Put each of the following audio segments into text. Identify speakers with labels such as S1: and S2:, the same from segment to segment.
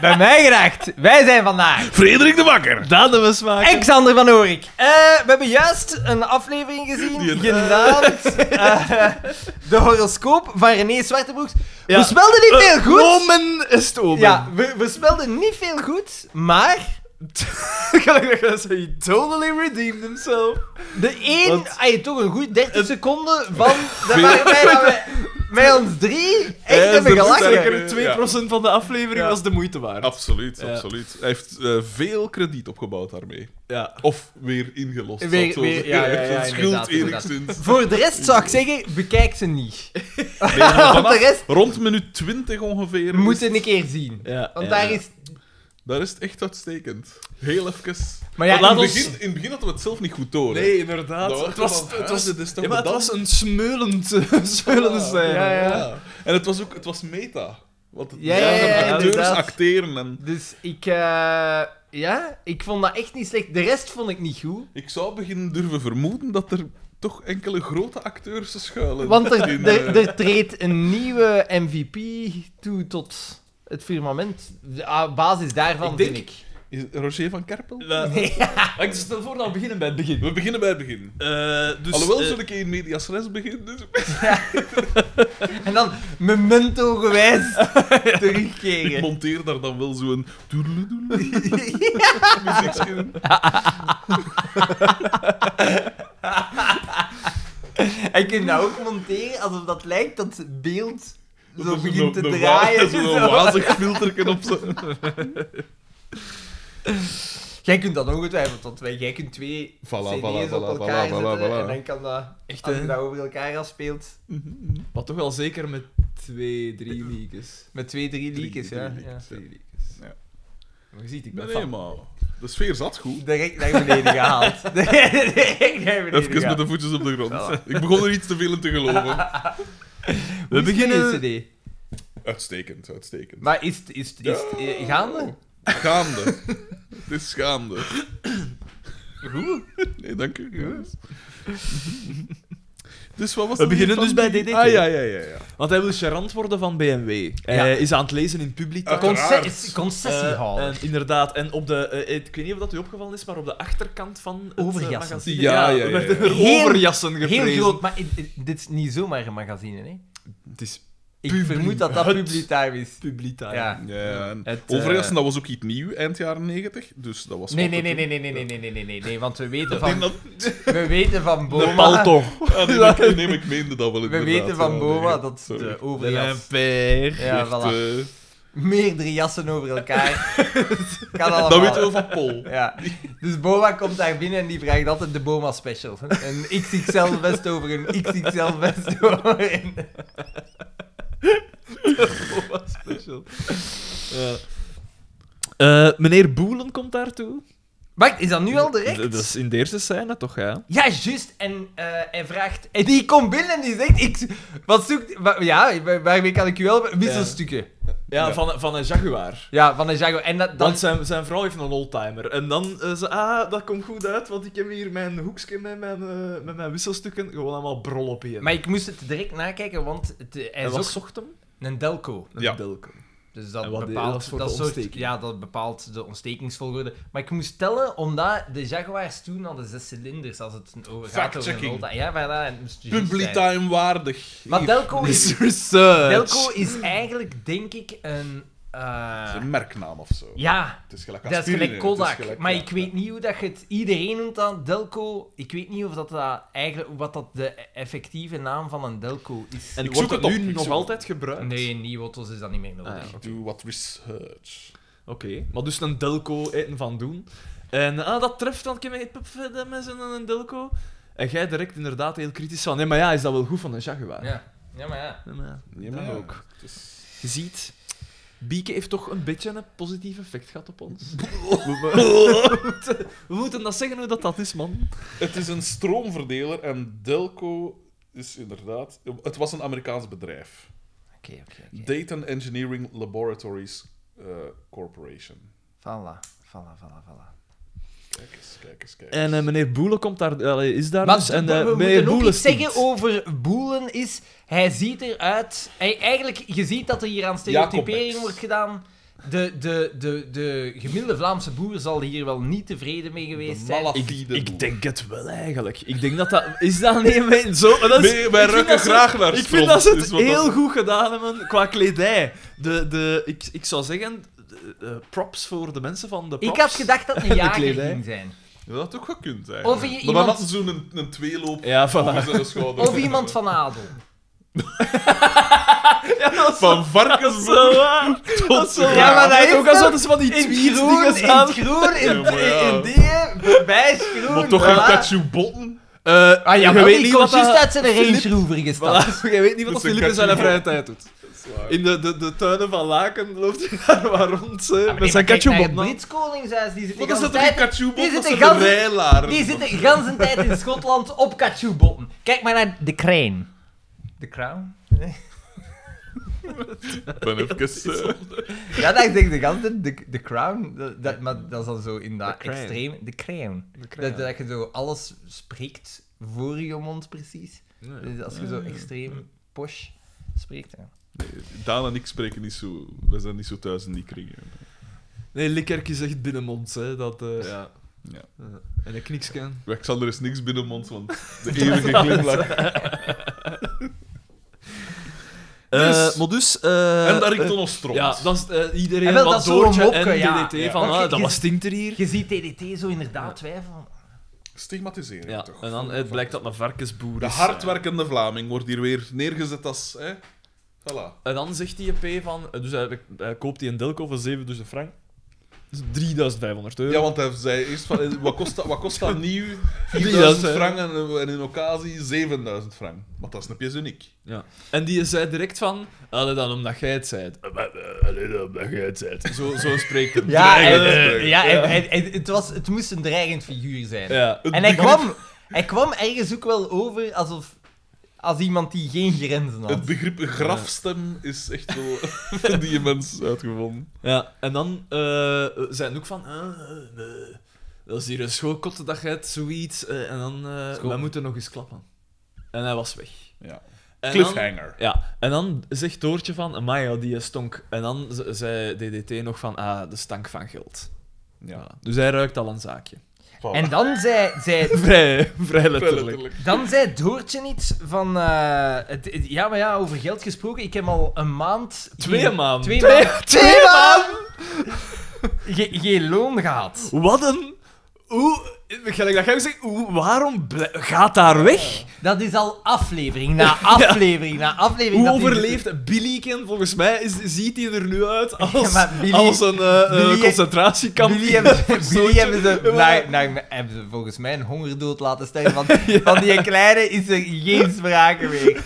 S1: Bij mij gedacht. Wij zijn vandaag
S2: Frederik de Bakker.
S3: Dat hebben we smaak.
S1: Alexander van Oorik. Eh, we hebben juist een aflevering gezien,
S3: eh,
S2: Die-
S1: genaamd eh, De Horoscoop van René Zwartebroeks.
S3: Ja. Eh, oh
S1: We spelden
S2: Eh,
S1: niet veel goed.
S3: Omen is het omen.
S1: ja, we, we spelden niet veel goed, maar
S3: Gelijk dat ze- he totally redeemed himself.
S1: de één...
S3: Want-
S1: Ay, toch een goed 30 seconden van... Dat waren wij dat we met ons drie echt
S3: Hij is
S1: hebben
S3: er
S1: gelachen.
S2: sterker.
S3: Zeker 2% van de aflevering
S2: Ja.
S3: was de moeite waard.
S2: Absoluut,
S3: Ja.
S2: absoluut. Hij heeft eh, veel krediet opgebouwd daarmee.
S3: Ja.
S2: Of weer ingelost,
S1: Weer-
S2: zou ik zo
S1: weer-
S2: zeggen.
S1: ja, ja, ja,
S2: Hij heeft zijn
S1: inderdaad,
S2: schuld
S1: inderdaad.
S2: enigszins.
S1: Voor de rest zou ik zeggen, bekijk ze niet.
S2: Nee, maar
S1: Want de
S2: vanaf
S1: rest
S2: Rond minuut 20 ongeveer. is-
S1: moeten een keer zien.
S3: Ja,
S1: Want
S3: ja.
S1: daar is...
S2: Daar is het echt uitstekend. Heel even.
S1: Maar ja,
S2: in, het
S3: laat ons-
S2: begin, in het begin hadden we het zelf niet goed door. hè.
S3: Nee, inderdaad.
S2: Dat was
S3: het was,
S2: gewoon-
S3: het was,
S2: ah, dit is toch
S3: ja, maar het
S2: dat?
S3: was een smeulend, smeulende scène.
S1: Oh. ja, ja.
S2: En het was ook het was meta. Want het
S1: Ja,
S2: ja,
S3: ja, ja,
S2: acteurs
S1: inderdaad.
S2: acteren en
S1: Dus ik, eh, ja, ik vond dat echt niet slecht. De rest vond ik niet goed.
S2: ik zou beginnen durven vermoeden dat er toch enkele grote acteurs schuilen.
S1: Want er,
S2: in,
S1: er,
S2: eh,
S1: er treedt een nieuwe MVP toe tot het firmament. De- ah, basis daarvan
S3: Ik denk-
S1: vind ik.
S2: is het Roger van Kerpel?
S3: La-
S1: Nee.
S3: Maar Ik stel voor dat we beginnen bij het begin.
S2: We beginnen bij het begin.
S3: Eh, dus,
S2: Alhoewel,
S3: eh,
S2: zullen ik in medias res beginnen? Dus...
S1: En dan memento-gewijs
S2: Ik
S1: terugkeren.
S2: monteer daar dan wel zo'n... doedeloedoele muziekje in.
S1: En je kunt dat ook monteren alsof dat lijkt dat het beeld
S2: Dat
S1: zo
S2: is
S1: begint te
S2: een- een
S1: draaien.
S2: wa- Zo'n
S1: zo.
S2: wazig filterken op zo.
S1: Jij kunt dat ongetwijfeld, want wij- jij kunt twee CD's
S2: Voilà, voilà,
S1: op
S2: voilà,
S1: elkaar
S2: voilà,
S1: zetten
S2: voilà,
S1: en
S2: voilà.
S1: dan kan dat,
S3: Echt,
S1: als je
S3: hè?
S1: dat over elkaar afspeelt,
S3: Wat toch wel zeker met twee, drie leakers.
S1: met twee, drie leakjes.
S2: drie
S1: Ja, ja.
S2: leakjes,
S3: Twee leakers.
S2: Ja.
S3: Maar je ziet, ik ben
S2: Nee, nee,
S3: fan.
S2: maar de sfeer zat goed.
S1: Direct naar beneden gehaald. Direct naar beneden
S2: Even met
S1: gehaald.
S2: de voetjes op de grond. Ik begon er iets te veel in te geloven.
S1: Hoe is
S3: We beginnen-
S1: die CD?
S2: Uitstekend, uitstekend.
S1: Maar is het is, het- is, het, eh, gaande?
S2: Gaande. Het is gaande. Goed. Nee, dank u. jongens. Dus wat was
S3: We
S2: het
S3: beginnen
S2: weer
S3: dus
S2: van-
S3: bij DDT.
S2: Ah, ja, ja, ja. ja.
S3: Want hij wil charant worden van BMW.
S1: Ja.
S3: Hij is aan het lezen in publiek.
S2: Ah,
S3: Eh,
S2: Uiteraard. Eh,
S1: Conce- concessiehouder.
S3: en inderdaad, en op de, eh, ik weet niet of dat u opgevallen is, maar op de achterkant van het eh,
S1: Overjassen.
S3: magazine
S2: Ja, ja, ja, ja.
S3: werden er
S1: Heel-
S3: overjassen
S1: Heel
S3: geprezen.
S1: groot, maar i- i- dit is niet zomaar een magazine, hè?
S3: Het is
S1: Ik
S3: Publi-
S1: vermoed dat dat
S3: het-
S1: publicitair is.
S3: publicitair.
S1: Ja.
S2: ja en
S1: Het, eh,
S2: Overigens, dat was ook iets nieuw eind jaren 90. Dus dat was
S1: Nee,
S2: wat
S1: nee,
S2: te
S1: nee, nee,
S2: doen.
S1: nee, nee, nee, nee, nee, nee, nee, nee, want we weten
S2: Dat
S1: van,
S2: ding dat-
S1: we weten van
S3: De
S1: Boma,
S3: palto.
S2: Ah, nee, dat- nee, maar ik meende dat wel
S1: we
S2: inderdaad.
S1: weten
S2: Ja,
S1: van
S2: nee,
S1: Boma dat
S2: sorry.
S1: de
S3: De
S1: overjas,
S3: lamper.
S1: ja,
S2: Echt,
S1: voilà,
S2: eh,
S1: meerdere jassen over elkaar, kan allemaal.
S2: Dat weten we van Paul.
S1: Ja. Dus Boma komt daar binnen en die vraagt altijd de Boma special. Een XXL vest over een XXL vest over een...
S3: Wat special. Eh, meneer Boelen komt daartoe.
S1: Wacht, is dat nu al direct?
S3: Dat is in de eerste scène toch, ja?
S1: Ja, juist. En eh, hij vraagt... En die komt binnen en die zegt... Ik, wat zoekt... wa- ja, waar- waarmee kan ik u helpen? Wisselstukken. Ja,
S3: Ja,
S2: Ja.
S3: Van, van een Jaguar.
S1: van de Jago. En dat...
S3: Want
S1: dat
S3: zijn, zijn vrouw heeft een oldtimer. En dan eh, ze, ah, dat komt goed uit, want ik heb hier mijn hoekje met mijn, eh, met mijn wisselstukken gewoon allemaal brol op in.
S1: maar ik moest het direct nakijken, want het, eh, hij
S3: en
S1: is
S3: wat
S1: ook
S3: zocht hem?
S1: een delco.
S3: Een
S2: Ja.
S3: Delco.
S1: Dus dat
S3: En wat-
S1: bepaalt
S3: dat is voor
S1: dat
S3: de
S1: soort-
S3: ontsteking.
S1: ja, dat bepaalt de ontstekingsvolgorde. Maar ik moest tellen omdat de Jaguars toen hadden zes cilinders als het een over gaat over een
S2: Fact-checking.
S1: Volta. Ja, maar dat moest juist zijn.
S2: Publitime waardig.
S1: Maar
S2: Hier.
S1: Delco is,
S3: Is research.
S1: Delco is eigenlijk denk ik een eh,
S2: Dat is een merknaam of zo.
S1: ja.
S2: Het is gelijk
S1: Dat is
S2: aspirine,
S1: gelijk
S2: het is
S1: Kodak,
S2: gelijk-
S1: maar
S2: ja,
S1: ik weet niet hoe dat je het... Iedereen noemt dat Delco. Ik weet niet of dat, dat eigenlijk... Wat dat de effectieve naam van een Delco is.
S3: En
S2: Ik
S3: wordt
S2: zoek
S3: het
S2: het
S3: nu
S2: op, ik
S3: nog
S2: zoek het
S3: altijd gebruikt?
S1: Nee, in die auto's is dat niet meer nodig.
S3: Ah,
S2: Ik doe wat research.
S3: Oké, maar dus een Delco eten van doen. En ah, dat treft dan een keer met- pup, eh, met zo'n een Delco. En jij direct inderdaad heel kritisch van, nee, maar ja, is dat wel goed van een Jaguar?
S1: Ja. ja, maar ja.
S3: Nee, maar ja.
S2: Nee,
S3: Dat
S2: maar ja,
S3: ook.
S2: het is-
S3: Je ziet, Bieke heeft toch een beetje een positief effect gehad op ons. We moeten, we moeten dat zeggen hoe dat, dat is, man.
S2: Het is een stroomverdeler en Delco is inderdaad... Het was een Amerikaans bedrijf.
S1: Oké, oké, oké.
S2: Dayton Engineering Laboratories eh, Corporation.
S1: Voilà, voilà, voilà, voilà.
S2: Kijk eens, kijk eens, kijk
S3: En
S2: eens.
S3: eh, meneer Boelen komt daar, allee, is daar
S1: Maar
S3: dus.
S1: d-
S3: En,
S1: we,
S3: eh,
S1: we
S3: meneer
S1: moeten ook
S3: Boelen
S1: iets zeggen
S3: stinkt.
S1: over Boelen is... Hij ziet eruit... Hij, eigenlijk, je ziet dat er hier aan stereotypering
S2: Jacobs.
S1: wordt gedaan. de, de, de, de gemiddelde Vlaamse boer zal hier wel niet tevreden mee
S2: De
S1: geweest zijn.
S3: Ik,
S2: malafide boer.
S3: ik denk het wel eigenlijk. Ik denk dat dat. Is dat niet mijn zo? Dat is,
S2: Nee, wij
S3: Dus ik vind
S2: rukken
S3: dat ze-
S2: graag naar
S3: Ik
S2: stront,
S3: vind dat ze
S2: is
S3: het
S2: wat dat-
S3: heel goed gedaan hebben qua kledij. De, de, ik, ik zou zeggen, de- eh, props voor de mensen van de.
S1: Ik
S3: Props.
S1: had gedacht dat het een jager
S3: kledij.
S1: ging zijn.
S2: Dat had ook gekund, eigenlijk.
S1: Of je
S2: maar
S1: iemand-
S2: dan hadden ze zo'n een, een tweeloop
S3: Ja,
S2: over
S3: voilà.
S2: zijn schouder.
S1: Of iemand van adel.
S3: Ja, dat is
S2: Van
S3: dat is
S2: varkensbroek.
S3: zo waar. Dat is zo
S1: Ja,
S3: waar.
S1: maar dat
S3: Met
S1: is
S3: ook al
S1: wel-
S3: zo dus van die
S1: In
S3: tweets
S1: groen,
S3: dingen
S1: in
S3: staan.
S1: het groen, in,
S2: Ja, maar ja.
S1: in dingen, voorbij is groen.
S2: Maar toch een
S1: voilà.
S2: Katsu Botten.
S3: Eh,
S1: Ah ja,
S3: je
S1: maar
S3: weet
S1: die
S3: niet
S1: komt
S3: wat
S1: juist
S3: dat-
S1: uit zijn Range Rover gestapt.
S3: Voilà, je weet niet wat
S2: Dat
S3: dat
S2: is een
S3: Filip in zijn
S2: katje.
S3: vrije tijd doet. In de, de, de tuinen van Laken loopt hij daar maar rond. hè, met zijn katjoebot.
S1: De Blitzkoningshuis, die zit de
S2: Wat is
S1: ganse
S2: dat toch een
S1: tijd...
S2: Katsu
S1: die
S2: Botten? Dat
S1: zitten
S2: zijn de
S1: ganzen-
S2: rijlaren.
S1: Die zitten de ganse tijd in Schotland op katjoebotten. Kijk maar naar de Crane. De Crown?
S2: Ik ben even... eh,
S1: Ja, dat denk ik de ganse tijd. De, de Crown, dat, dat- maar dat is dan zo in dat
S3: De Crown.
S1: extreem. De Crown. Dat, dat je zo alles spreekt voor je mond precies. Dus als je zo extreem posh spreekt. Ja.
S2: Daan en ik spreken niet zo... We zijn niet zo thuis in die kringen.
S3: Nee, Likkerk is echt binnenmonds, hè. Dat, eh, ja.
S2: Ja.
S3: Eh, en een knikscan.
S2: Alexander is niks binnenmonds, want de eeuwige glimlach. Dus-
S3: Eh, maar dus... eh,
S2: en daar ik
S3: eh,
S2: toen ons trots.
S3: Ja, dat is eh, iedereen
S1: En wel, dat
S3: wat
S1: is zo'n
S3: doortje
S1: mopke,
S3: en
S1: ja.
S3: DDT
S1: Ja.
S3: van,
S1: Ja.
S3: ah, dat was stinkt er hier.
S1: Je ziet TDT zo inderdaad twijfelen.
S2: Stigmatiseren,
S3: Ja,
S2: toch?
S3: en dan eh, blijkt dat Dus, een varkensboer
S2: De
S3: is. eh,
S2: hardwerkende Vlaming wordt hier weer neergezet als... Hè? Voilà.
S3: En dan zegt die P van... eh, Dus hij, hij koopt die een delco voor 7000 frank. Dus 3500 euro.
S2: Ja, want hij zei eerst van, eh, wat kost dat, wat kost dat nieuw? 4000
S3: 4000
S2: frank en, eh, en in occasie 7000 frank. Maar dat is een pièce uniek.
S3: Ja. En die zei direct van, allee dan omdat jij het zei. Allee dan omdat jij het zei. Zo, zo spreekt hem.
S1: Ja,
S2: Dreigend,
S1: en, eh,
S2: dreigend.
S1: ja, en- en- en het, was, het moest een dreigend figuur zijn.
S3: Ja.
S1: En hij kwam, hij kwam ergens ook wel over alsof als iemand die geen grenzen had.
S2: Het begrip grafstem is echt wel voor die mens uitgevonden.
S3: ja. En dan eh zijn ook van, eh, eh, eh, dat is hier een schoolkot dat jij het, zoiets. eh, en dan, eh
S1: School.
S3: we moeten nog eens klappen. En hij was weg.
S2: Ja.
S3: En dan-
S2: Cliffhanger.
S3: ja, en dan zegt Doortje van, amai, ja, die stonk. En dan ze- zei DDT nog van, ah, de stank van geld.
S2: Ja.
S3: Voilà. Dus hij ruikt al een zaakje.
S1: En dan zei, zei,
S3: Vrij, vrij letterlijk.
S2: Letterlijk.
S1: dan zei Doortje iets van... eh, het, het- ja, maar ja, over geld gesproken. Ik heb al een maand...
S3: Twee
S1: geen-
S3: maanden.
S1: Twee,
S3: Twee-
S1: maanden. Twee maanden! Ge- Geen loon gehad.
S3: Wat een. Hoe. Gelijk dat jij ook zegt, hoe, waarom blij- gaat daar weg?
S1: Dat is al aflevering na aflevering na aflevering.
S3: Hoe
S1: dat die-
S3: overleeft Billyken? Volgens mij is, ziet hij er nu uit als,
S1: Ja, maar Billy-
S3: als een eh, eh,
S1: Billy-
S3: concentratiekamp.
S1: Billy hebben, Billy
S3: zoiets.
S1: hebben, ze, naar, naar, hebben ze volgens mij een hongerdood laten stellen. Want van die kleine is er geen sprake meer.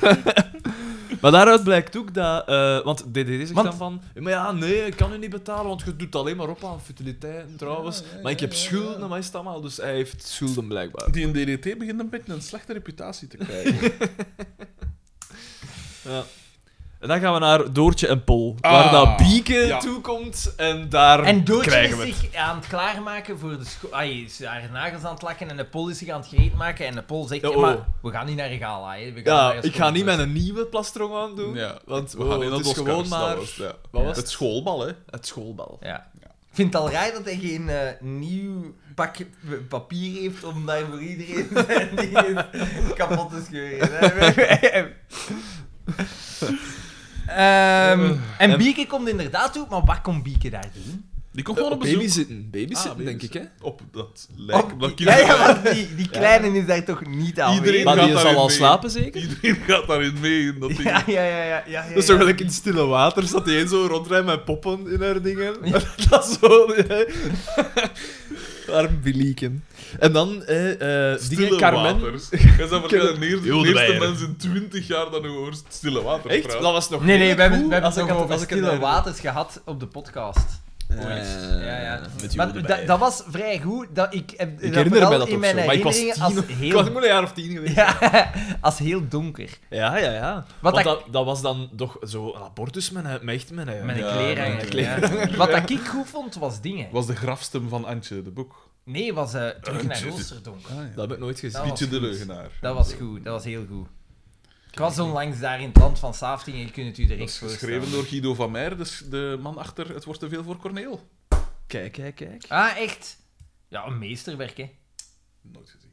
S3: Maar daaruit blijkt ook dat... eh, want DDD zegt
S1: Want-
S3: dan van... Maar ja, nee, ik kan u niet betalen, want je doet alleen maar op aan futiliteiten trouwens. maar ik heb schulden, maar is het allemaal... Dus hij heeft schulden blijkbaar.
S2: Die in DDT begint een beetje een slechte reputatie te krijgen.
S3: Ja. En dan gaan we naar Doortje en Pol.
S2: Ah,
S3: waar dat Bieke
S2: ja.
S3: toekomt en daar
S1: En Doortje
S3: krijgen
S1: is
S3: we het.
S1: zich aan het klaarmaken voor de school. Ai, is haar nagels aan het lakken en de pol is zich aan het gereed maken. En de pol zegt:
S3: Oh.
S1: "Ja, maar we gaan niet naar de gala. Hè. We gaan naar
S3: Ja,
S1: je
S3: ik
S1: school."
S3: ga niet met een nieuwe plastrong aan doen.
S2: Ja.
S3: Want
S2: We gaan in
S3: wow,
S2: dat
S3: het is gewoon maar
S2: Was, ja.
S3: Wat was
S2: Het
S3: het?
S2: schoolbal, hè.
S3: het schoolbal.
S1: Ja. Ik vind het al raar dat hij geen eh, nieuw pak papier heeft om daar voor iedereen zijn die kapot te scheuren. Ehm, en Bieke komt inderdaad toe, maar wat komt Bieke daar doen?
S2: Die komt
S3: Op
S2: gewoon op bezoek.
S3: babysitten, babysitten
S2: Ah,
S3: denk ik, hè?
S2: Op dat lijk. op dat
S1: ja,
S2: kinderlijk.
S1: ja, want die, die kleine is daar toch niet aan
S2: Iedereen-
S3: Maar
S2: gaat
S3: die zal
S2: daarin
S3: al
S2: mee.
S3: slapen, zeker?
S2: Iedereen gaat daarin mee. In
S1: Ja,
S2: dat ding.
S1: ja, ja, ja, ja, ja,
S3: Dat is toch
S1: ja.
S3: wel ik in stille water, zat die een zo rondrijden met poppen in haar dingen. dat is zo... hè. Arm bilieken. En dan, eh, eh dingen,
S2: Stille
S3: Carmen...
S2: waters. Jij zou
S3: Ken-
S2: vertellen, de eer- de
S3: Heel de
S2: eerste
S3: weier.
S2: mens in 20 jaar dat nu hoort stille water
S3: Echt? Dat
S2: praten.
S3: was nog
S1: Nee, nee,
S3: heel
S1: we hebben,
S3: cool,
S1: we hebben
S3: als
S1: het
S3: ik
S1: ook
S3: het-
S1: over
S3: als ik het
S1: stille
S3: herinner.
S1: waters gehad op de podcast.
S3: Eh,
S1: ja, ja.
S3: Met
S1: Maar
S3: Jude
S1: da-
S3: erbij.
S1: dat was vrij goed. Dat ik heb
S3: Ik herinner
S1: vooral
S3: me dat
S1: in
S3: ook
S1: mijn
S3: zo, maar ik was tien.
S1: herinneringen als
S3: Ik was ik
S1: heel,
S3: moet een jaar of tien geweest.
S1: ja, als heel donker.
S3: Ja, ja, ja.
S1: Wat
S3: Want
S1: dat-
S3: dat, dat, was dan toch zo een abortus met, een- met echt met een...
S1: Met een
S2: Ja,
S1: kleren.
S3: met een
S1: Ja. Wat dat ik goed vond, was dingen.
S2: was de grafstem van Antje de Boek.
S1: Nee, was eh,
S3: Oh,
S1: terug naar
S2: Jezus.
S3: Ah.
S1: Roosterdonk.
S3: Dat heb ik nooit gezien.
S1: Dat was
S2: Pietje de
S1: goed.
S2: Leugenaar.
S1: Dat was goed, dat was heel goed. Ik was onlangs daar in het land van Saafting en je kunt het u
S2: Dat
S1: direct
S2: is
S1: voorstellen.
S2: geschreven door Guido van Meijer, dus de man achter Het wordt te veel voor Corneel.
S3: Kijk, kijk, kijk.
S1: Ah, echt? Ja, een meesterwerk, hè.
S2: Nooit gezien.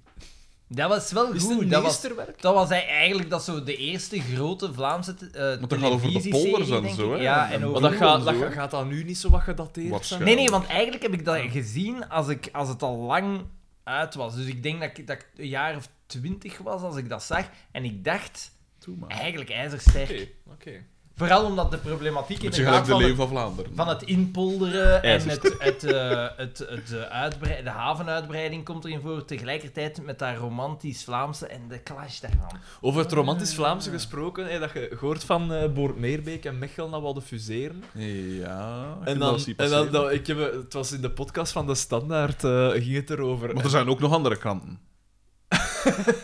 S1: Dat was wel
S3: Is het
S1: goed.
S3: een
S1: Dat was,
S3: meesterwerk?
S1: dat was eigenlijk dat zo de eerste grote Vlaamse te- eh
S2: Want dat gaat over de
S1: televisieserie,
S2: polders en
S1: denk
S2: zo,
S1: ik.
S2: hè.
S1: Ja,
S2: En-
S1: en
S3: Maar
S1: over...
S3: dat gaat,
S2: Overal
S3: dat,
S2: zo,
S3: ga-
S2: hè?
S3: gaat dat nu niet zo wat gedateerd zijn?
S2: Waarschijnlijk.
S1: Nee, nee, want eigenlijk heb ik dat gezien als, ik, als het al lang uit was. Dus ik denk dat ik, dat ik een jaar of twintig was als ik dat zag. En ik dacht,
S2: Doe maar. Oké,
S1: eigenlijk ijzersterk.
S2: oké.
S1: Vooral omdat de problematiek
S2: Beetje
S1: inderdaad
S2: gelijk de
S1: van
S2: Leeuw
S1: het,
S2: van Vlaanderen.
S1: van het inpolderen en het,
S3: IJzersterk.
S1: het, eh, het, het, eh, uitbrei- de havenuitbreiding komt erin voor. Tegelijkertijd met dat romantisch Vlaamse en de clash daarvan.
S3: Over het romantisch Vlaamse gesproken, hè, dat je hoort van eh Boort-Meerbeek en Mechelen dat wilden fuseren.
S2: Ja, ik
S3: En
S2: heb
S3: dan,
S2: dat zien
S3: en dan,
S2: passeren.
S3: dan- ik heb, eh, het was in de podcast van de Standaard, eh, ging het erover.
S2: Maar er zijn ook nog andere kranten.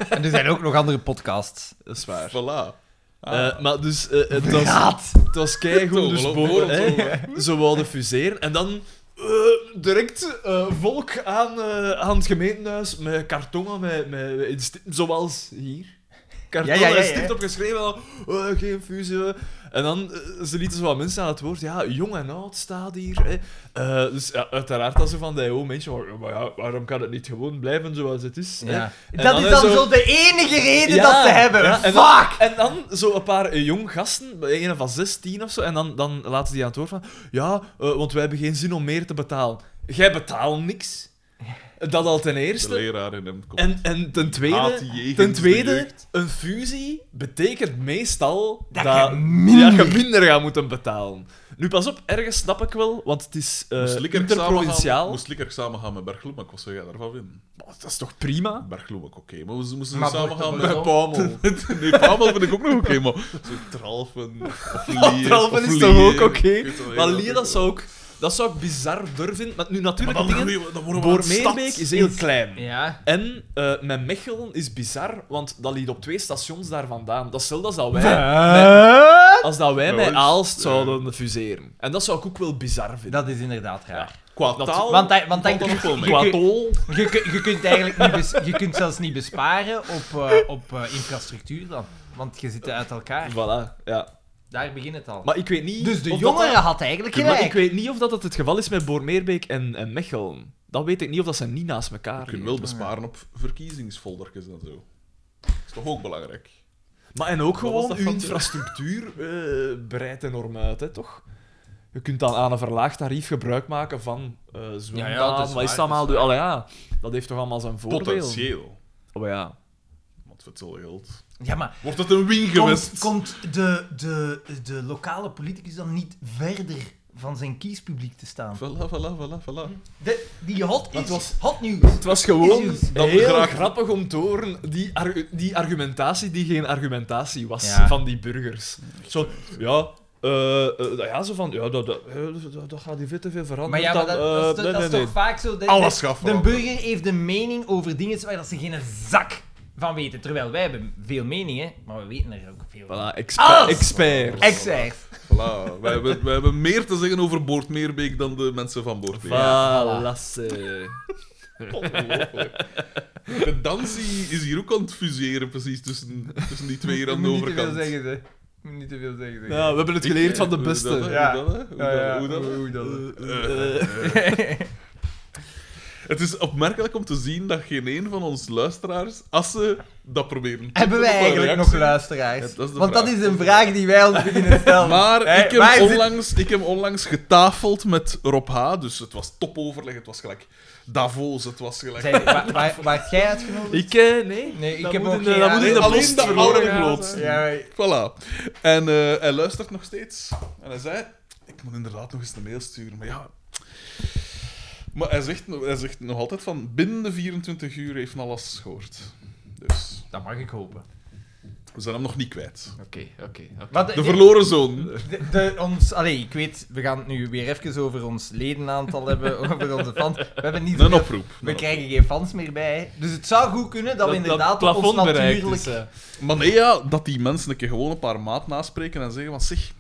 S1: En er zijn ook nog andere podcasts.
S3: Dat is waar.
S2: Voilà.
S3: Eh, maar dus, eh, het was,
S1: Raad!
S3: het was keigoed,
S2: Ah. Toch,
S3: dus
S2: wel,
S3: Boort,
S2: Boort,
S3: hè,
S2: toch,
S3: ze wilden fuseren. En dan eh, direct eh, volk aan, eh, aan het gemeentehuis met kartonnen, met, met, met- in sti- zoals hier. Kartonnen
S1: Ja, ja, ja,
S3: en
S1: ja.
S3: stipt opgeschreven, en dan, eh, geen fusie. eh. En dan eh, ze lieten zo wat mensen aan het woord. Ja, jong en oud staat hier. Hè. Eh, dus ja, uiteraard dat ze van, die, oh mensen, maar, maar ja, waarom kan het niet gewoon blijven zoals het is? hè?"
S1: Ja.
S3: En
S1: Dat
S3: dan
S1: is
S3: is
S1: dan
S3: zo-
S1: zo de enige reden
S3: Ja,
S1: dat ze hebben.
S3: ja, en dan-
S1: Fuck!
S3: En dan zo een paar eh, jong gasten, bij een van 16 of zo, en dan, dan laten ze die aan het woord van: Ja, eh, want wij hebben geen zin om meer te betalen. Jij betaalt niks. Dat al ten
S2: De
S3: eerste.
S2: leraar in hem komt.
S3: En, en ten
S2: Haat
S3: tweede,
S2: die jegens
S3: ten
S2: de
S3: tweede
S2: jeugd.
S3: een fusie betekent meestal
S1: Dat
S3: dat,
S1: je minder-
S3: dat je minder gaat moeten betalen. Nu pas op, ergens snap ik wel, want het is eh,
S2: Moest Likkerk
S3: interprovinciaal.
S2: samengaan- Moest Likkerk samen gaan met Bergloemek, wat zou jij daarvan vinden?
S3: Oh, Dat is toch prima?
S2: Bergloemek, oké, maar we moesten
S1: Maar
S2: samen gaan
S1: Borg-
S2: met...
S3: Pommel.
S2: Nee, Pamel vind ik ook nog oké, maar... Zo Tralfen, of Lier,
S3: Tralven
S2: of
S3: is toch ook
S2: Lier.
S3: oké?
S2: Ik weet wel,
S3: Maar
S2: ja,
S3: Lier, dat zou ook... Dat zou ik bizar durven vinden. Maar nu,
S2: Maar
S3: natuurlijk,
S2: dan,
S3: het ding is,
S2: groeien we- dan worden we een stad.
S3: Boormeerbeek is heel klein.
S1: Ja.
S3: En eh, met Mechelen is bizar, want dat ligt op twee stations daar vandaan. Dat is hetzelfde als dat wij,
S1: Wat?
S3: als dat wij
S2: Ja,
S3: met
S2: dus,
S3: Aalst
S2: eh.
S3: zouden fuseren. En dat zou ik ook wel bizar vinden.
S1: Dat is inderdaad raar.
S2: Qua
S3: Dat-
S2: taal...
S1: Want, hij- want
S2: valt
S1: dan-
S2: dat ook wel mee.
S1: je-
S3: Qua
S1: je-
S3: tol.
S1: Je, kun- je kunt eigenlijk niet bes- je kunt zelfs niet besparen op, eh, op eh, infrastructuur dan. Want je zit uit elkaar.
S3: Voilà, ja.
S1: Daar begint het al.
S3: Maar ik weet niet...
S1: Dus de
S3: of dat
S1: jongere
S3: dat-
S1: had eigenlijk
S3: Maar ik
S1: gelijk.
S3: weet niet of dat het, het geval is met Boormeerbeek en, en Mechelen. Dat weet ik niet, of dat zijn niet naast
S2: Je
S3: elkaar
S2: kunt wel besparen op verkiezingsfoldertjes en zo. Dat is toch ook belangrijk?
S3: Maar en ook
S2: Wat was
S3: gewoon,
S2: dat
S3: uw
S2: van-
S3: infrastructuur eh, breidt enorm uit, hè, toch? Je kunt dan aan een verlaagd tarief gebruik maken van eh zwembaden.
S1: Ja, ja, dat is
S3: wat
S1: waar,
S3: is
S1: dat
S3: dat
S1: is
S3: allemaal? Allee, ja, dat heeft toch allemaal zijn voordeel?
S2: Potentieel.
S3: Oh, ja.
S2: Want voor hetzelfde geld...
S1: Ja, maar
S2: Wordt het een win
S1: komt,
S2: geweest?
S1: komt de, de, de lokale politicus dan niet verder van zijn kiespubliek te staan?
S2: Voilà, voilà, voilà, voilà.
S1: De- die hot
S3: Dat
S1: is
S3: was-
S1: hot nieuws.
S3: Het was gewoon
S1: Issues.
S2: Dat
S3: heel
S2: graag-
S3: grappig om te horen, die, argu- die argumentatie die geen argumentatie was
S1: Ja.
S3: van die burgers. Zo, ja... eh, eh, dat- ja, zo van, ja, dat, dat, eh, dat- dat gaat die vet te veel veranderen.
S1: Maar ja, maar dat,
S3: dan,
S1: dat is,
S3: eh,
S1: toch- dat is toch vaak zo. De,
S2: Alles
S1: de,
S2: gaat
S1: de
S2: veranderen.
S1: burger heeft een mening over dingen waar dat ze geen zak van weten. Terwijl wij hebben veel meningen, maar we weten er ook veel van.
S3: Voilà, expert.
S1: Alles!
S3: expert.
S1: Exact.
S2: Voilà, wij, hebben- wij hebben meer te zeggen over Boortmeerbeek dan de mensen van Boortmeerbeek.
S3: Valasse.
S2: Ongelooflijk. De dansie is hier ook aan het fuseren, precies, tussen, tussen die twee hier aan de overkant.
S1: ze. Moet niet te veel zeggen, zeg.
S3: Ja, we hebben het geleerd van de
S2: Hoe is eh, dat,
S3: beste.
S2: hè?
S1: Ja.
S2: Hoe dat, hè? Hoe
S1: Ja, ja,
S2: dat, hoe dat?
S1: hoe dat,
S2: Eh, eh. Het is opmerkelijk om te zien dat geen een van ons luisteraars, als ze dat proberen... te
S1: Hebben
S2: doen op
S1: wij
S2: een
S1: eigenlijk nog
S2: reactie-
S1: luisteraars?
S2: Ja, dat is de
S1: Want dat
S2: vraag.
S1: is een vraag die wij ons beginnen stellen.
S2: Maar
S1: Hè,
S2: ik, heb
S1: wij zitten-
S2: onlangs, ik heb onlangs getafeld met Rob H. Dus het was topoverleg, het was gelijk Davos, het was gelijk...
S1: Zij- wa- wa- Waart jij uitgenodigd?
S3: Ik, eh, nee.
S1: Nee, ik
S3: Dat
S1: heb
S3: moet
S1: ook
S3: in de-
S1: geen
S3: Dat moet in de
S2: alleen
S3: post
S2: de
S3: verloren
S2: oude
S3: gaan
S2: gloed.
S3: zijn.
S1: Ja, maar-
S2: Voilà. En eh, hij luistert nog steeds. En hij zei: Ik moet inderdaad nog eens een mail sturen. Maar ja. Maar hij zegt, hij zegt nog altijd: van binnen de 24 uur heeft hij alles gehoord. Dus
S1: Dat mag ik hopen.
S2: we zijn hem nog niet kwijt.
S3: Oké, oké. oké.
S1: Want
S2: De verloren zoon.
S1: de- de- ons, allee, ik weet, we gaan het nu weer even over ons ledenaantal hebben, over onze fans. We hebben niet
S2: Een
S1: zoveel-
S2: oproep.
S1: We krijgen geen fans meer bij. Dus het zou goed kunnen dat we inderdaad
S3: dat
S1: op ons
S3: plafond bereikt
S1: natuurlijk...
S3: is, eh.
S2: Maar nee, ja, dat die mensen een keer gewoon een paar maat naspreken en zeggen: van, Zeg,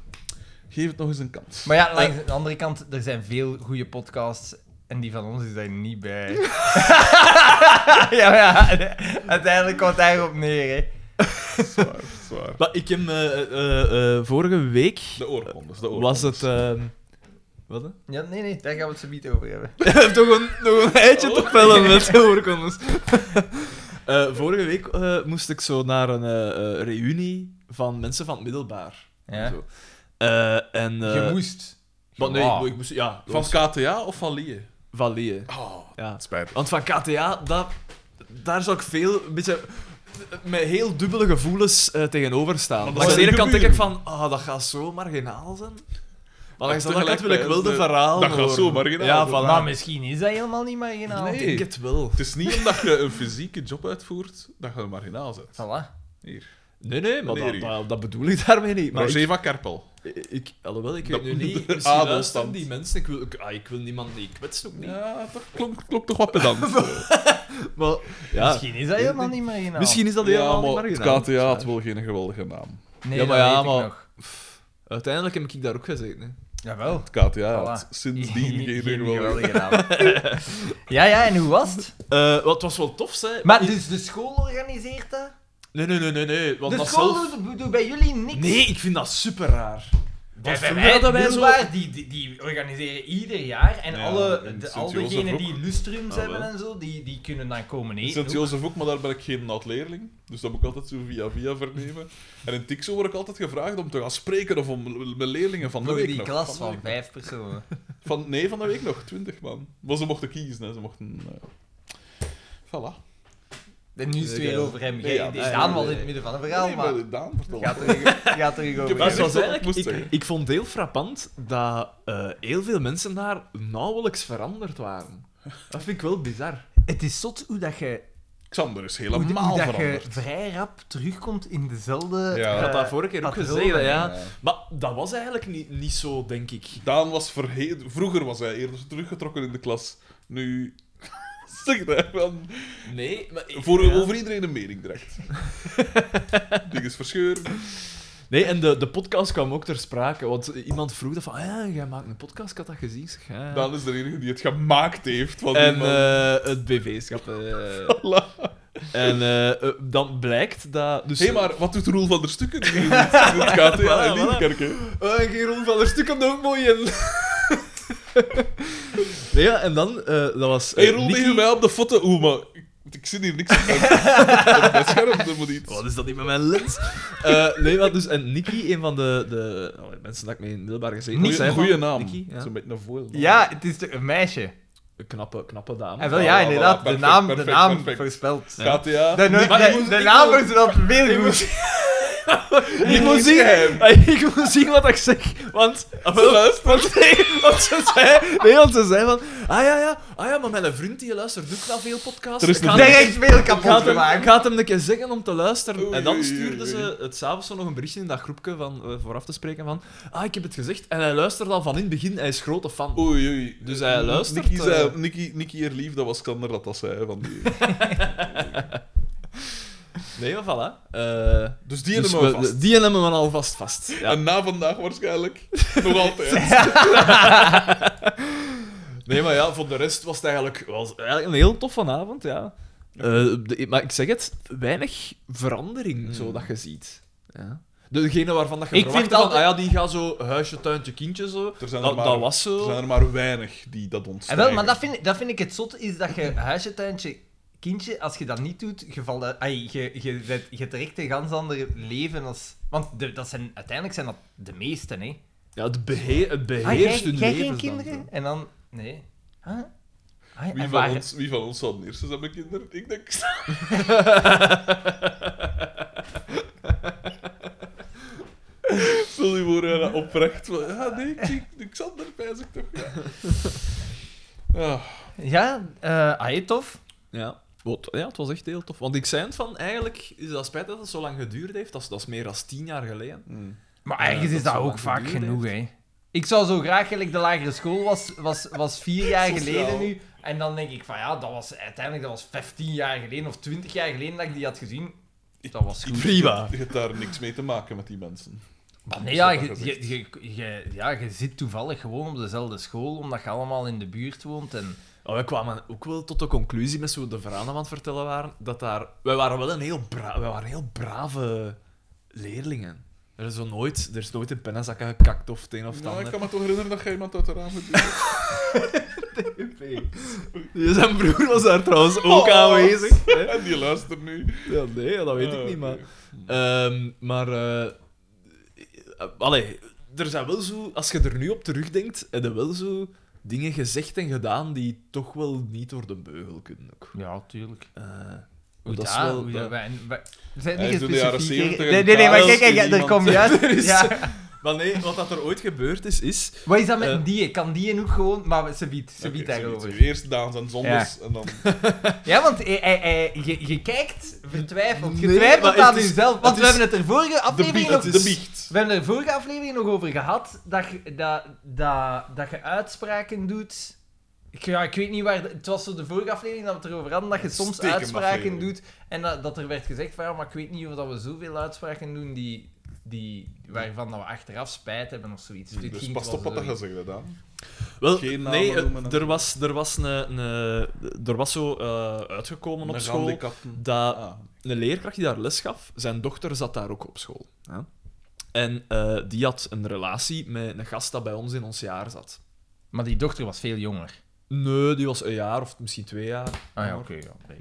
S2: geef het nog eens een kans.
S1: Maar ja, langs de andere kant, er zijn veel goede podcasts. En die van ons is daar niet bij. ja, maar ja, uiteindelijk komt het daarop neer. Hè.
S2: Zwaar, zwaar.
S3: Maar ik heb eh, eh, eh, vorige week...
S2: De oorkondes, de oorkondes.
S3: Was het... ehm, wat? hè?
S1: Ja, nee, nee, daar gaan we het zo niet over hebben.
S3: toch een, nog een eitje
S2: Oh.
S3: te pellen met de oorkondes. Eh, vorige week eh, moest ik zo naar een eh, eh, reunie van mensen van het middelbaar.
S1: Ja.
S3: En Zo. Eh, en, eh,
S1: je moest.
S3: maar nee,
S2: Ja.
S3: ik moest... Ja,
S2: Van KTA of van Lee?
S3: van Leeuwen,
S2: Oh,
S3: Ja.
S2: spijtig.
S3: Want van KTA, dat, daar zou ik veel, een beetje, met heel dubbele gevoelens eh, tegenover staan.
S2: Maar dat
S3: Langs de
S2: zou
S3: ene
S2: niet
S3: kant denk ik van,
S2: gebeuren.
S3: ah, dat gaat zo marginaal zijn. Maar
S2: Maar
S3: langs de andere kant wil
S2: tegelijk
S3: ik wel de
S2: bij-
S3: verhaal
S2: dat gaat
S3: horen.
S2: zo marginaal
S3: Ja,
S2: zijn. Nou,
S3: voilà.
S1: Maar misschien is dat helemaal niet marginaal.
S3: Ik denk het wel.
S2: Het is niet omdat je een fysieke job uitvoert dat je een marginaal bent.
S3: Ah.
S1: Voilà.
S3: Nee, nee, maar dat,
S2: Meneer u.
S3: dat, dat bedoel ik daarmee niet. Maar
S2: Maar
S3: ik,
S2: Roger van Kerpel.
S3: ik, alhoewel, ik
S2: Dat-
S3: weet nu niet,
S2: de
S3: misschien luisteren
S2: adelstand.
S3: die mensen, ik wil, ik, ah, ik wil niemand, nee, ik kwets ook niet.
S2: Ja, toch klopt, klopt toch wat pedant.
S3: Maar, ja. misschien,
S1: Misschien is dat helemaal niet marginaal.
S3: is dat
S2: ja,
S3: helemaal niet
S2: maar het
S3: marginaal.
S2: KTA had wel geen geweldige naam.
S1: Nee,
S3: Ja, maar
S1: dat
S3: ja,
S1: weet ik
S3: maar-
S1: nog.
S3: Uiteindelijk heb ik daar ook gezeten. hè.
S1: Jawel.
S2: Het KTA had
S1: Voilà.
S2: sindsdien geen geweldige
S1: naam. ja, ja, en hoe was het?
S3: Eh, wat was wel tof, hè.
S1: Maar
S3: Ik-
S1: dus de school organiseert dat?
S3: Nee, nee, nee, nee, nee. Want
S1: De
S3: dat
S1: school
S3: zelf-
S1: doet, doet bij jullie niks?
S3: Nee, ik vind dat super raar.
S1: Bij-
S3: Want
S1: bij
S3: vroeger hadden wij zo...
S1: middelbaar, dus die, die, die organiseren ieder jaar. En
S2: Ja,
S1: alle,
S2: in
S1: de,
S2: Sint
S1: al
S2: Jozef
S1: degenen
S2: ook.
S1: die lustrums
S3: Ah,
S1: hebben
S3: wel.
S1: en zo, die, die kunnen dan komen eten. ook.
S2: Sint-Jozef ook, maar daar ben ik geen oud-leerling. Dus dat moet ik altijd zo via via vernemen. En in Tixo word ik altijd gevraagd om te gaan spreken of om l- met leerlingen van de
S1: Voor
S2: week
S1: die
S2: nog.
S1: klas
S2: de
S1: van
S2: week
S1: vijf personen.
S2: nog. Van, nee, van de week nog. Twintig man. Maar ze mochten kiezen. Hè. Ze mochten... eh, Voilà.
S1: En nu is het
S3: Nee,
S1: weer
S3: ja.
S1: over hem.
S2: Nee,
S1: Jij-
S2: ja,
S1: die
S2: nee,
S1: Daan was
S3: nee,
S1: in
S3: nee.
S1: het midden van een verhaal,
S2: nee,
S1: maar...
S2: maar Daan vertelt
S1: Gaat er, gaat er over.
S2: Maar
S3: Maar
S2: ik
S3: het
S1: hebben.
S3: was
S2: vond het
S3: eigenlijk...
S2: moest
S3: Ik,
S2: zeggen.
S3: ik vond heel frappant dat eh, heel veel mensen daar nauwelijks veranderd waren. Dat vind ik wel bizar.
S1: Het is zot hoe dat je,
S2: Xander is
S1: hoe, hoe
S2: helemaal
S1: dat je
S2: veranderd.
S1: vrij rap terugkomt in dezelfde...
S2: Ja.
S3: Ik
S1: eh,
S3: had dat vorige keer ook
S1: patronen,
S3: gezegd, ja.
S2: ja.
S3: Maar dat was eigenlijk niet, niet zo, denk ik.
S2: Daan was verheven. Vroeger was hij eerder teruggetrokken in de klas. Nu. Zeg dat van.
S3: Nee, maar... ik-
S2: Voor,
S3: ja.
S2: Over iedereen een mening direct. Ding is verscheuren.
S3: Nee, en de, de podcast kwam ook ter sprake. Want iemand vroeg dat van... "Ah ja, jij maakt een podcast, ik had dat gezien. Ik zeg, ja, ja.
S2: Daan is de enige die het gemaakt heeft. Van die
S3: En
S2: man.
S3: eh, het BV-schap. eh. En eh, eh, dan blijkt dat. Dus,
S2: Hé, maar wat doet Roel van der Stukken in het- in het KTA in
S3: Voilà, voilà.
S2: Liedekerke?
S3: Oh, en Geron van der Stuk komt er ook mooi in. nee, ja, en dan, eh, dat was. eh,
S2: Hé, Roel,
S3: Nicky-
S2: leg je mij op de foto. Oeh, maar ik, ik zit hier niks op mijn, op mijn scherm, dat moet
S1: Oh,
S2: iets.
S3: Wat Oh, is dat niet met mijn lens? Eh, nee, maar dus. En Nicky, een van de, de oh, mensen dat ik mee in het middelbaar gezeten
S2: Goeie-
S3: heb, zei van-
S2: goeie naam.
S3: Nicky, ja.
S2: Zo'n beetje een voil.
S1: ja, het is toch een meisje.
S3: Een knappe, knappe dame.
S1: En wel, ja,
S2: voilà,
S1: inderdaad.
S2: perfect,
S1: de naam,
S2: perfect,
S1: de naam
S2: perfect.
S1: voorspelt.
S2: KTA.
S1: De, no-
S2: Nicky-
S1: de-
S2: ik moet-
S1: de
S2: ik
S1: naam
S2: moet-
S1: voorspelt veel goed.
S3: ik, moet zien, ik moet zien wat ik zeg. Want. ah, wel, want, nee, want ze zei. Nee, want ze zei van. Ah ja, ja, ah, ja maar mijn vriend die luistert ook naar veel podcasts.
S2: Er is
S3: Ik
S2: een
S3: ga-
S1: Direct veel
S3: Ik ga
S1: kapot
S3: het hem, ik
S1: gemaakt.
S3: ga het hem een keer zeggen om te luisteren.
S2: Oei,
S3: en dan
S2: oei,
S3: stuurde
S2: oei,
S3: ze het s'avonds nog een berichtje in dat groepje van, eh, vooraf te spreken van Ah, ik heb het gezegd. En hij luistert al van in het begin. Hij is grote fan.
S2: Oei, oei.
S3: Dus hij luistert,
S2: Nicky, zei,
S3: eh.
S2: Nicky, Nicky hier lief, dat was Kander dat dat zei. Van die...
S3: Nee, maar voilà. Eh,
S2: Dus die
S3: dus
S2: hebben we
S3: we-
S2: vast.
S3: Die hebben we alvast vast. Ja.
S2: En na vandaag waarschijnlijk. Nog altijd.
S3: Nee, maar ja, voor de rest was het eigenlijk, was eigenlijk een heel toffe avond, ja. Eh, de- maar ik zeg het, weinig verandering,
S2: Hmm.
S3: zo dat je ziet. Ja. Degene waarvan dat je
S1: Ik
S3: verwachtte
S1: vind
S3: van,
S1: altijd-
S3: ah ja, die gaat zo huisje, tuintje, kindje, zo.
S2: Er zijn er
S3: dat,
S2: maar-
S3: dat was zo.
S2: Er zijn er maar weinig die dat
S1: En
S2: ontstaan.
S1: wel, maar dat vind, ik- dat vind ik het zot, is dat je huisje, tuintje, kindje, als je dat niet doet, je valt uit- ai, je, je, bent- je trekt een ganz ander leven als... Want de- dat zijn, uiteindelijk zijn dat de meesten, hè.
S3: Ja, het, beheer, het
S1: Ah, jij,
S3: beheerst hun
S1: jij geen
S3: levens dan,
S1: kinderen?
S3: zo.
S1: en dan... Nee. Huh? Ah, en
S2: Wie van,
S1: waar-
S2: ons, wie van ons zou het eerste zijn met kinderen? Ik denk... Stel je voor, ja, dat oprecht. van, Ja, nee, ik, ik, Xander pijs ik toch. Ja. Ah,
S1: Ja, eh ah, tof.
S3: Ja. Wat, ja, het was echt heel tof. Want ik zei het van, eigenlijk is dat spijt dat het zo lang geduurd heeft. Dat is, dat is meer dan tien jaar geleden.
S1: Maar
S3: Ja,
S1: ergens
S3: dat
S1: is dat
S3: zo
S1: ook
S3: lang
S1: vaak
S3: geduurd
S1: genoeg, hè. Ik zou zo graag, gelijk de lagere school was, was, was vier jaar geleden
S2: Sociaal.
S1: nu. En dan denk ik van ja, dat was uiteindelijk dat was 15 jaar geleden of 20 jaar geleden dat ik die had gezien. Dat was goed.
S3: Prima.
S2: je hebt daar niks mee te maken met die mensen.
S1: Maar Ah, nee, ja,
S2: dat
S1: je,
S2: gezegd.
S1: je, je, je- ja, je zit toevallig gewoon op dezelfde school, omdat je allemaal in de buurt woont. En
S3: Maar we kwamen ook wel tot de conclusie, met zo de verhalen aan het vertellen waren, dat daar... Wij waren wel een heel, bra wij waren heel brave leerlingen. Er is, zo nooit, er is nooit in pennezakken gekakt of het een of het
S2: Nou, ik
S3: ander.
S2: kan me toch herinneren dat jij iemand uit de raam hebt. duwd.
S3: Ja, Zijn broer was daar trouwens ook
S2: Oh.
S3: aanwezig. hè.
S2: en die luistert nu.
S3: Ja, nee, dat weet ik
S2: Ah,
S3: niet, maar...
S2: oké.
S3: Ehm, maar... eh, eh, allee, er zijn wel zo... Als je er nu op terugdenkt, heb je wel zo dingen gezegd en gedaan die toch wel niet door de beugel kunnen. Ook.
S1: Ja, tuurlijk.
S3: Eh, maar
S1: Hoe
S3: dat
S1: dat?
S3: is wel...
S1: hoe
S3: dat-
S1: dat wij, wij, we zijn
S2: Hij
S1: niet
S2: is in de jaren
S1: gespecificeerd.
S2: 70
S1: Nee, nee, nee, maar
S3: en
S1: kijk, kijk,
S2: Karel is
S1: er komt
S2: iemand-
S1: juist...
S3: is-
S1: Ja.
S3: Maar nee, wat dat er ooit gebeurd is, is...
S1: Wat is dat met
S3: Eh.
S1: die? Kan die ook gewoon... Maar ze biedt, ze
S2: Oké,
S1: biedt
S2: zo
S1: daarover.
S2: niet. Eerst Daans en Zonders. En dan...
S1: Ja, want eh, eh, eh, je, je kijkt vertwijfeld. Je
S3: Nee,
S1: twijfelt
S3: maar
S1: aan
S3: het is-
S1: jezelf.
S3: het
S1: Want we
S3: is-
S1: hebben het er vorige aflevering nog...
S2: biecht,
S3: is-
S2: de biecht.
S1: We hebben er vorige aflevering nog over gehad dat je, dat, dat, dat je uitspraken doet. Ik, ja, ik weet niet waar... de- Het was zo de vorige aflevering dat we het erover hadden, dat je soms
S2: Steken
S1: uitspraken
S2: aflevering.
S1: doet. En dat, dat er werd gezegd van, ja, maar ik weet niet of dat we zoveel uitspraken doen die, die, waarvan dat we achteraf spijt hebben of zoiets. Dit
S2: Dus
S1: ging
S2: pas
S1: wel
S2: op wat dat
S1: zoiets.
S2: je zegt, hè, Daan.
S3: Wel,
S2: Geen namen
S3: nee, eh,
S2: noemen en
S3: er
S2: zo.
S3: was, er was, een, een- er was zo eh, uitgekomen op
S2: Met
S3: school
S2: handicapten.
S3: dat
S2: Ah.
S3: een leerkracht die daar les gaf, zijn dochter zat daar ook op school. Hè? En eh, die had een relatie met een gast dat bij ons in ons jaar zat.
S1: Maar die dochter was veel jonger.
S3: Nee, die was een jaar of misschien twee jaar.
S1: Ah ja, oké. ja, nee.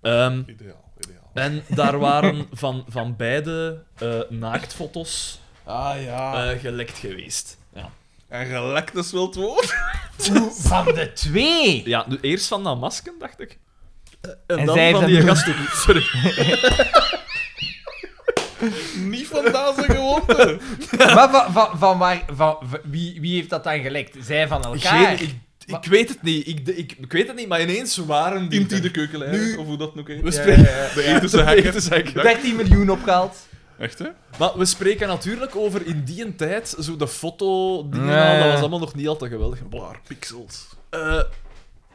S3: Ehm,
S2: Ideaal, ideaal.
S3: en daar waren van, van beide eh, naaktfoto's
S2: Ah ja.
S3: eh, gelekt geweest. Ja.
S2: en gelekt is wel het woord.
S1: Van de twee!
S3: ja, nu eerst van dat masken, dacht ik. Eh, En,
S1: En
S3: dan
S1: zij heeft
S3: van
S1: dat
S3: die
S1: doen.
S3: gast ook. Sorry.
S2: Niet van Daans en gewoonte.
S1: Maar van, van, van waar, van, van- wie, wie heeft dat dan gelekt? Zij van elkaar?
S3: Geen- ik, ik
S1: Maar-
S3: weet het niet. Ik, ik, ik weet het niet, maar ineens waren die...
S2: Inti de keukenlijn, of hoe dat nu
S3: We
S2: heet.
S1: Ja,
S3: spreken...
S1: ja, ja.
S2: De ethische hacker.
S3: Ethische hacker.
S1: 13 miljoen opgehaald.
S2: Echt, hè?
S3: Maar we spreken natuurlijk over in die tijd, zo de foto, dingen
S1: Nee.
S3: al, dat was allemaal nog niet al te geweldig.
S2: Blaar, pixels.
S3: Eh,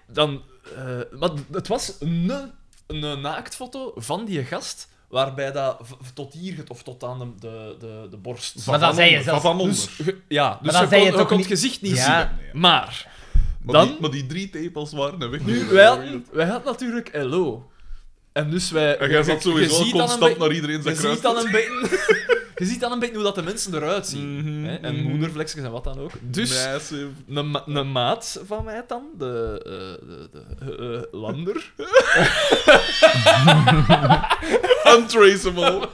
S3: dan, eh, maar het was een, een naaktfoto van die gast, waarbij dat v- tot hier, get- of tot aan de, de, de, de borst.
S1: Maar dan zei je zelf-
S2: Van onder.
S3: Dus, ge- ja, dus
S1: dan
S3: je
S1: zei
S3: kon,
S1: je
S3: je
S1: toch
S3: kon het
S1: niet-
S3: gezicht niet
S1: Ja.
S3: zien.
S2: Nee, ja.
S3: Maar,
S2: Maar,
S3: dan...
S2: die, maar die drie tepels waren er weg.
S3: Nu, wij hadden, wij hadden natuurlijk eh, LO. En dus wij...
S2: En jij
S3: je-
S2: zat
S3: je
S2: sowieso
S3: ziet dan een
S2: constant
S3: be-
S2: naar iedereen
S3: Je
S2: zijn kruis.
S3: ziet dan een beetje... Je ziet dan een beetje hoe dat de mensen eruit zien.
S2: Mhm,
S3: hè? En
S2: mhm.
S3: moedervlekjes en wat dan ook. Dus
S2: Massive.
S3: een, ma- een maat van mij dan, de, eh, de, de eh, eh, Lander,
S2: Untraceable.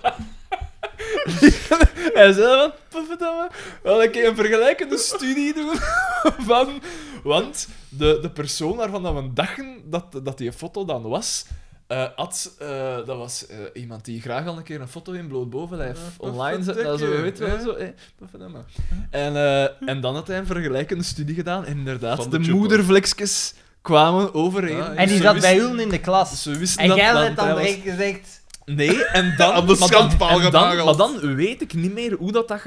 S3: hij zei van, pofferdamme, wel een keer een vergelijkende studie doen van... Want de, de persoon waarvan dat we dachten dat, dat die foto dan was, eh, had, eh, dat was eh, iemand die graag al een keer een foto in bloot bovenlijf
S2: Ja,
S3: online zette, dat zo,
S2: potverdikke,
S3: weet je wel,
S2: hè?
S3: zo, eh, pofferdamme. En, eh, en dan had hij een vergelijkende studie gedaan en inderdaad,
S2: Van
S3: de,
S2: de
S3: de
S2: Jumbo.
S3: moedervlekjes kwamen overeen. Dus
S2: Ah, ja.
S1: En die
S3: Ze
S1: zat
S3: wisten-
S1: bij Ulm in de klas.
S3: Ze wisten
S1: En
S3: dat
S1: jij
S3: dat
S1: hebt dan
S3: hij was-
S1: direct gezegd...
S3: Nee, en dan...
S2: Aan de
S3: maar dan-
S2: schandpaal
S3: en dan,
S2: genageld.
S3: Maar dan weet ik niet meer hoe dat, dat...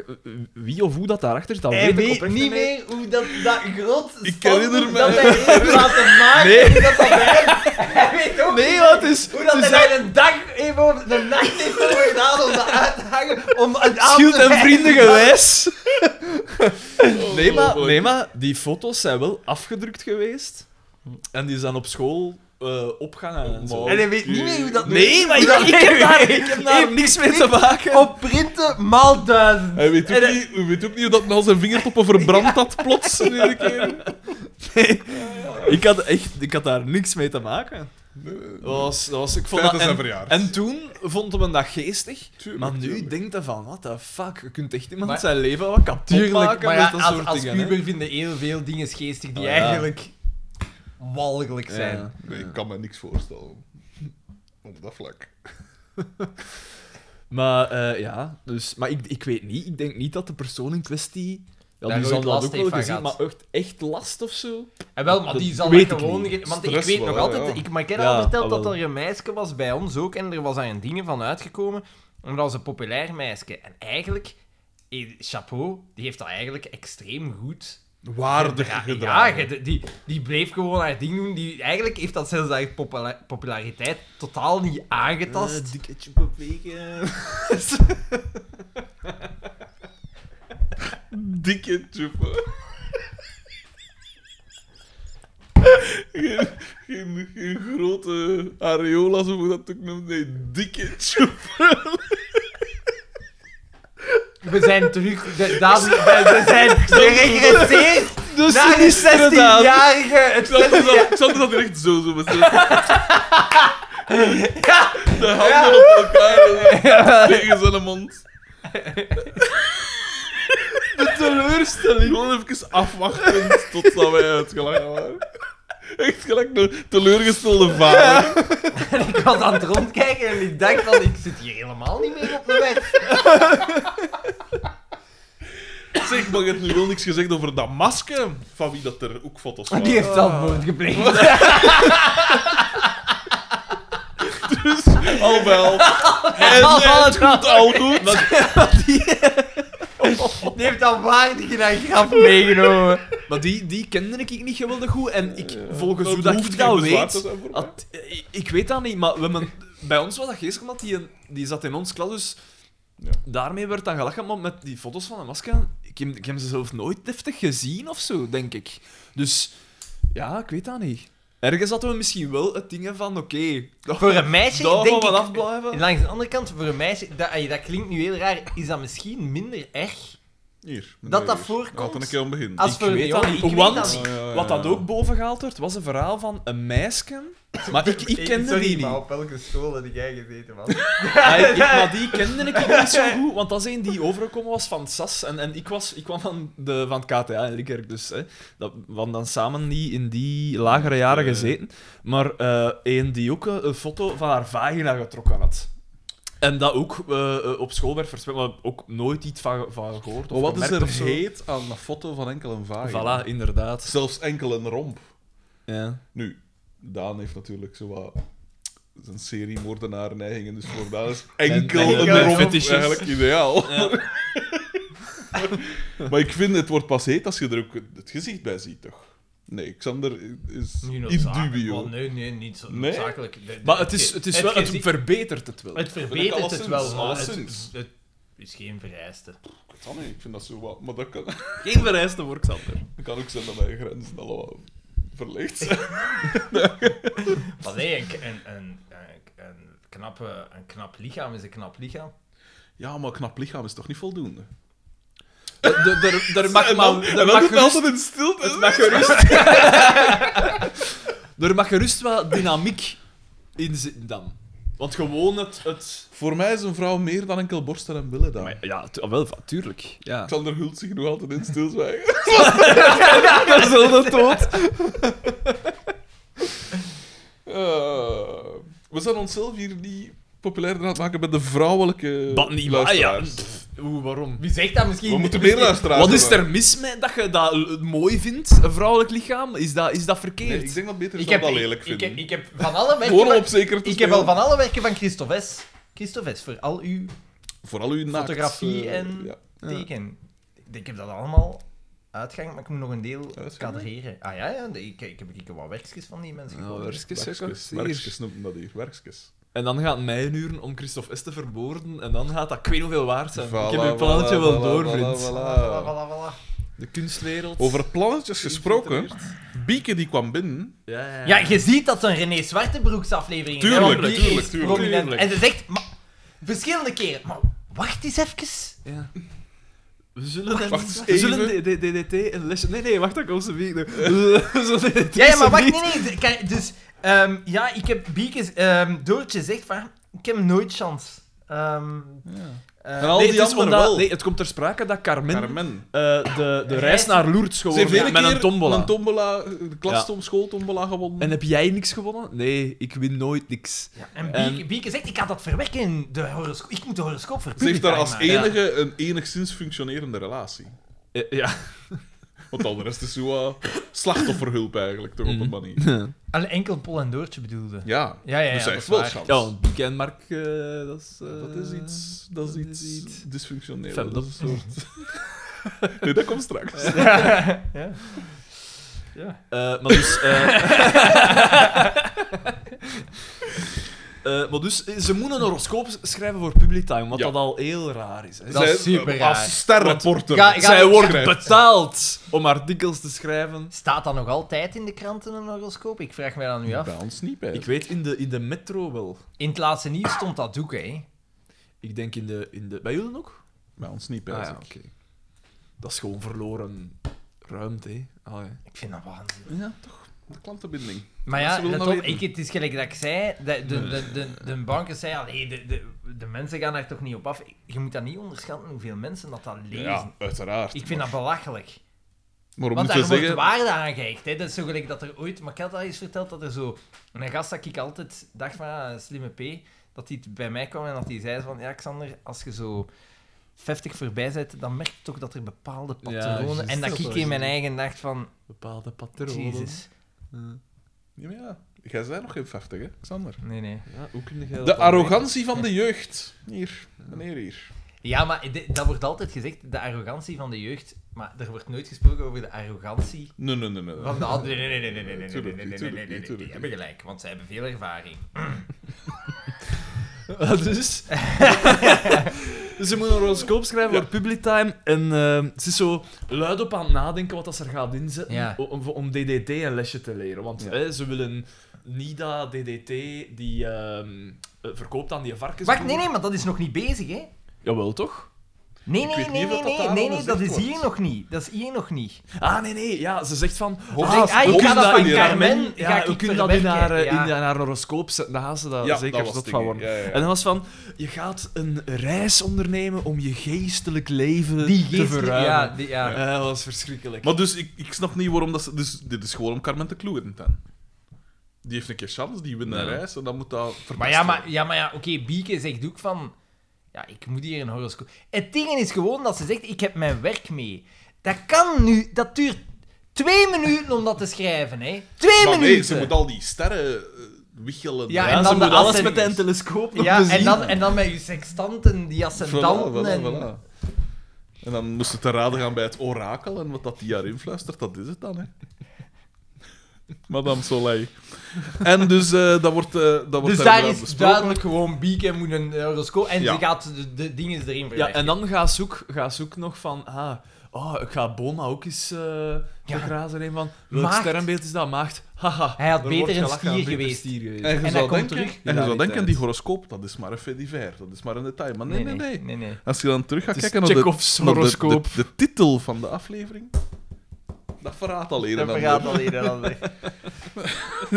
S3: Wie of hoe dat daarachter zit. Dat
S1: Hij
S3: Oh, weet ik
S1: weet
S3: oprecht
S1: niet meer hoe dat, dat groot
S2: Ik
S1: standbeeld
S2: herinner me-
S1: dat hij heeft laten maken.
S3: Nee.
S1: Hoe dat dat werkt. Hij weet ook
S3: Nee,
S1: niet
S3: want het is...
S1: hoe dat
S3: ze
S1: hij
S3: zei-
S1: daar een dag even over de nacht heeft over gedaan om dat uit te hangen. Om het aan
S3: Schild
S1: te
S3: en
S1: wijzen.
S3: vrienden Oh, gewijs. Nee maar,
S2: Ongelooflijk.
S3: nee, maar die foto's zijn wel afgedrukt geweest. En die zijn op school eh, opgehangen en zo.
S1: En hij weet niet meer hoe dat...
S3: Nee, maar ik,
S1: dat-
S3: ik heb daar, ik heb daar niks mee te maken.
S1: Op printen maal duizend.
S2: Hij weet ook,
S1: En hij-
S2: niet, hij weet ook niet hoe dat nou zijn vingertoppen verbrand had plots. in iedere keer.
S3: Nee. Ik had, echt, ik had daar niks mee te maken.
S2: Nee, nee.
S3: Dat was, dat was, ik vond
S2: Feiten
S3: dat,
S2: zijn
S3: en,
S2: verjaard.
S3: en toen vond men dat geestig.
S2: Tuurlijk,
S3: maar nu
S2: tuurlijk.
S3: denkt hij van, what the fuck, je kunt echt iemand
S1: Maar-
S3: zijn leven wat kapot maken
S1: maar ja,
S3: met dat
S1: als,
S3: soort
S1: als
S3: dingen. hè.
S1: puber vinden heel veel dingen geestig die
S3: Ah, ja.
S1: eigenlijk walgelijk zijn.
S3: Ja.
S2: Nee, ik kan me niks voorstellen. Op dat vlak.
S3: Maar eh, ja, dus, maar ik, ik weet niet, ik denk niet dat de persoon in kwestie... Ja,
S1: Daar
S3: die zal
S1: ooit
S3: dat
S1: last
S3: ook
S1: heeft
S3: wel
S1: van
S3: gezien, maar
S1: gehad.
S3: echt, echt last of zo?
S1: En Eh, wel,
S3: Dat
S1: maar die zal
S3: weet
S1: dat
S3: ik
S1: gewoon...
S3: niet.
S1: ge- Want
S2: Stress
S1: ik weet nog
S2: wel,
S1: altijd...
S2: ja.
S1: Ik, maar ik heb
S3: Ja, ah,
S1: al verteld
S3: jawel.
S1: dat er een meisje was bij ons ook. En er was daar een ding van uitgekomen. En dat was een populair meisje. En eigenlijk... eh, Chapeau, die heeft dat eigenlijk extreem goed gedra-
S2: Waardig
S1: Ja,
S2: gedragen.
S1: ged- die, die bleef gewoon haar ding doen. Die, eigenlijk heeft dat zelfs haar popula- populariteit totaal niet aangetast.
S3: Eh, dikketje bewegen.
S2: Dikke tjoepen. geen, geen, geen grote areola, zo moet dat ook noemen. Nee, dikke tjoep.
S1: We zijn terug. De, dames, we, we zijn geregresseerd
S3: Dus
S1: naar die
S3: inderdaad.
S1: 16-jarige. Het
S2: Xander
S1: 16
S2: zat- Xander zat er echt zo, zo met zijn
S1: Ja,
S2: de handen op elkaar tegen zijn mond.
S3: De teleurstelling.
S2: Gewoon even afwachten totdat wij uitgelachen waren. Echt gelijk de teleurgestelde vader.
S1: ik was aan het rondkijken en ik dacht van, ik zit hier helemaal niet meer op de weg.
S2: Zeg, maar je hebt nu wel niks gezegd over dat masker, van wie dat er ook foto's
S3: Ah,
S2: van
S1: Die heeft zelfmoord gepleegd.
S2: Dus, al wel. En,
S1: Al wel,
S2: en het komt al goed.
S1: Die heeft al waardig in haar graf meegenomen.
S3: Maar die, die kende ik niet geweldig goed. En ik, volgens
S2: Dat
S3: hoe dat
S2: hoeft
S3: ik dat
S2: geen bezwaar te
S3: weet...
S2: zijn voor mij.
S3: had- ik- ik weet dat niet, maar we hebben, bij ons was dat geestig, omdat die, een- die zat in ons klas, dus...
S2: Ja.
S3: Daarmee werd dan gelachen, maar met die foto's van de masker, ik heb, ik heb ze zelf nooit deftig gezien of zo, denk ik. Dus ja, ik weet dat niet. Ergens hadden we misschien wel het ding van, oké, dat-
S1: Voor een meisje,
S3: daar gaan
S1: denk
S3: we
S1: ik...
S3: afblijven.
S1: Langs de andere kant, voor een meisje, dat, ay, dat klinkt nu heel raar, is dat misschien minder erg
S2: Hier.
S1: dat dat
S2: Laten we een
S1: voorkomt
S2: keer aan beginnen. Ah,
S1: als
S3: Ik
S1: voor een
S3: weet dat
S1: jongen.
S3: niet.
S1: Ik weet
S3: Want-
S1: dat niet.
S2: Ja, ja, ja.
S3: Wat dat ook boven gehaald werd, was een verhaal van een meisje, maar ik, ik kende
S1: Sorry,
S3: die niet.
S1: maar op welke school had jij gezeten, man?
S3: Maar, Ah, ik, ik- maar die kende ik niet zo goed, want dat is een die overgekomen was van SAS. En, en ik, was, ik kwam van, de, van het KTA in Likkerk, dus hè, dat, we hadden dan samen niet in die lagere jaren
S2: Ja, ja.
S3: gezeten. Maar eh een die ook eh, een foto van haar vagina getrokken had. En dat ook eh, eh, op school werd verspreid, maar ook nooit iets van, van gehoord. Of
S2: Maar wat is
S3: gemerkt
S2: er
S3: of zo.
S2: heet aan een foto van enkel een vagina?
S3: Voilà, inderdaad.
S2: Zelfs enkel een romp.
S3: Ja.
S2: Nu, Daan heeft natuurlijk zo wat zijn serie moordenaar-neigingen, dus voor Daan is enkel
S3: en-
S2: een
S1: en
S2: romp
S3: fetishes.
S2: eigenlijk ideaal.
S3: Ja.
S2: maar ik vind, het wordt pas heet als je er ook het gezicht bij ziet, toch? Nee, Xander is
S1: Nu
S2: in dubio.
S1: Nee, nee, niet zo
S2: Nee?
S1: noodzakelijk. De- de-
S3: Maar het, is, het, is wel, het
S1: gezi-
S3: verbetert het wel.
S1: het
S2: Vind ik
S1: verbetert het wel, maar
S2: alleszins,
S1: het,
S2: alleszins.
S1: het is geen vereiste.
S2: Ik kan niet, Ah, Ik vind dat zo wat, maar dat kan,
S3: Geen vereiste voor Xander.
S2: dat kan ook zijn dat mijn grenzen allemaal verlegd zijn.
S1: Maar nee, een, een, een, een, een knappe, een knap lichaam is een knap lichaam.
S2: Ja, maar knap lichaam is toch niet voldoende?
S3: Er mag
S2: en dan,
S3: maar...
S2: en
S3: er
S2: dan
S3: mag
S2: doet hij
S3: gerust-
S2: altijd in stilte.
S3: Het mag gerust. er mag gerust wat dynamiek in zitten dan. Want gewoon het. het...
S2: Voor mij is een vrouw meer dan enkel borsten en billen daar.
S3: ja, tu- wel, va- tuurlijk. Ja.
S2: Xander hult zich nog altijd in stilzwijgen.
S3: Dat is wel de dood.
S2: Eh, we zijn onszelf hier niet populairder aan het maken met de vrouwelijke
S3: Dat niet waar, ja.
S2: luisteraars.
S3: Pff, Oeh, waarom?
S1: Wie zegt dat misschien?
S2: We moeten meer luisteraars
S3: Wat is
S2: hebben.
S3: er mis mee dat je dat l- mooi vindt, een vrouwelijk lichaam? Is dat, is dat verkeerd?
S2: Nee, ik denk dat beter is
S1: Ik
S2: dan
S1: heb,
S2: dat
S1: ik,
S2: lelijk
S1: ik,
S2: vinden.
S1: heb, ik heb van alle werken...
S2: Gewoon om
S1: van-
S2: op zeker te
S1: Ik heb al
S2: spelen.
S1: van alle werken van Christophe S. Christophe S. Voor al uw
S2: Vooral uw naakt,
S1: Fotografie
S2: eh,
S1: en-
S2: ja.
S1: teken. Ik heb dat allemaal uitgang, maar ik moet nog een deel
S2: Uitgang?
S1: kadreren. Ah ja, ja ik, ik heb ik wat werkjes van die mensen
S3: Nou,
S2: Oh,
S1: gevonden.
S3: werkskes, hè,
S2: Werkskes,
S3: kort, hier.
S2: werkskes noemt men dat hier, werkskes.
S3: En dan gaat mijnuren om Christophe S. te vermoorden. En dan gaat dat ik weet niet hoeveel waard zijn. ik
S2: Voilà,
S3: heb uw plannetje
S2: voilà,
S3: wel
S2: voilà,
S3: door,
S2: voilà,
S3: vriend.
S2: voilà.
S1: Voilà, voilà, voilà.
S3: De kunstwereld.
S2: Over plannetjes gesproken, Bieke die kwam binnen.
S3: Ja, ja, ja.
S1: Ja, je ziet dat het een René Zwartebroeks aflevering is, hè,
S2: Tuurlijk,
S1: want die
S2: tuurlijk,
S1: is
S2: tuurlijk.
S1: prominent.
S3: Tuurlijk.
S1: En ze zegt maar, verschillende keren, maar wacht eens even.
S3: Ja. We zullen hem...
S2: wacht eens
S3: we zullen
S2: even.
S3: D- D- DDT een lesje... Nee, nee, wacht, dat komt ze weer. We zullen DDT
S1: Ja, ja maar wacht,
S3: niet.
S1: nee, nee. de- kijk, Dus, ehm, ja, ik heb Biekes, ehm Doortje zegt van, ik heb nooit chance. Ehm, eh,
S2: En al
S3: Nee,
S2: die
S3: het, is
S2: anderen
S3: omdat-
S2: wel.
S3: nee, het komt ter sprake dat Carmen,
S2: Carmen.
S3: eh, de, de reis naar Lourdes
S2: Ze
S3: gewoon
S2: heeft
S3: met
S2: hele
S3: met
S2: keer
S3: een tombola.
S2: een tombola, eh, de
S3: Ja.
S2: klastom, schooltombola gewonnen.
S3: En heb jij niks gewonnen? Nee, ik win nooit niks.
S1: ja, en
S3: en-
S1: Bieke, Bieke zegt, ik ga dat verwerken in de horoscoop. Ik moet de horoscoop
S2: Ze
S1: verplicht
S2: heeft daar als
S1: maken.
S3: één-
S2: enige een enigszins functionerende relatie.
S3: Eh, Ja.
S2: Want al de rest is zo eh, slachtofferhulp eigenlijk, toch op een
S3: Mhm.
S2: manier.
S1: Alleen enkel Pol en Doortje bedoelde.
S2: Ja,
S1: Ja, ja, ja.
S2: dus hij
S1: dat
S2: heeft
S1: is
S2: wel
S1: waar.
S2: chance.
S3: Ja, want Bieke en Mark, eh, dat is... eh,
S2: dat is iets, dat is iets dysfunctioneel.
S3: Fem-
S2: Dat is een soort... nee, dat komt straks.
S1: ja. ja.
S3: Eh, maar dus... eh, Eh, maar dus, eh, ze moeten een horoscoop schrijven voor public time, wat
S2: Ja.
S3: dat al heel raar is. Hè.
S1: Dat is
S2: Zij-
S1: super raar.
S2: Als sterrenporter.
S1: Want- Ga- ga-
S3: Zij
S1: ga-
S3: wordt
S2: schrijft.
S3: betaald om artikels te schrijven.
S1: Staat dat nog altijd in de kranten een horoscoop? Ik vraag mij dat nu af.
S2: Bij ons niet bij.
S3: Ik weet in de, in de metro wel.
S1: In het laatste nieuws stond dat ook, hè?
S3: Ik denk in de... In de bij jullie ook?
S2: Bij ons niet bij.
S3: Ah, ja, oké. Dat is gewoon verloren ruimte. hè. Ah, ja.
S1: Ik vind dat waanzin.
S2: ja, toch. De klantenbinding.
S1: Maar
S2: Mensen
S1: ja,
S2: willen
S1: let
S2: dat
S1: op,
S2: weten.
S1: ik, het is gelijk dat ik zei, de, de, de, de, de banken zeiden, allee, de, de, de mensen gaan daar toch niet op af. Je moet dat niet onderschatten hoeveel mensen dat, dat lezen.
S2: Ja, uiteraard.
S1: ik vind dat belachelijk.
S2: Maar om
S1: Want
S2: niet
S1: daar
S2: te
S1: wordt
S2: zeggen...
S1: waarde aan gehecht. Hè? Dat is zo gelijk dat er ooit... Maar ik had al eens verteld dat er zo... Een gast dat ik altijd dacht van, ah, slimme P, dat hij bij mij kwam en dat hij zei van, ja, Xander, als je zo 50 voorbij bent, dan merk je toch dat er bepaalde
S3: Ja,
S1: patronen...
S3: juist.
S1: en dat
S3: Dat
S1: ik
S3: was
S1: in mijn
S3: het.
S1: eigen dacht van,
S3: Bepaalde patronen.
S1: jezus.
S3: Ja.
S2: Ja, maar ja. Jij bent nog geen 50, hè, Xander?
S1: Nee, nee.
S3: Ja, hoe kun jij dat
S2: De
S3: dan
S2: arrogantie van de jeugd. Hier, meneer hier.
S1: Ja, maar di- dat wordt altijd gezegd, de arrogantie van de jeugd. Maar er wordt nooit gesproken over de arrogantie
S2: Nee, nee, nee. nee.
S1: van de anderen. Nee, nee, nee, nee, nee, nee, nee, nee,
S2: Tuurlijk
S1: nee,
S2: niet,
S1: nee, nee, nee,
S2: tuurlijk niet,
S1: nee, nee,
S2: tuurlijk
S1: Die hebben gelijk, want zij hebben veel ervaring.
S3: weten? Ah, dus... dus ze moeten een horoscoop schrijven
S2: Ja.
S3: voor public time. En ehm, ze is zo luid op aan het nadenken wat dat ze er gaat inzetten
S1: Ja.
S3: o- om, om DDT een lesje te leren. Want
S2: Ja.
S3: hè, ze willen niet dat DDT die ehm, eh, verkoopt aan die varkens.
S1: Wacht, nee, nee, maar dat is nog niet bezig, hè?
S3: Jawel, toch?
S1: Nee,
S2: Ik
S1: nee,
S2: weet
S1: nee,
S2: niet
S1: nee,
S2: of dat
S1: nee,
S2: daar
S1: nee,
S2: al
S1: nee, dat is
S2: gezegd
S1: hier
S2: wordt.
S1: nog niet. Dat is hier nog niet.
S3: Ah, nee, nee. Ja, ze zegt van...
S2: Hop.
S1: Ze zegt, ah,
S2: hoe
S1: ik ga
S2: kunnen
S1: dat
S2: dat
S1: van
S2: hier
S1: Carmen,
S3: ja,
S1: ga
S3: hoe
S1: ik
S3: kun je dat in haar, eh,
S1: verwerken,
S3: in
S1: ja.
S3: haar horoscoop zetten? Daar gaan ze daar
S2: Ja,
S3: zeker
S2: was
S3: zot
S2: het
S3: van
S2: ding,
S3: worden.
S2: ja, ja, ja.
S3: En dat was van, je gaat een reis ondernemen om je geestelijk leven
S1: Die
S3: te
S1: geest,
S3: verruimen.
S1: ja, die, ja.
S3: Eh, dat was verschrikkelijk.
S2: Maar dus, ik, ik snap niet waarom dat ze... Dus, dit is gewoon om Carmen te kloeren, dan. Die heeft een keer kans, die wint een
S3: Ja.
S2: reis en dan moet dat verpest
S1: Maar ja, maar
S2: worden.
S1: ja, maar ja oké, Bieke zegt ook van... Ja, ik moet hier een horoscoop... Het ding is gewoon dat ze zegt, ik heb mijn werk mee. Dat kan nu... Dat duurt twee minuten om dat te schrijven, hè. Twee
S2: Maar nee,
S1: minuten!
S2: ze moet al die sterren eh, wiegelen.
S1: Ja,
S3: Ja,
S1: en
S3: ze
S1: dan
S3: moet
S1: de
S3: alles
S1: assen-
S3: met een telescoop nog
S1: Ja, en
S3: bezien.
S1: dan, en dan met je sextanten, die
S2: Voilà,
S1: ascendanten
S2: voilà,
S1: en...
S2: voilà. En dan moest het te raden gaan bij het orakel en wat dat die haar influistert, dat is het dan, hè. Madame Soleil. En dus eh, dat wordt, eh dat wordt
S1: Dus daar
S2: inderdaad
S1: is
S2: besproken.
S1: duidelijk gewoon Bieke moet een eh, horoscoop... En
S2: Ja.
S1: ze gaat de, de dingen erin verwerken.
S3: Ja, en dan ga zoek, ga zoek nog van... Ah, oh, ik ga Boma ook eens eh begrazen. En van, welk
S1: Maagd.
S3: sterrenbeeld is dat? Maagd. Haha.
S1: Hij had
S3: er
S1: beter
S3: wordt
S1: een
S3: gelachen,
S1: stier
S3: een beter
S1: geweest.
S3: stier geweest.
S2: En je
S1: En
S2: zou
S1: dat komt
S2: denken,
S1: terug.
S2: en je zou denken,
S3: Hilariteit.
S2: die horoscoop, dat is maar een fediver, dat is maar een detail. Maar nee, nee, nee.
S1: nee, nee.
S2: Als je dan terug gaat
S3: Het is
S2: kijken naar de,
S3: Chekhov's
S2: naar de-
S3: horoscoop.
S2: de, de titel van de aflevering, dat verraadt al een
S1: Dat
S2: en ander.
S1: verraadt al een en ander.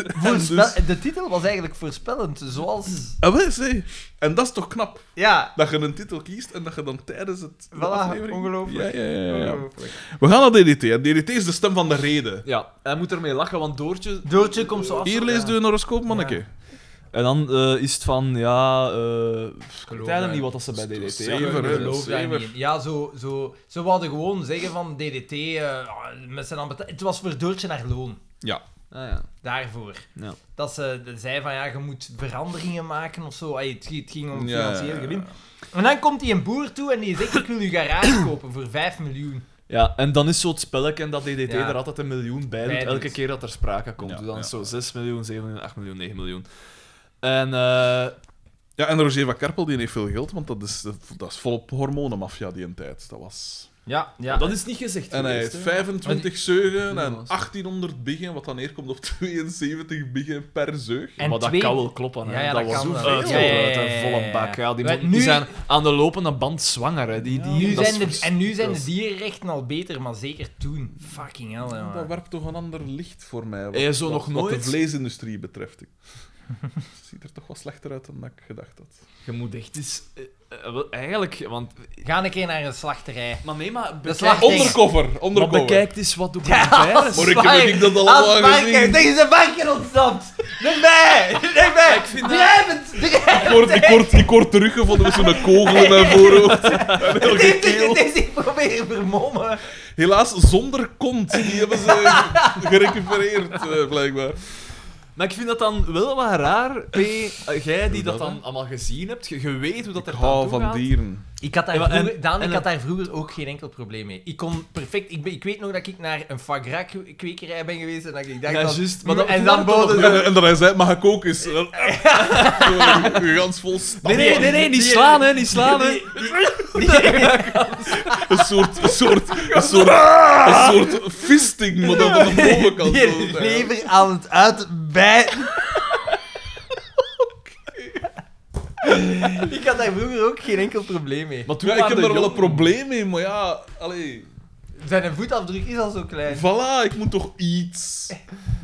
S1: Voorspel-
S2: dus-
S1: De titel was eigenlijk voorspellend, zoals...
S2: Ah, wel, zie. En dat is toch knap,
S1: Ja,
S2: dat je een titel kiest en dat je dan tijdens het de
S1: Voilà,
S2: aflevering...
S1: ongelooflijk.
S2: Ja, ja, ja, ja, ja.
S1: ongelooflijk.
S2: We gaan naar DDT. En DDT is de stem van de reden.
S3: Ja, hij moet ermee lachen, want Doortje...
S1: Doortje komt zo af.
S2: Hier leest u een horoscoop, manneke.
S3: En dan eh, is het van, ja, eh ik weet eigenlijk
S1: dat.
S3: niet wat dat ze bij
S2: Dat is
S3: DDT
S2: toch
S1: Ja,
S3: hebben.
S1: ik
S2: Zever,
S3: dus-
S2: hè,
S1: geloof daar
S2: zever.
S1: niet in. Ja, zo, zo, ze wilden gewoon zeggen van DDT, eh, ah, met zijn ambeta- het was voor Doortje naar loon.
S2: Ja.
S3: Ah, ja.
S1: Daarvoor.
S3: Ja.
S1: Dat ze de- zei van ja, je moet veranderingen maken of zo. Ay, het, het ging om financieel gewin. En dan komt die een boer toe en die zegt: Ik wil uw garage kopen voor 5 miljoen.
S3: ja, en dan is zo'n spelletje en dat DDT
S1: Ja.
S3: er altijd een miljoen bij doet,
S1: Bij doet.
S3: elke keer dat er sprake komt.
S2: Ja,
S3: dus dan
S2: ja.
S3: is zo 6 miljoen, 7 miljoen, 8 miljoen, 9 miljoen. En eh,
S2: Ja, en Roger van Kerpel die heeft veel geld, want dat is, dat is volop hormonenmafia die een tijd. Dat was...
S1: Ja, ja.
S3: dat is niet gezegd
S2: En hij
S3: geweest,
S2: heeft
S3: hè.
S2: 25 zeugen
S3: Ja,
S2: en
S3: dat is-
S2: 1800 biggen, wat dan neerkomt op 72 biggen per zeug.
S1: En
S3: maar dat
S1: twee-
S3: kan wel kloppen. Hè.
S1: Ja, ja, dat
S3: was
S1: kan
S3: zo
S1: wel.
S3: uit,
S1: Ja, ja, ja,
S3: uit,
S1: ja,
S3: hè, volle
S1: ja, ja.
S3: bak. Ja, die,
S1: Maar
S3: moeten-
S1: nu-
S3: die zijn aan de lopende band zwanger. Hè. Die, die,
S2: Ja.
S1: Nu
S3: dat is
S1: zijn de,
S3: vers-
S1: en nu zijn
S3: dat
S1: de
S3: is-
S1: dierenrechten al beter, maar zeker toen. Fucking hell, hè,
S2: Dat
S1: man.
S2: werpt toch een ander licht voor mij. Wat,
S3: Hij is zo
S2: wat-
S3: nog
S2: wat
S3: nooit-
S2: de vleesindustrie betreft. Ik- Het ziet er toch wat slechter uit dan dat ik gedacht had.
S3: Je moet echt eens... eh, eh, wel, eigenlijk, want...
S1: Ga een keer naar een slachterij.
S3: Maar nee, maar...
S1: Dat is
S3: bekijk-
S1: Echt?
S2: Ondercover,
S3: Maar
S2: ondercover.
S3: bekijk eens wat
S1: Ja,
S3: documentaires.
S2: Maar ik heb- ik heb dat allemaal
S1: Als varken
S2: gezien.
S1: tegen zijn varken ontsnapt. Neem mij, neem mij. Ik vind
S3: dat-
S2: Ik word, ik, word, ik word teruggevonden met zo'n kogel in mijn voorhoofd. Een heel gekeel.
S1: Het is niet proberen vermommen.
S2: Helaas zonder kont. Die hebben ze gerecupereerd, eh, blijkbaar.
S3: Maar ik vind dat dan wel wat raar, P, eh, jij die dat
S2: dat,
S3: dan
S2: hè?
S3: allemaal gezien hebt, je, je weet hoe dat
S2: Ik
S3: er
S2: hou
S3: aan toe
S2: van
S3: gaat.
S2: dieren.
S1: Ik had daar,
S3: Ja, maar en-
S1: vroeger, Daan,
S3: en-
S1: ik had daar vroeger ook geen enkel probleem mee. Ik kon perfect... Ik, ben, ik weet nog dat ik naar een foie gras kwe- kwekerij ben geweest en dat ik dacht...
S3: Ja,
S1: dat-
S3: juist, maar dat-
S1: en
S3: dat
S1: dan
S3: toch
S1: boden
S3: nog-
S1: ze...
S2: En, en dat hij zei, mag ik ook eens? Zo, Een gans vol stamp.
S3: Nee, nee, nee, nee, niet slaan, hè, niet slaan, hè.
S2: Een soort, een soort, een soort, een soort fisting, maar dan van de bovenkant.
S1: Die
S2: Zo, ja.
S1: lever aan het uitbijten. Ik had daar vroeger ook geen enkel probleem mee.
S3: Maar toen
S2: Ja, ik
S3: waren
S2: heb
S3: de
S2: daar wel een
S3: jong-
S2: probleem mee, maar ja, allee.
S1: Zijn voetafdruk is al zo klein.
S2: Voilà, ik moet toch iets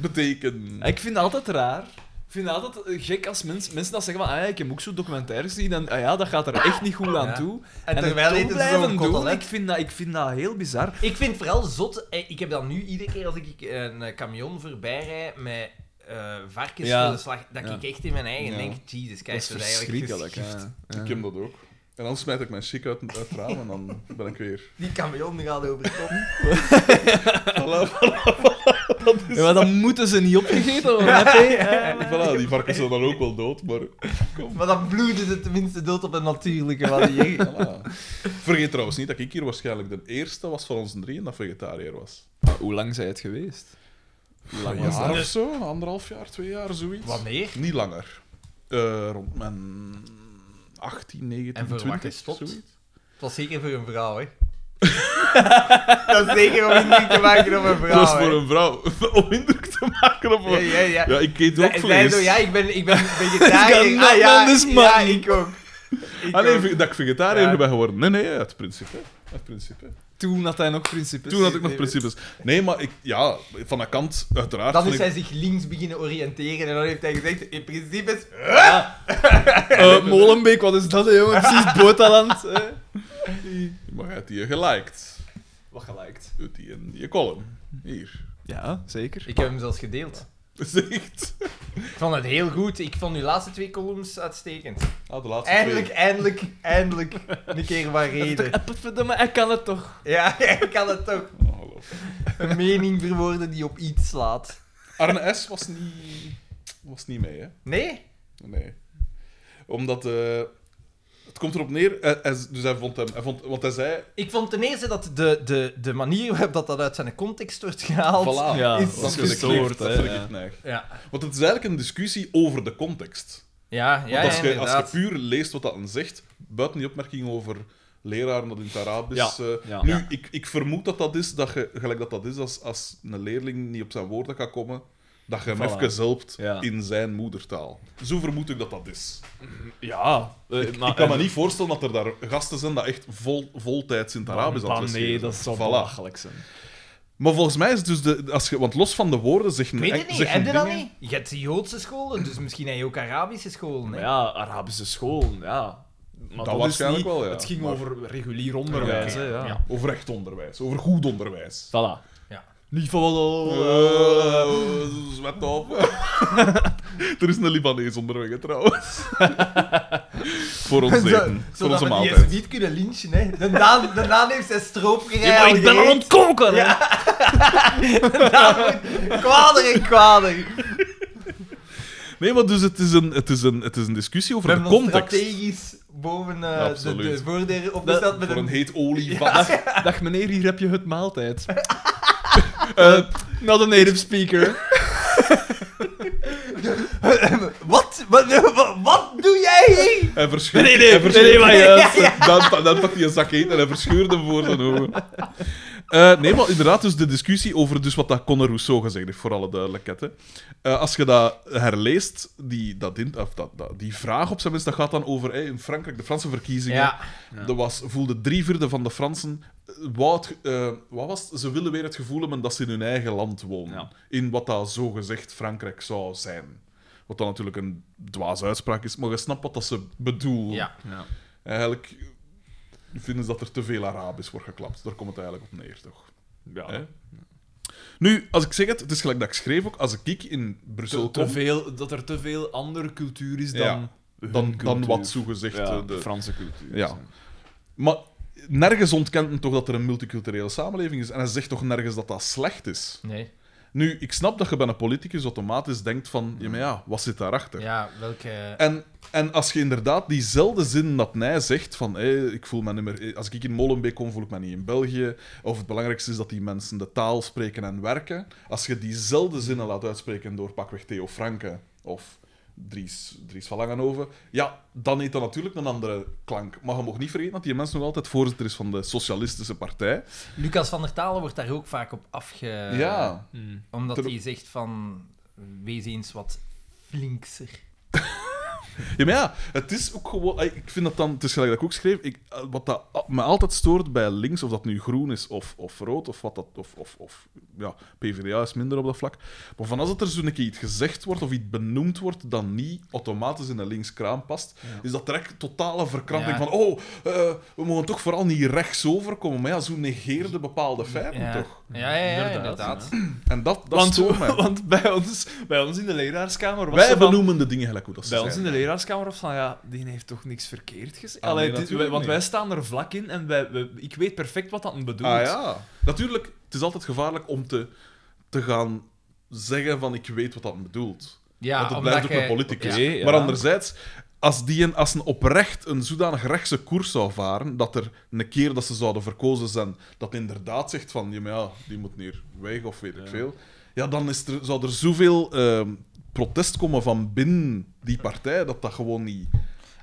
S2: betekenen.
S3: Ik vind dat altijd raar. Ik vind dat altijd eh, gek als mensen, mensen dat zeggen van, ah, ja, ik heb ook zo documentaires gezien en ah, ja, dat gaat er echt niet goed aan
S1: Ja.
S3: toe.
S1: En
S3: het
S1: terwijl
S3: toch
S1: eten ze zo'n kottel, hè?
S3: ik vind, dat, ik vind dat heel bizar.
S1: Ik vind vooral zot... eh, Ik heb dan nu iedere keer als ik een eh, camion voorbij rijd met eh, varkens
S3: Ja.
S1: voor de slag, dat
S3: Ja.
S1: ik echt in mijn eigen
S2: Ja.
S1: denk, Jesus
S3: Dat is
S1: Christus, dat is
S3: verschrikkelijk.
S1: eigenlijk dus
S3: hè.
S1: geschikt.
S3: Ja.
S2: Ik heb dat ook. En dan smijt ik mijn chic uit, uit het raam en dan ben ik weer.
S1: Die camion gaat over de kop.
S3: Ja, maar dan moeten ze niet opgegeten worden, hè, P? Ja, maar-
S2: Voilà, die varkens zijn dan ook wel dood, maar.
S1: Maar dan bloeden ze tenminste dood op een natuurlijke manier.
S2: Voilà. Vergeet trouwens niet dat ik hier waarschijnlijk de eerste was van onze drieën dat vegetariër was.
S3: Maar Hoe lang zij het geweest? Hoe lang
S2: Een
S3: was
S2: jaar
S3: dat?
S2: of zo, anderhalf jaar, twee jaar, zoiets.
S1: Wanneer?
S2: Niet langer. Eh, rond mijn 18, 19,
S1: En voor wat
S2: 20,
S1: gestopt?
S2: zoiets.
S1: Het was zeker voor een vrouw, hè? dat is zeker om indruk te maken op een vrouw.
S2: dat is voor
S1: hè.
S2: een vrouw. Om indruk te maken op
S1: Ja,
S2: een...
S1: ja, ja.
S2: Ja, ik eet ook
S1: Zij- zij
S2: vlees.
S1: zo, ja, ik ben, ik ben
S3: Ik
S1: vegetariër.
S3: kan
S1: ah, ja,
S3: nat, man,
S1: ja,
S3: dus man.
S1: ik ook. Ik
S2: Ah, nee,
S1: ook.
S2: ve- dat ik vegetariër
S1: Ja.
S2: ben geworden. Nee, nee, uit principe. Uit principe.
S3: Toen had hij nog principes.
S2: Toen had ik nog principes. Nee, maar ik, ja, van de kant, uiteraard.
S1: Dan
S2: vond
S1: is
S2: ik-
S1: hij zich links beginnen oriënteren en dan heeft hij gezegd, in principe is...
S3: Ja. Eh, Molenbeek, wat is dat, hè, jongen? Precies Botaland. hè?
S2: Maar hij heeft die geliked.
S3: Wat geliked.
S2: Uit die in je column. Hier.
S3: Ja, zeker.
S1: Ik heb hem zelfs gedeeld.
S2: Dat is echt.
S1: Ik vond het heel goed. Ik vond uw laatste twee columns uitstekend.
S2: Ah, de laatste
S1: Eindelijk,
S2: twee.
S1: eindelijk, eindelijk een keer waar reden.
S3: Verdomme, ik kan het toch.
S1: Ja, ik kan het toch.
S2: Oh, Ongelooflijk.
S1: Een mening verwoorden die op iets slaat.
S2: Arne S. was niet, was niet mee, hè?
S1: Nee?
S2: Nee. Omdat... eh, het komt erop neer... eh, hij- dus hij vond hem... Hij vond, want hij zei...
S1: Ik vond ten eerste dat de, de, de manier waarop dat, dat uit zijn context wordt gehaald...
S2: Voilà.
S3: Ja,
S1: is-
S2: Dat
S1: was
S3: was
S2: vind ik
S3: gestoord,
S2: echt- Dat
S3: hè,
S2: vind ik
S3: ja.
S2: echt neig.
S1: Ja,
S2: Want het is eigenlijk een discussie over de context.
S1: ja, ja,
S2: Want als, je, als je
S1: inderdaad.
S2: puur leest wat dat dan zegt, buiten die opmerking over leraren dat in het Arabisch...
S3: Ja,
S2: eh,
S3: ja.
S2: Nu,
S3: Ja.
S2: Ik, ik vermoed dat dat is, dat je, gelijk dat dat is, als, als een leerling niet op zijn woorden kan komen, dat je hem
S3: Voilà.
S2: even helpt
S3: Ja.
S2: in zijn moedertaal. Zo vermoed ik dat dat is.
S3: Ja. eh,
S2: ik,
S3: maar-
S2: ik kan me
S3: en-
S2: niet voorstellen dat er daar gasten zijn dat echt vol, voltijds in het
S3: Maar
S2: Arabisch aan het lesgeven
S3: Nee,
S2: zijn.
S3: dat zou
S2: Voilà.
S3: belachelijk zijn.
S2: Maar volgens mij is het dus de... Als je, want los van de woorden zeg je...
S1: Ik weet het niet,
S2: zeg
S1: heb je dat
S2: dingen-
S1: niet? Je hebt Joodse scholen, dus misschien heb je ook Arabische scholen.
S3: Maar
S1: Hè?
S3: ja, Arabische scholen, ja. Maar dat, is
S2: waarschijnlijk
S3: niet-
S2: wel, ja.
S3: Het ging
S2: Maar-
S3: over regulier onderwijs,
S1: Ja.
S3: hè, ja.
S1: Ja.
S2: Over echt onderwijs, over goed onderwijs.
S3: Voilà.
S1: Ja.
S3: Niet van wat...
S2: Eh, Zwet op. er is een Libanees onderweg, hè, trouwens. voor ons eten. Voor
S1: zodat
S2: onze
S1: we die
S2: maaltijd.
S1: eens niet kunnen lynchen, hè. De Daan, de Daan heeft zijn stroopgerij al gereed.
S3: koken!
S1: Ja. De Daan wordt kwader en kwader. We
S2: Nee, maar dus het is een, het is een, het is een discussie over de
S1: hebben ons
S2: context.
S1: strategisch boven eh, de,
S2: Absoluut.
S1: de voordeur opgesteld met
S2: Voor een
S1: een...
S2: heet olievat.
S3: Dag meneer, hier heb je het maaltijd. Eh not a native speaker.
S1: Wat? Wat, wat, wat doe jij hier?
S2: Hij verscheurt...
S3: Nee, nee,
S2: hij verscheurt-
S3: nee, maar juist.
S2: Dan, pa- dan pakt hij een zak eten en hij verscheurt hem voor zijn ogen. Eh, nee, maar inderdaad, dus de discussie over dus wat dat Conor Rousseau gezegd heeft, voor alle duidelijkheid. Hè. Eh, als je dat herleest, die, dat in, of dat, dat, die vraag op zijn minst, dat gaat dan over hey, in Frankrijk, de Franse verkiezingen.
S1: Ja.
S2: Dat was, voelde drie vierde van de Fransen... eh, wou het ge- eh, wat was het? Ze willen weer het gevoel hebben dat ze in hun eigen land wonen.
S3: Ja.
S2: In wat dat zogezegd Frankrijk zou zijn. Wat dan natuurlijk een dwaze uitspraak is, maar je snapt wat dat ze bedoelen.
S1: Ja.
S3: Ja.
S2: Eigenlijk vinden ze dat er te veel Arabisch wordt geklapt. Daar komt het eigenlijk op neer, toch? Hè? Nu, als ik zeg het, het is gelijk dat ik schreef ook, als ik in Brussel
S3: Te,
S2: kom,
S3: te veel, dat er te veel andere cultuur is dan...
S2: Ja.
S3: hun
S2: dan, dan
S3: cultuur.
S2: wat zogezegd...
S3: Ja,
S2: eh,
S3: de
S2: de...
S3: Franse cultuur.
S2: Ja. Maar nergens ontkent men toch dat er een multiculturele samenleving is. En hij zegt toch nergens dat dat slecht is.
S1: Nee.
S2: Nu, ik snap dat je bij een politicus automatisch denkt van, ja, maar ja, wat zit daarachter?
S1: Ja, welke...
S2: En, en als je inderdaad diezelfde zin dat Nij zegt van hé, ik voel me niet meer, als ik in Molenbeek kom, voel ik me niet in België. Of het belangrijkste is dat die mensen de taal spreken en werken. Als je diezelfde zinnen laat uitspreken door pakweg Theo Franke of Dries, Dries van Langenhoven, ja, dan heeft dat natuurlijk een andere klank. Maar je mag niet vergeten dat die mens nog altijd voorzitter is van de Socialistische Partij.
S1: Lucas van der Talen wordt daar ook vaak op afge...
S2: ja,
S3: Hmm.
S1: Omdat
S2: Ter-
S1: hij zegt van... Wees eens wat flinkser.
S2: Ja, maar ja, het is ook gewoon... ey, Ik vind dat dan... Het is gelijk dat ik ook schreef. Ik, eh, wat dat a- me altijd stoort bij links, of dat nu groen is of, of rood, of wat dat... Of, of, of ja, PvdA is minder op dat vlak. Maar van als het er zo'n keer iets gezegd wordt of iets benoemd wordt dat niet automatisch in een linkskraam past, is dat direct totale verkramping
S1: Ja.
S2: van oh, eh, we mogen toch vooral niet rechts overkomen. Maar ja, zo negeerde bepaalde feiten
S1: Ja.
S2: toch.
S1: Ja, ja, ja,
S3: Inderdaad,
S1: inderdaad.
S2: En dat, dat
S3: Want,
S2: stoort mij.
S3: want bij, ons, bij ons in de leraarskamer was
S2: Wij
S3: er van,
S2: benoemen de dingen gelijk hoe dat ze
S3: bij ons
S2: zijn.
S3: in de leraarskamer was van ja, die heeft toch niks verkeerd gezegd.
S2: Ah, nee,
S3: Allee, dit-
S2: natuurlijk
S3: wij- want
S2: niet.
S3: wij staan er vlak in en wij, wij- ik weet perfect wat dat bedoelt.
S2: Ah ja. Natuurlijk, het is altijd gevaarlijk om te, te gaan zeggen van ik weet wat dat bedoelt.
S1: Ja,
S2: Want het
S1: omdat
S2: blijft ook
S1: je-
S2: een politicus.
S3: Oké, ja.
S2: Maar anderzijds, als, die een, als een oprecht een zodanig rechtse koers zou varen, dat er een keer dat ze zouden verkozen zijn, dat inderdaad zegt van ja, maar ja die moet hier weg of weet ik
S3: Ja.
S2: veel. Ja, dan is er, zou er zoveel ehm, protest komen van binnen die partij dat dat gewoon niet...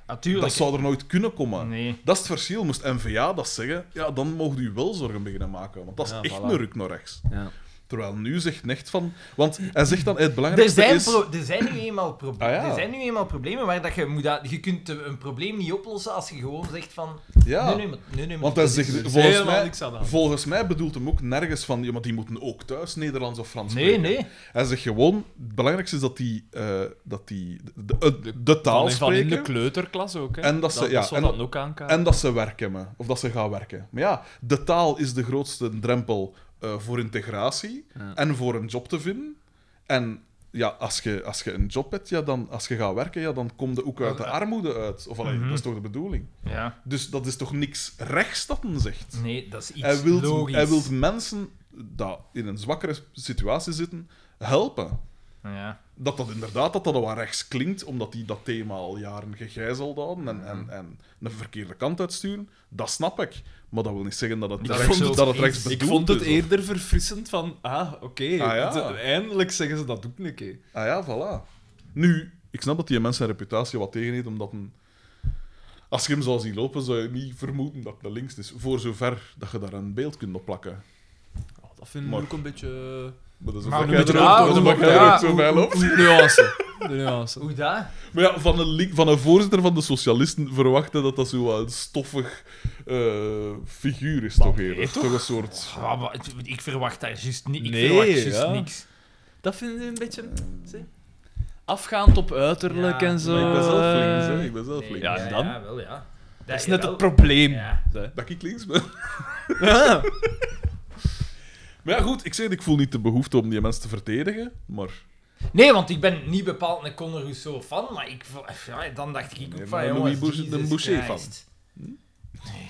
S1: Natuurlijk.
S2: Dat zou er nooit kunnen komen.
S1: Nee.
S2: Dat is het verschil. Moest NVA dat zeggen, ja, dan mogen u wel zorgen beginnen maken. Want dat is
S3: Ja,
S2: echt
S3: voilà.
S2: een ruk naar rechts.
S3: Ja.
S2: Terwijl nu zegt Necht van... Want hij zegt dan, het
S1: Er
S2: belangrijkste
S1: zijn,
S2: is...
S1: pro- er, zijn nu eenmaal proble-
S2: Ah, ja.
S1: er zijn nu eenmaal problemen waar dat je moet... Dat, je kunt een probleem niet oplossen als je gewoon zegt van...
S2: Ja,
S1: Nee, nee, maar- nee, nee, maar
S2: want hij
S1: dit is-
S2: zegt,
S3: is dus
S2: volgens
S3: helemaal
S2: mij,
S3: niks aan de hand.
S2: volgens mij bedoelt hem ook nergens van... Ja, maar die moeten ook thuis Nederlands of Frans
S1: Nee,
S2: spreken.
S1: nee.
S2: Hij zegt gewoon, het belangrijkste is dat die, eh, dat die de, de, de taal
S3: Van, van in de
S2: spreken...
S3: kleuterklas ook. Hè.
S2: En dat ze- ja,
S3: dat zou
S2: en-
S3: dat ook aankaarten.
S2: En dat ze werken, me, of dat ze gaan werken. Maar ja, de taal is de grootste drempel eh, voor integratie
S3: Ja.
S2: en voor een job te vinden. En ja, als je, als je een job hebt, ja, dan, als je gaat werken, ja, dan kom je ook uit de armoede uit. Of allee,
S1: Mhm.
S2: dat is toch de bedoeling?
S1: Ja.
S2: Dus dat is toch niks rechts dat men zegt?
S1: Nee, dat is iets
S2: Hij wil
S1: logisch.
S2: hij wilt mensen die in een zwakkere situatie zitten, helpen.
S1: Ja.
S2: Dat dat inderdaad dat dat wel rechts klinkt, omdat die dat thema al jaren gegijzeld hadden en, en, en een verkeerde kant uitsturen, dat snap ik. Maar dat wil niet zeggen dat het
S1: Ik
S2: rechts,
S1: vond
S2: dat
S1: het-
S2: het rechts
S3: Ik
S2: bedoeld
S3: vond het
S2: is, of-
S3: eerder verfrissend van, ah, oké,
S2: ja.
S3: de- eindelijk zeggen ze dat ook een keer.
S2: Ah ja, voilà. Nu, ik snap dat die mens zijn reputatie wat tegen heeft, omdat een... Als je hem zou zien lopen, zou je niet vermoeden dat hij links is. Voor zover dat je daar een beeld kunt opplakken.
S3: Oh, dat vind ik
S2: Maar-
S3: ook een beetje... eh,
S2: Maar dat is
S1: Maar hoe
S2: omdat jij
S1: moet je-
S2: er ook-
S1: ah,
S2: dat
S1: hoe
S2: is omdat
S1: moet
S2: jij
S1: je-
S2: er ook
S1: ah,
S2: zo bij loopt.
S3: De nuance. De nuance.
S1: Hoe dat?
S2: Maar ja, van een, link- van een voorzitter van de socialisten verwachten dat dat zo wat een stoffig eh, figuur is, toch eerder?
S1: nee,
S2: toch? een soort...
S1: Ah, maar het- ik verwacht daar juist niet. Ik
S3: Nee,
S1: verwacht juist
S3: ja.
S1: niks.
S3: Dat vind ik een beetje... zie, Afgaand op uiterlijk
S1: Ja,
S3: en zo.
S2: Maar ik ben zelf links, hè.
S3: eh.
S2: Ik ben zelf
S1: Nee,
S2: links.
S3: Ja, en dan?
S1: Ja, wel, ja.
S3: Dat is net
S1: jawel.
S3: het probleem.
S1: Ja.
S3: hè.
S2: Dat ik links ben.
S3: Ja.
S2: Maar ja, goed, ik zeg het, ik voel niet de behoefte om die mensen te verdedigen, maar...
S1: Nee, want ik ben niet bepaald een Conor Rousseau fan, maar ik, vo- ja, dan dacht ik
S2: Nee,
S1: ook
S2: maar
S1: van,
S2: een
S1: jongens,
S2: Louis Boucher-
S1: Jesus
S2: een Boucher
S1: Christ. Nee. Nee,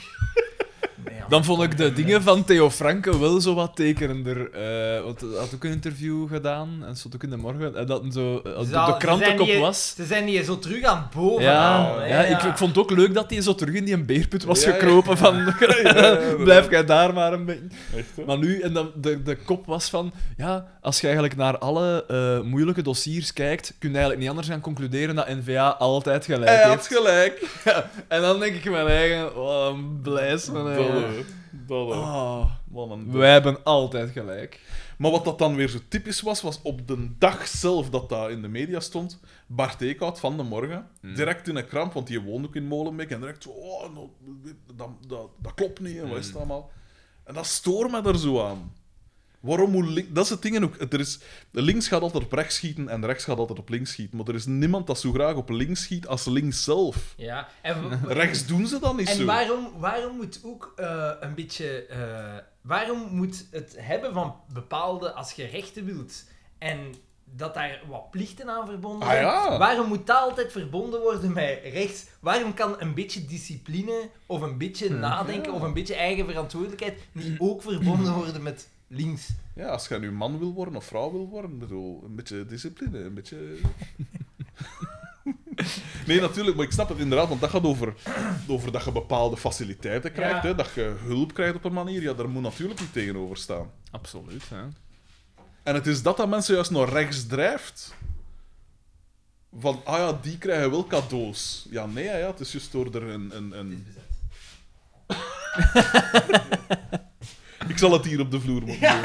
S1: ja,
S3: Dan vond ik de dingen van Theo Franke wel zo wat tekenender. eh want hij had ook een interview gedaan, en stond ook in de morgen, en dat hem zo, eh,
S1: Ze
S3: op
S1: al-
S3: de
S1: ze zijn
S3: krantenkop
S1: hier-
S3: was.
S1: Ze zijn hier zo terug aan boven.
S3: Ja,
S1: halen, hè,
S3: ja, Ik, ik vond het ook leuk dat hij zo terug in die beerput was
S2: Ja, ja.
S3: gekropen. Van,
S2: inderdaad.
S3: blijf jij daar maar een beetje.
S2: Echt, hè?
S3: Maar nu, en dan, de, de kop was van, ja, als je eigenlijk naar alle eh, moeilijke dossiers kijkt, kun je eigenlijk niet anders gaan concluderen dat NVA altijd gelijk
S2: Hij had
S3: heeft.
S2: gelijk.
S3: en dan denk ik in mijn eigen, wat een blijs van
S2: Dat,
S3: hè.
S2: hè. dat, hè.
S3: Ah,
S2: Wat een-
S3: Wij hebben altijd gelijk.
S2: Maar wat dat dan weer zo typisch was, was op de dag zelf dat dat in de media stond, Bart Eekhout van de Morgen, direct in een kramp, want die woonde ook in Molenbeek, en direct zo, oh, nou, dat, dat, dat klopt niet, en wat is dat allemaal? En dat stoort me er zo aan. Waarom moet link- Dat is het ding en ook. het- Er is, de links gaat altijd op rechts schieten en de rechts gaat altijd op links schieten. Maar er is niemand dat zo graag op links schiet als links zelf.
S1: Ja, en, w-
S2: Rechts doen ze dat niet
S1: en
S2: zo.
S1: waarom, waarom moet ook eh, een beetje... eh, waarom moet het hebben van bepaalde... Als je rechten wilt en dat daar wat plichten aan verbonden
S2: Ah,
S1: zijn...
S2: ja.
S1: Waarom moet dat altijd verbonden worden met rechts? Waarom kan een beetje discipline of een beetje nadenken
S2: Hm. ja. Hm.
S1: of een beetje eigen verantwoordelijkheid niet ook verbonden worden met links.
S2: Ja, als je nu man wil worden of vrouw wil worden, bedoel, een beetje discipline, een beetje... Nee, natuurlijk, maar ik snap het inderdaad, want dat gaat over, over dat je bepaalde faciliteiten krijgt,
S1: Ja.
S2: hè, dat je hulp krijgt op een manier. Ja, daar moet natuurlijk niet tegenover staan.
S3: Absoluut, hè.
S2: En het is dat dat mensen juist naar rechts drijft. Van, ah ja, die krijgen wel cadeaus. Ja, nee, ja, ja, het is juist door er een... een, een... Ik zal het hier op de vloer moeten doen.
S1: ja,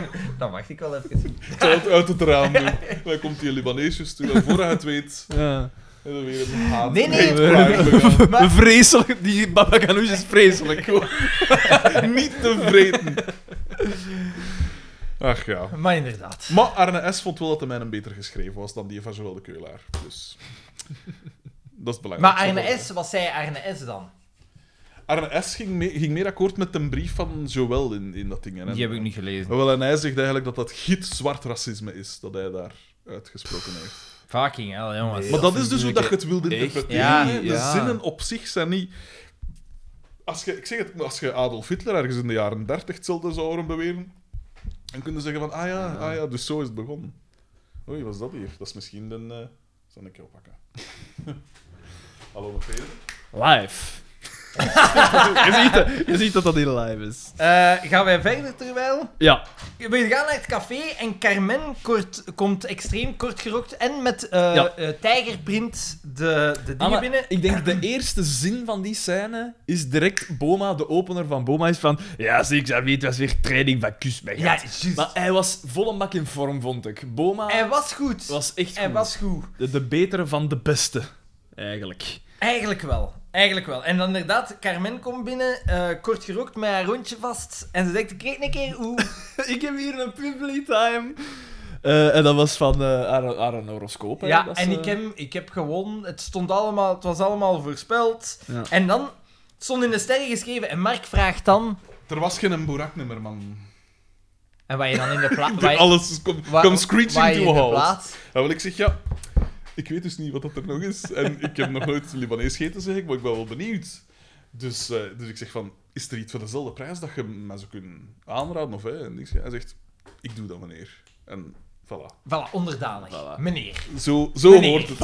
S1: maar dan wacht ik wel even.
S2: Ik zal het uit het raam doen. Dan komt die Libaneesjes toe en voordat je het weet...
S3: Ja.
S2: En dan weer een haat.
S1: Nee, nee.
S2: Eigenlijk
S1: Maar-
S3: Vreselijk, die baba ganoush is vreselijk.
S2: al. Niet tevreden. Ach ja.
S1: Maar inderdaad.
S2: Maar Arne S. vond wel dat de mijne beter geschreven was dan die van Joël de Keulaar. Dus... Dat is belangrijk.
S1: Maar Arne S, wat zei Arne S dan?
S2: Arne S. ging, mee- ging meer akkoord met een brief van Joël in, in dat ding. Hè?
S1: niet gelezen.
S2: Wel, en hij zegt eigenlijk dat dat gitzwart racisme is, dat hij daar uitgesproken heeft.
S1: Fucking hell, jongens.
S2: maar dat
S3: vind
S2: is dus
S3: ik
S2: hoe dat je het wilde interpreteren.
S1: Ja,
S2: hè. de
S3: ja.
S2: zinnen op zich zijn niet... Als je, ik zeg het, als je Adolf Hitler ergens in de jaren dertig hetzelfde zou horen beweren, dan kunnen ze zeggen van, ah ja, ah ja, dus zo is het begonnen. Oei, wat is dat hier? Dat is misschien een... eh Zal ik je oppakken. Hallo, nog Peter.
S3: Live. je, ziet, dat- je ziet dat dat niet live is.
S1: Eh, gaan wij verder terwijl?
S3: Ja.
S1: We gaan naar het café en Carmen kort, komt extreem kort gerokt en met eh
S3: Ja.
S1: eh, tijgerprint de, de dingen
S3: Ah, maar
S1: binnen.
S3: Ik denk de eerste zin van die scène is direct Boma, de opener van Boma, is van... Ja, zie ik, Xavier, het was weer training van kus mij
S1: Ja, juist.
S3: Maar hij was volle mak in vorm, vond ik. Boma
S1: Hij was goed.
S3: was echt
S1: Hij
S3: goed.
S1: was goed.
S3: De, de betere van de beste, eigenlijk.
S1: Eigenlijk wel. Eigenlijk wel. En dan inderdaad, Carmen komt binnen, eh, kort gerokt met haar rondje vast. En ze denkt, ik weet een keer hoe.
S3: ik heb hier een public time. Eh, en dat was van eh haar, haar een horoscoop. hè.
S1: Ja,
S3: Dat is,
S1: en
S3: eh,
S1: ik heb, ik heb gewonnen. Het, stond allemaal, het was allemaal voorspeld.
S3: Ja.
S1: En dan het stond in de sterren geschreven. En Mark vraagt dan...
S2: Er was geen boeraknummer, man.
S1: En waar je dan in de plaats...
S2: Alles komt kom screeching to a halt.
S1: plaats...
S2: Ja, wel, ik zeg ja. Ik weet dus niet wat dat er nog is. En ik heb nog nooit Libanees gegeten, zeg ik, maar ik ben wel benieuwd. Dus, eh, dus ik zeg van, is er iets voor dezelfde prijs dat je mij zou kunnen aanraden? Of, hè? En ik zeg, hij zegt, ik doe dat, meneer. En voilà.
S1: Voilà, onderdanig.
S3: Voilà.
S1: Meneer.
S2: Zo, zo
S1: Meneer.
S2: hoort het.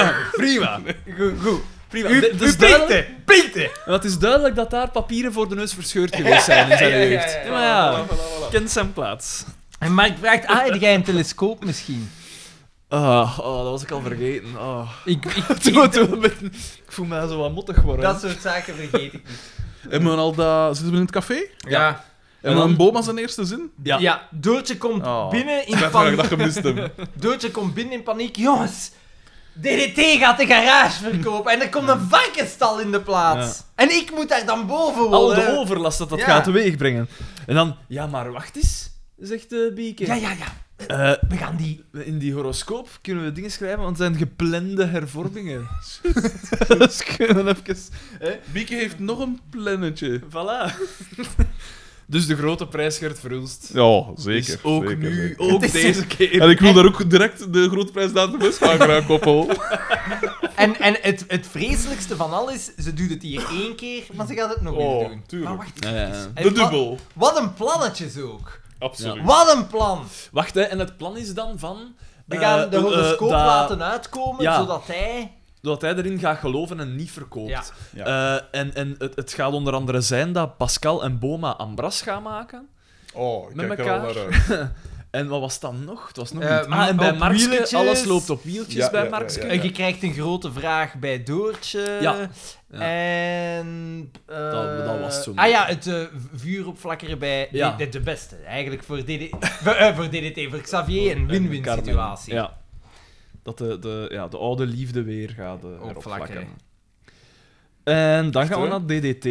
S3: Prima.
S1: Goed, goed.
S3: Prima.
S1: U, u
S3: Dit- dit is duidelijk-
S1: piekte! Piekte!
S3: Maar het is duidelijk dat daar papieren voor de neus verscheurd geweest zijn in zijn
S1: Ja, ja, ja, ja,
S3: jeugd.
S1: ja.
S3: Maar ja,
S2: Voilà, voilà, voilà.
S3: kent zijn plaats.
S1: En Mark vraagt, ah, heb jij een telescoop misschien?
S3: Ah, oh, dat was ik al vergeten. Ah.
S1: Ik, ik,
S3: Toen- toen ben- ik voel mij zo wat mottig worden.
S1: dat soort zaken vergeet ik niet.
S2: Hebben we al dat... Zitten we in het café?
S1: Ja.
S2: En dan Boma zijn eerste zin?
S1: Ja.
S3: Ja.
S1: Doortje komt
S2: Oh.
S1: binnen in
S2: Ik had
S1: paniek.
S2: dat gemist hem.
S1: Doortje komt binnen in paniek. Jongens, DDT gaat de garage verkopen en er komt een varkenstal in de plaats. En ik moet daar dan boven
S3: Al
S1: wonen.
S3: de overlast dat dat
S1: Oh, Ja.
S3: gaat teweegbrengen. En dan, ja, maar wacht eens, zegt de Bieke.
S1: Ja, ja, ja.
S3: Eh,
S1: We gaan die...
S3: in die horoscoop kunnen we dingen schrijven, want het zijn geplande hervormingen. dus kunnen we even... Hè?
S2: Bieke heeft nog een plannetje.
S3: Voilà. dus de grote prijs Gert Verhulst.
S2: Ja, zeker.
S3: Dus ook
S2: zeker,
S3: nu,
S2: zeker.
S3: ook
S1: Het is-
S3: deze keer.
S2: En ik wil daar ook direct de grote prijs Daan de Westvaker aan koppelen.
S1: En, en het, het vreselijkste van alles is, ze doet het hier één keer, maar ze gaat het nog
S2: Oh,
S1: eens doen.
S2: tuurlijk.
S1: Maar wacht.
S3: Ja, ja, ja.
S2: De
S1: En wa-
S2: dubbel.
S1: Wat een plannetjes ook.
S2: Absoluut.
S1: Wat een plan.
S3: Wacht, hè, en het plan is dan van...
S1: We
S3: eh,
S1: gaan de
S3: eh,
S1: horoscoop
S3: dat-
S1: laten uitkomen,
S3: Ja.
S1: zodat hij...
S3: Dat hij erin gaat geloven en niet verkoopt.
S1: Ja.
S3: Eh, en en het, het gaat onder andere zijn dat Pascal en Boma Ambras gaan maken.
S2: Oh, ik
S3: Met
S2: kijk er al
S3: elkaar.
S2: naar uit.
S3: En wat was dan nog? Het was nog
S1: Eh,
S3: niet. Ah, en bij
S1: op
S3: Markske,
S1: wieltjes.
S3: alles loopt op wieltjes
S2: Ja,
S3: bij
S2: ja, ja,
S3: Markske.
S2: ja,
S1: En Eh, je krijgt een grote vraag bij Doortje. Eh,
S3: Ja. Ja.
S1: En... eh,
S3: Dat- dat was toen.
S1: Ah ja, het eh, vuur opflakkeren bij
S3: Ja.
S1: de, de, de beste. Eigenlijk voor DDT, voor, eh, voor, DDT, voor Xavier, een win-win
S3: En Carmen.
S1: situatie.
S3: Ja. Dat de, de, ja, de oude liefde weer gaat eh,
S1: Opvlakken.
S3: opvlakken. En dan gaan we
S2: hè?
S3: naar DDT,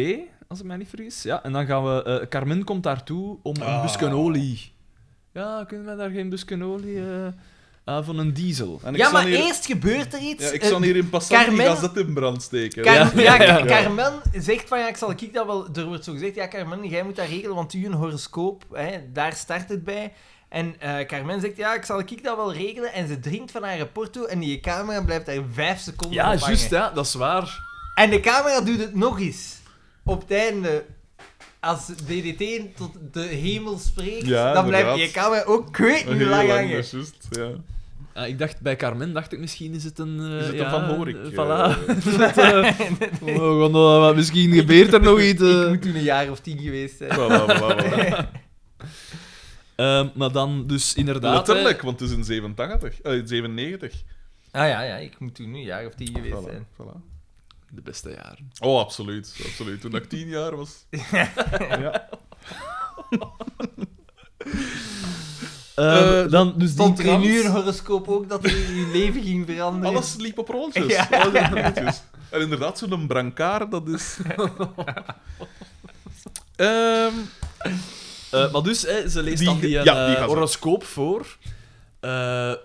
S3: als ik mij niet vergis. Ja, en dan gaan we... eh, Carmen komt daartoe om een
S2: Ah.
S3: busken olie. Ja, kunnen wij daar geen busken olie... eh, ah, van een diesel.
S2: En ik
S1: Ja,
S2: zal
S1: maar
S2: hier,
S1: eerst gebeurt er iets.
S2: Ja, ik
S1: Eh,
S2: zal hier in passant
S1: Carmen-
S2: die gazet in brand steken.
S1: Car-
S3: Ja,
S1: ja,
S3: ja,
S1: Car-
S2: ja.
S1: Carmen zegt van ja, ik zal ik dat wel. Er wordt zo gezegd: ja, Carmen, jij moet dat regelen, want u een horoscoop, hè, daar start het bij. En eh, Carmen zegt ja, ik zal ik dat wel regelen. En ze drinkt van haar porto en die camera blijft daar vijf seconden
S3: Ja,
S1: op hangen.
S3: juist, ja, dat is waar.
S1: En de camera doet het nog eens. Op het einde. als DDT tot de hemel spreekt,
S2: Ja,
S1: dan blijf je
S2: inderdaad.
S1: kamer ook kwijt niet
S2: Heel
S1: lang
S2: lang, dat
S1: hangen.
S2: is juist, ja.
S3: Ah, ik dacht, bij Carmen dacht ik misschien is het een... eh,
S2: Is het
S3: ja,
S2: een Van Horik?
S3: eh,
S2: eh,
S3: Voilà. Dat, eh, oh, want, eh, wat- misschien gebeurt er nog iets. eh.
S1: Ik moet toen een jaar of tien geweest zijn.
S2: voilà, voilà, voilà.
S3: Ehm, maar dan dus inderdaad...
S2: Letterlijk, want het is in 87, eh, 97.
S1: Ah ja, ja, ik moet toen nu een jaar of tien geweest
S2: Voilà,
S1: zijn.
S2: voilà.
S3: eh, de beste jaren.
S2: Oh, absoluut, absoluut. Toen ik tien jaar was. ja.
S3: Ehm,
S2: Eh,
S3: dan dus die
S1: Stond er in
S3: krant-
S1: uw horoscoop ook dat je je leven ging veranderen?
S2: Alles liep op rolletjes.
S1: Ja.
S2: Alles liep op rolletjes. En inderdaad, zo'n brancard, dat is...
S3: Ah,
S2: Ehm,
S3: Eh, maar dus, eh, ze leest
S2: Die-
S3: dan die,
S2: ja,
S3: eh,
S2: die gaat ze.
S3: horoscoop voor. eh,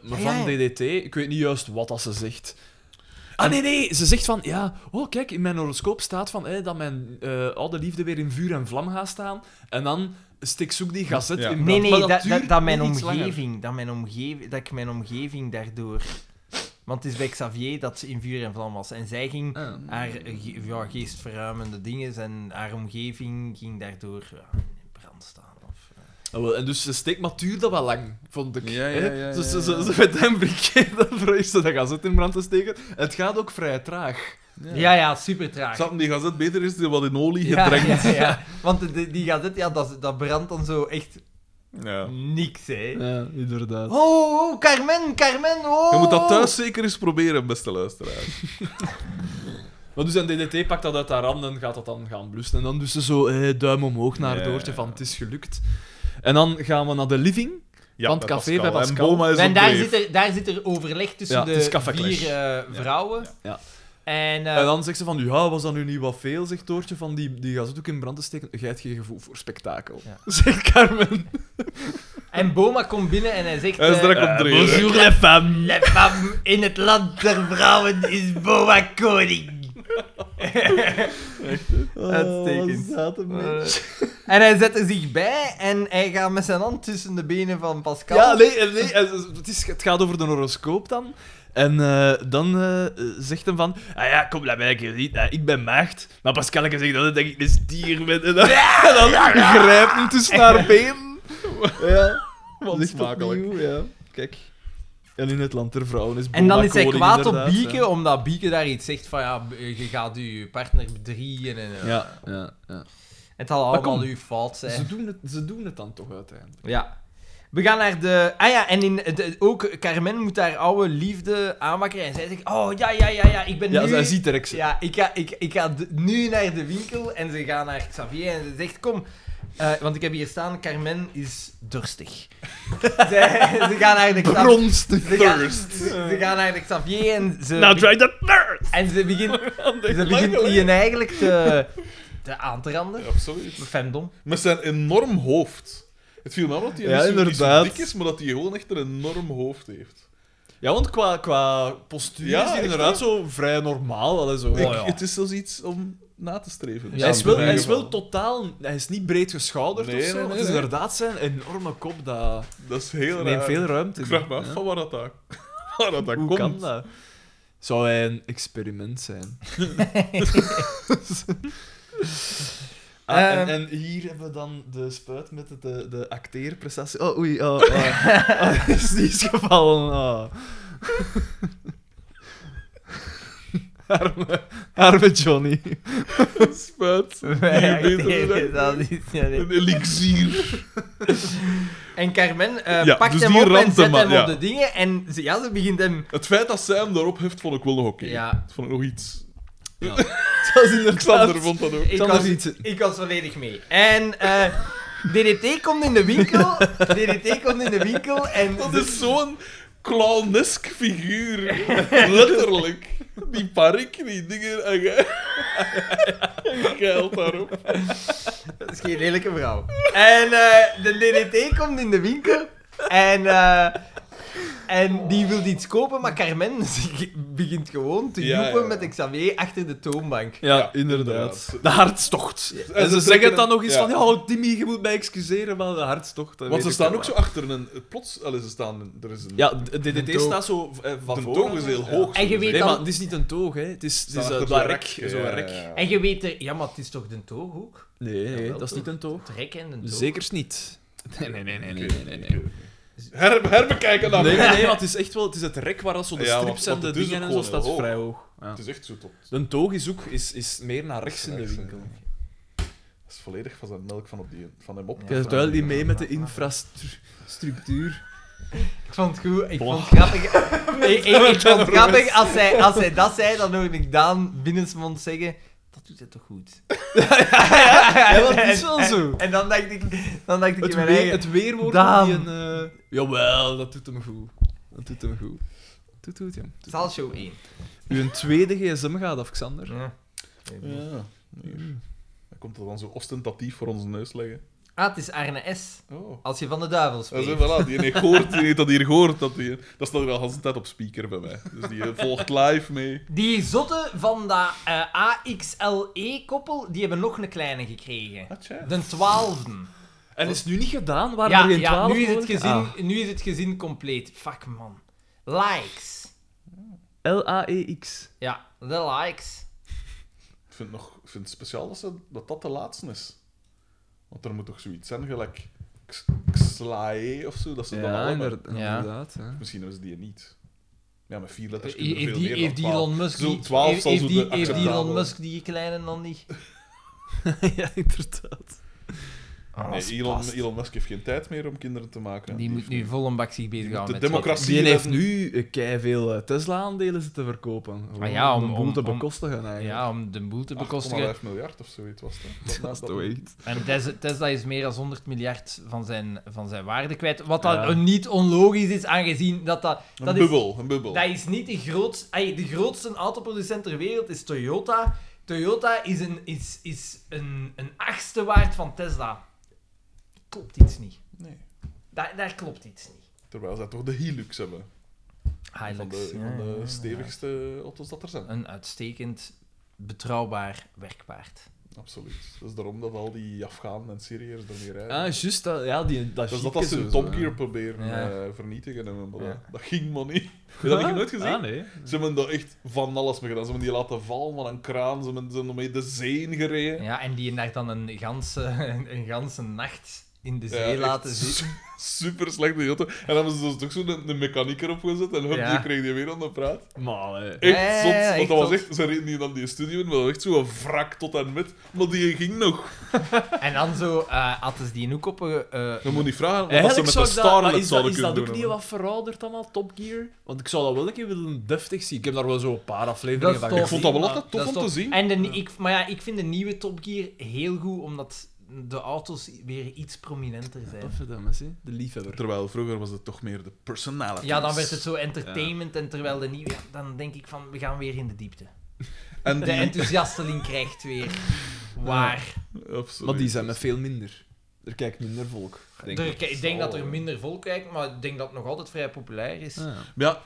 S3: maar
S1: Ah,
S3: van
S1: ja,
S3: DDT, ik weet niet juist wat dat ze zegt. Ah nee, nee, ze zegt van, ja, oh kijk, in mijn horoscoop staat van eh, dat mijn eh, oude liefde weer in vuur en vlam gaat staan. En dan stik zoek die gazet
S2: Ja.
S3: in
S1: Nee,
S3: brand.
S1: nee,
S3: Maar
S1: dat, dat,
S3: duurt
S1: dat mijn
S3: nog iets langer.
S1: omgeving, dat mijn omgeving, dat ik mijn omgeving daardoor... Want het is bij Xavier dat ze in vuur en vlam was. En zij ging
S3: Ah.
S1: haar eh, ge- ja, geestverruimende dingen en haar omgeving ging daardoor ja, in brand staan. Of, eh.
S3: Ah, wel, en dus ze steekt, maar het duurde wel lang, vond ik.
S2: Ja, ja,
S3: hè.
S2: ja,
S3: Ze-
S2: ja,
S3: ze-
S2: ja.
S3: Ze ze met hem brikje, dan probeert ze dat gazet in brand te steken. Het gaat ook vrij traag.
S1: ja, ja, super traag.
S2: Zat die gazet beter is dan wat in olie
S1: Ja,
S2: gedrenkt.
S1: ja, ja. Want de- die gazet, ja, dat, dat brandt dan zo echt
S2: Ja.
S1: niks, hè.
S3: Ja, inderdaad.
S1: Oh, oh, Carmen, Carmen, oh!
S2: Je moet dat thuis zeker eens proberen, beste luisteraar.
S3: Maar dus een DDT pakt dat uit haar handen en gaat dat dan gaan blussen. En dan dus ze zo eh, duim omhoog naar
S2: Ja.
S3: Doortje van het is gelukt. En dan gaan we naar de living. Van het
S2: bij
S3: café bij
S2: En
S3: Pascal.
S2: Boma is
S1: En
S2: op
S1: daar
S2: dreef.
S1: zit, er, daar zit er overleg tussen
S3: Ja, het
S1: de
S3: is Café Clash.
S1: vier eh, vrouwen.
S3: Ja.
S1: En, eh,
S3: En dan zegt ze van, ja, was dat nu niet wat veel, zegt Doortje, van die, die gazet ook in brand te steken. Jij hebt geen gevoel voor spektakel.
S1: Ja.
S3: Zegt Carmen.
S1: en Boma komt binnen en hij zegt...
S2: Hij is
S1: eh,
S2: direct op dreef.
S3: les femmes.
S1: "La femme in het land der vrouwen is Boma koning.
S3: Oh,
S1: Uitstekend. En hij zet er zich bij en hij gaat met zijn hand tussen de benen van Pascal.
S3: Ja, nee, eh, nee eh, het, is, het gaat over de horoscoop dan. En eh, dan eh, eh, zegt hem van... Ah ja, kom naar mij, ik niet. Ah, ik ben maagd. Maar Pascalke zegt dat ik een stier ben. En dan, en dan grijpt hem tussen haar been. Ja,
S2: Wat
S3: ligt
S2: smakelijk.
S3: opnieuw, ja. Kijk. En in het land der vrouwen is
S1: En dan
S3: Boma
S1: is hij
S3: koning,
S1: kwaad op
S3: inderdaad,
S1: Bieke, omdat Bieke daar iets zegt van ja, je gaat je partner bedriegen en eh,
S3: Ja, ja, ja. ja.
S1: het zal allemaal
S3: kom.
S1: uw fout zijn.
S3: Ze, doen het, ze doen het dan toch uiteindelijk.
S1: Ja. We gaan naar de... Ah ja, en in de- ook Carmen moet haar oude liefde aanwakkeren. En zij zegt, oh ja, ja, ja, ja, ik ben
S3: Ja,
S1: nu...
S3: zij ziet er ik
S1: Ja, ik ga, ik, ik ga d- nu naar de winkel en ze gaan naar Xavier en ze zegt, kom... eh, want ik heb hier staan, Carmen is dorstig. zij, ze gaan naar de Xavier...
S3: Bronstig.
S1: Ze gaan, ze gaan naar de Xavier en ze...
S3: that thirst!
S1: en ze begint, ze
S3: Nou, lang
S1: begint
S3: geleden.
S1: Ian eigenlijk te, te aan te randen.
S2: Absoluut.
S1: Femdom.
S2: Met zijn enorm hoofd. Het viel me op dat hij
S3: Ja,
S2: niet, zo, niet zo
S3: inderdaad.
S2: dik is, maar dat hij gewoon echt een enorm hoofd heeft.
S3: Ja, want qua, qua postuur
S2: Ja,
S3: is hij
S2: echt
S3: inderdaad
S2: wel.
S3: zo vrij normaal. Allee, zo.
S2: Ik-
S3: Oh, ja.
S2: Het is zelfs iets om na te streven.
S1: Ja,
S3: hij, is wel,
S2: in
S3: hij is
S2: ieder
S3: wel
S2: geval.
S3: totaal... Hij is niet breed geschouderd
S2: Nee,
S3: of zo.
S2: nee, nee,
S3: het is
S2: nee.
S3: inderdaad zijn enorme kop dat
S2: Dat is heel
S3: neemt
S2: raar.
S3: veel ruimte
S2: Ik vraag me
S3: in,
S2: af
S3: hè.
S2: van waar dat, waar dat, dat
S3: Hoe
S2: komt.
S3: kan dat? Zou hij een experiment zijn? Ah, en,
S1: Ehm.
S3: en hier hebben we dan de spuit met de, de, de acteerprestatie. Oh, oei, oh, oh. Oh, is die is gevallen. Oh. arme, arme Johnny.
S2: Spuit.
S1: Wij
S2: Hier, dit,
S1: acteren,
S2: dat-
S1: dat is- ja, nee.
S2: Een elixier.
S1: En Carmen eh,
S2: Ja,
S1: pakt
S2: dus
S1: hem
S2: die
S1: op en
S2: ramt
S1: zet
S2: hem
S1: hem
S2: aan,
S1: op
S2: ja.
S1: de dingen. En ze, ja, ze begint hem...
S2: Het feit dat zij hem daarop heeft, vond ik wel nog oké.
S1: Ja.
S2: Dat vond ik nog iets.
S3: Ja.
S2: Dat is inderdaad. Xander vond dat ook.
S1: Ik
S3: Ik
S1: was,
S3: was niet-
S1: ik was volledig mee. En eh, DDT komt in de winkel. DDT komt in de winkel en...
S2: Dat is zo'n clownesk figuur. Letterlijk. Die parik, die dingen. En jij- en geilt daarop.
S1: Dat is geen lelijke vrouw. En eh, de DDT komt in de winkel. En eh, En die wil iets kopen, maar Carmen begint gewoon te
S2: Ja,
S1: joepen
S2: ja.
S1: met Xavier achter de toonbank.
S3: Ja,
S2: Ja,
S3: inderdaad.
S2: inderdaad.
S3: De hartstocht. En, ze
S2: ze
S3: zeggen
S2: trekken
S3: dan
S2: hem-
S3: nog eens
S2: ja.
S3: van, ja, oh, Timmy, je moet mij excuseren, maar de hartstocht... dat weet
S2: Want ze
S3: ik
S2: staan
S3: wel.
S2: ook zo achter een... Plots... Allee, ze staan... Er is een...
S3: Ja, d- DDT
S1: De toog.
S3: staat zo eh, van
S2: de
S3: voor.
S2: toog is heel
S3: Ja.
S2: hoog.
S1: En je
S2: zullen ze
S1: weet
S3: Nee,
S1: dan-
S3: maar het is niet een toog, hè. Het is, het
S2: zeggen.
S3: is
S2: Staan
S3: eh,
S2: achter
S3: dat rek.
S2: zo'n ja,
S3: Zo'n
S2: ja,
S3: rek.
S2: ja.
S1: En je weet er, ja, maar het is toch de toog ook?
S3: Nee, nee,
S1: Jawel,
S3: dat is niet een toog.
S1: Het rek en de toog.
S3: Zeker niet. Nee, nee, nee, nee, nee, nee, nee.
S2: Oké. Her, herbekijken dan.
S3: Nee, nee, nee, want het is echt wel het, is het rek waar dat zo de
S2: Ja, want-
S3: strips
S2: want
S3: en
S2: het
S3: de
S2: is
S3: dingen
S2: ook
S3: en zo
S2: gewoon
S3: staat
S2: heel
S3: vrij hoog. Ja.
S2: Het is echt zo tot...
S3: De toog is ook is, is meer naar rechts in de
S2: Rechts,
S3: winkel.
S2: ja. Dat is volledig van zijn melk van, op die, van hem op.
S1: Ja.
S3: Je hebt wel die mee met de infrastructuur.
S1: Ik vond het goed, ik
S3: Blah.
S1: vond het grappig. ik, ik- ik vond het grappig, als hij, als hij dat zei, dan hoorde ik Daan binnensmonds zeggen... Dat doet hij toch goed?
S3: Ja, want het is wel zo.
S1: En dan dacht ik, dan dacht ik
S3: Het,
S1: in mijn
S3: weer,
S1: eigen-
S3: het weerwoord
S1: Daan.
S3: van die een... eh, Jawel, dat doet hem goed. Dat doet hem goed. Doet, doet, ja. Doet.
S1: Zal show 1.
S3: Uw tweede gsm gaat af, Xander.
S2: Ja. Hij komt er dan zo ostentatief voor onze neus leggen.
S1: Ah, het is Arne S.
S2: Oh.
S1: Als je van de duivel
S2: Ja, zo,
S1: spreekt.
S2: voilà, die heeft gehoord, die heeft dat hier gehoord. Dat, die, dat staat er al de hele tijd op speaker bij mij. Dus die eh, volgt live mee.
S1: Die zotten van dat eh, AXLE-koppel, die hebben nog een kleine gekregen.
S2: Ah, tja.
S1: De twaalfde.
S3: En is nu niet gedaan? Waren
S1: Ja,
S3: er geen
S1: ja
S3: twaalf
S1: nu, is het
S3: mogelijk?
S1: gezin,
S3: Ah.
S1: nu is het gezin compleet. Fuck, man. Likes.
S3: L-A-E-X.
S1: Ja, de likes.
S2: Ik vind het, nog, ik vind het speciaal dat, ze, dat dat de laatste is. Want er moet toch zoiets zijn, gelijk X- Xlae of zo, dat ze dan
S3: Ja,
S2: allemaal...
S3: inderdaad.
S1: Ja.
S3: inderdaad hè.
S2: Misschien hebben ze die niet. Ja, met vier letters kun je er
S1: Eh, Heeft
S2: veel
S1: die,
S2: meer
S1: heeft die
S2: dan
S1: Elon Musk
S2: Zo'n
S1: die,
S2: 12
S1: heeft,
S2: zal
S1: heeft
S2: zo
S1: die,
S2: de
S1: heeft die Elon
S2: acceptabele-
S1: Musk die kleine dan niet?
S3: ja, inderdaad.
S1: Ah,
S2: Nee,
S1: dat
S2: Elon,
S1: past.
S2: Elon Musk heeft geen tijd meer om kinderen te maken.
S1: die moet nu
S2: heeft-
S1: vol een bak zich bezighouden met
S2: moet de democratie-
S3: Die heeft nu eh, kei veel Tesla-aandelen zitten verkopen.
S1: Ah ja, om-
S3: de boel
S1: om-
S3: te
S1: om-
S3: bekostigen
S1: wat-
S3: eigenlijk.
S1: Ja, om de boel te bekostigen.
S2: 8,5 miljard of zoiets was dat.
S3: dat is toch echt.
S1: En Tes- Tesla is meer dan 100 miljard van zijn, van zijn waarde kwijt. Wat dan
S3: Ja.
S1: niet onlogisch is, aangezien dat dat...
S2: Een
S1: dat is,
S2: bubbel, een bubbel.
S1: Dat is niet de grootste... ey, de grootste autoproducent ter wereld is Toyota. Toyota is een, is, is een, een achtste waard van Tesla. Klopt iets niet.
S2: Nee.
S1: Daar, daar klopt iets niet.
S2: Terwijl zij toch de Hilux hebben. Een Van de,
S1: Hilux.
S2: een
S1: ja,
S2: van de
S1: ja, ja.
S2: stevigste auto's dat er zijn.
S1: Een uitstekend, betrouwbaar werkpaard.
S2: Absoluut. Dat is daarom dat al die Afghanen en Syriërs er meer rijden. Dus
S3: Ah, juist. Dat, ja, die, dat
S2: dat is dat
S3: chique
S2: als ze
S3: zo,
S2: hun
S3: zo.
S2: Top Gear proberen
S1: Ja.
S2: eh, vernietigen. En, maar dat-
S1: Ja.
S2: Dat ging maar niet. Dat heb ik nooit gezien.
S3: Ah, nee.
S2: Ze hebben daar echt van alles mee gedaan. Ze hebben die laten vallen van een kraan. Ze hebben, ze hebben mee de zee gereden.
S1: Ja, en die daar dan een ganse, een ganse nacht in de
S2: Ja,
S1: zee
S2: echt
S1: laten zitten.
S2: su- Super slecht die auto. En dan hebben ze dus toch zo'n een, mechanieker opgezet en hup,
S1: Ja.
S2: die kreeg die weer aan de praat.
S3: Maar, hè.
S2: Echt
S1: Ja, ja, ja,
S2: zot.
S1: echt
S2: want dat was
S1: zot.
S2: echt, ze reden hier dan die studio in, maar dat was echt zo'n wrak tot en met. Maar die ging nog.
S1: En dan zo eh hadden ze die ook op een... eh,
S2: Je moet niet vragen wat ze
S3: Eigenlijk
S2: met
S3: zou
S2: de
S3: ik dat, maar
S2: Starlet
S3: is dat,
S2: zouden
S3: is
S2: kunnen
S3: dat
S2: doen.
S3: ook niet
S2: hoor.
S3: wat verouderd allemaal, Top Gear? Want ik zou dat wel een keer willen deftig zien. Ik heb daar wel zo een paar afleveringen
S1: Dat
S3: van
S1: is
S2: Ik
S1: tof.
S2: vond dat wel
S1: Maar
S2: altijd tof
S1: dat
S2: om
S1: is
S2: te zien.
S1: En de, ik, maar ja, ik vind de nieuwe Top Gear heel goed, omdat de auto's weer iets prominenter zijn.
S3: Godverdamme, zie. De liefhebber.
S2: Terwijl vroeger was het toch meer de personality.
S1: Ja, dan werd het zo entertainment, en terwijl de nieuwe... ja, dan denk ik van, we gaan weer in de diepte.
S2: En
S1: De
S2: die,
S1: enthousiasteling krijgt weer waar.
S2: absoluut.
S3: Maar die zijn met veel minder. Er kijkt minder volk, denk
S1: Er-
S3: ik.
S1: ik, denk dat er
S2: eh,
S1: minder volk kijkt, maar ik denk dat het nog altijd vrij populair is.
S3: Ah.
S2: Maar ja,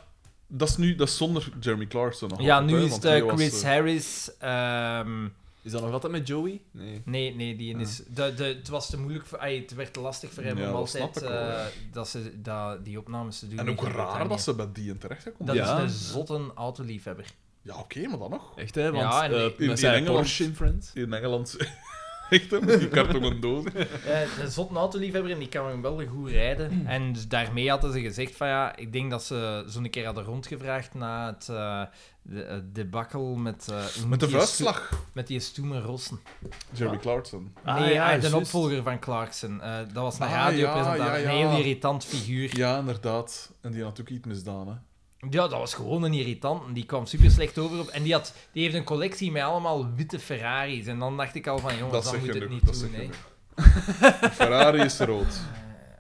S2: dat is nu dat is zonder Jeremy Clarkson. nog
S1: Ja,
S2: altijd,
S1: nu
S2: hè,
S1: is
S2: want
S1: het
S2: die
S1: eh,
S2: was,
S1: Chris
S2: eh,
S1: Harris... ehm,
S3: Is dat nog altijd met Joey? Nee.
S1: Nee, nee, die is... De, de, het was te moeilijk voor... ai, het werd te lastig voor hem
S2: Ja,
S1: om
S2: dat
S1: altijd
S2: snap ik wel,
S1: eh,
S2: ja.
S1: dat ze, dat, die opnames te doen.
S2: En
S1: in
S2: ook raar
S1: Groot-Brittannië.
S2: dat ze bij die in terecht gekomen
S1: Dat
S3: Ja.
S1: is een zotte autoliefhebber.
S2: Ja, oké, maar dan nog.
S3: Echt, hè? Want
S1: Ja,
S3: ja,
S1: en-
S3: met
S2: In- in
S3: zijn
S2: Engeland.
S3: Porsche in Friends.
S2: In Engeland. Echt, hè, met die kartonnen doos.
S1: Eh een zotte autoliefhebber en die kan hem wel goed rijden. En dus daarmee hadden ze gezegd van ja, ik denk dat ze zo'n keer hadden rondgevraagd na het eh de, eh, debakkel met... eh, hoe
S2: Met
S1: noemt
S2: de
S1: die
S2: vuistslag.
S1: sto- Met die stoeme Rossen.
S2: Jeremy Clarkson.
S3: Ah,
S1: nee,
S3: ja,
S1: ah, de
S3: juist.
S1: opvolger van Clarkson. Eh, dat was een
S2: Ah, ja,
S1: radiopresentator.
S2: ja, ja.
S1: Een heel irritant figuur.
S2: Ja, inderdaad. En die had ook iets misdaan, hè.
S1: Ja, dat was gewoon een irritant. en Die kwam super slecht over op. En die, had, die heeft een collectie met allemaal witte Ferraris. En dan dacht ik al van, jongens,
S2: dat
S1: dan
S2: zeg
S1: moet
S2: je
S1: het
S2: genoeg.
S1: niet
S2: Dat
S1: doen.
S2: zeg je
S1: hè. Eh,
S2: genoeg. Ferrari is rood.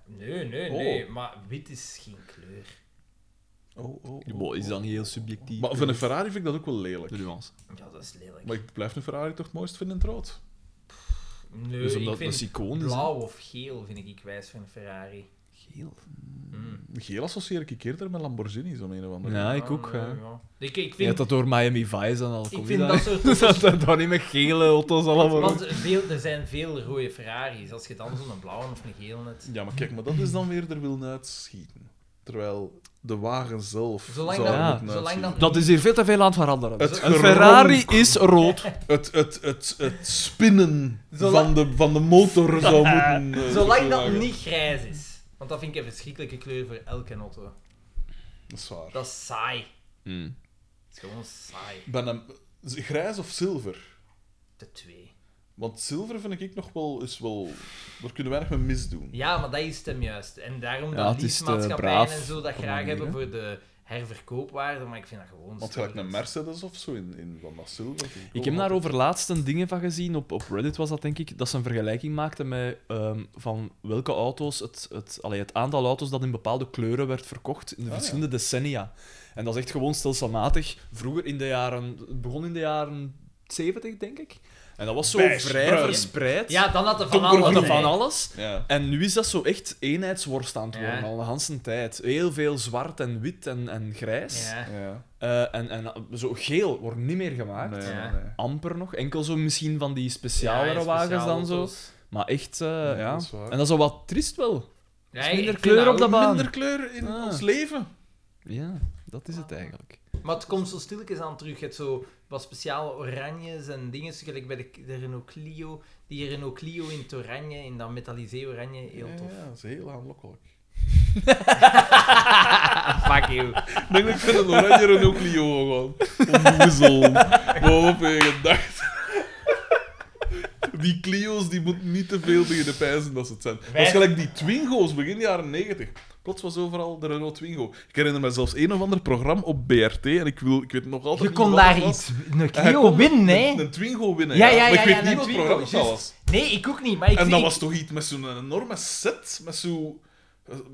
S1: Nee, nee,
S2: Oh.
S1: nee. Maar wit is geen kleur.
S2: Oh, oh,
S3: Ja, boy, is dan niet heel subjectief.
S2: Maar van een Ferrari vind ik dat ook wel lelijk.
S3: De nuance.
S1: Ja, dat is lelijk.
S2: Maar ik blijf een Ferrari toch het mooist vinden in het rood.
S1: Nee,
S3: dus
S1: ik
S3: omdat het
S1: vind
S3: een icoon is. hè.
S1: blauw of geel vind ik ik wijs van een Ferrari.
S3: Geel.
S1: Mm.
S2: Geel associeer ik eerder met Lamborghinis om een of andere
S3: Ja, ik ook.
S1: Ja,
S3: ja.
S1: ja. Ik, ik
S3: Je
S1: vind,
S3: hebt dat door Miami Vice en al.
S1: ik vind dat soort
S3: dat dat dan niet met gele auto's allemaal.
S1: Want veel, er zijn veel rode Ferraris. Als je dan zo'n blauwe of een gele hebt.
S2: Ja, maar kijk, maar dat is dan weer er wil uitschieten. Terwijl de wagen zelf
S1: Zolang
S2: zou
S1: dat-
S2: er moeten
S1: zolang dat-
S2: uitschieten.
S3: Dat is hier veel te veel aan het veranderen.
S2: Het
S3: Een Ferrari
S2: geronk.
S3: is rood.
S2: Het, het, het, het spinnen
S1: Zolang-
S2: van, de, van de motor zou moeten... eh,
S1: Zolang dat
S2: verlagen.
S1: niet grijs is. Want dat vind ik een verschrikkelijke kleur voor elke auto.
S2: Dat is waar.
S1: Dat is saai.
S3: Hmm.
S1: Het is gewoon saai.
S2: Ik Ben hem, grijs of zilver?
S1: De twee.
S2: Want zilver vind ik nog wel... Is wel daar kunnen weinig mee misdoen.
S1: Ja, maar dat is hem juist. En daarom
S3: Ja,
S1: dat
S3: het is te
S1: leasemaatschappijen
S3: braaf
S1: en zo dat
S3: op een
S1: graag
S3: manier,
S1: hebben
S3: hè.
S1: voor de herverkoopwaarde. Maar ik vind dat gewoon
S2: Want gelijk een Mercedes of zo in, in van dat zilver. vind
S3: Ik
S2: wel
S3: heb daarover laatst een dingen van gezien, op, op Reddit was dat denk ik, dat ze een vergelijking maakten met ehm, van welke auto's, het, het, allee, het aantal auto's dat in bepaalde kleuren werd verkocht in de
S2: Ah, ja.
S3: verschillende decennia. En dat is echt gewoon stelselmatig. Vroeger in de jaren, het begon in de jaren 70 denk ik. En dat was zo
S2: Beige,
S3: vrij
S2: bruin.
S3: verspreid.
S1: Ja, dan had er van
S2: Donkergroen.
S1: alles.
S3: Hadden
S1: hè.
S3: van alles.
S2: Ja.
S3: En nu is dat zo echt eenheidsworst aan het worden,
S1: Ja.
S3: al de hele tijd. Heel veel zwart en wit en, en grijs.
S1: Ja.
S2: Ja.
S3: Eh, en, en zo geel wordt niet meer gemaakt.
S2: Nee,
S1: Ja.
S2: nee.
S3: Amper nog. Enkel zo misschien van die
S1: Ja,
S3: specialere
S1: en
S3: wagens dan zo.
S1: speciaalauto's.
S3: Maar echt, eh,
S2: Ja,
S3: ja.
S2: dat is waar.
S3: en dat is al wat triest wel.
S1: Ja,
S3: Is
S1: ik
S3: minder
S1: vind
S3: kleur
S1: dat
S3: op de
S1: ook.
S3: baan.
S2: Minder kleur in
S3: Ah.
S2: ons leven.
S3: Ja, dat is het
S2: Ah.
S3: eigenlijk.
S1: Maar het komt zo stilletjes aan terug. Je hebt zo wat speciale oranjes en dingen. Gelijk bij de, de Renault Clio. Die Renault Clio in het oranje, in dat metallisé oranje, heel
S2: Ja,
S1: tof.
S2: Ja, dat is heel aanlokkelijk.
S1: Ah, Fuck you.
S2: Ik denk dat ik vind een oranje Renault Clio gewoon. Onwoezel. Wat heb je gedacht? Die Clio's die moeten niet te veel tegen de pijzen dat ze het zijn.
S1: Wij-
S2: Waarschijnlijk die Twingo's begin jaren 90. Plots was overal de Renault Twingo. Ik herinner me zelfs een of ander programma op BRT en ik, wil, ik weet nog altijd
S1: Je
S2: niet
S1: kon
S2: wat het
S1: daar
S2: was.
S1: iets... Een
S2: En hij
S1: Clio
S2: kon
S1: winnen,
S2: Een,
S1: hè?
S2: een Twingo winnen.
S1: Ja,
S2: Ja,
S1: ja, ja,
S2: Maar ik
S1: ja,
S2: weet niet
S1: een
S2: wat het
S1: Twingo,
S2: programma dat
S1: juist.
S2: was.
S1: Nee, ik ook niet, maar ik
S2: En dat
S1: zie-
S2: was toch iets met zo'n enorme set? Met zo'n.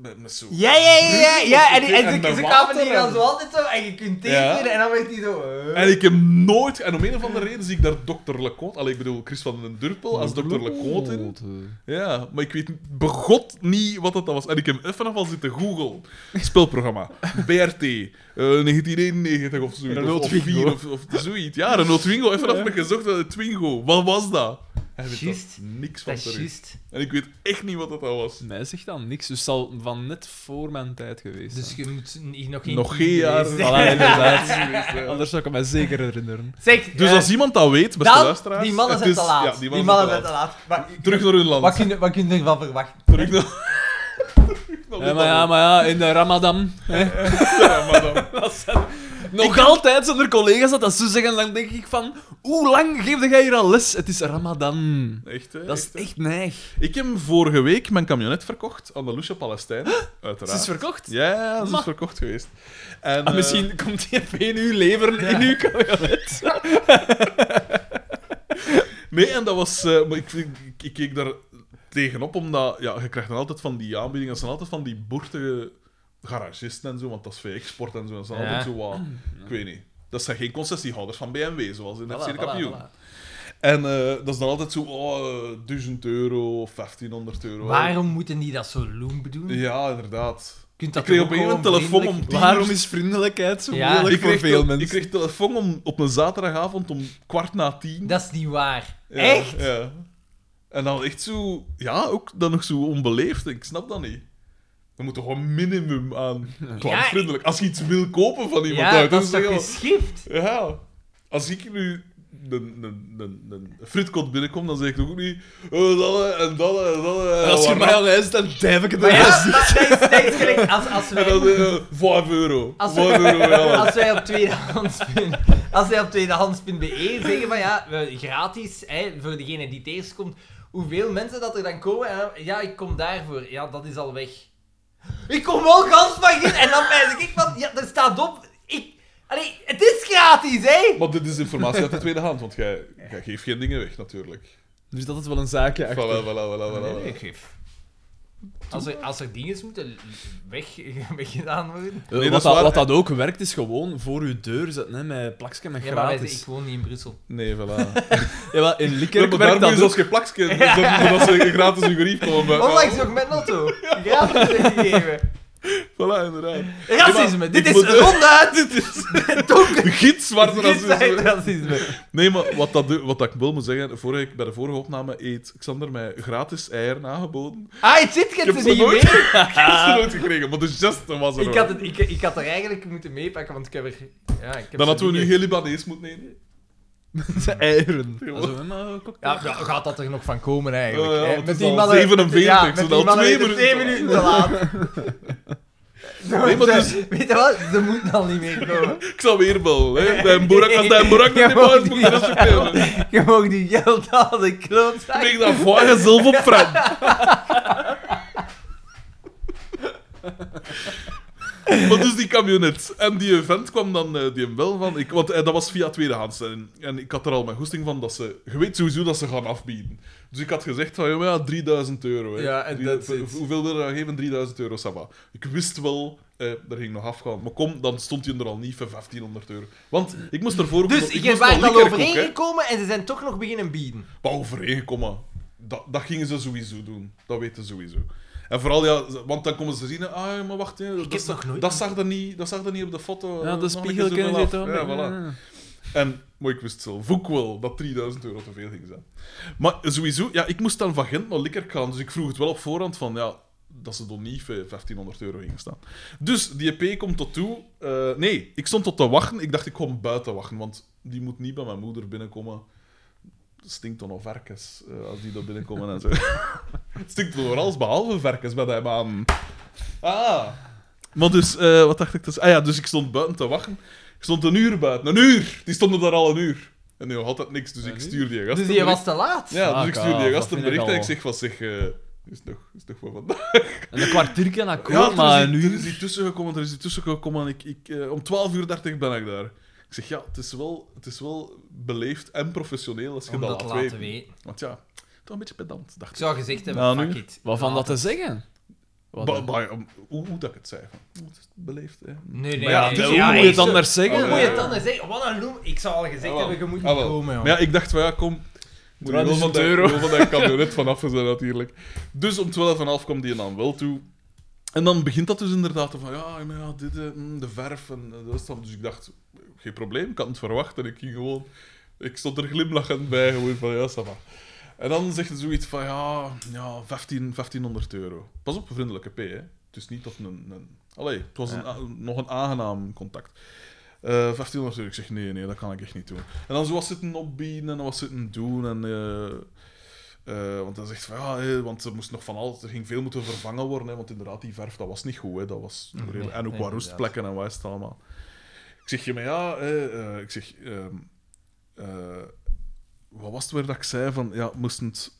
S2: Met, met zo'n
S1: Ja, ja, ja, ja, ja. En, en,
S2: En
S1: ze,
S2: met
S1: ze kwamen
S2: water
S1: hier dan
S2: en-
S1: zo altijd zo en je kunt tekenen en dan werd hij zo... eh.
S2: En ik heb nooit, en om een of andere reden zie ik daar Dr. Leconte, allee, ik bedoel Chris van den Durpel als Dr. Leconte in. Ja, maar ik weet begot niet wat dat was. En ik heb even al zitten googlen. Spelprogramma, BRT, eh, 1991 of zoiets.
S3: Renault
S2: of, of
S3: Twingo.
S2: vier Of, of zoiets. Ja, Renault Twingo, even af met gezocht, eh, Twingo, wat was dat? Hij weet
S1: Juist.
S2: daar niks van
S1: Dat is
S2: terug.
S1: juist.
S2: En ik weet echt niet wat dat was.
S3: Mij zegt dan niks, dus het zal van net voor mijn tijd geweest
S1: Dus
S3: zijn.
S1: je moet n- nog geen...
S2: Nog geen jaar.
S1: Zeg,
S3: Voilà, inderdaad.
S2: dus- Ja.
S3: Anders zou ik het mij zeker herinneren.
S1: Zeg,
S2: Dus
S1: eh,
S2: als iemand dat weet, beste
S1: Dan,
S2: luisteraars...
S1: die mannen
S2: het
S1: zijn
S2: is-
S1: te laat.
S2: ja,
S1: die mannen zijn
S2: te
S1: te laat. Maar,
S2: laat. Terug naar hun land.
S1: wat, kun je, wat kun je ervan verwachten?
S2: Terug naar... Terug naar
S3: Ja,
S2: hun
S3: maar ja,
S2: land.
S3: maar ja, in de Ramadan.
S2: Ja, maar dan-
S3: Nog altijd zijn er collega's dat dat zo zeggen. Dan denk ik van, hoe lang geef jij hier al les? Het is Ramadan.
S2: Echt, hè?
S3: Dat is
S2: Echt, hè?
S3: echt neig.
S2: Ik heb vorige week mijn camionet verkocht aan de Lucia Palestijn.
S3: Het
S2: Uiteraard.
S3: is verkocht.
S2: Ja, ze
S3: Ma.
S2: is verkocht geweest. En,
S3: Ah,
S2: eh,
S3: misschien komt die even in uw leveren, in uw kabinet.
S2: Nee, en dat was... eh, maar ik, ik, ik keek daar tegenop, omdat... Ja, je krijgt dan altijd van die aanbiedingen. Dat zijn altijd van die boertige garagisten en zo, want dat is V-export en zo. Dat zijn
S1: Ja.
S2: altijd zo wat... Ik weet niet. Dat zijn geen concessiehouders van BMW, zoals in het
S3: Voilà,
S2: FC de
S3: voilà,
S2: Kampioen.
S3: voilà.
S2: En eh, dat is dan altijd zo, oh, eh, 1000 euro of 1500 euro.
S1: Waarom moeten die dat zo loom doen?
S2: Ja, inderdaad.
S1: Kunt dat
S2: ik
S1: toch
S2: kreeg op een
S1: ook
S2: gegeven moment
S1: gewoon
S2: telefoon om
S1: vriendelijk-
S2: 10
S3: Waarom
S2: uur.
S3: is vriendelijkheid zo
S1: Ja.
S3: moeilijk
S2: ik
S3: voor
S2: kreeg,
S3: veel
S2: tel-
S3: mensen?
S2: ik kreeg telefoon om, op een zaterdagavond om kwart na tien.
S1: Dat is niet waar.
S2: Ja,
S1: Echt?
S2: Ja. En dan echt zo, ja, ook dan nog zo onbeleefd. Ik snap dat niet. We moeten gewoon minimum aan klantvriendelijk. Als je iets wil kopen van iemand
S1: Ja, dat
S2: uit, dan
S1: is
S2: zeg
S1: toch
S2: je wel-
S1: geschift?
S2: Ja. Als ik nu een, een, een, een fritkot binnenkom, dan zeg ik toch ook niet... eh, dat eh, en dat eh, en dat eh,
S3: En als je
S2: waarom?"
S3: mayonaise, dan duif ik het
S1: Maar
S3: erin.
S1: ja, maar dat is, dat is gelijk als, als
S2: En dan
S1: wij...
S2: zeg je, 5 eh, euro.
S1: Als
S2: 5 euro, ja.
S1: Als wij op tweedehands.be als wij op tweedehands.be E zeggen van ja, we- gratis, hè, voor degene die het eerst komt, hoeveel mensen dat er dan komen, en dan, ja, ik kom daarvoor, ja, dat is al weg. Ik kom wel gans van geen- en dan wijs ik van, ja, er staat op, ik, allee, het is gratis, hè.
S2: Maar dit is informatie uit de tweede hand, want jij, jij geeft geen dingen weg, natuurlijk.
S3: Er zit altijd Dus wel een zaakje
S2: Voilà,
S3: achter.
S2: voilà, voilà, voilà.
S1: Ah, Nee, ik geef. Als er, als er dingen moeten weg, weggedaan worden...
S3: Eh,
S2: Nee, dat
S3: wat,
S2: is
S3: dat,
S2: waar.
S3: wat dat ook werkt, is gewoon voor uw deur zetten, hè, met plakje met
S1: Ja, maar wij-
S3: gratis.
S1: ik woon niet in Brussel.
S2: Nee, voilà.
S3: Ja, maar in
S2: Ik heb
S3: Likkerk
S2: daar
S3: werkt
S2: moet je
S3: dat
S2: zelfs
S3: ook.
S2: geen plakje, dus dat,
S1: Oh,
S2: dat ze gratis een grief komen.
S1: Onlangs ook met Notto. Gratis gegeven.
S2: Voilà, inderdaad. Nee,
S1: Racisme,
S2: maar
S1: dit
S2: ik
S1: is
S2: moet-
S1: ronduit! Dit is donker!
S2: Gitzwart
S1: Dit zijn
S2: racisme.
S1: racisme.
S2: Nee, maar wat, dat, wat ik wil moet zeggen, vorige, bij de vorige opname eet Xander mij gratis eieren aangeboden.
S1: Ah, het zit, ik
S2: Ik
S1: heb
S2: heb
S1: het
S2: het
S1: niet
S2: nooit-
S1: meer.
S2: Ik heb ze nooit gekregen, maar de geste was er
S1: Ik
S2: wel.
S1: had, het, ik, ik had er eigenlijk moeten meepakken, want ik heb er... Ja, ik heb
S2: Dan
S1: ze
S2: hadden we
S1: niet
S2: nu
S1: meer.
S2: heel Libanees moeten eten.
S3: De eieren.
S2: Gewoon.
S1: Ja, ja, gaat dat er nog van komen, eigenlijk?
S2: Oh ja,
S1: hè?
S2: want het is al 47,
S1: ja,
S2: ze
S1: met
S2: zijn
S1: die
S2: al
S1: mannen
S2: twee
S1: is het
S2: minuten
S1: twee minuten te laat.
S2: Nee, maar dus-
S1: Ze- Weet je wat? Ze moeten al niet meer komen.
S2: Ik zal weer bellen, hè. Bij een boerak, als bij een boerak niet
S1: Je
S2: meer
S1: mag
S2: uit moet,
S1: niet-
S2: dan is het oké.
S1: Je mag die geld aan de klootzak.
S2: Ik dat vage zilver Fred. Maar dus die camionet. En die vent kwam dan eh, die hem wel van. Ik, want eh, dat was via tweedehands. En, en ik had er al mijn goesting van dat ze. Je weet sowieso dat ze gaan afbieden. Dus ik had gezegd van ja, ja 3000 euro. hè.
S1: Ja, en
S2: Drie-
S1: that's
S2: hoe-
S1: it.
S2: Hoeveel wil je dan geven? 3000 euro, Saba. Ik wist wel, eh er ging nog afgaan. Maar kom, dan stond hij er al niet voor 1500 euro. Want ik moest ervoor.
S1: Dus
S2: ik
S1: je
S2: moest
S1: bent
S2: naar
S1: al
S2: Likkerkoek, hè. Dus
S1: overeengekomen en ze zijn toch nog beginnen bieden.
S2: Maar overeenkomen, dat, dat gingen ze sowieso doen. Dat weten ze sowieso. En vooral, ja, ze- want dan komen ze zien, ah, ja, maar wacht, hè, dat,
S1: heb
S2: zag-
S1: nog nooit-
S2: dat, zag er niet, dat zag er niet op de foto.
S3: Ja, de
S2: Eh, nog een keer
S3: spiegel
S2: zo
S3: kunnen
S2: wel
S3: zitten.
S2: af. Ja, voilà. En, maar ik wist zelf ook wel dat 3000 euro te veel ging zijn. Maar sowieso, ja, ik moest dan van Gent naar Likkerk gaan, dus ik vroeg het wel op voorhand van, ja, dat ze dan niet eh, 1500 euro gingen staan. Dus die EP komt tot toe. eh, nee, ik stond tot te wachten. Ik dacht, ik kom buiten wachten, want die moet niet bij mijn moeder binnenkomen. Het stinkt dan al varkens, eh, als die daar binnenkomen en zo. Het stinkt door alles behalve varkens bij die man. Ah. Maar dus, eh, wat dacht ik dus? Ah ja, dus ik stond buiten te wachten. Ik stond een uur buiten. Een uur! Die stonden daar al een uur. En die had altijd niks, dus
S3: Een
S2: ik
S3: uur?
S2: stuurde die
S1: Dus
S2: gasten.
S1: je was te laat.
S2: Ja, dus ik
S3: Fuck
S2: stuurde die
S1: ah,
S3: off,
S2: gasten
S3: dat
S2: een
S3: vind ik
S2: bericht en ik
S3: al.
S2: zeg van zeg, eh, is het nog, is het nog van vandaag?
S3: En een kwartier kan dat
S2: Ja,
S3: komen, maar
S2: er
S3: een
S2: is, hier- er
S3: uur.
S2: is hier tussen gekomen, er is hier tussen gekomen. Ik, ik, eh, om 12.30 uur ben ik daar. Ik zeg, ja, het is wel, het is wel beleefd en professioneel als je
S1: Om dat
S2: laat
S1: te laten
S2: weten.
S1: weten.
S2: Want ja, toch een beetje pedant, dacht
S1: Ik
S2: ik.
S1: zou gezegd hebben,
S2: Nou,
S1: fuck
S2: nu.
S1: it.
S3: Wat van
S1: Laat
S3: dat te zeggen? Wat
S2: Ba-
S3: dan?
S2: ba- om- hoe, hoe dat ik het zei. Van, het is beleefd, hè.
S1: Nee, nee,
S2: Maar ja,
S1: nee.
S2: de-
S1: nee.
S3: hoe
S1: Ja,
S3: moet je
S1: echt
S3: het
S1: zo.
S3: anders zeggen?
S1: Hoe moet je het
S2: Ja.
S1: anders zeggen? Wat een loem. Ik zou al gezegd
S2: Jawel.
S1: hebben, je moet niet
S2: Jawel.
S1: komen, joh.
S2: Ah, Maar ja, ik dacht van ja, kom. Moet je wel
S3: 300
S2: van dat-
S3: euro.
S2: wel van dat kabinet vanaf zijn natuurlijk. Dus om 12,5 kwam die dan wel toe. En dan begint dat dus inderdaad van ja, maar ja dit, eh, mm, de verf en eh, dat is dan. Dus ik dacht, geen probleem, ik had het verwacht. En ik ging gewoon, ik stond er glimlachend bij, gewoon van ja, ça va. En dan zegt ze zoiets van ja, ja 15, 1500 euro. Pas op, een vriendelijke P, hè. Het is niet dat een. een... Allee, het was een, a- nog een aangenaam contact. Eh 1500 euro. Ik zeg nee, nee, dat kan ik echt niet doen. En dan zo was zitten opbieden en dan was zitten doen. En, eh, eh, want dan zegt van ja, hè, want er moest nog van alles, er ging veel moeten vervangen worden. Hè, want inderdaad, die verf dat was niet goed. Hè, dat was,
S1: Nee,
S2: redelijk- en ook
S1: nee,
S2: qua roestplekken en wat is het allemaal. Ik zeg je, maar ja, eh, eh, ik zeg. ehm, eh, wat was het weer dat ik zei van ja, moest het.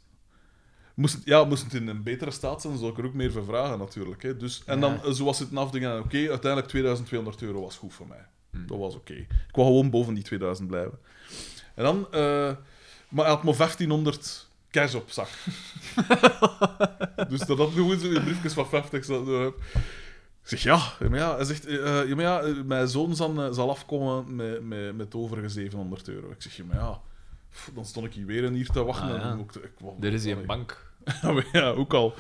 S2: Moest, het- ja, moest het in een betere staat zijn, zou ik er ook meer voor vragen natuurlijk. Hè. Dus, en dan,
S1: Ja.
S2: eh, zo was het een afdingen. Oké, uiteindelijk 2200 euro was goed voor mij.
S3: Hmm.
S2: Dat was oké. Ik wou gewoon boven die 2000 blijven. En dan, eh, maar hij had maar 1500 cash op zak. dus dat had gewoon zo in briefjes van 50 zat. eh. Ik zeg ja, Ja, maar ja, hij zegt, eh, eh, ja, maar ja, eh, mijn zoon zal, eh, zal afkomen met, met, met overige 700 euro. Ik zeg ja, maar ja, pff, dan stond ik hier weer een hier te wachten.
S3: Ah,
S2: en
S3: ja.
S2: ook te- ik wou-
S3: Er is
S2: Allee.
S3: een bank.
S2: Ja, maar ja, ook al.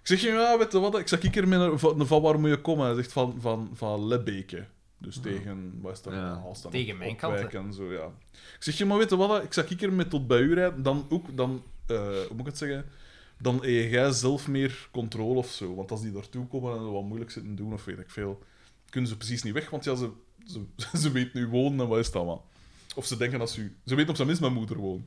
S2: Ik zeg, ja, weet je wat, ik zag ik er met een- van, van waar moet je komen? Hij zegt van, van, van Lebbeke. Dus tegen, wat is dat?
S3: Ja.
S2: Halstan,
S1: Tegen mijn
S2: Opwijk
S1: kant, hè.
S2: En zo, ja. Ik zeg, ja, maar weet je wat, ik zag ik er met tot bij u rijden, dan ook, dan, eh, hoe moet ik het zeggen? Dan heb jij zelf meer controle of zo. Want als die daartoe komen en wat moeilijk zitten doen of weet ik veel, kunnen ze precies niet weg, want ja, ze, ze, ze weten nu wonen en wat is dat allemaal. Of ze denken dat ze... Ze weten op zijn minst mijn moeder woont.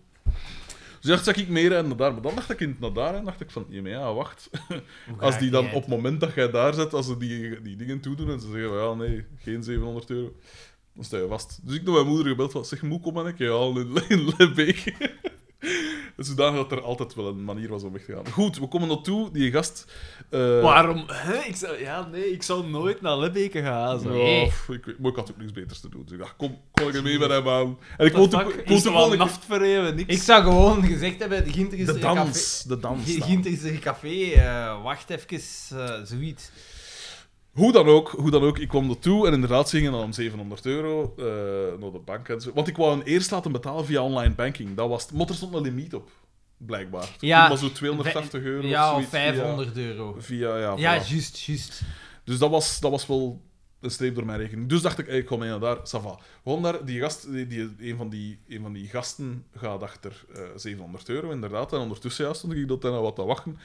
S2: Dus dacht, zag ik meer en naar daar. Maar dan dacht ik in het naar daar en dacht ik van, ja, maar ja wacht.
S1: Hoe
S2: Als
S1: ga
S2: die
S1: ik
S2: dan
S1: uit?
S2: op het moment dat jij daar zit, als ze die, die dingen toedoen en ze zeggen, ja, nee, geen 700 euro, dan sta je vast. Dus ik naar mijn moeder gebeld van, zeg, moe, kom en ik, ja, in, in Lebeek. Dus Zodanig dat er altijd wel een manier was om weg te gaan. Goed, we komen naartoe, die gast... eh,
S3: Waarom? Hè? Ik zou, ja, nee, ik zou nooit naar Lebbeke gaan. Zo.
S2: ja,
S1: Nee.
S2: pff, ik, weet- maar ik had ook niks beters te doen. Dus ik dacht, kom, kom ik er mee met hem aan. En
S3: Ik
S2: ik
S3: moet
S2: woonde
S3: ook
S2: ook- ik
S3: ik
S2: woonde
S3: zou
S2: ook wel
S3: wel
S2: een keer-
S3: naft verheven, niks.
S1: Ik zou gewoon gezegd hebben, de Ginter is
S2: De
S1: er een café.
S2: dans, de dans.
S1: Gi-
S2: dan.
S1: Ginter is er een café, eh, wacht even, eh, zoiets.
S2: Hoe dan ook, hoe dan ook, ik kwam ertoe en inderdaad, ze gingen dan om 700 euro eh, naar de bank en zo. Want ik wou een eerst laten betalen via online banking. Dat was het. Maar er stond een limiet op, blijkbaar.
S1: Ja,
S2: dat was zo 280 euro
S1: ja,
S2: of
S1: of
S2: zoiets. via-
S1: 500 euro.
S2: Via, ja,
S1: Ja,
S2: voilà.
S1: juist, juist.
S2: Dus dat was, dat was wel een streep door mijn rekening. Dus dacht ik, hey, ik kom mee naar daar, ça va. Gewoon daar, die gast, die, die, een, van die, een van die gasten gaat achter eh 700 euro, inderdaad. En ondertussen ja, stond ik dat daar nou wat te wachten.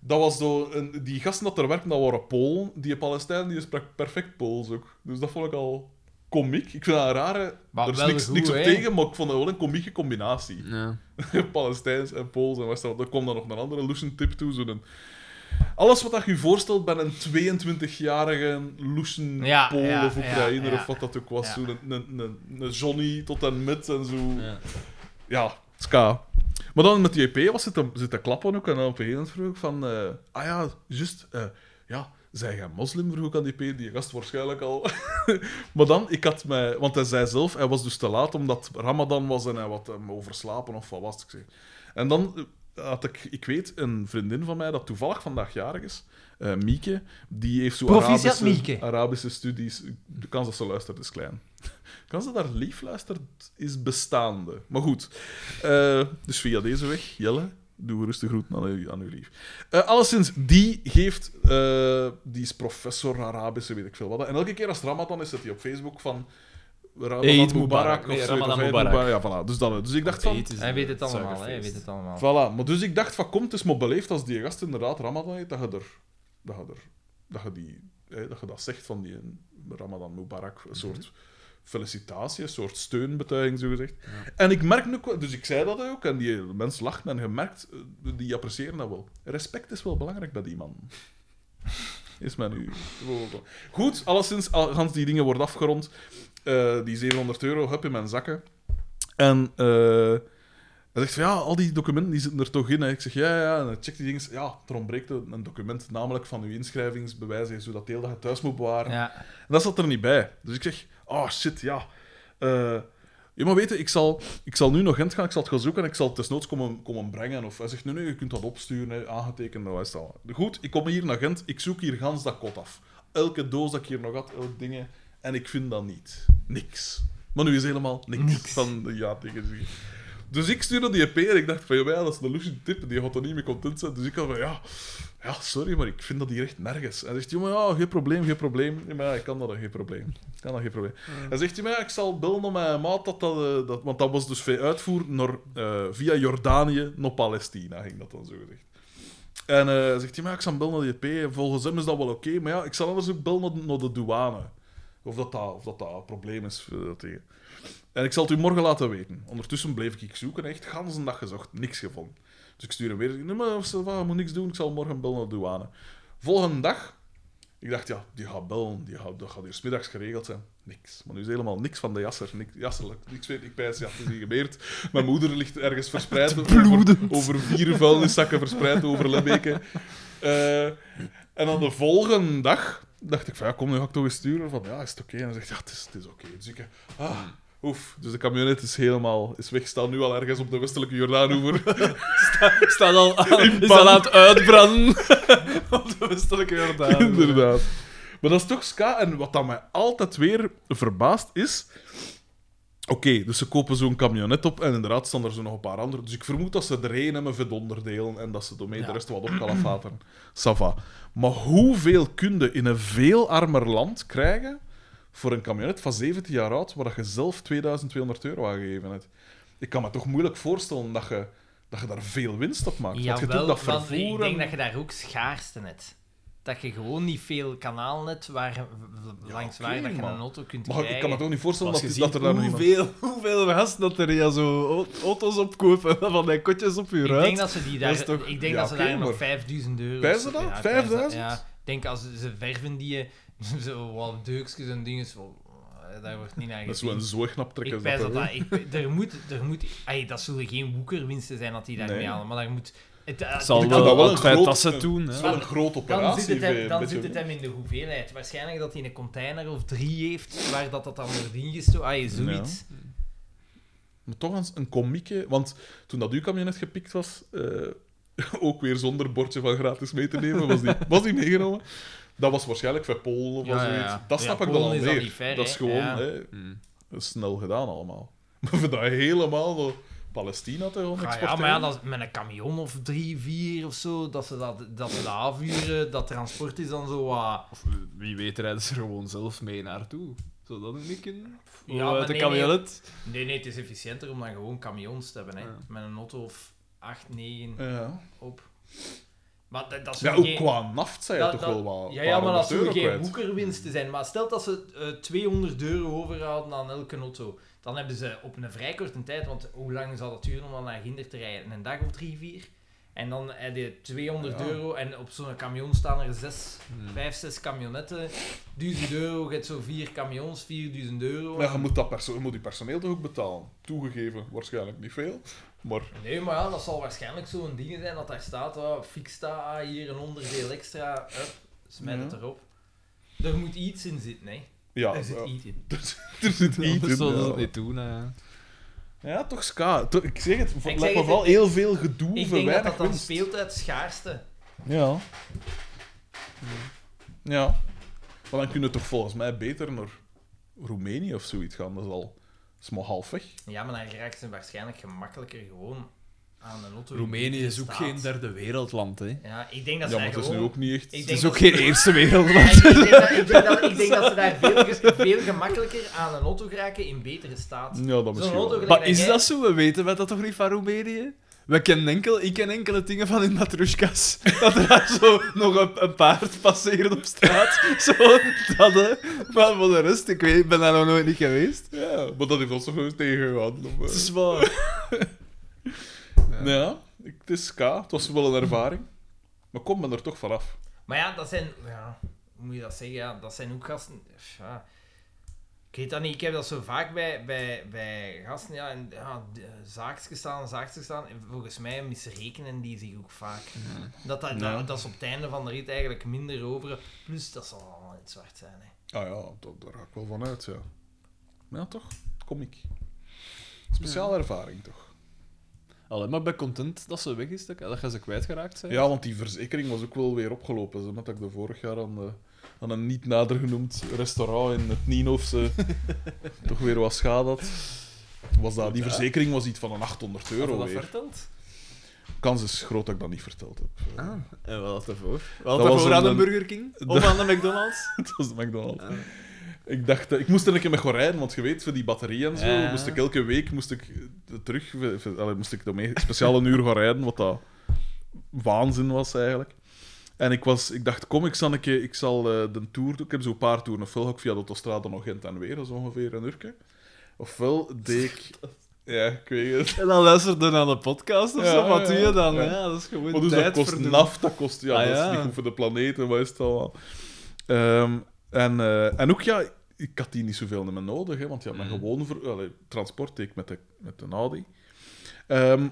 S2: Dat was zo, een, die gasten dat er werkten, dat waren Polen. Die Palestijn, die sprak perfect Pools ook. Dus dat vond ik al komiek. Ik vind dat een rare...
S1: Maar
S2: er is
S1: wel
S2: niks,
S1: goed,
S2: niks op
S1: hè?
S2: tegen, maar ik vond dat wel een komieke combinatie.
S3: Ja.
S2: Palestijns en Pools en West-Europa. Dan komt dan nog een andere loesje tip toe. Zo'n... Alles wat dat je voorstelt bij een 22-jarige loesje
S1: Ja,
S2: Pool
S1: ja,
S2: of Oekraïner
S1: ja, ja.
S2: of wat dat ook was.
S1: Ja.
S2: Zo'n een, een, een, een Johnny tot en met en zo. Ja,
S3: Ja.
S2: ska. Maar dan met die EP was het te, zit te klappen ook. En dan op een gegeven moment vroeg ik van... eh, ah ja, juist. eh, ja, zijn jij moslim? Vroeg ik aan die EP. Die gast waarschijnlijk al. Maar dan, ik had mij... Want hij zei zelf, hij was dus te laat omdat Ramadan was en hij had hem overslapen of wat was het, ik zeg. En dan eh, had ik, ik weet, een vriendin van mij dat toevallig vandaag jarig is, eh, Mieke, die heeft zo
S1: Proficiat,
S2: Arabische,
S1: Mieke.
S2: Arabische studies. De kans dat ze luistert is klein. De kans dat daar lief luistert is bestaande. Maar goed, eh, dus via deze weg, Jelle. Doe rustig groeten aan uw, aan uw lief. Eh alleszins, die geeft... eh, die is professor Arabische, weet ik veel wat. En elke keer als het Ramadan is, zit hij op Facebook van... Ramadan
S3: Eid Mubarak.
S2: Mubarak.
S3: Nee,
S2: of zo,
S3: Ramadan
S2: of Eid
S3: Mubarak.
S2: Mubarak. Ja, voilà. Dus, dat, dus ik dacht van...
S3: Eten is
S1: Hij
S3: een
S1: weet het allemaal, hè, hij
S3: suikerfeest.
S1: weet het allemaal.
S2: Voilà, maar dus ik dacht van komt het is maar beleefd als die gast inderdaad Ramadan heet, dat je er, dat je er, dat je die, hè, dat je dat zegt van die eh, Ramadan Mubarak, een soort
S3: Mhm.
S2: felicitatie, een soort steunbetuiging zo gezegd. En ik merk nu, ook wel- dus ik zei dat ook en die mensen lachten en gemerkt, die appreciëren dat wel. Respect is wel belangrijk bij die man. Is mij nu. Goed, alleszins, al- gans die dingen worden afgerond. Eh, die 700 euro heb in mijn zakken. En eh, hij zegt van ja, al die documenten die zitten er toch in. Hè. Ik zeg ja, ja, en hij checkt die dingen. Ja, er ontbreekt een een document, namelijk van uw inschrijvingsbewijs, hè, zodat deel dat je thuis moet bewaren.
S1: Ja.
S2: En dat zat er niet bij. Dus ik zeg, oh shit, ja. Eh je moet weten, ik zal, ik zal nu nog Gent gaan, ik zal het gaan zoeken en ik zal het desnoods komen, komen brengen. Of hij zegt, nee, nee, je kunt dat opsturen, hè, aangetekend, nou is dat wel. Goed, ik kom hier naar Gent, ik zoek hier gans dat kot af. Elke doos dat ik hier nog had, elk dingen. En ik vind dat niet. Niks. Maar nu is helemaal niks, van de ja tegen zich. Dus ik stuurde die EP en ik dacht van, ja, dat is een lucie tip, die gaat er niet mee content zijn. Dus ik had van, ja, ja, sorry, maar ik vind dat hier echt nergens. Hij zegt, jongen, ja, geen probleem, geen probleem. Ja, maar ja, ik kan dat, geen probleem. Ik kan dat, geen probleem. Hij zegt, ja, maar ja, ik zal bellen om mijn maat, dat, dat, eh, dat, want dat was dus veel uitvoer naar, eh, via Jordanië naar Palestina, ging dat dan zo gezegd. En eh, hij zegt, ja, maar ja, ik zal bellen naar de EP, volgens hem is dat wel oké, maar ja, ik zal anders ook bellen naar, naar de douane. Of dat dat, of dat, dat een probleem is eh, tegen. En ik zal het u morgen laten weten. Ondertussen bleef ik zoeken, echt gans een dag gezocht, niks gevonden. Dus ik stuur hem weer. Nee, maar ça va, je moet niks doen, ik zal morgen bellen naar de douane. Volgende dag, ik dacht, ja, die gaat bellen, die gaat, dat gaat hier 's middags geregeld zijn. Niks. Maar nu is helemaal niks van de jasser. Niks, jasser niks weet, ik pijs, ja, het is hier gebeurd. Mijn moeder ligt ergens verspreid over, over vier vuilniszakken verspreid over Lembeke. Eh, en dan de volgende dag dacht ik van, ja, kom, nu ga ik toch eens sturen. Van, ja, is het oké? En hij zegt, ja, het is, het is oké. Dus ik, eh, ah, oef. Dus de camionet is helemaal, is weg, staat nu al ergens op de westelijke Jordaanoever.
S3: Staat al aan,
S2: In
S3: is
S2: pan.
S3: al aan het uitbranden op de westelijke Jordaan.
S2: Inderdaad. Maar dat is toch ska. En wat dat mij altijd weer verbaast is... Oké, dus ze kopen zo'n camionet op en inderdaad staan er zo nog een paar andere. Dus ik vermoed dat ze er één hebben met onderdelen en dat ze daarmee de rest wat opkalafateren. Sava. Maar hoeveel kun je in een veel armer land krijgen voor een camionet van 17 jaar oud waar dat je zelf 2200 euro aan gegeven hebt? Ik kan me toch moeilijk voorstellen dat je, dat je daar veel winst op maakt. Want je doet
S1: Jawel,
S2: dat
S1: want
S2: vervoer
S1: ik denk
S2: en-
S1: dat je daar ook schaarste hebt. Dat je gewoon niet veel kanalen hebt waar, v- langs
S2: oké,
S1: waar dat je
S2: maar-
S1: een auto kunt
S2: Maar
S1: krijgen.
S2: ik kan me toch niet voorstellen
S3: Als
S2: dat,
S3: je
S2: die-
S3: ziet
S2: dat er daar nog iemand...
S3: hoeveel, hoeveel gasten dat er ja, zo au- auto's opkopen van die kotjes op je
S1: Ik denk
S3: ruit.
S1: dat ze die daar,
S3: is toch-
S1: ik denk
S2: ja,
S1: dat ze
S2: oké,
S1: daar nog
S2: maar-
S1: 5000 euro.
S2: Pijzen dat?
S1: Ja,
S2: 5000?
S1: Ja, ik denk als ze- ze verven die je zo wat deukjes en dingen, zo, eh, daar wordt niet naar
S2: Dat is wel een
S1: gezien.
S2: zoegnap trekken.
S1: Ik
S2: is
S1: pijs dat,
S2: hè?
S1: dat ik, er moet, er moet, ay, dat zullen geen woekerwinsten zijn dat die daarmee
S2: Nee.
S1: halen, maar daar moet. Het, eh,
S3: zal
S1: het
S2: wel
S3: wel,
S2: dat wel
S3: wel
S2: een
S3: twee
S2: groot-
S3: tassen doen.
S2: Dat is
S3: Hè.
S2: wel een grote
S1: dan
S2: operatie.
S1: zit, het hem,
S2: eh,
S1: dan
S2: met
S1: zit het
S2: zo'n-
S1: hem in de hoeveelheid. Waarschijnlijk dat hij een container of drie heeft waar dat, dat dan wordt ingestoken. Ah, je zoiets.
S2: Maar toch eens een komieke... Want toen dat uw camionet gepikt was, eh, ook weer zonder bordje van gratis mee te nemen, was die, was die meegenomen. Dat was waarschijnlijk voor Polen of
S1: Ja, ja,
S2: zoiets.
S1: ja.
S2: Dat
S1: Ja,
S2: snap ik dan
S1: Polen
S2: al
S1: is dan
S2: meer.
S1: niet ver,
S2: dat is
S1: hè?
S3: Hmm.
S2: gewoon
S1: Ja.
S2: hè, snel gedaan allemaal. Maar voor dat helemaal... zo- Palestina toch al
S1: Ah, ja, maar ja, dat is met een camion of drie, vier of zo, dat ze dat, dat, ze dat afvuren, dat transport is dan zo wat...
S3: Of eh, wie weet rijden ze er gewoon zelf mee naartoe. Zou dat niet kunnen?
S1: Ja,
S3: Ja,
S1: maar
S3: uit de
S1: nee,
S3: camionet.
S1: Nee, nee, het is efficiënter om dan gewoon camions te hebben, hè.
S3: Ja.
S1: Met een auto of acht, negen
S2: Ja.
S1: op. Maar dat, dat is
S2: ja,
S1: nog
S2: ook
S1: geen-
S2: qua naft zijn
S1: dat-
S2: toch
S1: dat-
S2: wel wat.
S1: Ja,
S2: een
S1: ja
S2: paar
S1: maar dat
S2: honderd
S1: zou
S2: euro
S1: geen
S2: kwijt.
S1: boekerwinsten zijn. Maar stel dat ze eh, 200 euro overhouden aan elke auto, dan hebben ze op een vrij korte tijd, want hoe lang zal dat duren om dan naar Ginder te rijden? Een dag of drie, vier? En dan heb je 200
S2: Ja.
S1: euro en op zo'n camion staan er zes,
S3: Hmm.
S1: vijf, zes camionetten. 1000 euro, je hebt zo vier camions, 4000 euro.
S2: Ja, je moet, dat perso- je moet je personeel toch ook betalen? Toegegeven, waarschijnlijk niet veel. Maar
S1: Nee, maar ja, dat zal waarschijnlijk zo'n ding zijn dat daar staat, oh, fix dat, ah, hier een onderdeel extra, up, smijt het
S2: Ja.
S1: erop. Er moet iets in zitten, hè.
S2: ja,
S1: er zit
S2: ja,
S1: iets in.
S2: er zit- er zit niet
S3: Anders
S2: in.
S3: zouden ze het
S2: ja.
S3: niet doen. hè.
S2: Ja, toch ska. Toch- Ik zeg het, het
S1: zeg
S2: lijkt me
S1: het,
S2: vooral heel veel
S1: Ik
S2: gedoe voor
S1: denk dat
S2: weinig
S1: dat dan
S2: winst.
S1: speelt uit schaarste.
S2: Ja. Ja. Maar dan kunnen we toch volgens mij beter naar Roemenië of zoiets gaan. Dat is al smal halfweg.
S1: Ja, maar dan raakt ze waarschijnlijk gemakkelijker gewoon aan een auto.
S3: Roemenië is ook
S1: Staat.
S3: geen derde wereldland, hè.
S1: Ja, ik denk dat
S2: Ja,
S1: ze daar
S2: maar het is
S1: gewoon...
S2: nu ook niet echt...
S1: Ik
S3: Het
S1: denk
S3: is ook
S1: dat-
S3: geen eerste wereldland.
S1: Ja, ik, denk dat, ik, denk dat, ik denk dat ze daar veel, ge- veel gemakkelijker aan een auto geraken in betere staat.
S2: Ja, dat misschien
S1: auto
S2: wel.
S1: gelijk-
S3: Maar is dat zo? We weten wij dat toch niet van Roemenië? We kennen enkel, ik ken enkele dingen van in matruskas. Dat er daar zo nog een, een paard passeert op straat. Zo, dat hè. Maar voor de rest, ik weet, ik ben daar nog nooit niet geweest.
S2: Ja, maar dat heeft ons toch gewoon tegengehouden.
S3: Het
S2: Of,
S3: is waar.
S2: eh. Nou ja, ik- het is ska. Het was wel een ervaring. Maar kom men er toch vanaf.
S1: Maar ja, dat zijn... Ja, hoe moet je dat zeggen? Ja, dat zijn ook gasten... Ja. Ik weet dat niet. Ik heb dat zo vaak bij, bij, bij gasten. Ja, en, ja, d- eh, zaakjes staan, zaakjes staan. En volgens mij misrekenen die zich ook vaak. Dat, dat,
S2: Ja.
S1: dat, dat is op het einde van de rit eigenlijk minder over. Plus, dat zal allemaal in het zwart zijn. Hè.
S2: Ah ja, dat, daar ga ik wel van uit, ja. Maar ja, toch. Kom ik. Speciale ervaring, toch.
S3: Allee, maar ik ben content dat ze weg is, dat, dat je ze kwijtgeraakt zijn.
S2: Ja, want die verzekering was ook wel weer opgelopen. Zo, met dat ik de vorig jaar aan, de, aan een niet nader genoemd restaurant in het Nienhoofse toch weer wat schade had. Was dat, die
S3: Ja.
S2: verzekering was iets van een 800
S3: Had je
S2: euro
S3: dat
S2: weer.
S3: verteld?
S2: Kans is groot dat ik dat niet verteld heb. Eh,
S3: Ah, en wat had ervoor? Wat
S2: Dat
S3: had
S2: was
S3: ervoor aan
S2: een-
S3: de Burger King? Of aan de McDonald's?
S2: Het was de McDonald's.
S3: Ah.
S2: Ik dacht, eh, ik moest er een keer met gorijn, want je weet, voor die batterie en zo,
S3: Ja.
S2: moest ik elke week moest ik eh, terug, eh, ver- allee, moest ik daarmee speciaal een uur gaan rijden, wat dat waanzin was eigenlijk. En ik, was, ik dacht, kom, ik zal, een keer, ik zal eh, de tour doen. Ik heb zo'n paar toeren. Ofwel ga ik via de autostrade nog Gent en weer, dat is ongeveer een uurtje. Ofwel deed ik... Ja, ik weet het.
S3: En dan luisterde naar de podcast of
S2: Ja,
S3: zo. Wat
S2: ja,
S3: doe je dan?
S2: ja.
S3: Ja, dat is gewoon
S2: Maar dus dat
S3: tijd
S2: kost
S3: verdoen.
S2: naf, dat kost... Ja,
S3: Ah,
S2: dat
S3: ja.
S2: is niet goed voor de planeet en wat is het allemaal. Ehm, en, eh, en ook, ja, ik had die niet zoveel meer nodig, hè, want ja, mijn
S3: Mhm.
S2: gewone ver- allee, transport deed ik met de, met de Audi. Ehm,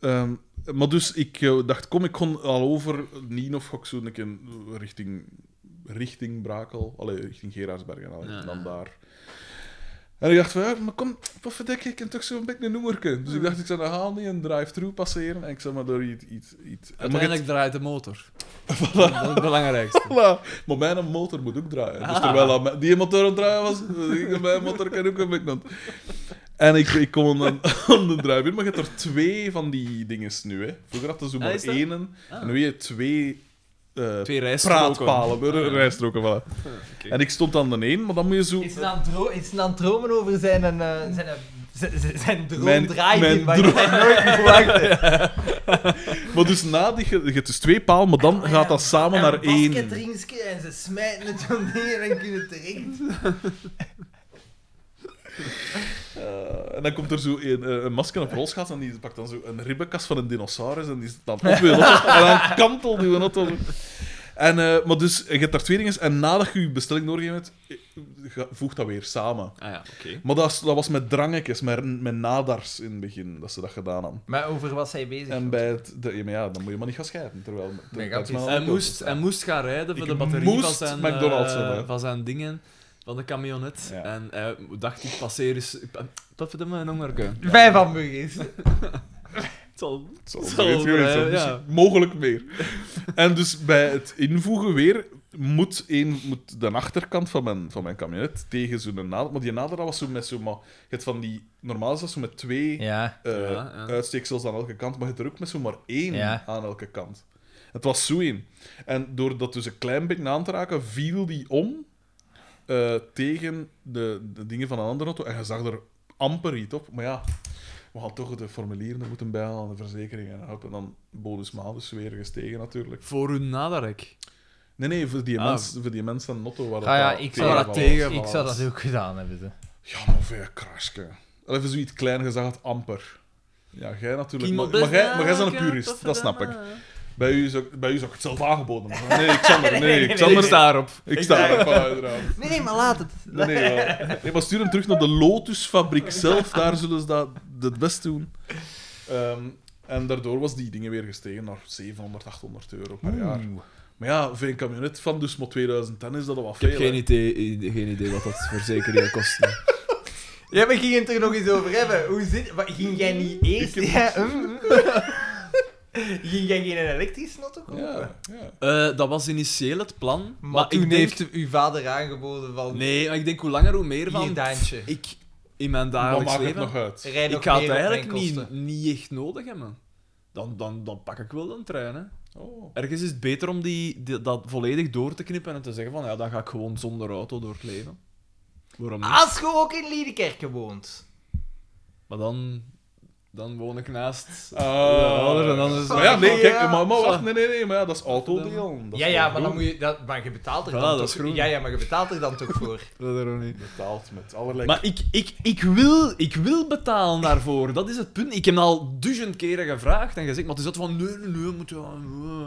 S2: ehm, maar dus, ik eh, dacht, kom, ik kon al over Nien of ga ik zo een keer richting, richting Brakel, allee, richting Gerardsberg en allee,
S3: Ja.
S2: dan daar. En ik dacht van, ja, maar kom, poffedekke, ik kan toch zo'n beetje een noemerke. Dus ik dacht, ik zou naar Haani een drive-thru passeren en ik zou maar door iets... iets, iets. en maar
S3: Uiteindelijk draait de motor. Dat is het belangrijkste.
S2: Voilà. Maar mijn motor moet ook draaien.
S3: Ah.
S2: Dus terwijl aan mijn- die motor aan het draaien was, ging mijn motor kan ook een beetje aan het- En ik, ik kom aan, aan de drive-in, maar je hebt er twee van die dingen nu. Hè. Vroeger had je zo
S3: Ah,
S2: maar
S3: is dat?
S2: één.
S3: Ah.
S2: En nu heb je twee, eh
S3: Twee rijstroken. Ah,
S2: praatpalen, eh, rijstroken. Voilà.
S3: oké.
S2: En ik stond aan de één, maar dan moet je zo...
S1: Is het aan het dro- is het aan het dromen over zijn, eh, zijn, eh, zijn, zijn, zijn droom
S2: Mijn-
S1: draaien
S2: mijn
S1: waar
S2: droom-
S1: hij nooit op verwachtte?
S2: Maar dus na die... Je je hebt dus twee paal, maar
S3: Ah,
S2: dan gaat dat samen naar
S1: En een
S2: één.
S1: basketringsje en ze smijten het zo'n ding en dan kunnen terecht.
S2: Eh, en dan komt er zo een, eh, een masker op rolschaats en die pakt dan zo een ribbenkast van een dinosaurus en die zit dan op je auto. En dan kantelt die auto. En, eh, maar dus, je hebt daar twee dingen. En nadat je je bestelling doorgegeven hebt, eh, ga- voeg dat weer samen.
S3: Ah ja, oké.
S2: Maar dat, is- dat was met drangetjes, met, met nadars in het begin, dat ze dat gedaan hadden.
S1: Maar over was hij bezig?
S2: En bij het... de- ja, maar ja, dan moet je maar niet gaan scheiden. Terwijl,
S1: Nee,
S2: dat is
S1: grapjes.
S2: maar-
S3: Hij moest, hij moest gaan rijden voor
S2: Ik
S3: de batterie van
S2: moest
S3: zijn,
S2: McDonald's
S3: eh,
S2: hebben.
S3: van zijn dingen, van de camionet.
S2: Ja.
S3: En hij dacht, ik passeer eens... Dat vind ik een hongerke.
S1: Vijf hamburgers.
S3: Het zal-
S2: Het zal
S3: Zal
S2: zoiets geweest
S3: wel,
S2: zijn,
S3: eh,
S2: dus
S3: ja.
S2: Mogelijk meer. En dus bij het invoegen weer moet, één, moet de achterkant van mijn, van mijn kabinet tegen zo'n naald. Maar die naald dat was zo met zo. Maar, het van die, normaal is dat zo met twee
S1: Ja.
S2: eh,
S3: Ja, ja.
S2: uitsteeksels aan elke kant, maar je hebt er ook met zo maar één
S1: Ja.
S2: aan elke kant. Het was zo één. En door dat dus een klein beetje aan te raken, viel die om eh, tegen de, de dingen van een andere auto. En je zag er amper iets op. Maar ja, we gaan toch de formulieren moeten bijhalen aan de verzekering. En hoop. En dan bonus malus weer gestegen natuurlijk.
S3: Voor hun nadarek.
S2: Nee, nee, voor die,
S3: Ah.
S2: mensen, voor die mensen van Notto waren
S1: Ah, ja, ik zou,
S3: Tegen
S1: dat,
S3: van tegen
S1: ik
S3: alles.
S1: zou dat ook gedaan hebben. ze.
S2: Ja, maar veel krasje. Even zoiets klein gezegd, amper. Ja, jij natuurlijk. Maar, maar, jij, maar jij bent een purist, dat snap ik. Bij u, zou, bij u zou ik het zelf aangeboden hebben. Nee, Xander, nee,
S1: nee, nee,
S2: Xander,
S3: ik sta erop.
S2: ik sta ervan uiteraard.
S1: Nee, nee, maar laat het.
S2: Nee, nee, wel. nee, maar stuur hem terug naar de Lotusfabriek zelf, daar zullen ze dat het best doen. Ehm, en daardoor was die dingen weer gestegen naar 700, 800 euro per jaar. Maar ja, voor een camionet van dus maar 2010 is dat al wat
S3: Ik
S2: veel.
S3: heb geen
S2: hè.
S3: idee, geen idee wat dat verzekeringen kosten.
S1: Ja, we gingen het er nog eens over hebben. Hoe zit... Wat, ging jij niet eerst...
S2: Ik heb-
S1: Ja, mm, mm. ging jij geen elektrische auto kopen?
S2: Ja, ja.
S3: Eh, dat was initieel het plan.
S1: Maar,
S3: Maar,
S1: toen
S3: ik denk...
S1: heeft uw vader aangeboden van...
S3: Nee, maar ik denk hoe langer hoe meer
S1: Hier,
S3: van...
S1: Daantje.
S3: Ik, in mijn
S2: Maar
S3: dagelijks
S2: maakt het
S3: leven...
S2: nog uit?
S1: Rij nog
S3: ik ga
S1: meer
S3: het
S1: op mijn
S3: eigenlijk niet,
S1: kosten.
S3: niet echt nodig hebben. Dan, dan, dan pak ik wel een trein, hè.
S2: Oh.
S3: Ergens is het beter om die, die- dat volledig door te knippen en te zeggen van, ja, dan ga ik gewoon zonder auto door het leven. Waarom niet?
S1: Als je ook in Liedekerke woont.
S3: Maar dan, dan woon ik naast...
S2: Ah.
S3: Ja, anders en dan is het-
S2: Maar ja, nee,
S1: Ja.
S2: kijk, maar, maar wacht, nee, nee, nee, maar ja, dat is autodeel.
S1: Ja, ja, maar, dan moet je, dat, maar je betaalt er
S3: Voilà,
S1: dan
S3: dat
S1: toch
S3: is groen.
S1: Ja, ja, maar je betaalt er dan toch voor.
S3: Dat er ook niet.
S2: Betaald met allerlei...
S3: Maar ik, ik, ik, wil, ik wil betalen daarvoor. Dat is het punt. Ik heb het al duizend keren gevraagd en gezegd, maar het is dat van nee, nee, nee, moet je. nee.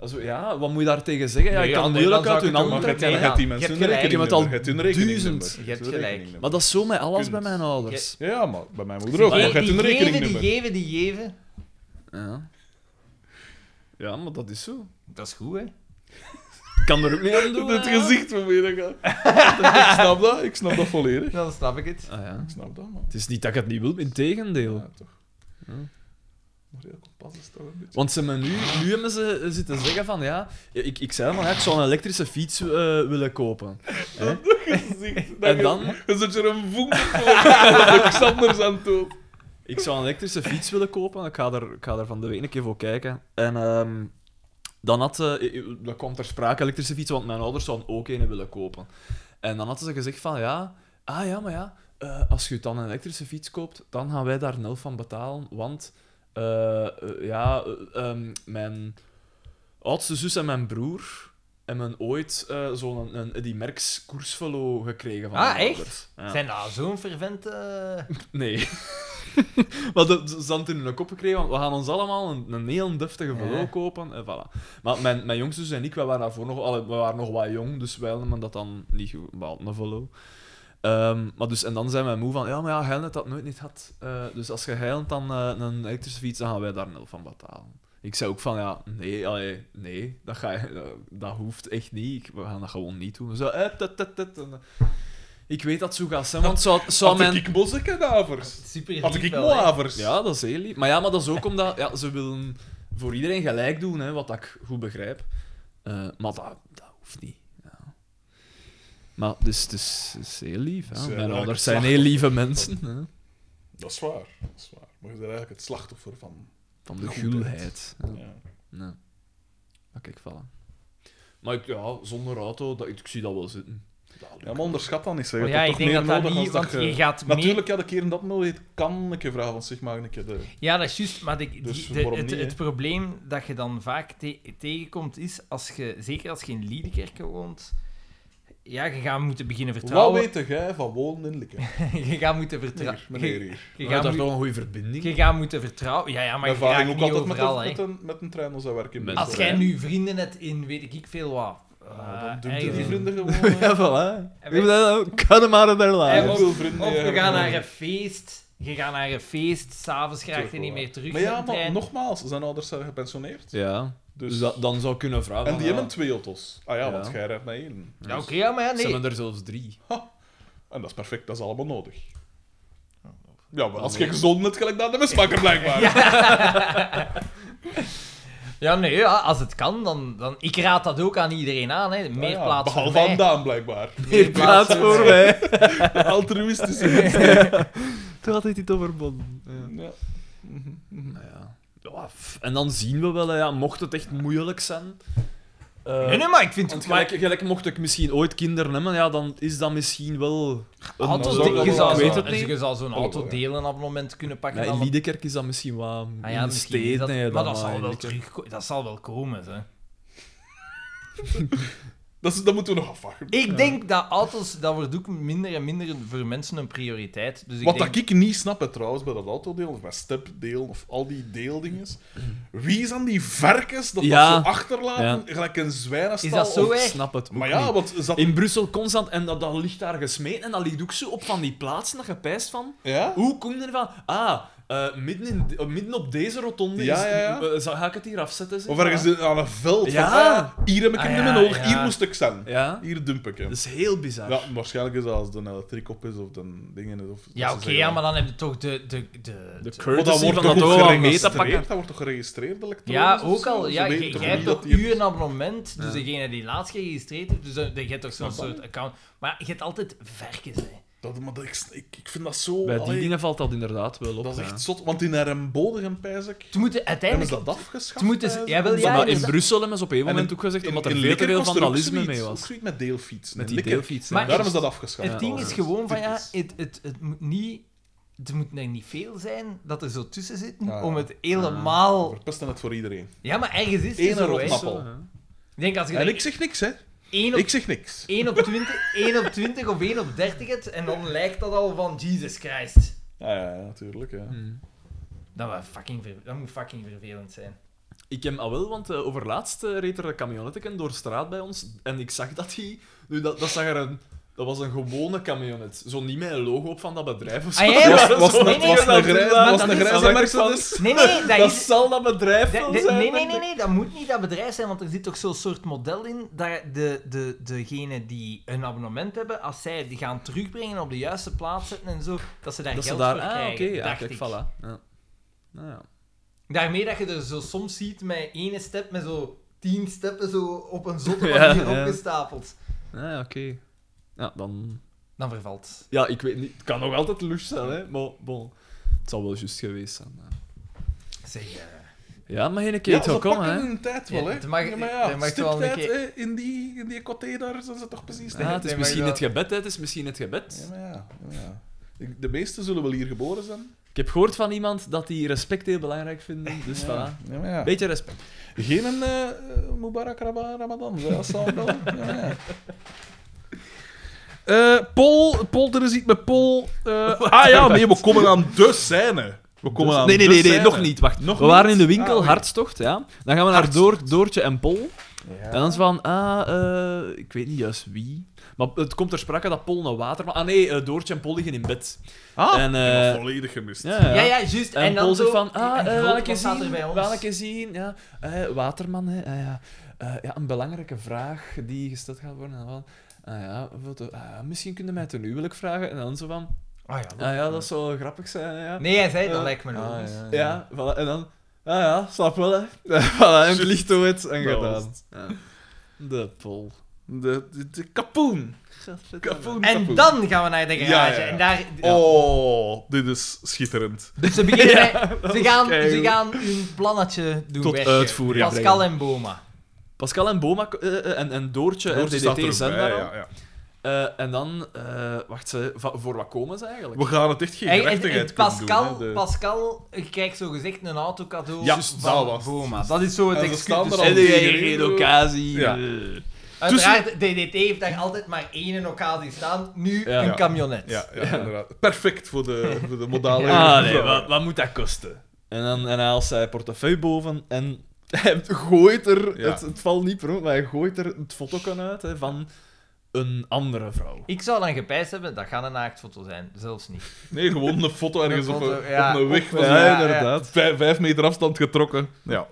S3: Also, ja, wat moet je daar tegen zeggen? Ja,
S1: Nee,
S3: ik
S1: ja,
S3: kan
S1: nee,
S3: moeilijk
S1: dan
S3: uit
S1: zou
S3: hun
S1: ik het wel
S3: handen
S2: maar je
S1: nee, ja.
S3: trekken.
S2: hebt die mensen
S1: Je
S2: hun
S1: hebt gelijk.
S2: rekening
S3: Ik heb het al
S2: nummer, je hebt hun rekening
S3: duizend.
S2: nummer,
S1: Je hebt
S2: hun
S1: gelijk.
S2: rekening
S3: Maar dat is zo met alles
S2: Punt.
S3: bij mijn ouders.
S2: nummer. Ja, maar bij mij moeder ook. Maar Oh, je
S1: Die-
S2: hebt hun
S1: die geven, die
S2: rekeningnummer.
S1: geven, die geven.
S3: Ja. ja, maar dat is zo.
S1: Dat is goed, hè?
S3: Ik kan er ook niet aan doen.
S2: Het
S3: hè.
S2: gezicht van mij, dat gaat- Ik snap dat, ik snap dat volledig.
S1: Dan snap ik het.
S3: Ah, ja.
S2: Ik snap dat, man.
S3: Het is niet dat ik het niet wil, integendeel.
S2: Ja, toch.
S3: Ja.
S2: Maar ja, kompas is toch een beetje...
S3: Want ze hebben nu, nu hebben ze zitten zeggen van ja, ik, ik zei van ja, ik zou een elektrische fiets eh, willen kopen.
S2: gezicht.
S3: En dan?
S2: Dan zit je er een voet voor. Xanders aan toe.
S3: Ik zou een elektrische fiets willen kopen. Ik ga er, ik ga er van de week een keer voor kijken. En ehm, dan had ze... Dat kwam ter sprake, elektrische fiets, want mijn ouders zouden ook een willen kopen. En dan hadden ze gezegd van, ja... Ah ja, maar ja, eh, als je dan een elektrische fiets koopt, dan gaan wij daar een helft van betalen. Want, eh, eh, ja, eh, ehm, mijn oudste zus en mijn broer hebben ooit eh, zo'n een, die merks koersvelo gekregen van
S1: Ah,
S3: mijn
S1: echt?
S3: ouders. Ja.
S1: Zijn nou zo'n fervent... eh,
S3: Nee. maar dat ze hadden het in hun kop gekregen, want we gaan ons allemaal een, een heel deftige velo
S1: Ja.
S3: kopen. En voilà. Maar mijn, mijn jongste zus en ik, wij waren daarvoor nog, allee, we waren nog wat jong, dus wij hadden dat dan niet goed, wel, een velo. Ehm, maar dus, en dan zijn wij moe van, ja, maar ja, Heiland dat nooit niet had. Eh, dus als je Heiland dan eh, een elektrische fiets, dan gaan wij daar nul van betalen. Ik zei ook van, ja, nee, allee, nee, dat, ga je, dat, dat hoeft echt niet. Ik- We gaan dat gewoon niet doen. Zo, eh, tut, tut, tut. En, eh, Ik weet dat het zo gaat zijn, want zou, zou
S2: Had
S3: mijn...
S2: ik bossenkadavers?
S1: Super
S2: Had
S1: lief
S2: ik
S1: wel, hè?
S2: moavers?
S3: Ja, dat is heel lief. Maar ja, maar dat is ook omdat ja, ze willen voor iedereen gelijk doen, hè, wat ik goed begrijp. Eh, maar dat, dat hoeft niet. Ja. Maar het is, het is, het is heel lief.
S2: Ze
S3: Hè.
S2: zijn
S3: Mijn
S2: eigenlijk
S3: ouders
S2: het
S3: zijn heel lieve mensen. Hè,
S2: Dat is waar. Dat is waar. Maar je bent eigenlijk het slachtoffer van.
S3: van de
S2: Goedheid.
S3: gulheid. Ja.
S2: Ja.
S3: Nee. Maar kijk, vallen. Maar ik, ja, zonder auto, dat, ik zie dat wel zitten.
S2: Ja, maar onderschat dan niet. Zeg.
S1: Maar
S2: Je
S1: ja,
S2: hebt
S1: ik
S2: toch
S1: denk dat
S2: meer
S1: dat
S2: nodig
S1: niet...
S2: als dat
S1: Want
S2: je-
S1: je gaat mee...
S2: Natuurlijk, ja, de keren dat nooit weet, kan ik je vragen van zich, mag ik je de...
S1: Ja, dat is juist. Maar de, die-
S2: Dus
S1: de-
S2: waarom
S1: het,
S2: niet, hè?
S1: het probleem dat je dan vaak te- tegenkomt is, als je, zeker als je in Liedekerke woont, ja, je gaat moeten beginnen
S2: Wat
S1: vertrouwen.
S2: weet jij van wonen in Likken?
S1: je gaat moeten vertrouwen.
S2: Hier, meneer hier.
S3: Je
S1: Je,
S3: hebt
S1: gaat
S3: daar
S1: moet-
S3: toch een goede verbinding.
S1: je gaat moeten vertrouwen. Ja, ja maar
S2: Mijn
S1: je
S2: vader
S1: raakt
S2: ging ook
S1: niet
S2: altijd met
S1: overal,
S2: een,
S1: hè.
S2: met, een, met een trein als hij werkt in
S3: Met-
S2: Brussel,
S1: Als jij
S2: hè.
S1: nu vrienden hebt in, weet ik veel wat...
S2: Ah,
S1: eh,
S2: dan doen
S1: ergens
S2: die
S1: in-
S2: vrienden
S3: ja,
S2: gewoon...
S3: voilà.
S1: En
S3: Ik bedoel, Kan hem maar daar
S1: En
S3: laten.
S1: of-
S2: Hoeveel vrienden
S1: Of we
S2: hebben
S1: gaan
S2: we?
S1: naar een feest. Je gaat naar een feest, s'avonds raak je niet meer terug
S2: Maar
S1: met
S2: ja,
S1: de trein.
S2: maar nogmaals, zijn ouders zijn gepensioneerd.
S3: Ja,
S2: Dus...
S3: dus dat, dan zou ik kunnen vragen.
S2: En
S3: van,
S2: die
S3: ja,
S2: hebben twee auto's. Ah ja,
S3: Ja.
S2: want jij rijdt naar één.
S1: Ja, oké, ja, maar ja,
S3: Ze
S1: nee.
S3: hebben er zelfs drie.
S2: En dat is perfect, dat is allemaal nodig. Ja, maar
S3: Dan
S2: als je
S3: nee.
S2: gezond bent, gelijk naar de mesmaker blijkbaar.
S1: Ja, nee, ja, als het kan, dan, dan... Ik raad dat ook aan iedereen aan, hè. Meer
S2: Ah Ja,
S1: plaats voor
S2: Behalve aan
S1: mij.
S2: Daan, blijkbaar.
S3: Meer plaats voor mij.
S2: Altruïstische.
S3: Toen had hij het over bonden. Ja.
S2: Ja.
S3: Nou ja. Ja, f- en dan zien we wel, hè, ja, mocht het echt moeilijk zijn. eh,
S1: Nee, nee, maar ik vind...
S3: Want
S1: maar
S3: gelijk, gelijk mocht ik misschien ooit kinderen hebben, ja, dan is dat misschien wel... een-
S1: auto,
S2: zou
S1: je,
S2: ik wel-
S1: zou
S2: ik
S1: zo-
S2: weet het
S1: je zou zo'n
S2: Oh,
S1: auto
S2: ja.
S1: delen abonnement kunnen pakken.
S3: Maar
S1: dan-
S3: in Liedekerk is dat misschien wat...
S1: Ah ja,
S3: in
S1: misschien is
S3: steden,
S1: dat,
S3: hè,
S1: maar
S3: dan
S1: dat zal
S3: in
S1: wel
S3: Liedekerk.
S1: terugkomen. Dat zal wel komen, hè.
S2: Dat, is, dat moeten we nog afwachten.
S1: Ik denk dat auto's, dat wordt ook minder en minder voor mensen een prioriteit. Dus ik
S2: Wat
S1: denk,
S2: dat ik niet snap, hè, trouwens, bij dat autodeel, of bij stepdeel, of al die deeldinges. Wie is aan die verkens dat
S3: Ja.
S2: dat zo achterlaten? Gelijk een zwijnenstal.
S1: Is dat zo,
S2: of-
S1: hè?
S3: Ik snap het ook
S2: Maar ja,
S3: niet.
S2: want zat...
S3: In Brussel constant, en dat, dat ligt daar gesmeten, en dat ligt ook zo op van die plaatsen, dat je pijst van...
S2: Ja?
S3: Hoe kom je ervan? Ah, eh, midden, in, eh, midden op deze rotonde
S2: Ja,
S3: is,
S2: ja, ja.
S3: eh, zou- ga ik het hier afzetten? zeg
S2: Of
S3: maar?
S2: ergens in- aan een veld.
S3: Ja.
S2: Van, ah, hier heb ik
S1: Ah,
S2: hem
S1: ja,
S2: niet meer nodig,
S1: ja. Dus-
S2: hier moest ik zijn.
S3: Ja,
S2: Hier dump ik hem.
S3: dat is heel bizar.
S2: Ja, waarschijnlijk is dat als de elektriek op is of de dingen. Of,
S1: ja, oké, ja, maar dan heb je toch de... de, de,
S3: De
S1: de-
S3: curve
S2: dat wordt toch
S3: Oh, dat wel
S2: ook
S3: mee te
S2: geregistreerd?
S3: pakken.
S2: Dat wordt toch geregistreerd elektronisch?
S1: ja,
S2: of
S1: ook
S2: zo?
S1: al.
S2: Ze
S1: Ja,
S2: weten
S1: je
S2: toch
S1: jij hebt
S2: niet
S1: toch
S2: dat die-
S1: u een abonnement, dus
S3: Ja.
S1: degene die laatst geregistreerd heeft, dus dan, je hebt toch zo'n
S2: Snap dat
S1: soort account. Maar je hebt altijd verkens, hè.
S2: Dat, maar dat, ik, ik- ik vind dat zo...
S3: Bij die
S2: allee,
S3: dingen valt dat inderdaad wel op.
S2: dat is
S3: ja.
S2: echt zot. Want in RM Bodegem, pijs ik,
S1: Ze moeten
S2: hebben
S1: uiteindelijk...
S2: ze dat afgeschaft.
S1: ze moeten-
S2: pijs ik?
S1: dus- ja, wel,
S2: Omdat
S1: ja,
S3: maar
S2: dat-
S3: in
S1: dat-
S3: Brussel hebben ze op een
S2: en
S3: moment
S2: in-
S3: ook gezegd,
S2: in-
S3: omdat er
S2: in
S3: veel te
S2: Likker
S3: veel
S2: kost er ook
S3: vandalisme
S2: zoiets,
S3: mee
S2: Ook
S3: was.
S2: zoiets met deelfietsen.
S3: Met die
S2: in Likker.
S3: deelfiets.
S1: Maar
S3: ja.
S2: Daarom is dat afgeschaft.
S1: Het ding
S3: Ja,
S1: is gewoon van, ja,
S2: typisch.
S1: het, het, het moet niet... Er moet er niet veel zijn dat er zo tussen zitten
S2: Ja, ja.
S1: om het helemaal...
S2: Verpesten het voor iedereen.
S1: Ja, maar ergens is
S2: Eén
S1: het zo, hè.
S2: rotnap.
S1: Ik
S2: Appel.
S3: Zo,
S1: denk als je
S2: En
S1: dat
S2: ik zeg niks, hè.
S1: één op
S2: Ik zeg niks.
S1: 1 op 20, 1 op 20 of 1 op 30 het, en dan lijkt dat al van Jesus Christ.
S2: Ja, ja, ja, natuurlijk, ja.
S3: hè. Hmm.
S1: Dat, was fucking ver- dat moet fucking vervelend zijn.
S3: Ik heb al wel, want eh, overlaatst eh, reed er een camionnetteken door straat bij ons en ik zag dat hij... Nu, dat, dat zag er een... Dat was een gewone camionet. Zo niet met een logo op van dat bedrijf of zo.
S1: Ah, ja,
S2: Was,
S1: ja.
S2: was,
S3: Zo-
S2: was,
S1: nee,
S2: was
S1: dat doen
S2: een grij-
S1: we, dat
S2: was een
S1: is-
S2: grijze
S3: dat is-
S2: Mercedes.
S1: Nee, nee, dat
S3: Dat
S1: is...
S3: zal dat bedrijf
S1: dat-
S3: wel
S1: dat-
S3: zijn.
S1: nee, nee,
S3: denk
S1: nee,
S3: ik.
S1: nee, dat moet niet dat bedrijf zijn, want er zit toch zo'n soort model in dat de, de, degenen die een abonnement hebben, als zij die gaan terugbrengen op de juiste plaats zetten en zo, dat ze daar
S3: Dat ze
S1: geld
S3: daar...
S1: voor
S3: Ah,
S1: krijgen,
S3: oké. ja,
S1: dacht
S3: kijk,
S1: ik.
S3: voilà. Ja. Nou ja.
S1: Daarmee dat je er zo soms ziet met ene step, met zo tien steppen zo op een zotte
S3: Ja,
S1: manier
S3: ja.
S1: opgestapeld.
S3: Ah, ja, oké. Ja, dan...
S1: Dan vervalt
S3: Ja, ik weet niet. Het kan nog altijd lucht zijn, hè. Maar bon. Het zal wel juist geweest zijn. ja.
S1: Zeg, eh,
S3: Ja, maar geen keer
S2: Ja,
S3: het wel
S2: ze
S3: komen, hè.
S2: pakken hun tijd wel,
S1: Ja,
S2: hè.
S1: het mag-
S2: Ja, maar
S1: het
S2: ja,
S1: mag wel een
S2: stiptijd,
S1: keer-
S2: hè, in die, in die coté daar zijn ze toch precies
S3: Ah, het is
S1: Nee, maar
S3: misschien
S1: ja.
S3: het gebed, hè. Het is misschien het
S2: Ja,
S3: gebed.
S2: maar ja. ja, maar ja. Ik- De meesten zullen wel hier geboren zijn.
S3: Ik heb gehoord van iemand dat die respect heel belangrijk vinden, dus
S2: ja.
S3: voilà.
S2: Ja, maar ja.
S3: Beetje respect.
S2: Geen een eh, Mubarak Raba- Ramadan, hè, als dan wel. ja, maar ja. Eh, Paul, Paul, er is iets met Paul. eh, ah ja, nee, we komen aan de scène. We komen aan
S3: Dus- nee, nee, nee,
S2: de
S3: nee,
S2: scène.
S3: nog niet. Wacht.
S2: Nog
S3: we waren in de
S2: niet?
S3: winkel,
S2: Ah, oei.
S3: hartstocht, ja. Dan gaan we naar Door, Doortje en Pol.
S2: Ja.
S3: En dan is van, ah, eh, ik weet niet juist wie. Maar het komt ter sprake dat Pol naar water... Maar, ah nee, eh, Doortje en Pol liggen in bed.
S2: Ah,
S3: en,
S2: ik heb
S3: eh,
S2: het volledig gemist.
S3: Ja, ja.
S1: Ja, ja, juist.
S3: En,
S1: En, dan
S3: Paul
S1: zo...
S3: zegt van, ah,
S1: en
S3: eh,
S1: groot,
S3: welke
S1: wat staat er
S3: zien,
S1: bij ons?
S3: welke zien, ja, eh, Waterman, hè, ah, ja, Eh, ja, een belangrijke vraag die gesteld gaat worden, en dan van, ah, ja, wat, ah, misschien kunnen mij ten huwelijk vragen, en dan zo van,
S1: Ah, ja, dat-
S3: ah, ja, dat zou wel grappig zijn, hè, ja.
S1: Nee, hij zei, dat
S3: Eh,
S1: lijkt me
S2: Ah,
S1: logisch.
S2: ja, ja.
S3: Ja, voilà, en dan, ah ja, snap wel, hè. voilà, en het licht door het, en
S2: Dat was
S3: gedaan. Ja. De pol.
S2: De, de, de kapoen. Kapoen,
S1: En
S2: kapoen.
S1: dan gaan we naar de
S2: Ja,
S1: garage.
S2: ja, ja.
S1: En daar... Dus
S2: Oh, dit is schitterend.
S1: Ze, beginnen met- ze, gaan,
S3: keihard.
S1: ze gaan hun plannetje doen
S3: Tot
S1: werken.
S3: uitvoering
S1: Pascal
S3: brengen.
S1: en Boma.
S3: Pascal en Boma, eh, eh, en, en Doortje, en
S2: Hoort, staat er ook
S3: DDT zijn
S2: bij,
S3: daar al.
S2: ja, ja.
S3: Eh, en dan, eh, wacht, ze, va- voor wat komen ze eigenlijk?
S2: We gaan het echt geen
S1: En- en- en
S2: gerechtigheid kunnen
S1: Pascal,
S2: doen. hè, de-
S1: Pascal krijgt zo gezegd een autocadeau
S2: Ja,
S1: van
S2: dat was het.
S1: Boma. Dat is zo het
S2: En ze
S1: excuus.
S2: staan er
S1: Dus
S2: al
S3: En
S1: en-
S2: die
S3: jij
S2: iedereen
S3: geen
S2: wil-
S3: occasie.
S2: Ja.
S3: eh.
S1: Uiteraard, DDT heeft daar altijd maar één occasie staan. Nu
S3: Ja.
S1: een camionet.
S2: Ja, ja, inderdaad. Perfect voor de, voor de modale...
S3: Ah, nee, wat, wat moet dat kosten? En dan en hij haalt zijn portefeuille boven en hij gooit er,
S2: Ja.
S3: het, het valt niet per ongeluk, maar hij gooit er het fotokan uit hè, van een andere vrouw.
S1: Ik zou dan gepijst hebben, dat gaat een naaktfoto zijn. Zelfs niet.
S2: Nee, gewoon een foto ergens
S1: Een
S2: op,
S1: foto,
S2: een,
S1: ja,
S2: op een weg.
S1: op-
S2: van
S1: ja,
S2: ja,
S1: ja.
S2: inderdaad. Vijf, vijf meter afstand getrokken. Ja.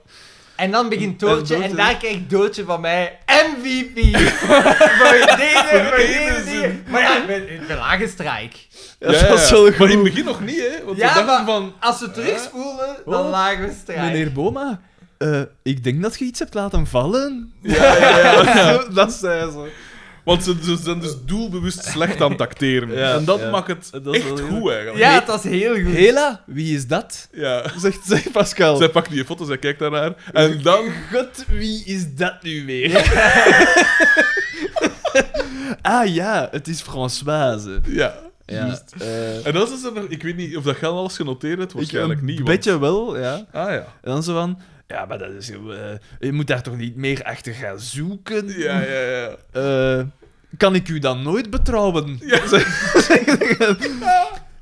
S1: En dan begint Doortje, en,
S3: Doortje.
S1: daar krijgt Doortje van mij MVP. voor deze, voor deze dingen. Maar ja, ik ben, ik ben aangestraaid.
S3: Ja, dat is wel goed.
S2: Maar in het begin nog niet, hè. Want
S1: Ja,
S2: we
S1: maar-
S2: dachten van...
S1: Als we terugspoelen,
S3: Oh,
S1: dan lagen we strijk.
S3: Meneer Boma, eh, ik denk dat je iets hebt laten vallen.
S2: Ja, ja, ja.
S3: Zo, dat zei ze.
S2: Want ze, ze zijn dus doelbewust slecht aan het acteren.
S3: Ja,
S2: en dat
S3: ja.
S2: maakt het
S3: Dat is
S2: echt
S3: wel heel-
S2: goed, eigenlijk.
S1: Ja, dat is heel goed.
S3: Hela, wie is dat?
S2: Ja.
S3: Zegt zij Pascal.
S2: Zij pakt die foto, zij kijkt daarnaar. En dan...
S3: God, wie is dat nu weer? ah ja, het is Françoise.
S2: Ja.
S3: Ja, eh,
S2: En dat is er nog... Ik weet niet of dat Gal alles genoteerd heeft. Waarschijnlijk
S3: ik,
S2: niet.
S3: Een
S2: want-
S3: beetje wel, ja.
S2: Ah ja.
S3: En dan zo van... Ja, maar dat is... eh, je moet daar toch niet meer achter gaan zoeken?
S2: Ja, ja, ja.
S3: Eh, kan ik u dan nooit betrouwen?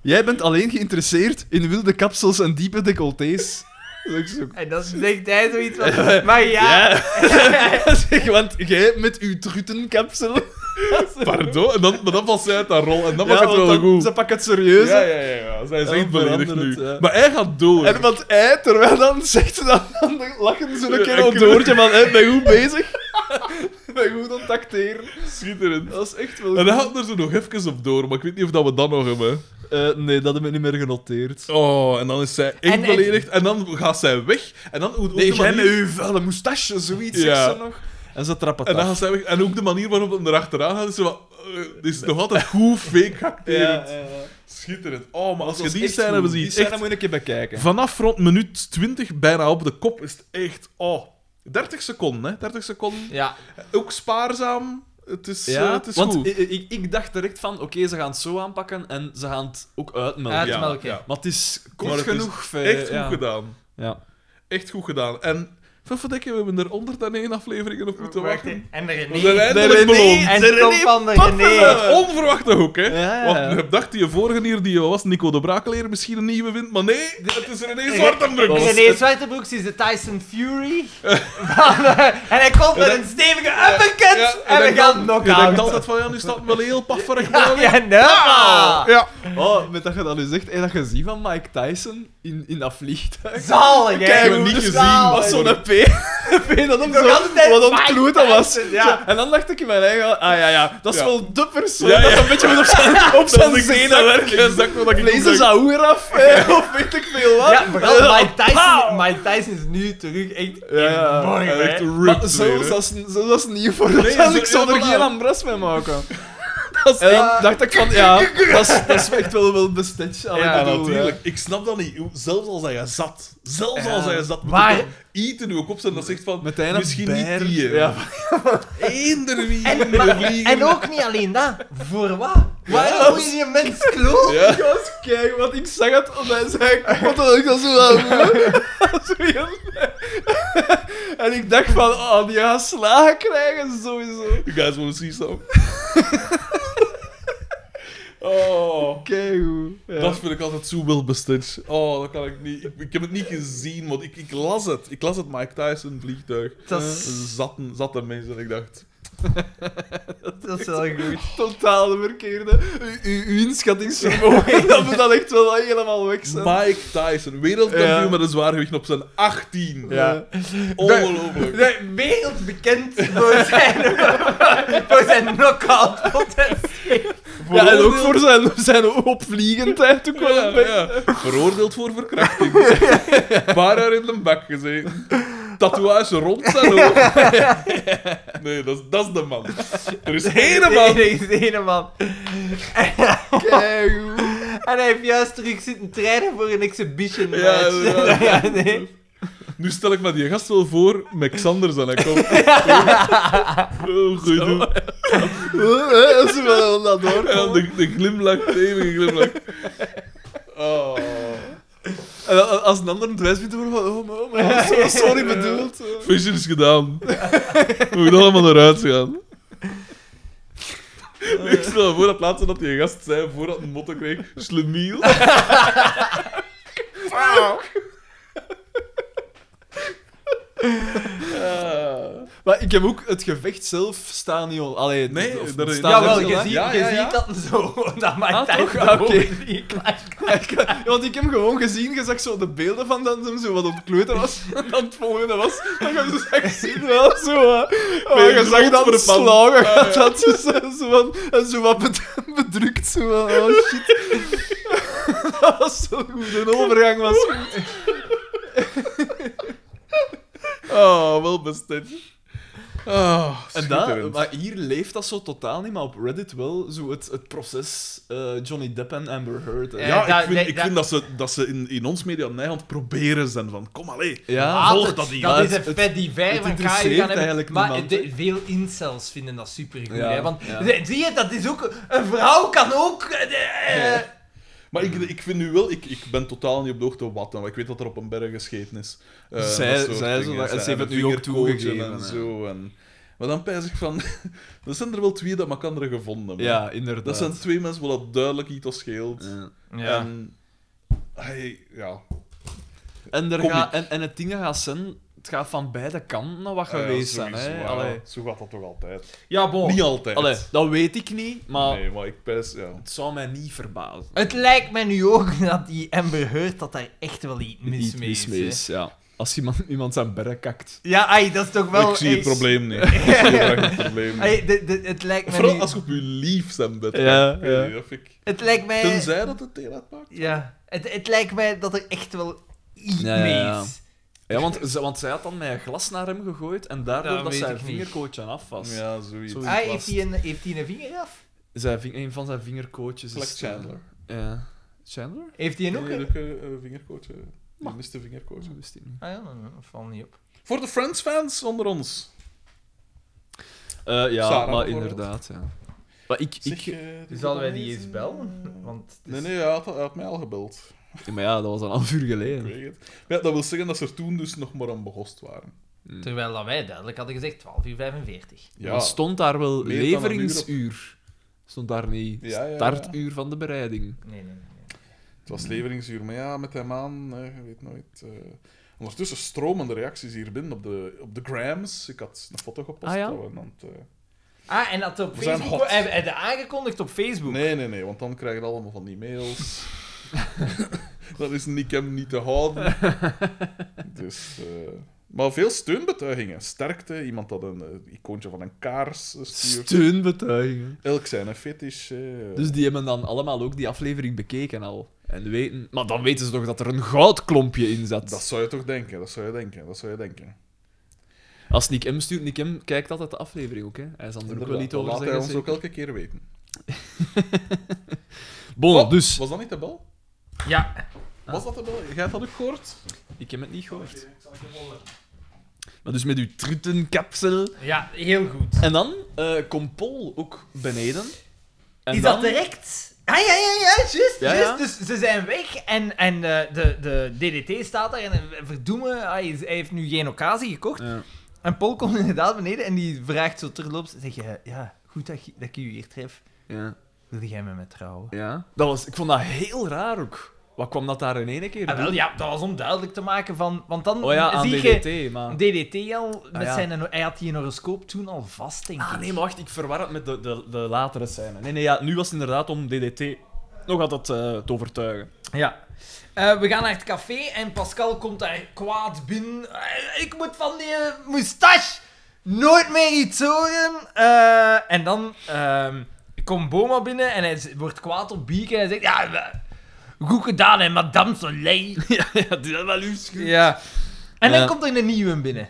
S3: Jij bent alleen geïnteresseerd in wilde kapsels en diepe decolletés. Dat is ook zo-
S1: En dan denkt hij zoiets van... Maar ja...
S3: Ja. zeg, want jij met uw trutenkapsel...
S2: Pardon. En dan, maar dan valt zij uit haar rol. En dan
S3: Ja,
S2: maakt het
S3: want
S2: wel
S3: dan-
S2: goed.
S3: Ze pakken het serieus.
S2: Ja, ja, ja, ja. Zij is
S3: Dan
S2: echt beledigd
S3: verandert
S2: nu.
S3: het, ja.
S2: Maar hij gaat door.
S3: En want hij, terwijl dan zegt ze dat, dan lachen ze een
S2: Ja,
S3: keer op
S2: ik-
S3: het oortje van, hé, ben je goed bezig? ben je goed aan het acteren?
S2: Schitterend.
S3: Dat is echt wel
S2: En
S3: goed.
S2: dan gaat er zo nog even op door, maar ik weet niet of dat we dat nog hebben.
S3: Eh, nee, dat heb ik niet meer genoteerd.
S2: Oh, en dan is zij echt
S1: En- en-
S2: beledigd. En dan gaat zij weg. En dan... Hoe, hoe de manier-
S3: uw vuile moustache, zoiets,
S2: Ja.
S3: zegt ze nog. En ze trappen
S2: En, dan
S3: af.
S2: gaan zij weg. en ook de manier waarop hem erachteraan gaat, is zo van, eh, dit is nog altijd goed fake acterend.
S3: ja, ja.
S2: Schitterend. Oh, maar als je
S3: Dat is
S2: die
S3: echt
S2: scène
S3: goed.
S2: hebben
S3: Die
S2: zien,
S3: scène
S2: echt...
S3: moet je een keer bekijken.
S2: Vanaf rond minuut 20 bijna op de kop is het echt... Oh, 30 seconden, hè. 30 seconden.
S1: Ja,
S2: Ook spaarzaam. Het is, eh, het is
S3: want
S2: goed.
S3: Ik, ik, ik dacht direct van, oké, ze gaan het zo aanpakken en ze gaan het ook uitmelken.
S1: Uit- melken.
S3: Maar het is kort
S2: Maar het is
S3: genoeg. eh,
S2: Echt goed
S3: ja.
S2: gedaan.
S3: Ja.
S2: Echt goed gedaan. En... Verdikke, we hebben er 101 afleveringen op moeten
S1: Wacht,
S2: wachten.
S1: En de
S2: We zijn
S1: René.
S2: eindelijk
S3: René.
S2: beloond.
S1: En
S3: de
S1: het
S3: René
S1: komt van de
S3: Poffelen.
S1: René.
S2: Op eh, onverwachte hoek, hè?
S3: Ja, ja, ja.
S2: Want ik dacht, die vorige hier die was Nico de Braakleer, misschien een nieuwe wint, maar nee, het is René Zwartenbroek.
S3: was-
S1: René Zwartenbroeks is de Tyson Fury. van, eh, en hij komt met een stevige uppercut.
S2: Ja,
S1: en
S2: ik
S1: we
S2: denk
S1: gaan
S2: dan-
S1: knock
S2: Ik denk
S1: out.
S2: altijd van, ja, nu staat het wel heel pafferig.
S1: Ja,
S2: boven.
S1: ja, nou.
S2: Ja.
S3: Oh, met dat je dat nu zegt, en dat je ziet van Mike Tyson in, in dat vliegtuig.
S1: Zalig, hè. dus
S2: Kijk, we niet gezien,
S1: Zalig.
S3: was zo'n P. Een P dat hem
S1: Nog
S3: zo
S1: altijd
S3: wat
S1: Mike
S3: ontkloot dat was.
S1: Tyson, ja.
S3: Zo, En dan dacht ik in mijn eigen, ah ja, ja, dat is
S2: Ja.
S3: wel de persoon
S2: Ja, ja.
S3: dat een beetje moet op zijn, op zijn zenen werken.
S2: Exact wat ik
S3: Lezen
S2: bedoel.
S3: ze hoer af, eh, of weet ik veel wat.
S1: Ja, vooral
S3: Eh,
S1: Mike Tyson,
S3: pauw.
S1: Mike Tyson is nu terug echt
S3: Ja, ja.
S1: in vorm,
S2: Ja,
S1: hè.
S2: Echt
S3: Maar
S2: ripped
S3: zo
S2: weer, hè.
S3: was dat zo was het niet voor dat
S2: Nee,
S3: was-
S2: zo-
S3: ik zou er
S2: ja,
S3: geen
S2: voilà.
S3: ambras mee maken. en dan
S1: echt-
S3: dacht ik van, ja, dat is, dat is echt wel wel bestet. Allee,
S1: Ja,
S2: Ja,
S3: bedoel,
S2: natuurlijk.
S1: eh,
S2: Ik snap dat niet. Hoe- Zelfs als hij zat. Zelfs
S3: Ja.
S2: als hij zat. Moet
S1: Maar-
S2: er toch eten nu ook op zijn dat zegt van...
S3: Met een
S2: misschien
S3: beer.
S2: niet die.
S3: Ja.
S2: Ja. Eender wie.
S1: En,
S2: de
S1: maar-
S2: vlieger.
S1: en ook niet alleen dat. Voor wat? Waarom moet je die mens kloot?
S2: Ja.
S3: Gast, kijk, want ik zag het en hij zei, wat dat ik dat zo aan Zo heel- En ik dacht van, oh, die gaan slagen krijgen, sowieso.
S2: You guys want to see some? oh.
S3: Kijk hoe. Ja.
S2: Dat vind ik altijd zo wild bestitch. Oh, dat kan ik niet. Ik, ik heb het niet gezien, want ik, ik las het. Ik las het Mike Tyson vliegtuig. Eh,
S1: Dat is-
S2: Zat, zat er mensen en ik dacht...
S1: Dat is wel goed.
S3: totaal de verkeerde. U- u- Uw inschattingsvermogen, dat moet dan echt wel helemaal weg zijn.
S2: Mike Tyson, wereldkampioen
S3: Ja.
S2: met een zwaargewicht op zijn 18.
S3: Ja.
S2: Ongelooflijk.
S1: De wereld bekend voor zijn, voor zijn knock-out potentie.
S3: Ja, en ook voor zijn, zijn opvliegendheid ook wel.
S2: Ja,
S3: een beetje.
S2: ja. Veroordeeld voor verkrachting. Paar jaar in de bak gezeten. Tatoeage rond zijn ogen. Nee, dat is, dat is de man. Er is één man.
S1: Nee, nee, nee, man.
S3: Kijk hoe.
S1: En hij heeft juist terug zitten trainen voor een exhibition match.
S2: Ja, inderdaad.
S1: Ja, nee.
S2: Nu stel ik me die gast wel voor met Xander zijn hij komt. Oh, goed. doen.
S3: Eh, Als we wel dat
S2: En dan
S3: doorkomen.
S2: de, de glimlach, de eeuwige glimlach. Oh.
S3: En dan- Als een ander een dwijs vindt, dan van, oh, maar, oh, maar, dat is zo sorry bedoeld.
S2: Vision is gedaan. We moeten allemaal eruit gaan. Ik stel me voor dat laatste dat die gast zei voordat een motto kreeg: Slemiel.
S3: Maar ik heb ook het gevecht zelf staan niet al. Allee,
S2: Nee,
S3: of-
S2: daar-
S3: staan
S1: Ja,
S3: niet
S1: wel,
S3: al,
S1: je
S3: hè?
S1: ziet,
S2: Ja,
S1: je
S2: ja, ja.
S1: ziet dat hem zo, dat Mike
S3: Ah, toch?
S1: Tyson
S3: Ah, oké.
S1: gewoon niet klaar komt.
S3: Ja, ik- ja, want ik heb hem gewoon gezien, je zag zo de beelden van dat hem zo wat op kleuter was. En dan het volgende was, dat je hem zo zag zien, wel zo. hè. Maar
S2: Weer
S3: je zag dat
S2: rond verpand.
S3: slagen, gaat dat zo, zo, zo van, en zo wat bed- bedrukt, zo van, oh shit. Dat was zo goed, de overgang was goed.
S2: Oh, wel besteed. Oh,
S3: En dat,
S2: schitterend.
S3: maar hier leeft dat zo totaal niet, maar op Reddit wel zo het, het proces eh, Johnny Depp en Amber Heard. hè.
S1: Ja,
S2: ja,
S1: dat-
S2: ik vind,
S1: nee,
S2: ik
S1: dat-
S2: vind dat ze, dat ze in, in ons media Nijland proberen zijn van, kom allee.
S3: ja.
S1: Haat
S2: volg
S1: het.
S2: dat niet.
S3: Maar
S1: Dat is
S3: het-
S1: een vet die
S3: het
S1: vijf van
S3: interesseert
S1: Kai gaan
S3: eigenlijk
S1: hebben. Maar
S3: niemand,
S1: de- veel incels vinden dat supergoed.
S3: Ja,
S1: hè, want
S3: ja.
S1: de- zie je, dat is ook... Een vrouw kan ook... eh, de- eh,
S2: Maar
S3: Mhm.
S2: ik, ik vind nu wel, ik, ik ben totaal niet op de hoogte wat dan, maar ik weet dat er op een berg gescheten is. Eh,
S3: Zij-
S2: dat soort
S3: zij zo
S2: dingen.
S3: dat- en ze
S2: hebben
S3: heeft het nu ook
S2: vingerkootje
S3: toegegeven,
S2: En
S3: ja.
S2: zo, en... Maar dan pijs ik van, er zijn er wel twee dat Makandere gevonden hebben.
S3: ja, inderdaad.
S2: Dat zijn twee mensen waar dat duidelijk iets als scheelt.
S3: Ja.
S1: Ja.
S2: En hij, ja.
S3: En, er
S2: Kom
S3: ga,
S2: ik.
S3: en, en het ding dat gaat zijn, het gaat van beide kanten naar wat geweest
S2: Ah ja,
S3: zijn.
S2: sowieso,
S3: Hè?
S2: ja.
S3: Allee. Oh,
S2: Zo gaat dat toch altijd.
S1: Ja, bon.
S2: Niet altijd.
S3: Allee, dat weet ik niet, maar
S1: Ah.
S2: Nee, maar ik pijs, ja.
S3: het zou mij niet verbazen.
S1: Het lijkt mij nu ook dat die Amber Heard dat daar echt wel iets mis
S3: Niet
S1: mee
S3: mis
S1: is.
S3: mee
S1: hè.
S3: is, ja. Als iemand, iemand zijn berg kakt.
S1: Ja, ai, dat is toch wel...
S2: ik zie het
S1: eens-
S2: probleem niet. Ik zie echt het probleem niet.
S1: Ai, de- de- het lijkt mij
S2: Vooral
S1: nu-
S2: als je op je lief zijn bed
S3: Ja,
S2: gaat. Ik weet
S3: ja.
S2: niet, dat vind ik-
S1: Het lijkt mij...
S2: Tenzij dat het deel uitmaakt.
S1: Ja. Het, het lijkt mij dat er echt wel iets
S3: Ja, ja, ja.
S1: mee is.
S3: Ja, want, ze- want zij had dan met een glas naar hem gegooid en daardoor
S1: Dat
S3: dat
S1: weet
S3: zijn
S1: ik niet.
S3: vingerkootje af was.
S2: Ja, zoiets. Ah,
S3: Zoiets.
S1: Ai,
S3: was
S1: Ah, heeft hij een, heeft die een vinger af?
S3: Zijn ving- een van zijn vingerkootjes
S2: Black
S3: is... eh,
S2: Chandler.
S3: Ja. Chandler?
S1: Heeft hij een ook?
S2: Nee,
S1: een-
S2: ook een eh, vingerkootje. Die
S3: Maar-
S2: miste vingerkootje.
S3: Zo wist ik niet.
S1: Ah ja, dan dan valt niet op.
S2: Voor de Friends-fans onder ons.
S3: Eh, ja,
S2: Sarah
S3: maar
S2: bijvoorbeeld.
S3: inderdaad, ja. Maar ik... ik
S2: Zeg, eh,
S1: Dus
S2: moet
S1: zouden wij
S2: dat
S1: die
S2: lezen?
S1: eens bellen? Want het is-
S2: Nee, nee, hij had, hij had mij al gebeld.
S3: Maar ja, dat was een half uur
S2: Ik
S3: geleden.
S2: weet het. Maar ja, dat wil zeggen dat ze er toen dus nog maar aan begost waren.
S1: Terwijl dat wij duidelijk hadden gezegd 12 uur 45.
S2: Ja,
S3: Maar stond daar wel
S2: Meer dan een
S3: leveringsuur? Stond daar niet
S2: Ja, ja, ja.
S3: startuur van de bereiding?
S1: Nee, nee, nee. nee.
S2: het was leveringsuur. Maar ja, met hem aan, eh, je weet nooit. eh. Ondertussen stromen de reacties hier binnen op de, op de grams. Ik had een foto gepost.
S3: Ah, ja?
S2: dat we aan het, eh,
S1: Ah, en dat op
S2: We zijn
S1: Facebook...
S2: hot.
S1: Hij hij had aangekondigd op Facebook.
S2: Nee, nee, nee, want dan krijg je allemaal van die mails. dat is niet hem niet te houden. dus, eh, maar veel steunbetuigingen. Sterkte, iemand dat een eh, icoontje van een kaars eh, stuurt.
S3: Steunbetuigingen.
S2: Elk zijn een fetish. eh.
S3: Dus die hebben dan allemaal ook die aflevering bekeken al. En weten... Maar dan weten ze toch dat er een goudklompje in zat.
S2: Dat zou je toch denken, dat zou je denken, dat zou je denken.
S3: Als Nick M stuurt, Nick M kijkt altijd de aflevering ook, hè. Hij zal er ook wel
S2: Inderdaad,
S3: niet
S2: dat
S3: over
S2: laat hij
S3: zeggen.
S2: ons ook
S3: zeker.
S2: elke keer weten.
S3: Bon,
S2: Oh,
S3: dus...
S2: Was dat niet de bel?
S1: Ja.
S3: Ah.
S2: Was dat de bel? Jij had dat ook gehoord?
S3: Ik heb het niet gehoord. Maar dus met uw trutenkapsel...
S1: Ja, heel goed.
S3: En dan eh komt Paul ook beneden. En
S1: is
S3: dan...
S1: dat direct? Ah, ja, ja, ja, juist,
S3: Ja,
S1: juist.
S3: ja.
S1: Dus ze zijn weg en, en eh, de, de DDT staat daar en eh, verdoemen, hij, is- hij heeft nu geen occasie gekocht.
S3: Ja.
S1: En Paul komt inderdaad beneden en die vraagt zo terloops, zeg je, ja, goed dat, je- dat ik u hier tref.
S3: Ja.
S1: Wil jij met me trouwen?
S3: Ja. Dat was, ik vond dat heel raar ook. Wat kwam dat daar in één keer?
S1: Ah, wel,
S3: doen?
S1: ja, dat was om duidelijk te maken van... Want dan
S3: Oh ja, aan
S1: zie
S3: DDT,
S1: je
S3: maar...
S1: DDT al, met
S3: Ah, ja.
S1: zijn, hij had die horoscoop toen al vast, denk
S3: Ah,
S1: ik.
S3: nee, maar wacht, ik verwar het met de, de, de latere scène. Nee, nee, ja, nu was het inderdaad om DDT nog altijd eh, te overtuigen.
S1: Ja. Eh, we gaan naar het café en Pascal komt daar kwaad binnen. Eh, ik moet van die eh, moustache nooit meer iets horen. Eh, en dan ehm, komt Boma binnen en hij z- wordt kwaad op Bieke en hij zegt... Ja, eh, goed gedaan, hè, madame Soleil.
S3: ja, ja, die had wel uw schuur.
S1: ja. En dan
S3: Ja.
S1: komt er een nieuwe binnen.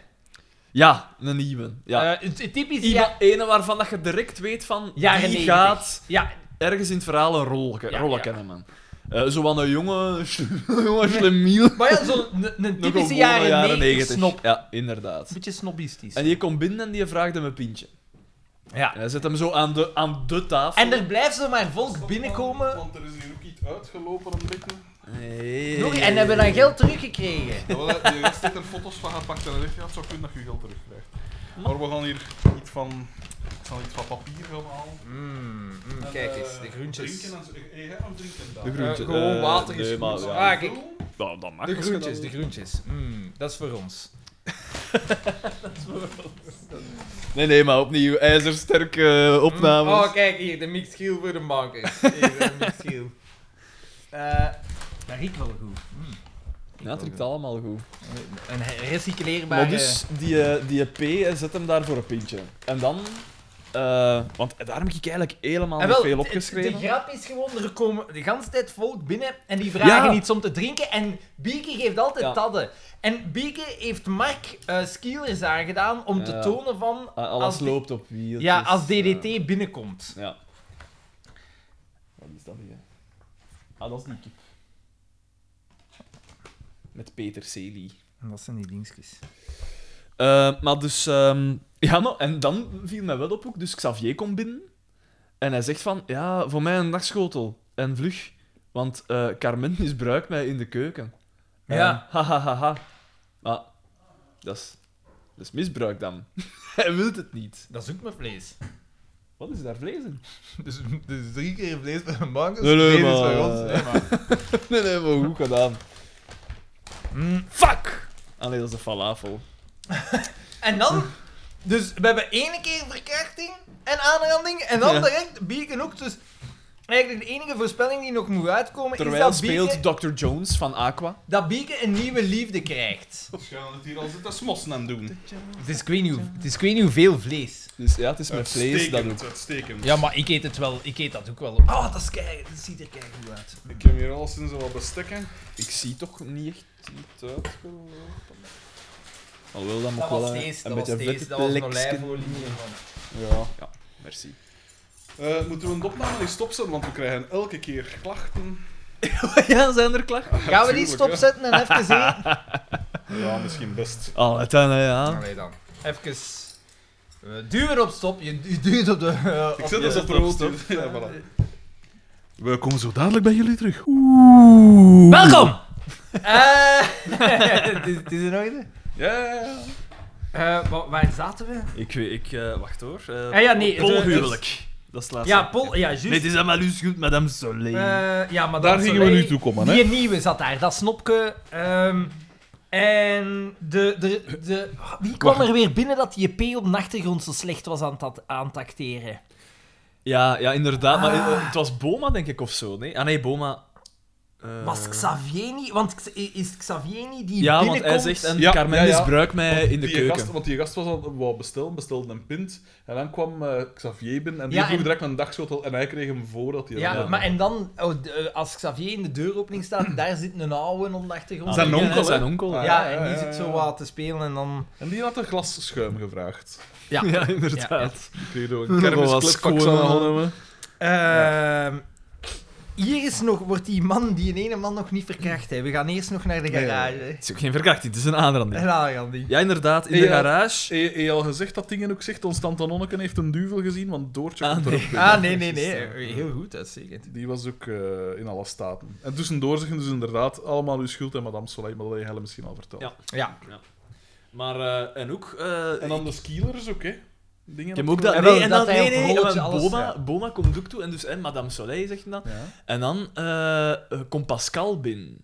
S3: Ja, een nieuwe. Ja.
S1: Eh, het- het typisch...
S3: Iemand,
S1: Ja,
S3: ene waarvan dat je direct weet van,
S1: Jaren
S3: die
S1: 90.
S3: gaat
S1: ja,
S3: ergens in het verhaal een rol,
S1: Ja,
S3: rollen
S1: ja.
S3: kennen, man. Eh, zo van een jonge, jonge slemiel.
S1: maar ja, zo'n een- een
S3: Nog een
S1: typische
S3: gewone
S1: jaren, 90 snop.
S3: Ja, inderdaad.
S1: Een beetje snobistisch.
S3: En die komt binnen en die vraagt hem een pintje.
S1: Ja.
S3: En hij zet hem zo aan de, aan de tafel.
S1: En er blijft zomaar volk binnenkomen.
S2: Want er is hier ook iets uitgelopen een beetje.
S3: Hey.
S1: Nog- En hebben dan geld teruggekregen.
S2: Je rest heeft eh, er foto's van gepakt en hij zegt, ja, het zou kunnen dat je geld terugkrijgt. Maar we gaan hier iets van, ik zal iets van papier gaan halen.
S1: Mm,
S2: En,
S1: kijk
S2: eh,
S1: eens, de groentjes.
S2: Drinken en zo. Eh, eh, of drinken dan?
S3: De groentjes.
S1: Eh, gewoon water is
S3: nee,
S1: goed.
S3: maar,
S2: Zo
S3: ja.
S1: Ah, kijk.
S2: vullen.
S3: Nou, dat mag
S1: De
S3: als je
S1: groentjes,
S3: dat-
S1: de groentjes. Mm, dat is voor ons.
S3: Nee, nee, maar opnieuw ijzersterke eh,
S1: Mm,
S3: opnames.
S1: Oh, kijk hier, de mixed giel voor de bankers. Hier, de mixed giel. Eh, dat riekt wel goed. Mm.
S3: Ja, het ruikt allemaal goed.
S1: Een
S3: Maar
S1: recycleerbare...
S3: dus, die, eh, die P eh, zet hem daar voor een pintje. En dan Eh, want daar heb ik eigenlijk helemaal
S1: En
S3: niet
S1: Ah, wel, de-
S3: veel
S1: De,
S3: opgeschreven.
S1: grap is gewoon, er komen de hele tijd volk binnen en die vragen
S3: Ja.
S1: iets om te drinken. En Bieke geeft altijd
S3: Ja.
S1: tadden. En Bieke heeft Mark eh Skielers aangedaan om te
S3: Ja.
S1: tonen van...
S3: A- Ah, Alles
S1: als die-
S3: loopt op wieltjes.
S1: Ja, als DDT
S3: eh,
S1: binnenkomt.
S3: ja. Wat is dat hier? Ah, dat is die kip. Met Peter Celi.
S1: En dat zijn die dingetjes.
S3: Eh, maar dus... ehm, ja, nou, en dan viel mij wel op ook. Dus Xavier komt binnen. En hij zegt van... Ja, voor mij een nachtschotel. En vlug. Want eh, Carmen misbruikt mij in de keuken.
S1: Ja.
S3: Eh, Ha, ha, ha, ha. Maar... Dat is... Dat is misbruik dan. hij wil het niet.
S1: Dat is ook mijn vlees.
S3: Wat is daar vlees in?
S1: Dus, dus drie keer vlees bij een bank.
S3: Nee, nee, vlees is maar- eh, bij ons. Nee, Nee, nee, maar goed gedaan. Mm, Fuck! Ah nee, dat is de falafel.
S1: En dan... Dus we hebben ene keer verkrachting en aanranding. En dan
S3: Ja.
S1: direct Bieke ook. Dus eigenlijk de enige voorspelling die nog moet uitkomen
S3: Terwijl
S1: is dat Bieke,
S3: speelt Dr. Jones van Aqua.
S1: dat Bieke een nieuwe liefde krijgt. Dus
S2: Dus gaan we het hier al zitten smossen aan doen.
S1: Het is, ik weet niet, hoe- het is ik weet niet hoeveel vlees.
S3: Dus ja, het is met vlees dat ook.
S2: Uitstekend, uitstekend.
S1: Ja, maar ik eet het wel. Ik eet dat ook wel op. Oh, dat, is kei, dat ziet er kei goed uit.
S2: Ik heb hier alles in zo wat bestekken.
S3: Ik zie toch niet echt niet uitgelopen. Alhoewel, dat moet
S1: Dat
S3: wel
S1: was
S3: een,
S1: deze,
S3: een
S1: dat was
S3: beetje
S1: deze,
S3: vette
S1: dat was een
S3: plekken.
S1: olijfolie.
S3: Ja. ja, merci.
S2: Eh, moeten we een opname niet stopzetten, want we krijgen elke keer klachten.
S3: ja, zijn er klachten?
S1: Gaan we die
S2: Tuurlijk,
S1: stopzetten en even zien?
S2: Ja, misschien best.
S3: Oh, uiteindelijk, ja.
S1: Allee dan. Even... eh, duwen op stop. Je, je duwt op de... eh,
S2: Ik
S1: op
S2: zet
S1: de-
S2: dat op
S1: de-
S2: rood.
S1: stop.
S2: Ja, voilà.
S1: Eh,
S2: We komen zo dadelijk bij jullie terug.
S1: Welkom! Eh, Het is- het is in orde.
S2: Ja, ja, ja.
S1: Eh, wa- waar zaten we?
S3: Ik weet, ik, eh, wacht hoor. Eh,
S1: Ah ja, nee,
S3: Polhuwelijk. Dat is het laatste.
S1: Ja, Pol... Ja,
S3: Nee, het
S1: juist.
S3: is allemaal dus goed, madame Soleil.
S1: Eh, ja, maar
S2: Daar
S1: dat-
S2: gingen we
S1: Soleil-
S2: nu toe komen, hè?
S1: Die nieuwe zat daar, dat snopke. ehm, en de, de, de... Wie kwam er weer binnen dat die P op de achtergrond zo slecht was aan het ta- aan het acteren?
S3: Ja, ja, inderdaad. Maar
S1: Ah.
S3: eh, het was Boma, denk ik, of zo. Nee? Ah nee, Boma. eh,
S1: Was Xavier niet... Want X- is Xavier niet die
S3: Ja, want
S1: binnenkomt?
S3: hij zegt, en
S2: Ja,
S3: Carmen
S2: ja, ja.
S3: misbruikt mij Eh, in de
S2: die
S3: keuken.
S2: Gast, want die gast was al wou bestellen, bestelde een pint. En dan kwam eh, Xavier binnen en die
S1: Ja,
S2: vroeg
S1: en-
S2: direct een dagschotel. En hij kreeg hem voordat hij
S1: Ja,
S2: dat-
S1: maar en dan, oh, de- eh, als Xavier in de deuropening staat, daar zit een oude op de achtergrond. eh,
S2: Zijn
S3: Ah,
S2: onkel,
S3: ja,
S2: hè?
S3: Zijn onkel,
S2: Ah,
S3: ja.
S1: Ja, en die
S2: ja, ja,
S1: zit zo
S2: ja.
S1: wat te spelen en dan...
S2: En die had een glas schuim gevraagd.
S1: Ja.
S3: Ja, inderdaad.
S2: Die kreeg door een
S3: Nog wel wat
S2: kermisclippak
S3: schoenen.
S2: aangenomen.
S1: Ehm, hier is nog, wordt die man, die ene man nog niet verkracht. Hè. We gaan eerst nog naar de
S2: Nee.
S1: garage. Ah, hè.
S3: Het is ook geen verkrachting, het is een aanranding.
S1: Ja, Gandhi.
S3: Ja, inderdaad, in de
S2: Ja.
S3: garage.
S2: Heb je- heb je al gezegd dat dingen ook zegt? Ons tante Nonneke heeft een duvel gezien, want Doortje
S3: Ah,
S2: komt
S3: nee.
S2: erop binnen.
S1: Ah, nee, nee, nee.
S2: Precies, ja.
S1: Heel goed, uitstekend.
S2: Die was ook eh, in alle staten. En tussendoor zeggen dus inderdaad allemaal uw schuld en madame Soleil, maar dat heb je misschien al verteld.
S3: Ja.
S1: Ja.
S3: Maar, eh, en ook... eh,
S2: En dan de skilers ook, hè? Dingen
S3: ik heb ook dat...
S1: En
S3: Nee,
S1: wel,
S3: en
S1: dat
S3: dan,
S1: hij
S3: nee,
S1: op
S3: nee,
S1: rolletje
S3: want
S1: alles-
S3: Boma,
S2: ja.
S3: Boma komt ook toe, en dus en Madame Soleil zegt dat.
S2: Ja.
S3: En dan eh, eh, komt Pascal binnen.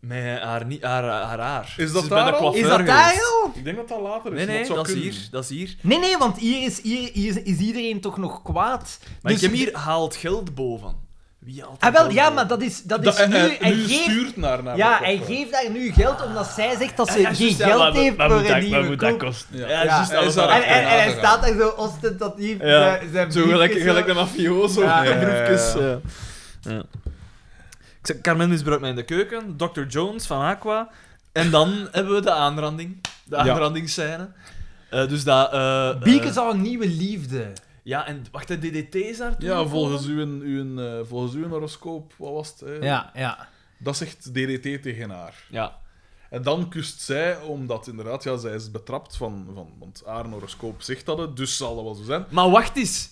S3: Met haar, nie- haar, haar haar.
S2: Is
S3: Ze
S2: dat
S3: bij de
S2: daar al?
S3: coiffeur
S1: Is dat
S3: geweest.
S1: daar al?
S2: Ik denk dat dat later is.
S3: Nee,
S2: maar
S3: nee,
S2: het zou
S3: dat is
S2: kunnen.
S3: hier. Dat is hier.
S1: Nee, nee, want hier is, hier, hier is iedereen toch nog kwaad.
S3: Maar
S1: Dus-
S3: ik heb hier haalt geld boven. Wie haalt
S1: Ah, wel,
S3: geld
S1: ja,
S3: boven?
S1: maar dat is, dat
S2: Dat-
S1: is nu...
S2: en, en
S1: Hij
S2: eh, nu
S1: geeft,
S2: stuurt naar, naar
S1: ja,
S2: de
S1: hij
S2: koffer.
S1: geeft daar nu geld omdat zij zegt dat
S3: Ja,
S1: ze
S3: ja,
S1: geen
S3: juist, ja,
S1: geld
S3: wat-
S1: heeft
S3: wat
S1: voor
S3: moet
S1: een
S3: dat- Wat
S1: nieuwe
S3: moet dat
S1: koop.
S3: kosten?
S2: Ja.
S3: Ja,
S1: Ja.
S3: juist,
S1: Hij
S3: dat
S2: is
S3: was eh, al
S2: daar-
S1: En, en, en hij
S2: Ja.
S1: staat daar zo ostentatief
S3: Ja.
S1: eh, zijn
S3: Zo gelijk,
S1: briefjes,
S3: gelijk
S1: zo.
S3: de mafioso. eh.
S1: Ja.
S3: Ja.
S2: Ja, ja, ja.
S3: ja. Ja. Ik zeg, Carmen misbruikt mij in de keuken, Dr. Jones van Aqua. En dan hebben we de aanranding. De
S2: Ja.
S3: aanrandingsscène. Eh, dus dat... eh, eh,
S1: Bieke zou een nieuwe liefde.
S3: Ja, en wacht, de DDT is daar toen
S2: Ja,
S3: gekomen?
S2: volgens uw, uw, eh, volgens uw horoscoop, wat was het? hè?
S1: Ja, ja.
S2: Dat zegt DDT tegen haar.
S3: Ja.
S2: En dan kust zij, omdat inderdaad, ja, zij is betrapt van, van want haar horoscoop zegt dat het, dus zal dat wel zo zijn.
S3: Maar wacht eens.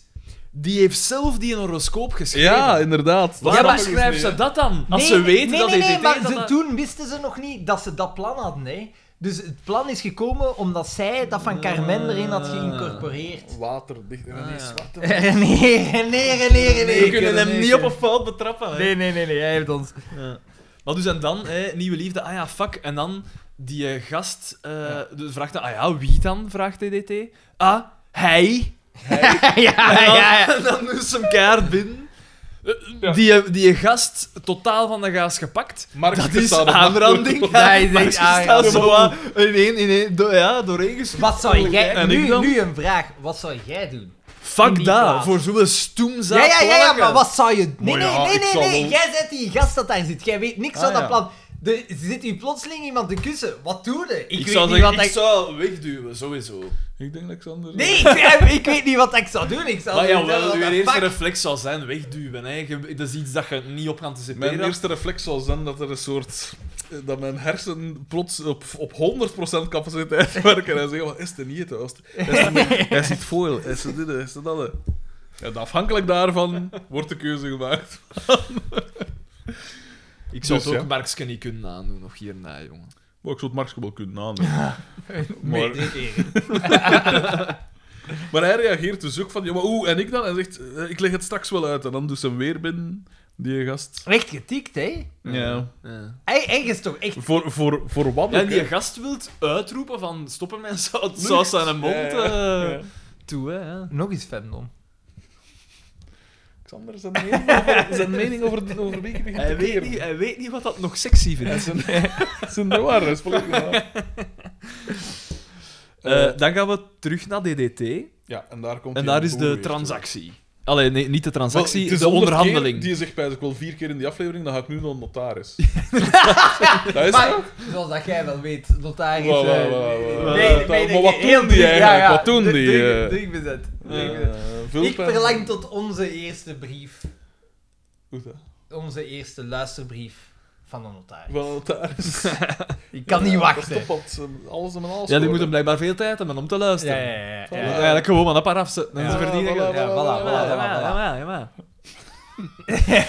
S3: Die heeft zelf die een horoscoop geschreven.
S2: Ja, inderdaad. Dat
S3: Waarom
S1: maar-
S2: snap ik
S3: schrijft
S2: dus
S3: ze
S2: niet,
S3: dat dan? Als
S1: Nee,
S3: ze weten
S1: nee,
S3: dat
S1: nee,
S3: DDT...
S1: nee, maar
S3: dat
S1: ze-
S3: dat-
S1: toen wisten ze nog niet dat ze dat plan hadden, hè. Dus het plan is gekomen omdat zij dat van Carmen erin had geïncorporeerd.
S2: hè. Waterdicht. en
S3: Ah,
S2: nee,
S3: ja.
S2: zwarte.
S1: Nee, nee, nee,
S3: We
S1: nee.
S3: kunnen hem niet op een fout betrappen. hè.
S1: Nee, nee, nee, nee, hij heeft ons...
S3: Ja. Maar dus en dan, hè, nieuwe liefde, ah ja, fuck. En dan die eh, gast eh, dus vraagt, dan, ah ja, wie dan? Vraagt DDT. Ah, hij.
S1: ja, ja,
S3: En dan,
S1: Ah, ja.
S3: en dan is hem keihard binnen. Eh, Die, die gast totaal van de gaas gepakt.
S2: Mark
S3: dat
S2: staat
S3: is
S2: op de
S3: aanranding.
S2: achtergrond.
S1: Ja, hij
S3: Maar
S1: zegt
S3: ze
S1: aan-
S3: staat
S1: ja,
S3: zo wat in één, in één, do- ja, doorheen gespeeld.
S1: Wat zou jij...
S3: En
S1: Nu,
S3: ik dan?
S1: nu een vraag. Wat zou jij doen? in die
S3: Fuck dat,
S1: plaats.
S3: voor zo'n stoemzaak.
S1: ja, ja, ja, ja, maar
S3: plakken.
S1: wat zou je... Nee,
S2: Maar
S1: nee,
S2: ja,
S1: nee,
S2: ik
S1: nee,
S2: zou
S1: nee.
S2: wel-
S1: Jij bent die gast dat daar zit. Jij weet niks
S3: Ah,
S1: van dat
S3: ja.
S1: plan. Er zit hier plotseling iemand te kussen. Wat doe je? Ik,
S3: Ik,
S1: weet
S3: zou,
S1: niet
S3: zeggen,
S1: wat
S3: ik
S1: ik...
S3: zou wegduwen, sowieso.
S2: Ik denk Alexander.
S1: Nee, ik, ik weet niet wat ik zou doen. Ik zou
S3: Maar ja,
S1: zeggen,
S3: wel,
S1: what
S3: Oh, je
S1: the
S3: eerste
S1: fuck?
S3: reflex zou zijn wegduwen. Hè. Je- Dat is iets dat je niet op kan anticiperen.
S2: Mijn eerste reflex zal zijn dat er een soort. eh, dat mijn hersen plots op, op 100% capaciteit werken. En zeggen: wat is het niet? Hij is het niet. Hij is het foil, hij is het dit, hij is het dat. En afhankelijk daarvan wordt de keuze gemaakt.
S3: Ik zou
S2: Dus,
S3: het ook
S2: ja.
S3: Markske niet kunnen aandoen, nog hierna, jongen.
S2: Maar ik zou het Markske wel kunnen aannemen.
S1: Nee,
S2: Maar-
S1: nee, nee, nee.
S2: Maar hij reageert dus ook van: ja, maar oeh, en ik dan? En zegt: eh, ik leg het straks wel uit. En dan doet ze hem weer binnen, die gast.
S1: Echt getikt, hè?
S2: Ja.
S3: Ja.
S1: Hij ergens toch echt...
S2: Voor, voor, voor wat?
S3: En
S2: ook,
S3: die
S2: hè.
S3: gast wilt uitroepen van stoppen mijn saus, saus aan de mond
S2: Ja,
S3: eh
S2: ja, ja.
S3: toe, hè. ja.
S1: Nog eens femdom.
S2: Xander, zijn mening over, zijn mening over, de- over Beek begint te
S3: Hij weet,
S2: keren.
S3: niet, hij weet niet wat dat nog sexy vindt.
S2: zijn, zijn de waar, dat is volledig waar.
S3: Eh, dan gaan we terug naar DDT.
S2: Ja, en daar komt
S3: En
S2: die
S3: daar is
S2: boer
S3: de
S2: weer
S3: transactie. Allee, nee, niet de
S2: terug. Wel,
S3: transactie,
S2: het is
S3: de
S2: 100 keer,
S3: onderhandeling.
S2: die zegt bij zich wel vier keer in die aflevering, dan ga ik nu naar een notaris. dat is
S1: Maar,
S2: toch?
S1: zoals dat jij wel weet, notaris...
S2: Wauw,
S1: eh,
S2: wauw, wauw,
S1: nee,
S2: wauw.
S1: nee,
S2: Dat-
S1: nee,
S2: maar wat
S1: nee,
S2: doen
S1: heel
S2: die
S1: drie-
S2: eigenlijk?
S1: ja, ja,
S2: Wat doen
S1: drie-
S2: die,
S1: drie-
S2: eh?
S1: drie bezet. Drie bezet.
S2: Eh,
S1: Ik
S2: vulpen.
S1: verlang tot onze eerste brief.
S2: Goed, hè?
S1: Onze eerste luisterbrief van de notaris.
S2: Wel een notaris.
S1: Ik kan niet
S2: Ja,
S1: wachten.
S2: dat stopt ze- eh, alles om en
S3: Ja,
S2: alles.
S3: die
S2: voor,
S3: moeten
S2: hè.
S3: blijkbaar veel tijd hebben om te luisteren.
S1: Ja, ja, ja.
S2: Ja,
S1: ja,
S3: Je moet
S1: ja.
S3: Eigenlijk gewoon maar dat paar afzetten. En
S1: Ja,
S3: ze verdienen
S2: voilà,
S3: geld.
S1: Ja, voilà,
S3: Ja,
S1: voilà, voilà.
S3: ja, ja, ja.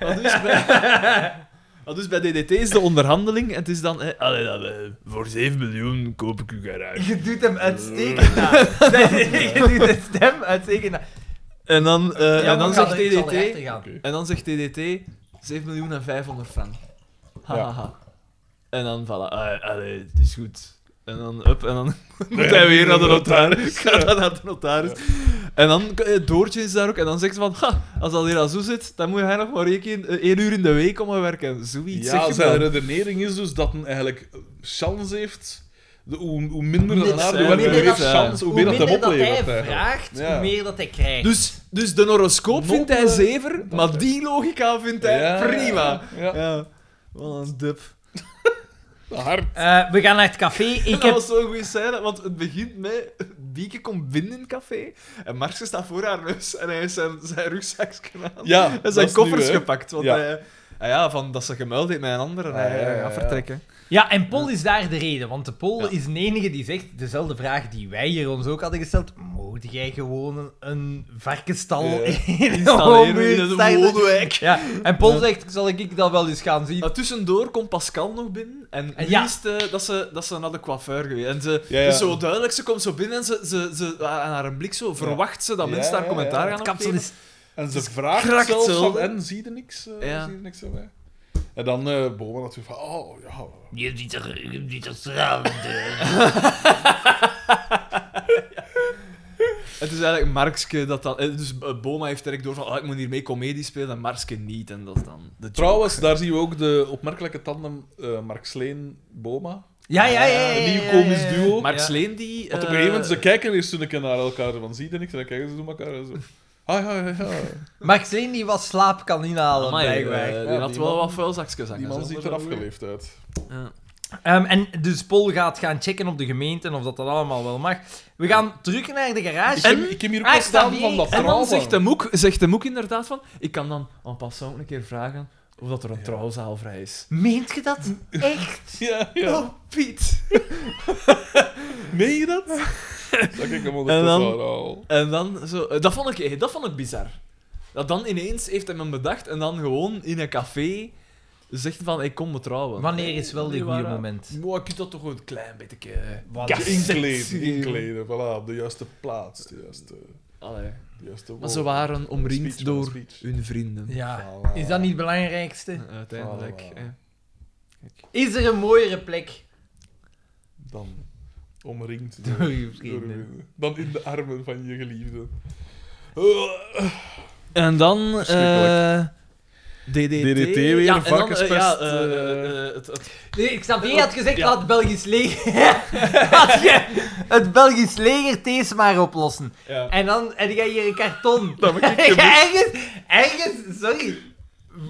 S3: Wat dus bij... Wat dus bij DDT is de onderhandeling en het is dan... eh, allee, dat, eh, voor 7 miljoen koop ik uw garage.
S1: Je doet hem uitstekend na. Je doet de stem uitstekend na.
S3: En dan, eh,
S1: Ja,
S3: en dan
S1: maar ik
S3: zegt
S1: zal er- ik zal
S3: DDT...
S1: erachter gaan.
S2: Oké.
S3: En dan zegt DDT 7 miljoen en 500 frank. Ha,
S2: Ja.
S3: ha, ha. En dan voilà, ah, allee, het is goed. En dan up, en dan moet hij weer naar de notaris. Gaat hij naar de notaris. En dan, eh, Doortje is daar ook, en dan zegt ze van, ha, als dat hier al zo zit, dan moet hij nog maar één, keer, eh, één uur in de week komen werken. Zoiets zeg
S2: Ja,
S3: je
S2: zijn
S3: dan.
S2: redenering is dus dat een eigenlijk chance heeft. De, hoe, hoe minder dat
S1: Minder-
S2: naar de
S3: hoe
S2: werken
S1: minder
S2: heeft,
S1: dat-
S2: chance, hoe
S1: Hoe
S2: meer dat hem
S1: minder dat hij
S2: oplevert. eigenlijk.
S1: vraagt,
S2: Ja.
S1: hoe meer dat hij krijgt.
S3: Dus, dus de horoscoop vindt hij
S2: Nobele-
S3: zever, maar die logica vindt hij
S2: Ja.
S3: prima.
S2: Ja.
S3: Ja. Wat een dup.
S2: Hard.
S1: Eh, we gaan naar het café. Ik
S3: dat
S1: heb...
S3: was zo'n goede scène, want het begint met... Bieke komt binnen in het café en Marx staat voor haar neus en hij heeft zijn, zijn rugzakje aan.
S2: Ja, dat
S3: en
S2: is
S3: zijn
S2: nieuw,
S3: koffers
S2: hè.
S3: gepakt, want
S2: Ja.
S3: hij... ah ja, van dat ze gemuild heeft met een ander en
S2: Ah,
S3: hij
S2: ja, ja,
S3: eh, gaat
S2: ja.
S3: vertrekken.
S1: Ja, en Paul is daar de reden, want de Paul
S3: Ja.
S1: is de enige die zegt dezelfde vraag die wij hier ons ook hadden gesteld. Mocht jij gewoon een, een varkenstal
S2: Ja.
S1: in de
S3: Installeren
S1: woonbuurt
S3: in een
S1: starten?
S3: woonwijk.
S1: Ja, en Paul zegt, zal ik dat wel eens gaan zien?
S3: Maar tussendoor komt Pascal nog binnen en
S1: En
S3: nu
S1: ja.
S3: is het, eh, dat, ze, dat ze naar de coiffeur geweest. En ze,
S2: Ja, ja.
S3: het is zo duidelijk, ze komt zo binnen en ze, ze, ze, aan haar blik zo verwacht ze dat
S2: Ja,
S3: mensen
S2: ja,
S3: daar commentaar
S2: ja.
S3: gaan
S1: Het kapsel
S3: geven.
S1: is...
S2: En ze
S3: Het
S2: vraagt
S3: krakt
S2: zelfs
S3: zelden.
S2: van, en zie je niks? eh,
S3: Ja.
S2: Zie je niks erbij? En dan eh Boma natuurlijk van, oh ja.
S1: Je ziet er, je ziet eh. er stralend uit.
S3: Het is eigenlijk Markske dat dan... eh, Dus eh, Boma heeft direct door van, ah, ik moet hiermee comedie spelen en Markske niet. En dat is dan de joke.
S2: Trouwens, daar zien we ook de opmerkelijke tandem eh Mark Sleen-Boma.
S1: Ja, ja, ja. ja, ja,
S2: Een nieuw
S1: ja,
S2: komisch
S1: ja, ja.
S2: duo.
S3: Mark
S1: Ja.
S3: Sleen die...
S2: Want op een
S3: eh,
S2: gegeven moment, ze kijken eerst een keer naar elkaar, van zie je niks? En dan kijken ze naar elkaar en zo. Ah, ja, ja, ja.
S1: Max Leen die wat slaap kan inhalen,
S3: Amai,
S1: blijkbaar.
S3: eh, die
S2: Ja,
S3: had
S2: die
S3: wel
S2: man-
S3: wat vuilzakjes aan.
S2: Die man
S3: hè,
S2: ziet er
S3: zonder dat-
S2: afgeleefd uit.
S3: Ja.
S1: Ehm, en dus Paul gaat gaan checken op de gemeente en of dat, dat allemaal wel mag. We gaan terug naar de
S2: Ik
S1: garage.
S2: heb, ik heb hier ook
S1: Ah,
S2: wel staan
S1: Xavier.
S2: van dat
S3: En dan
S2: trouwen.
S3: zegt de, moek, zegt de moek inderdaad van... Ik kan dan en passant ook een keer vragen of dat er een trouwzaal vrij is.
S1: Meent je dat? Echt?
S2: Ja, ja.
S3: Oh, Piet.
S2: Meen je dat? Dat ik hem
S3: En
S2: ondertussen
S3: dan-
S2: al.
S3: En dan zo... eh, Dat vond ik, eh, dat vond ik bizar. Dat dan ineens heeft hij hem bedacht en dan gewoon in een café zegt van, ik kom me trouwen.
S1: Wanneer is wel de
S3: die
S1: goede
S3: waren-
S1: moment?
S3: Maar ik kunt dat toch een klein beetje... eh,
S1: Wat?
S3: kassette
S2: Inkleden,
S3: geven.
S2: inkleden. Voilà, op de juiste plaats. De juiste,
S3: Allee.
S2: de juiste
S3: Maar
S2: woorden.
S3: ze waren omringd
S2: Speech van
S3: door
S2: speech.
S3: hun vrienden.
S1: Ja.
S2: Voilà.
S1: Is dat niet het belangrijkste?
S3: Uiteindelijk.
S2: Voilà.
S3: hè.
S1: Is er een mooiere plek?
S2: Dan omringd
S1: Door je vrienden.
S2: Dan in de armen van je geliefde.
S3: En dan... eh,
S1: eh,
S2: Verschrikkelijk. DDT weer,
S3: ja, en dan, eh,
S2: varkenspest,
S3: ja, eh,
S2: eh,
S3: eh, eh, het- het-
S1: Nee, ik snap, jij had gezegd,
S3: Ja.
S1: laat het Belgisch leger... Laat je het Belgisch leger deze maar oplossen.
S3: ja.
S1: En dan heb jij hier een karton.
S2: Dat heb ik gemist.
S1: ergens, ergens, sorry.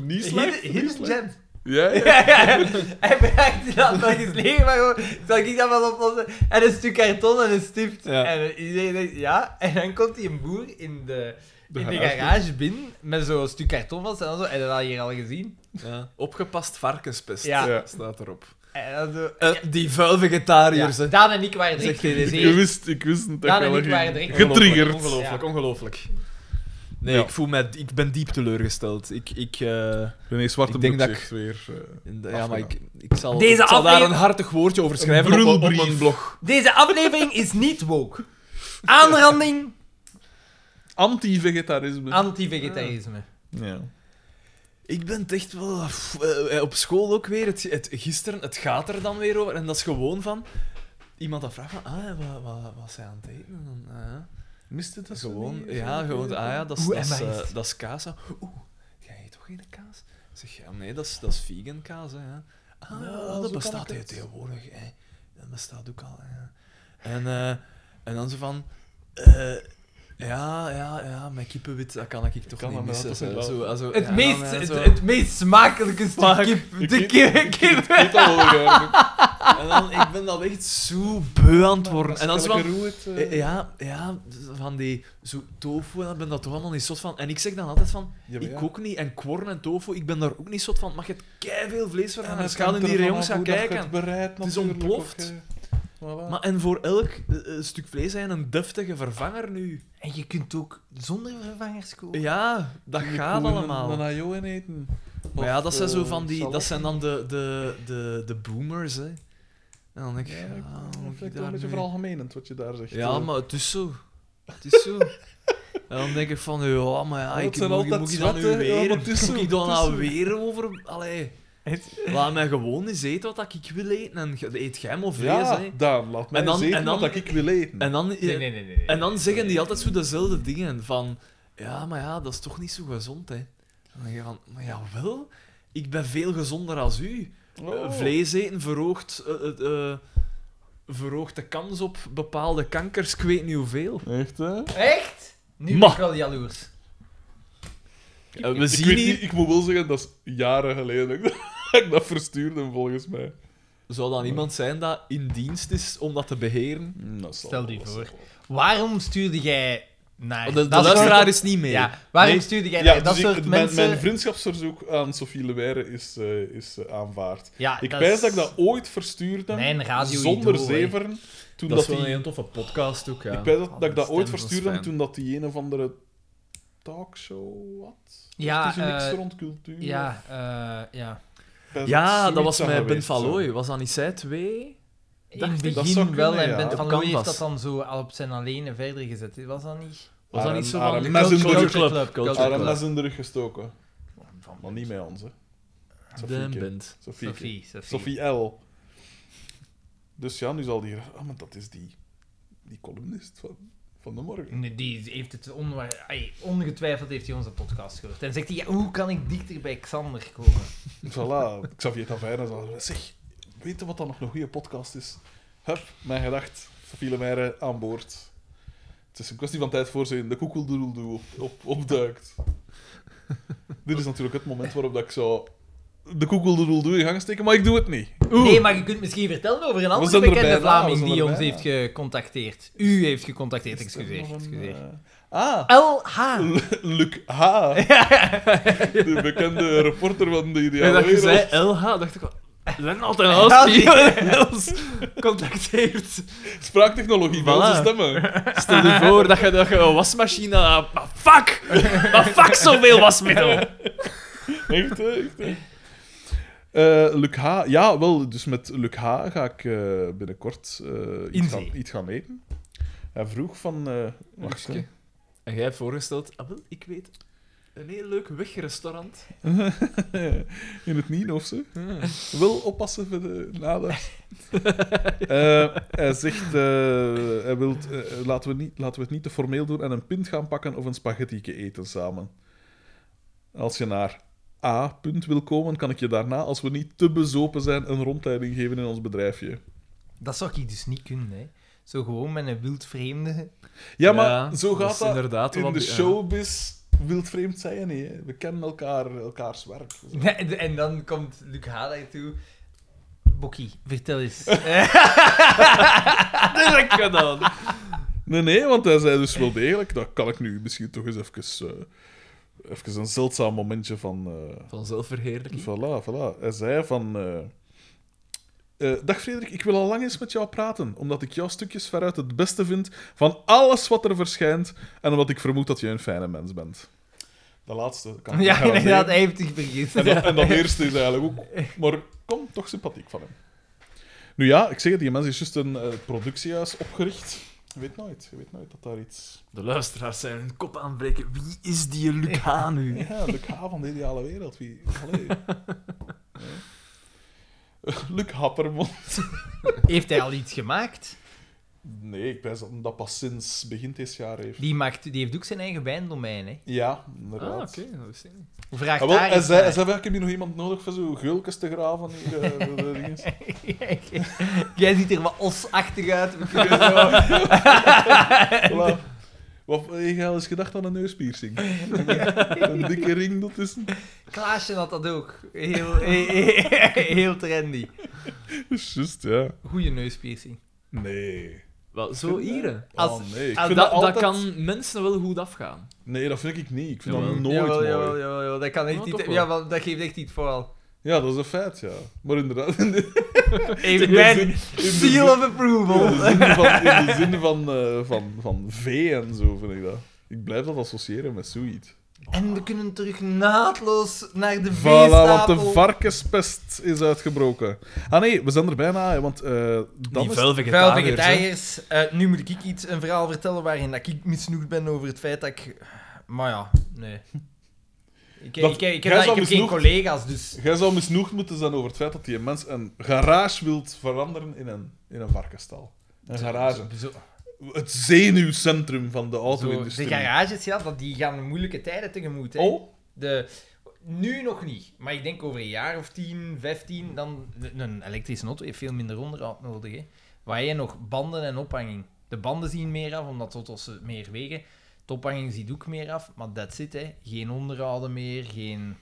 S2: Niet slecht. niet
S1: Hidden
S2: slecht.
S1: gem.
S2: Ja, ja.
S1: Ja, ja. Hij bereikt dat Belgisch leger, maar gewoon, zal ik dat wel oplossen? En een stuk karton en een stift.
S3: Ja.
S1: En iedereen denkt, ja. En dan komt die een boer in de,
S2: De
S1: in de
S2: garage.
S1: garage binnen met zo'n stuk karton vast en dan zo. En dat had je hier al gezien.
S3: ja. Opgepast varkenspest
S1: Ja.
S2: Ja.
S3: staat erop.
S1: En dan zo...
S3: Eh, die vuil vegetariërs,
S1: Ja,
S3: hè.
S1: Daan en ik waren
S3: Zeg,
S1: direct
S3: ik- ik
S2: Ik
S1: geïnteresseerd.
S2: wist, ik wist het
S1: Ja,
S2: dat
S1: nee,
S2: wel
S1: ik waren
S2: ging.
S1: direct
S2: Getriggerd.
S3: Ongelooflijk, ongelooflijk. Nee,
S2: Ja.
S3: ik voel mij... Ik ben diep teleurgesteld. Ik... ik eh,
S2: René Zwarte
S3: Ik denk dat
S2: heeft weer... eh,
S3: in de- ja, maar ik,
S2: Afgedaan.
S3: ik zal,
S1: Deze
S3: ik zal daar
S1: aflevering-
S3: een hartig woordje over schrijven op- op,
S2: brulbrief.
S3: mijn blog.
S1: Deze aflevering is niet woke. Aanranding,
S2: Anti-vegetarisme.
S1: anti-vegetarisme.
S2: ja.
S3: Ik ben het echt wel... pff, eh, eh, op school ook weer. Het, het, gisteren, het gaat er dan weer over. En dat is gewoon van... Iemand dat vraagt van... Ah, eh, wat, wat, wat zijn aan het eten? En dan, ah, ja.
S2: Mist het dat zo
S3: gewoon...
S2: niet?
S3: Ja, gewoon... Ah ja, dat is,
S1: Hoe
S3: dat is,
S1: am I?
S3: eh, dat is kaas. hè. Oeh, jij eet toch geen kaas? Ik zeg, ja, nee, dat is, dat is vegan kaas, hè. ja. Ah,
S2: Ja,
S3: ja,
S2: zo
S3: dat
S2: kan
S3: bestaat
S2: ik
S3: heel
S2: het.
S3: tegenwoordig, hè. Dat bestaat ook al, ja. En, eh, en dan zo van... eh, ja, ja, ja, mijn kippenwit, dat kan ik toch
S2: kan
S3: niet
S2: dat
S3: missen.
S2: wel, toch
S3: zo,
S2: niet
S3: zo,
S2: wel.
S3: also,
S1: Het,
S3: ja,
S1: meest,
S3: dan, ja,
S1: het,
S3: zo.
S1: het meest smakelijke stuk
S3: Smaak.
S1: kip.
S2: Ik
S1: De
S2: eet-
S1: kip, kip.
S2: Eet al wel graag.
S3: En dan, ik ben dan echt zo beu aan het worden. En dan zo van...
S2: Roe het,
S3: eh,
S2: eh,
S3: Ja, ja, van die zo tofu, en daar ben dat toch allemaal niet zot van. En ik zeg dan altijd van,
S2: Ja, maar ja.
S3: ik ook niet. En kworn en tofu, ik ben daar ook niet zot van. Mag je het veel vlees van
S2: En
S3: gaan
S2: het
S3: en schaal in
S2: hangt
S3: die
S2: ervan
S3: rayons
S2: af
S3: gaan
S2: hoe dat je
S3: kijken.
S2: Het, bereidt,
S3: Het is
S2: natuurlijk,
S3: ontploft.
S2: of je- Voilà.
S3: eh, Maar en voor elk eh, eh, stuk vlees zijn een deftige vervanger nu.
S1: En je kunt ook zonder vervangers koken.
S3: Ja, dat
S2: Kun je
S3: gaat
S2: gewoon Een,
S3: allemaal.
S2: een ajo in eten.
S3: Maar ja, dat zijn
S2: Of,
S3: zo
S2: eh,
S3: van die...
S2: salade.
S3: Dat zijn dan de, de, de, de boomers, hè. En dan denk ik...
S2: Ja,
S3: Ja,
S2: ik-
S3: wat
S2: dat
S3: moet ik
S2: vind ik
S3: daar
S2: wel een beetje
S3: nu-
S2: veralgemenend wat je daar zegt.
S3: Ja,
S2: Eh,
S3: maar het is zo. Het is zo. En dan denk ik van, ja, maar ja,
S2: Dat
S3: ik
S2: zijn
S3: moet,
S2: altijd
S3: moet ik dan nu
S2: zwetten, ja,
S3: weer...
S2: maar het is zo,
S3: moet ik dan
S2: het is
S3: nou
S2: zo.
S3: weer over... Allee, laat mij gewoon eens eten wat ik wil eten. En ge- eet jij maar vlees,
S2: Ja,
S3: hè.
S2: Daan, laat mij
S3: En dan-
S2: eens eten
S3: en dan-
S2: wat ik wil eten.
S3: En dan,
S1: Nee, nee, nee, nee, nee.
S3: en dan zeggen die altijd zo dezelfde dingen. Van, ja, maar ja, dat is toch niet zo gezond, hè. En dan denk je van, maar jawel, ik ben veel gezonder als u.
S2: Oh.
S3: Eh, Vlees eten verhoogt... eh, eh, eh, verhoogt de kans op bepaalde kankers, ik weet niet hoeveel.
S2: Echt, hè?
S3: Eh,
S1: Echt? Nu ben
S3: Ma.
S1: ik wel jaloers.
S3: Eh, we
S2: ik,
S3: zien
S2: weet
S3: hier-
S2: niet, ik moet wel zeggen, dat is jaren geleden dat ik dat ik dat verstuurde, volgens mij.
S3: Zou dan iemand zijn dat in dienst is om Mm, dat te beheren?
S2: Dat zal
S1: Stel
S2: wel,
S1: die
S2: dat
S1: voor.
S2: zal wel.
S1: Waarom stuurde jij naar...
S2: Oh,
S3: De, de
S1: dat soort-
S3: luisteraar is niet mee.
S1: Ja, waarom
S3: Nee.
S1: stuurde jij
S2: Ja,
S1: naar dat
S2: dus ik-
S1: soort
S2: mijn,
S1: mensen...
S2: mijn vriendschapsverzoek aan Sofie Leweire is, eh, is eh, aanvaard.
S1: ja,
S2: Ik
S1: Ah, is-
S2: wijs dat ik dat ooit verstuurde,
S1: Mijn radio
S2: zonder
S1: idool, hè.
S2: zeveren, toen
S3: Dat is
S2: dat,
S3: wel een
S2: die...
S3: heel toffe podcast ook. Ja.
S2: Ik wijs dat, dat
S1: Oh,
S2: ik
S3: dat
S2: dat ooit
S3: stem was
S2: verstuurde,
S3: fijn.
S2: toen dat die een of andere talkshow had.
S1: Ja,
S2: het is een
S1: eh,
S2: niks rond cultuur. of-
S1: Ja, eh, ja.
S2: ik wijs
S3: Ja, dat
S2: zoiets
S3: was
S2: zou
S3: met Ben
S2: geweest zijn.
S3: Falloy. Was dat niet zij twee?
S1: In
S3: Dacht
S1: het
S3: ik.
S2: Dat zou
S1: begin
S2: kunnen,
S1: wel, en
S2: ja.
S1: Ben
S2: Op
S1: van Looy heeft
S3: canvas.
S1: dat dan zo al op zijn alleen verder gezet. Was dat niet?
S3: Was dat
S2: Haar-
S3: niet zo
S2: haar
S3: van... de
S2: mes in de
S3: Culture
S2: rug.
S3: Club?
S1: Culture
S3: Culture
S1: Club.
S2: Haar een
S3: Club.
S2: mes in de rug gestoken.
S1: Van
S2: Maar niet met ons, hè.
S3: De
S2: Sofieke.
S3: band.
S2: Sofieke.
S1: Sophie, Sophie.
S2: Sophie L. Dus ja, nu zal die... Ah, maar dat is die... Die columnist van, van de morgen.
S1: Nee, die heeft het onwaar... ai, ongetwijfeld heeft hij onze podcast gehoord. En zegt hij, ja, hoe kan ik dichter bij Xander komen?
S2: Voilà. Xavier Taverna zal... Zeg, weet je wat dan nog een goede podcast is? Hup, mijn gedacht. Sophie Lemaire aan boord. Het is een kwestie van tijd voor ze in de koekeldoedeldoe op, op, opduikt. Dit is natuurlijk het moment waarop dat ik zou de koekeldoedeldoe in gang steken, maar ik doe het niet. Oeh.
S1: Nee, maar je kunt misschien vertellen over een andere
S2: zijn er
S1: bekende
S2: bijna, we
S1: Vlaming
S2: zijn er
S1: die ons
S2: bijna.
S1: heeft gecontacteerd. U heeft gecontacteerd,
S2: Is er
S1: excuseer.
S2: nog een,
S1: excuseer.
S2: eh, Ah,
S1: LH.
S2: L- Luc H. De bekende reporter van de
S3: en
S2: ideale
S3: dat je
S2: wereld.
S3: zei LH, dacht ik wel... Zijn altijd
S1: Ja,
S3: als
S1: die-
S3: contacteert.
S2: Spraaktechnologie, bij
S3: Voilà.
S2: onze stemmen.
S3: Stel je voor dat je, dat je een wasmachine... ah, Maar fuck! Maar fuck zoveel wasmiddel!
S2: Echt, hè, echt. hè. Eh, Luc H. Ja, wel, dus met Luc H. ga ik eh, binnenkort eh,
S1: In
S2: iets, gaan,
S1: zee.
S2: iets gaan eten. Hij vroeg van... eh wacht,
S3: Luxke. En jij hebt voorgesteld, ah, wel, ik weet een heel leuk wegrestaurant.
S2: hè. In het Nien of zo. Wel oppassen voor de nader. Eh, hij zegt... eh, hij wil, eh, laten, we niet, laten we het niet te formeel doen en een pint gaan pakken of een spaghetti eten samen. Als je naar A. punt wil komen, kan ik je daarna, als we niet te bezopen zijn, een rondleiding geven in ons bedrijfje.
S1: Dat zou ik dus niet kunnen, hè. Zo gewoon met een wild vreemde.
S2: Ja, maar zo
S3: dat
S2: gaat
S3: is
S2: dat.
S3: Inderdaad,
S2: in
S3: wat-
S2: de
S3: ja.
S2: showbiz wild vreemd zijn niet. Hè. We kennen elkaar, elkaars werk.
S1: Ja, en- en dan komt Luc Hader toe. Bokkie, vertel eens.
S3: Direct gedaan.
S2: Nee, nee, want hij zei dus wel degelijk. Dat kan ik nu misschien toch eens even, eh, even een zeldzaam momentje van. eh,
S3: Van zelfverheerlijking.
S2: voilà, voilà. Hij zei van. eh, eh, Dag Frederik, ik wil al lang eens met jou praten, omdat ik jouw stukjes veruit het beste vind van alles wat er verschijnt en omdat ik vermoed dat je een fijne mens bent. De laatste kan ik
S1: ja,
S2: garanderen.
S1: inderdaad, hij heeft zich vergist.
S2: En dat, en dat eerste is eigenlijk ook... Maar kom, toch sympathiek van hem. Nu ja, ik zeg het, die mens is juist een eh, productiehuis opgericht. Je weet nooit, je weet nooit dat daar iets...
S3: De luisteraars zijn hun kop aanbreken. Wie is die Luc Haan nu?
S2: Ja, Luc H. van de ideale wereld, wie... Allee. Ja. Luc Happermond.
S1: Heeft hij al iets gemaakt?
S2: Nee, ik wijs dat hem dat pas sinds begin dit jaar heeft.
S1: Die, maakt, die heeft ook zijn eigen wijndomein, hè.
S2: Ja,
S3: Ah,
S2: inderdaad.
S3: oké. dat wist ik niet.
S1: Vraag
S2: Ah, wel,
S1: daar
S2: hij
S1: eens
S2: zei, hij
S1: naar.
S2: zei wel, ik heb hier nog iemand nodig voor zo'n gulkes te graven. Hier, eh, voor de dinges.
S1: Jij ziet er wat osachtig uit. We kunnen zo-
S2: Voilà. Wat heb je al eens gedacht aan een neuspiercing? een dikke ring dat is.
S1: Klaasje had dat ook. Heel, heel, heel trendy.
S2: Just, Dus ja.
S1: Goeie neuspiercing.
S2: Nee.
S3: Wel, zo ieren.
S1: Als-
S2: oh, nee. Ik
S1: als
S2: vind
S3: Dat,
S2: dat altijd...
S3: dat kan mensen wel goed afgaan.
S2: Nee, dat vind ik niet. Ik vind
S3: Jawel.
S2: dat nooit
S1: jawel,
S2: mooi.
S1: jawel, jawel, jawel. Dat kan echt
S3: Ja,
S1: niet...
S3: toch wel.
S1: Ja, want dat geeft echt niet vooral.
S2: Ja, dat is een feit, ja. Maar inderdaad, in de,
S1: Even
S2: de
S1: mijn
S2: zin- in de
S1: seal of approval.
S2: in de zin van, in de zin van, eh, van, van vee en zo, vind ik dat. Ik blijf dat associëren met zoiets.
S1: En we kunnen terug naadloos naar de
S2: Voilà, want
S1: veestapel.
S2: de varkenspest is uitgebroken. Ah nee, we zijn er bijna, hè, want eh dan
S3: vuil
S2: is...
S1: Vuil
S3: vegetariërs, hè.
S1: vegetariërs. Eh, nu moet ik iets, een verhaal vertellen waarin dat ik misnoegd ben over het feit dat ik... Maar ja, nee. Ik,
S2: Dat-
S1: ik, ik, ik heb,
S2: jij
S1: dat-
S2: zou
S1: ik heb geen
S2: misnoegd-
S1: collega's, dus...
S2: Jij zou misnoegd moeten zijn over het feit dat die mens een garage wilt veranderen in een, in een varkenstal. Een garage.
S1: Zo-
S2: Het zenuwcentrum van de
S1: zo,
S2: auto-industrie.
S1: de garages, ja, dat, die gaan moeilijke tijden tegemoet. Hè.
S2: Oh,
S1: De, nu nog niet, maar ik denk over een jaar of 10, 15, dan... Een elektrische auto heeft veel minder onderhoud nodig. Hè. Waar je nog banden en ophanging. De banden zien meer af, omdat auto's meer wegen. De ophanging ziet ook meer af, maar dat zit, hè. Geen onderhouden meer, geen...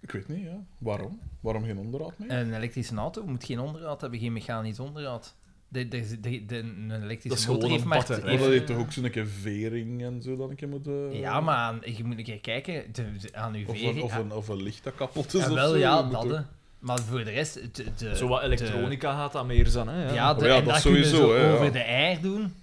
S2: ik weet niet, ja. Waarom? Waarom geen onderhoud meer?
S1: Een elektrische auto moet geen onderhoud hebben, geen mechanisch onderhoud. De, de, de, de- een elektrische
S3: Dat is
S1: motor
S3: gewoon
S1: heeft
S3: een
S1: maar...
S3: batterij.
S2: Maar
S1: heeft-
S2: dat heeft toch ook zo'n keer vering en zo dat ik je moet... eh,
S1: Ja, maar aan- je moet een keer kijken de- de- aan uw
S2: Of een,
S1: vering.
S2: of,
S1: Ah,
S2: een, of een licht dat kapot is
S1: ah,
S2: of
S1: wel,
S2: zo.
S1: ja,
S2: Je moet
S1: dat.
S2: ook-
S1: hè. Maar voor de rest... De, de,
S3: Zo wat
S1: de-
S3: elektronica gaat dat meer zijn, hè.
S1: ja,
S3: ja.
S1: de-
S2: Oh ja,
S1: en
S2: dat
S1: dat
S2: sowieso,
S1: kunnen ze
S2: hè, ja.
S1: over de air doen.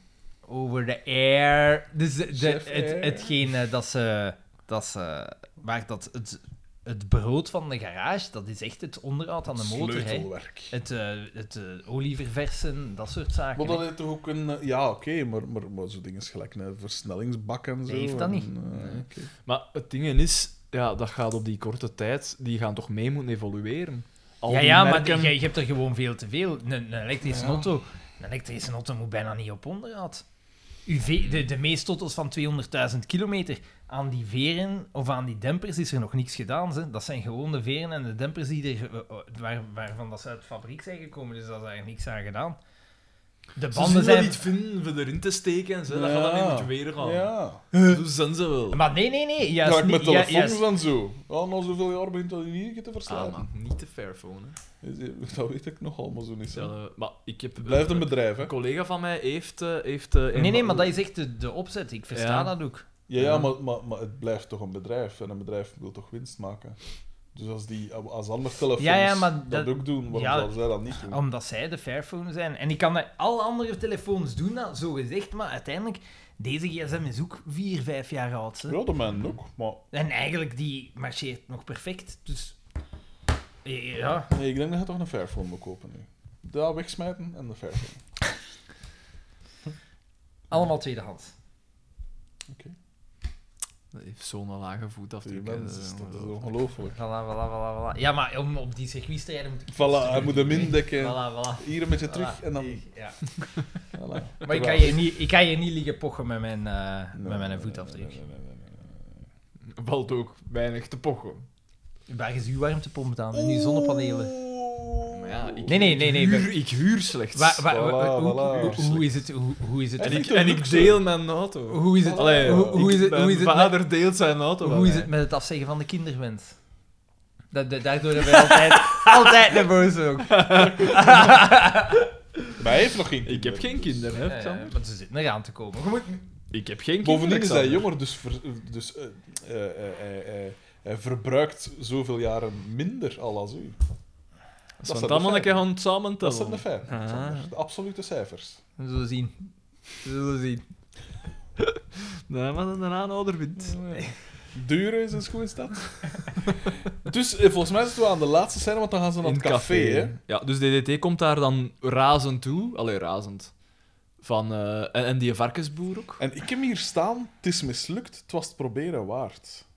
S1: Over de air. Dus de, de-
S2: Chef air.
S1: het, hetgene dat ze... Dat ze waar dat het, het brood van de garage, dat is echt het onderhoud aan de motor. Hè.
S2: Sleutelwerk.
S1: Het, eh, het eh, olie verversen, dat soort zaken.
S2: Maar dat
S1: hè.
S2: heeft toch ook een... eh, Ja, oké, maar, maar, maar zo dingen is gelijk een versnellingsbak en zo.
S1: Heeft dat
S2: en,
S1: niet.
S2: eh,
S3: Nee.
S2: oké.
S3: Maar het ding is, ja, dat gaat op die korte tijd, die gaan toch mee moeten evolueren. Al
S1: ja,
S3: die
S1: ja,
S3: merken-
S1: maar je, je hebt er gewoon veel te veel. Een, een elektrische
S2: Ja.
S1: auto. Een elektrische auto moet bijna niet op onderhoud. Uw ve- de, de meeste auto's van 200.000 kilometer. Aan die veren of aan die dempers is er nog niks gedaan. Ze. Dat zijn gewoon de veren en de dempers die er, eh, eh, waar, waarvan dat ze uit de fabriek zijn gekomen. Dus daar is eigenlijk niks aan gedaan. De
S3: Ze zullen
S1: banden zijn...
S3: niet vinden om erin te steken en zo, dat
S2: Ja.
S3: gaat dan niet moeten weer gaan.
S2: Ja.
S3: Zo zijn ze wel.
S1: Maar nee, nee, nee.
S2: Ja,
S1: Juist
S2: ik met
S1: niet, ja,
S2: telefoons
S1: juist-
S2: en zo. Ja, na zoveel jaar begint dat in ieder keer te
S3: Ah,
S2: verslaan.
S3: man, niet de Fairphone, hè.
S2: Dus, eh, dat weet ik nog allemaal zo niet. hè.
S3: Ja, eh, maar ik heb...
S2: Blijft een
S3: eh,
S2: bedrijf, hè.
S3: Een collega van mij heeft... eh, heeft eh,
S1: Nee,
S3: een-
S1: nee, maar dat is echt de, de opzet. Ik versta
S3: Ja.
S1: dat ook.
S2: Ja,
S3: Ja.
S2: ja maar, maar, maar het blijft toch een bedrijf. En een bedrijf wil toch winst maken. Dus als, die, als andere telefoons
S1: Ja, ja, maar
S2: dat,
S1: dat-
S2: ook doen, waarom
S1: ja. Oh.
S2: zouden zij dat niet doen?
S1: Omdat zij de Fairphone zijn. En ik kan dat, alle andere telefoons doen dat, zo gezegd, maar uiteindelijk, deze gsm is ook 4, 5 jaar oud. hè.
S2: Ja, de man ook, maar
S1: En eigenlijk, die marcheert nog perfect, dus... Ja.
S2: nee, ik denk dat je toch een Fairphone moet kopen nu. Dat wegsmijten en de Fairphone.
S1: Allemaal tweedehands.
S3: Dat heeft zo'n lage
S2: Die
S3: voetafdruk. hè,
S2: mens, is-
S3: eh,
S2: dat is
S3: ongelooflijk.
S2: ongelooflijk.
S1: Voilà, voilà, voilà, voilà. Ja, maar om op die circuits te rijden moet ik...
S2: Voilà, hij moet hem indekken.
S1: Voilà, voilà.
S2: Hier een beetje
S1: voilà.
S2: terug en dan...
S1: Ja.
S2: voilà.
S1: Maar ik kan,
S2: Terwijl-
S1: je niet, ik kan je niet liggen pochen met mijn, eh,
S2: Nee,
S1: met
S2: nee,
S1: mijn
S2: nee,
S1: voetafdruk.
S2: nee, nee, nee, nee, nee.
S3: valt ook weinig te pochen.
S1: Waar is uw warmtepomp dan? En uw zonnepanelen?
S3: Maar ja, ik,
S1: Nee, nee,
S3: ik
S1: nee, nee,
S3: Huur, ik huur slechts.
S1: Wa- wa- wa-
S3: Voilà,
S1: hoe-
S3: voilà.
S1: hoe- Hoe is het? Hoe hoe is het?
S3: En ik,
S2: vind het
S3: en
S2: ook
S3: ik
S2: zo.
S3: deel mijn auto.
S1: Hoe is het?
S3: Allee,
S1: Hoe- hoe
S3: ik-
S1: is het-
S3: mijn
S1: hoe is het met-
S3: vader deelt zijn auto
S1: Hoe
S3: met
S1: is
S3: mij.
S1: het met het afzeggen van de kinderwens? Da- da- daardoor hebben wij altijd, altijd een boze ook.
S2: Maar hij heeft nog geen
S3: Ik heb
S2: kinderen. dus-
S3: geen kinderen, hè, Xander?
S1: maar ze zitten eraan te komen. Je moet-
S3: Ik heb geen kinderen,
S2: Bovendien is hij
S3: Xander.
S2: jonger, dus, ver- dus eh, eh, eh, eh, eh, hij verbruikt zoveel jaren minder al als u.
S3: Als
S2: Dat
S3: we het
S2: zijn
S3: allemaal
S2: de
S3: een keer gaan samen
S2: Dat zijn de
S3: tellen.
S2: feiten.
S3: Ah.
S2: Xander. De absolute cijfers.
S1: We zullen zien. We zullen zien.
S3: Nee, maar dan een aanhouder wint.
S2: Duren is een schoen stad. dus eh, volgens mij zitten we aan de laatste scène, want dan gaan ze naar
S3: In
S2: het
S3: het
S2: café. hè.
S3: Ja, dus DDT komt daar dan razend toe. Allee, razend. Van, eh, en, en die varkensboer ook.
S2: En ik heb hier staan, het is mislukt, het was het proberen waard.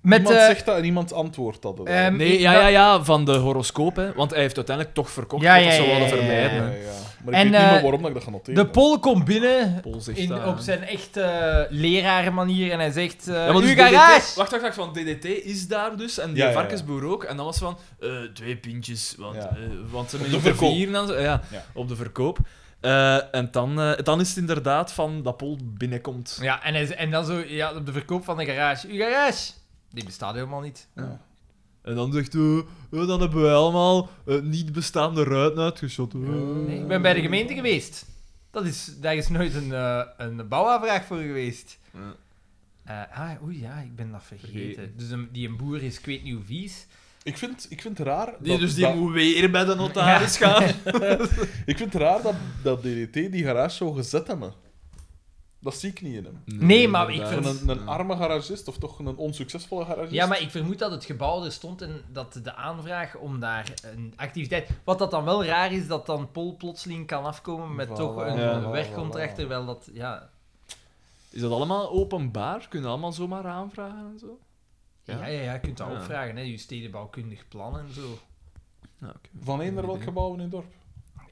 S1: Met,
S2: iemand
S1: eh,
S2: zegt dat en iemand antwoordt dat. eh, dan.
S1: ehm,
S3: Nee,
S1: ik-
S3: ja, ja, ja, van de horoscoop, hè. Want hij heeft uiteindelijk toch verkocht
S1: Ja,
S3: dat
S1: ja,
S3: ze
S1: ja,
S3: wilden
S1: ja, ja,
S3: vermijden.
S2: ja,
S3: hè.
S2: ja. Maar ik
S1: En,
S2: weet niet
S1: eh,
S2: meer waarom dat ik dat ga noteren.
S1: de pol komt binnen
S3: Pol zegt
S1: in,
S3: dat.
S1: op zijn echte eh, lerarenmanier en hij zegt... eh
S3: Ja, want
S1: uw
S3: dus DDT
S1: garage!
S3: wacht, wacht, wacht. Want DDT is daar dus. En die
S2: Ja, ja, ja.
S3: varkensboer ook. En dan was van... eh, twee pintjes. Want,
S2: Ja.
S3: eh, want ze
S2: Op
S3: met
S2: de
S3: de
S2: verkoop.
S3: vieren en zo. Ja,
S2: Ja.
S3: op de verkoop. Eh, en dan, eh, dan is het inderdaad van dat Pol binnenkomt.
S1: Ja, en, hij z- en dan zo ja, op de verkoop van de garage. Uw garage! Die bestaat helemaal niet.
S2: Ja.
S3: En dan zegt hij... dan hebben wij allemaal eh, niet bestaande ruiten uitgeschot. Eh.
S1: Nee, ik ben bij de gemeente geweest. Dat is, daar is nooit een, eh, een bouwaanvraag voor geweest.
S3: Ja.
S1: Eh, ah, oei, ja, ik ben dat vergeten.
S3: Vergeten.
S1: Dus een, die een boer is, ik weet niet hoe vies.
S2: Ik vind, ik vind het raar.
S3: Die,
S2: dat-
S3: dus die
S2: dat-
S3: moet weer bij de notaris gaan.
S2: Ik vind het raar dat, dat DDT die garage zo gezet hebben. Dat zie ik niet in hem.
S1: Nee, maar ik
S3: inderdaad.
S2: Van
S1: vind-
S2: een, een arme garagist, of toch een onsuccesvolle garagist.
S1: Ja, maar ik vermoed dat het gebouw er stond en dat de aanvraag om daar een activiteit... Wat dat dan wel raar is, dat dan Pol plotseling kan afkomen met
S2: Voilà,
S1: toch een
S3: ja.
S1: wegcontract,
S2: voilà.
S1: terwijl dat... Ja,
S3: Is dat allemaal openbaar? Kunnen we allemaal zomaar aanvragen en zo?
S1: ja,
S3: Ja.
S1: ja, ja, je kunt dat
S3: Ja.
S1: opvragen, hè. Je stedenbouwkundig plan en zo.
S3: Nou, oké.
S2: Van één naar welk
S3: Idee.
S2: gebouw in het dorp?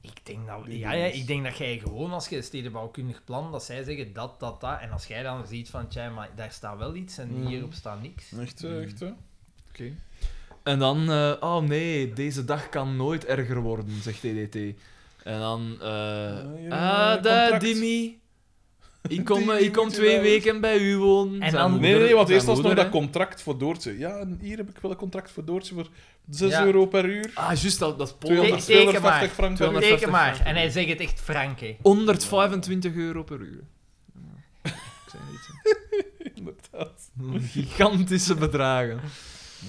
S1: Ik denk dat,
S2: Die
S1: ja, ja,
S2: jongens.
S1: ik denk dat jij gewoon als je stedenbouwkundig plan, dat zij zeggen dat, dat, dat. En als jij dan ziet van, tja, maar daar staat wel iets en
S2: Mhm.
S1: hierop staat niks.
S2: Echt, eh, echt, hè?
S3: Oké. En dan, eh, oh nee, deze dag kan nooit erger worden, zegt DDT. En dan,
S2: Ah,
S3: eh
S2: ja,
S3: ah, da,
S2: contract.
S3: Dimmy. Ik kom, eh,
S2: Dimmy
S3: ik kom
S2: moet
S3: twee
S2: helaas.
S3: weken bij u wonen.
S1: En
S3: Zijn
S1: dan-
S2: Nee, nee, nee, want
S3: zijn
S2: eerst was nog
S3: moeder,
S2: dat
S3: hè.
S2: contract voor Doortje. Ja, en hier heb ik wel een contract voor Doortje voor 6
S1: Ja.
S2: euro per uur.
S3: Ah, juist, dat, dat Polen.
S2: 200,
S1: Teken maar.
S2: 250 frank per uur.
S3: 250
S1: Teken maar.
S3: frank.
S1: En hij zegt het echt frank, hè.
S3: 125 euro per uur. Ja, Ik zei iets. hè.
S2: Inderdaad.
S3: Gigantische bedragen.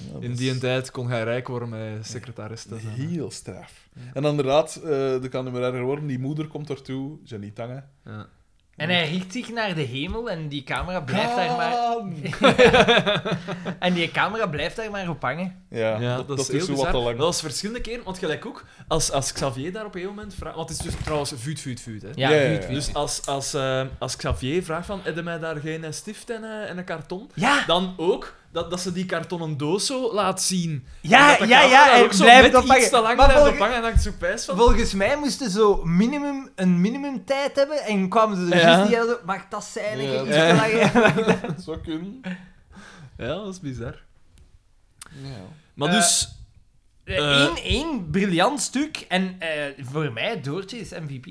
S2: Ja, dat
S3: In
S2: is
S3: die tijd kon hij rijk worden met secretaris te zijn. hè.
S2: Heel straf. En dan inderdaad, eh de kan nummer erger worden. Die moeder komt ertoe, Janine Tange.
S3: Ja.
S1: En hij riekt zich naar de hemel en die camera blijft daar maar...
S2: Gaan!
S1: En die camera blijft daar maar op hangen.
S2: Ja,
S3: Ja,
S2: dat,
S3: dat, is
S2: is
S3: heel
S2: zo wat
S3: bizar.
S2: te lang.
S3: Dat was verschillende keren, want gelijk ook, als, als Xavier daar op een gegeven moment vraagt... Want het is dus trouwens vuut, vuut, vuut, hè.
S1: Ja,
S2: Ja, ja,
S1: goed,
S2: ja.
S1: goed.
S3: Dus als, als, eh, als Xavier vraagt van, heb je mij daar geen eh, stift en, eh, en een karton?
S1: Ja,
S3: Dan ook dat, dat ze die kartonnen doos zo laat zien. En
S1: ja,
S3: dat de
S1: ja,
S3: camera
S1: ja,
S3: daar
S1: hij
S3: ook zo
S1: blijft
S3: net
S1: op hangen.
S3: iets te lang
S1: Maar
S3: blijft
S1: volgens-
S3: ophangen en dan hangt zo pijs van...
S1: Volgens mij moesten ze zo minimum, een minimumtijd hebben en kwamen ze er
S3: Ja.
S1: juist niet uit. Mag dat zijn?
S2: Ja.
S1: Ja. Iets te lang.
S2: Dat zou kunnen.
S3: Ja, dat is bizar.
S2: Ja.
S3: Maar
S1: Eh,
S3: dus... Eh.
S1: Eén één briljant stuk en eh, voor mij Doortje is MVP.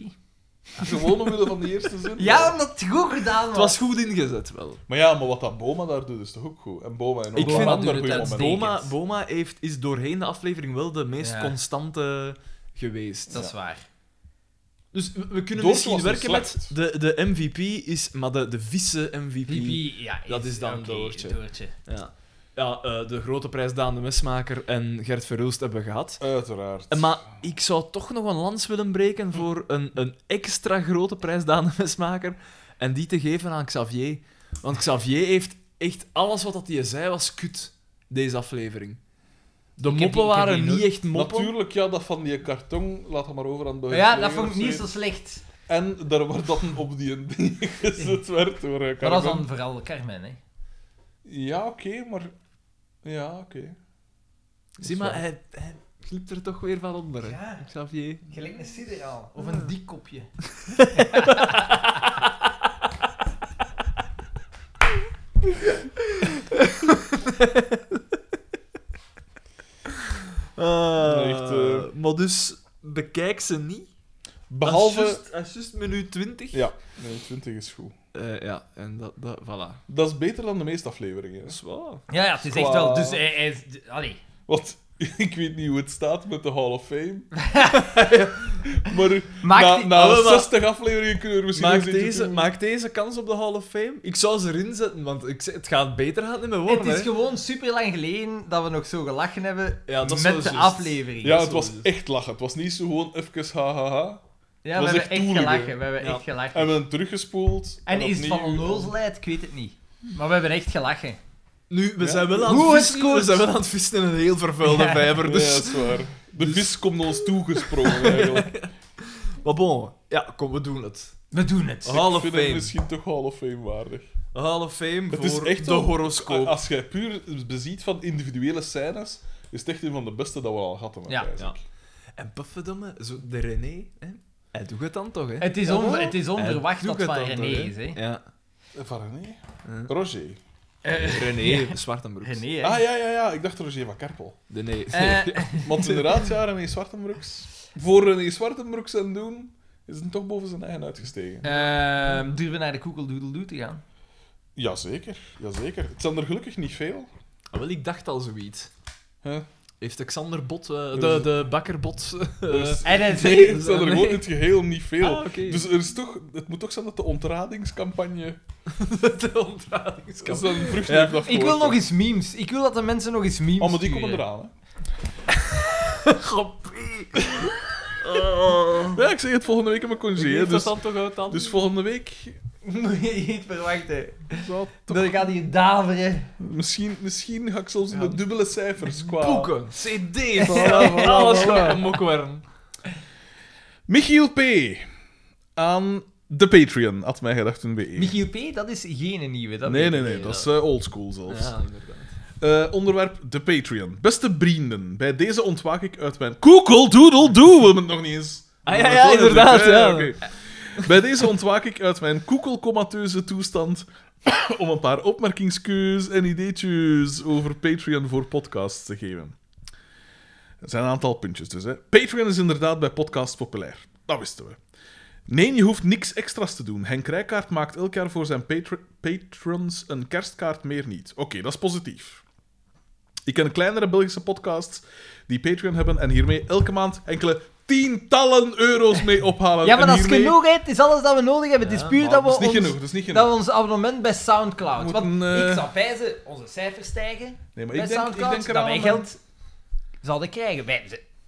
S2: Gewoon omwille van de eerste zin.
S1: Ja, omdat het goed gedaan was.
S3: Het was goed ingezet, wel.
S2: Maar ja, maar wat dat Boma daar doet, is toch ook goed? En Boma en
S3: Ik
S1: Boma doet
S3: vind dat
S1: het
S2: ander goede
S1: uitstekend.
S3: Boma,
S2: moment.
S3: Boma heeft, is doorheen de aflevering wel de meest
S1: Ja.
S3: constante geweest.
S1: Dat is waar.
S3: Dus we, we kunnen
S2: Doortje
S3: misschien
S2: was niet
S3: werken
S2: slecht.
S3: met de, de MVP is, maar de, de vieze MVP.
S1: PP, ja,
S3: Dat is dan
S1: oké,
S3: Doortje. Ja, ja eh, de grote prijs Daan de Mesmaker en Gert Verhulst hebben we gehad.
S2: Uiteraard.
S3: Eh, Maar ik zou toch nog een lans willen breken voor een, een extra grote prijs Daan de Mesmaker en die te geven aan Xavier. Want Xavier heeft echt alles wat dat hij zei was kut deze aflevering. De
S1: heb die-
S3: moppen
S1: ik heb
S3: waren
S1: die
S3: niet
S1: nooit-
S3: echt moppen.
S2: Natuurlijk, ja, dat van die karton, laat dat maar over aan de
S1: Maar ja, dat
S2: burger
S1: vond ik
S2: of
S1: niet zo
S2: zoiets.
S1: slecht.
S2: En daar wordt dat een op die ding gezet werd door eh,
S1: Maar dat is dan
S2: Carmen.
S1: vooral Carmen, hè.
S2: Ja, oké, maar... Ja, oké.
S3: Zie maar, hij, hij glipt er toch weer van onder. hè.
S1: Ja.
S3: Xavier.
S1: Gelijk een sideraal. Of een dik kopje.
S3: Eh,
S1: eh.
S3: trekt dus, ze niet.
S2: Behalve...
S3: Dat is juist- Dat is juist minuut 20.
S2: Ja, nee, 20 is goed.
S3: Eh, ja, en dat, dat, voilà.
S2: Dat is beter dan de meeste afleveringen.
S3: Dat
S2: hè.
S3: is wel...
S1: Ja, ja, het is
S2: Qua-
S1: echt wel. Dus hij, hij is. Allee.
S2: Want ik weet niet hoe het staat met de Hall of Fame. maar
S1: Maakt Ah,
S2: na,
S1: die-
S2: na
S3: Allee, maar-
S2: 60 afleveringen kunnen we er misschien
S3: Maak
S2: eens eentje
S3: deze,
S2: doen.
S3: maak deze kans op de Hall of Fame. Ik zou ze erin zetten, want ik, zeg- het gaat beter gaan in mijn
S1: Het
S3: woorden.
S1: is
S3: hè.
S1: gewoon super lang geleden dat we nog zo gelachen hebben
S3: Ja, dat
S1: met
S3: is
S1: de
S3: wel juist.
S1: aflevering.
S2: Ja,
S3: zo
S2: het was
S3: is het.
S2: echt lachen. Het was niet zo gewoon even hahaha.
S1: Ja,
S2: was
S1: we
S2: echt
S1: hebben echt
S2: toeligen.
S1: gelachen. We hebben
S3: Ja.
S1: echt gelachen.
S2: En we hebben teruggespoeld.
S1: En is het van
S2: opnieuw.
S1: onnozelheid? Ik weet het niet. Maar we hebben echt gelachen.
S3: Nu, we
S2: Ja.
S3: zijn wel aan
S1: Hoe
S3: het
S1: het
S3: vissen.
S1: scoort.
S3: We zijn wel aan het vissen in een heel vervuilde
S1: Ja.
S3: vijver.
S2: Ja,
S3: Dus.
S2: dat is waar. De vis komt ons toegesprongen eigenlijk.
S3: Maar bon, ja, kom, we doen het.
S1: We doen het.
S3: Hall
S2: Ik
S3: of
S2: vind het
S3: Fame.
S2: misschien toch Hall of Fame waardig.
S3: Hall of Fame
S2: Het
S3: voor
S2: is echt Ah,
S3: de
S2: wel-
S3: horoscoop.
S2: Als jij puur beziet van individuele scènes, is het echt een van de beste dat we al gehad hebben.
S1: Ja.
S2: Isaac.
S3: Ja.
S2: ah.
S3: En pufferdomme, zo de René, hè? hij doet het dan toch, hè?
S1: Het is,
S2: Ja,
S1: on-
S2: wel.
S1: het is
S3: Hij
S1: onverwacht
S3: doet
S1: dat
S3: het
S1: van
S3: dan
S1: René
S3: toch,
S1: is. Hè.
S3: Ja.
S2: Eh, Van René?
S3: Ja.
S2: Roger.
S1: Eh,
S3: René
S1: Hm. Ja.
S3: Zwartenbroek.
S1: René, hè.
S2: Ah ja, ja, ja. Ik dacht Roger van Kerpel.
S3: De nee.
S1: Eh,
S2: Want inderdaad, ja, René Zwartenbroeks. Voor René Zwartenbroeks en doen, is het toch boven zijn eigen uitgestegen.
S1: ehm, durven we naar de koekeldoedeldoe te gaan?
S2: Jazeker, jazeker. Het zijn er gelukkig niet veel.
S3: Ah, wel, ik dacht al zoiets.
S2: Huh?
S3: Heeft de Xanderbot, eh,
S2: Dus-
S3: de, de bakkerbot... eh,
S2: Dus-
S1: En hij
S2: Nee,
S1: zegt...
S2: het zijn er gewoon in het geheel niet veel.
S3: Ah, oké.
S2: Dus er is toch, het moet toch zijn dat de ontradingscampagne
S3: de
S2: zijn
S3: ontradingskamp.
S2: vrucht
S3: Ja.
S2: heeft afgeworpen.
S1: Ik wil nog eens memes. Ik wil dat de mensen nog eens memes
S2: Oh, maar die
S1: sturen.
S2: komen eraan, hè.
S3: Grappie. Oh.
S2: Ja, ik zeg het volgende week in mijn
S3: Ik
S2: congé. hè,
S3: weet dat
S2: Dus,
S3: dan toch uit dan.
S2: dus volgende week
S1: Moet je niet verwachten.
S2: zal het toch...
S1: Dan gaat hij daveren.
S2: Misschien, misschien ga ik zelfs in
S3: Ja.
S2: de dubbele cijfers qua...
S3: Dus Boeken, cd's,
S2: Voilà, voilà,
S3: alles
S2: voilà.
S3: gaat mokwerm.
S2: Michiel P. aan de Patreon, had mij gedacht toen bij
S1: Michiel P, dat is geen nieuwe. Dat
S2: Nee,
S1: weet
S2: nee,
S1: ik.
S2: nee,
S3: Ja.
S2: dat is eh, oldschool zelfs.
S3: Ja, inderdaad.
S2: Eh, onderwerp de Patreon. Beste vrienden, bij deze ontwaak ik uit mijn koekeldoedeldoe. We hebben het nog niet eens.
S3: Ah, ja, ja, inderdaad,
S2: Eh,
S3: ja.
S2: oké. Bij deze ontwaak ik uit mijn koekelcomateuze toestand om een paar opmerkingskeus en ideetjes over Patreon voor podcasts te geven. Er zijn een aantal puntjes dus. Hè. Patreon is inderdaad bij podcasts populair. Dat wisten we. Nee, je hoeft niks extra's te doen. Henk Rijkaard maakt elk jaar voor zijn patre- patrons een kerstkaart meer niet. Oké, dat is positief. Ik ken kleinere Belgische podcasts die Patreon hebben en hiermee elke maand enkele tientallen euro's mee ophalen.
S1: Ja, maar
S2: En
S1: dat is
S2: hiermee-
S1: genoeg, hè. Het is alles dat we nodig hebben. het
S3: Ja,
S1: is puur
S2: Maar
S1: dat we,
S2: dat is niet
S1: ons,
S2: genoeg, dat is niet genoeg.
S1: dat we ons abonnement bij Soundcloud...
S2: We
S1: want
S2: moeten, eh,
S1: ik zou pijzen, onze cijfers stijgen bij
S2: Nee, maar ik denk, ik
S1: Soundcloud,
S2: denk
S1: dat wij
S2: eraan...
S1: geld zouden krijgen. Wij,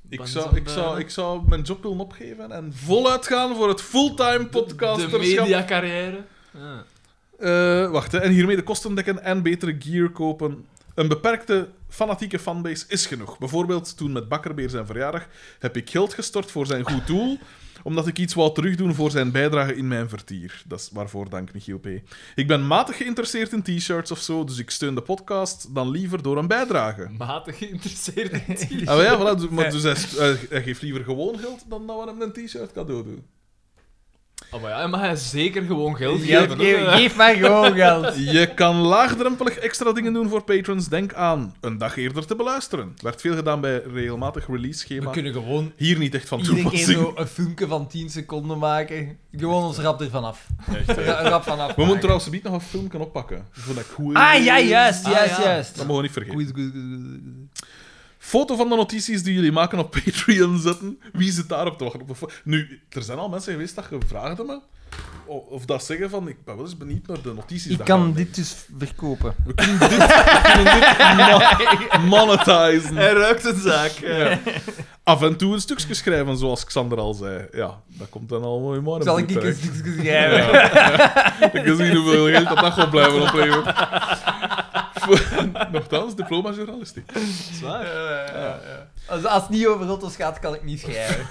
S2: Ik zou, ik,
S1: eh,
S2: zou, ik zou mijn job willen opgeven en voluit gaan voor het fulltime
S3: De
S2: podcasterschap.
S3: mediacarrière. Ja.
S2: Eh, wacht, hè. en hiermee de kosten dekken en betere gear kopen. Een beperkte fanatieke fanbase is genoeg. Bijvoorbeeld toen met Bakkerbeer zijn verjaardag heb ik geld gestort voor zijn goed doel, omdat ik iets wou terugdoen voor zijn bijdrage in mijn vertier. Dat is waarvoor dank, Michiel P. Ik ben matig geïnteresseerd in t-shirts of zo, dus ik steun de podcast dan liever door een bijdrage.
S3: Matig geïnteresseerd in het
S2: Ah, maar ja, voilà, dus- maar dus hij, hij- hij geeft liever gewoon geld dan dat we hem een t-shirt cadeau doen.
S3: Oh, maar ja, maar hij is zeker gewoon geld
S1: geef,
S3: geven.
S1: geef,
S3: hoor.
S1: geef mij gewoon geld.
S2: Je kan laagdrempelig extra dingen doen voor patrons. Denk aan een dag eerder te beluisteren. Werd veel gedaan bij regelmatig
S1: We
S2: release-schema.
S1: kunnen gewoon
S2: Hier niet echt van
S1: iedere keer
S2: toepassing.
S1: zo een filmpje van 10 seconden maken. Gewoon ons rap er vanaf.
S2: Echt,
S1: Ra-
S2: hè.
S1: Rap vanaf.
S2: We
S1: maken.
S2: moeten trouwens niet nog een film kunnen oppakken. Voordat ik goed
S1: Ah, ja, juist,
S3: Ah,
S1: juist,
S3: ja.
S1: juist.
S2: Dat mogen we niet vergeten.
S1: Goed, goed, goed, goed, goed.
S2: Foto van de notities die jullie maken op Patreon zetten. Wie zit daarop te wachten? Op een fo- Nu, er zijn al mensen geweest dat gevraagd hebben. o- Of dat zeggen van, ik ben wel eens benieuwd naar de notities.
S1: Ik
S2: dat
S1: kan
S2: gaan
S1: dit dus verkopen.
S2: We kunnen dit, we kunnen dit mo- monetizen.
S1: Eh,
S3: Hij ruikt een zaak.
S2: Ja. Af en toe een stukje schrijven, zoals Xander al zei. Ja, dat komt dan al mooi morgen.
S1: Zal ik
S2: goed
S1: eens
S2: terecht.
S1: schrijven?
S2: Ja, ja. Ik kan zien hoeveel geld dat dat gaat blijven opleveren. Voor- Nochtans, diploma-journalistiek.
S3: Ah,
S1: Als, als het niet over auto's gaat, kan ik niet schrijven.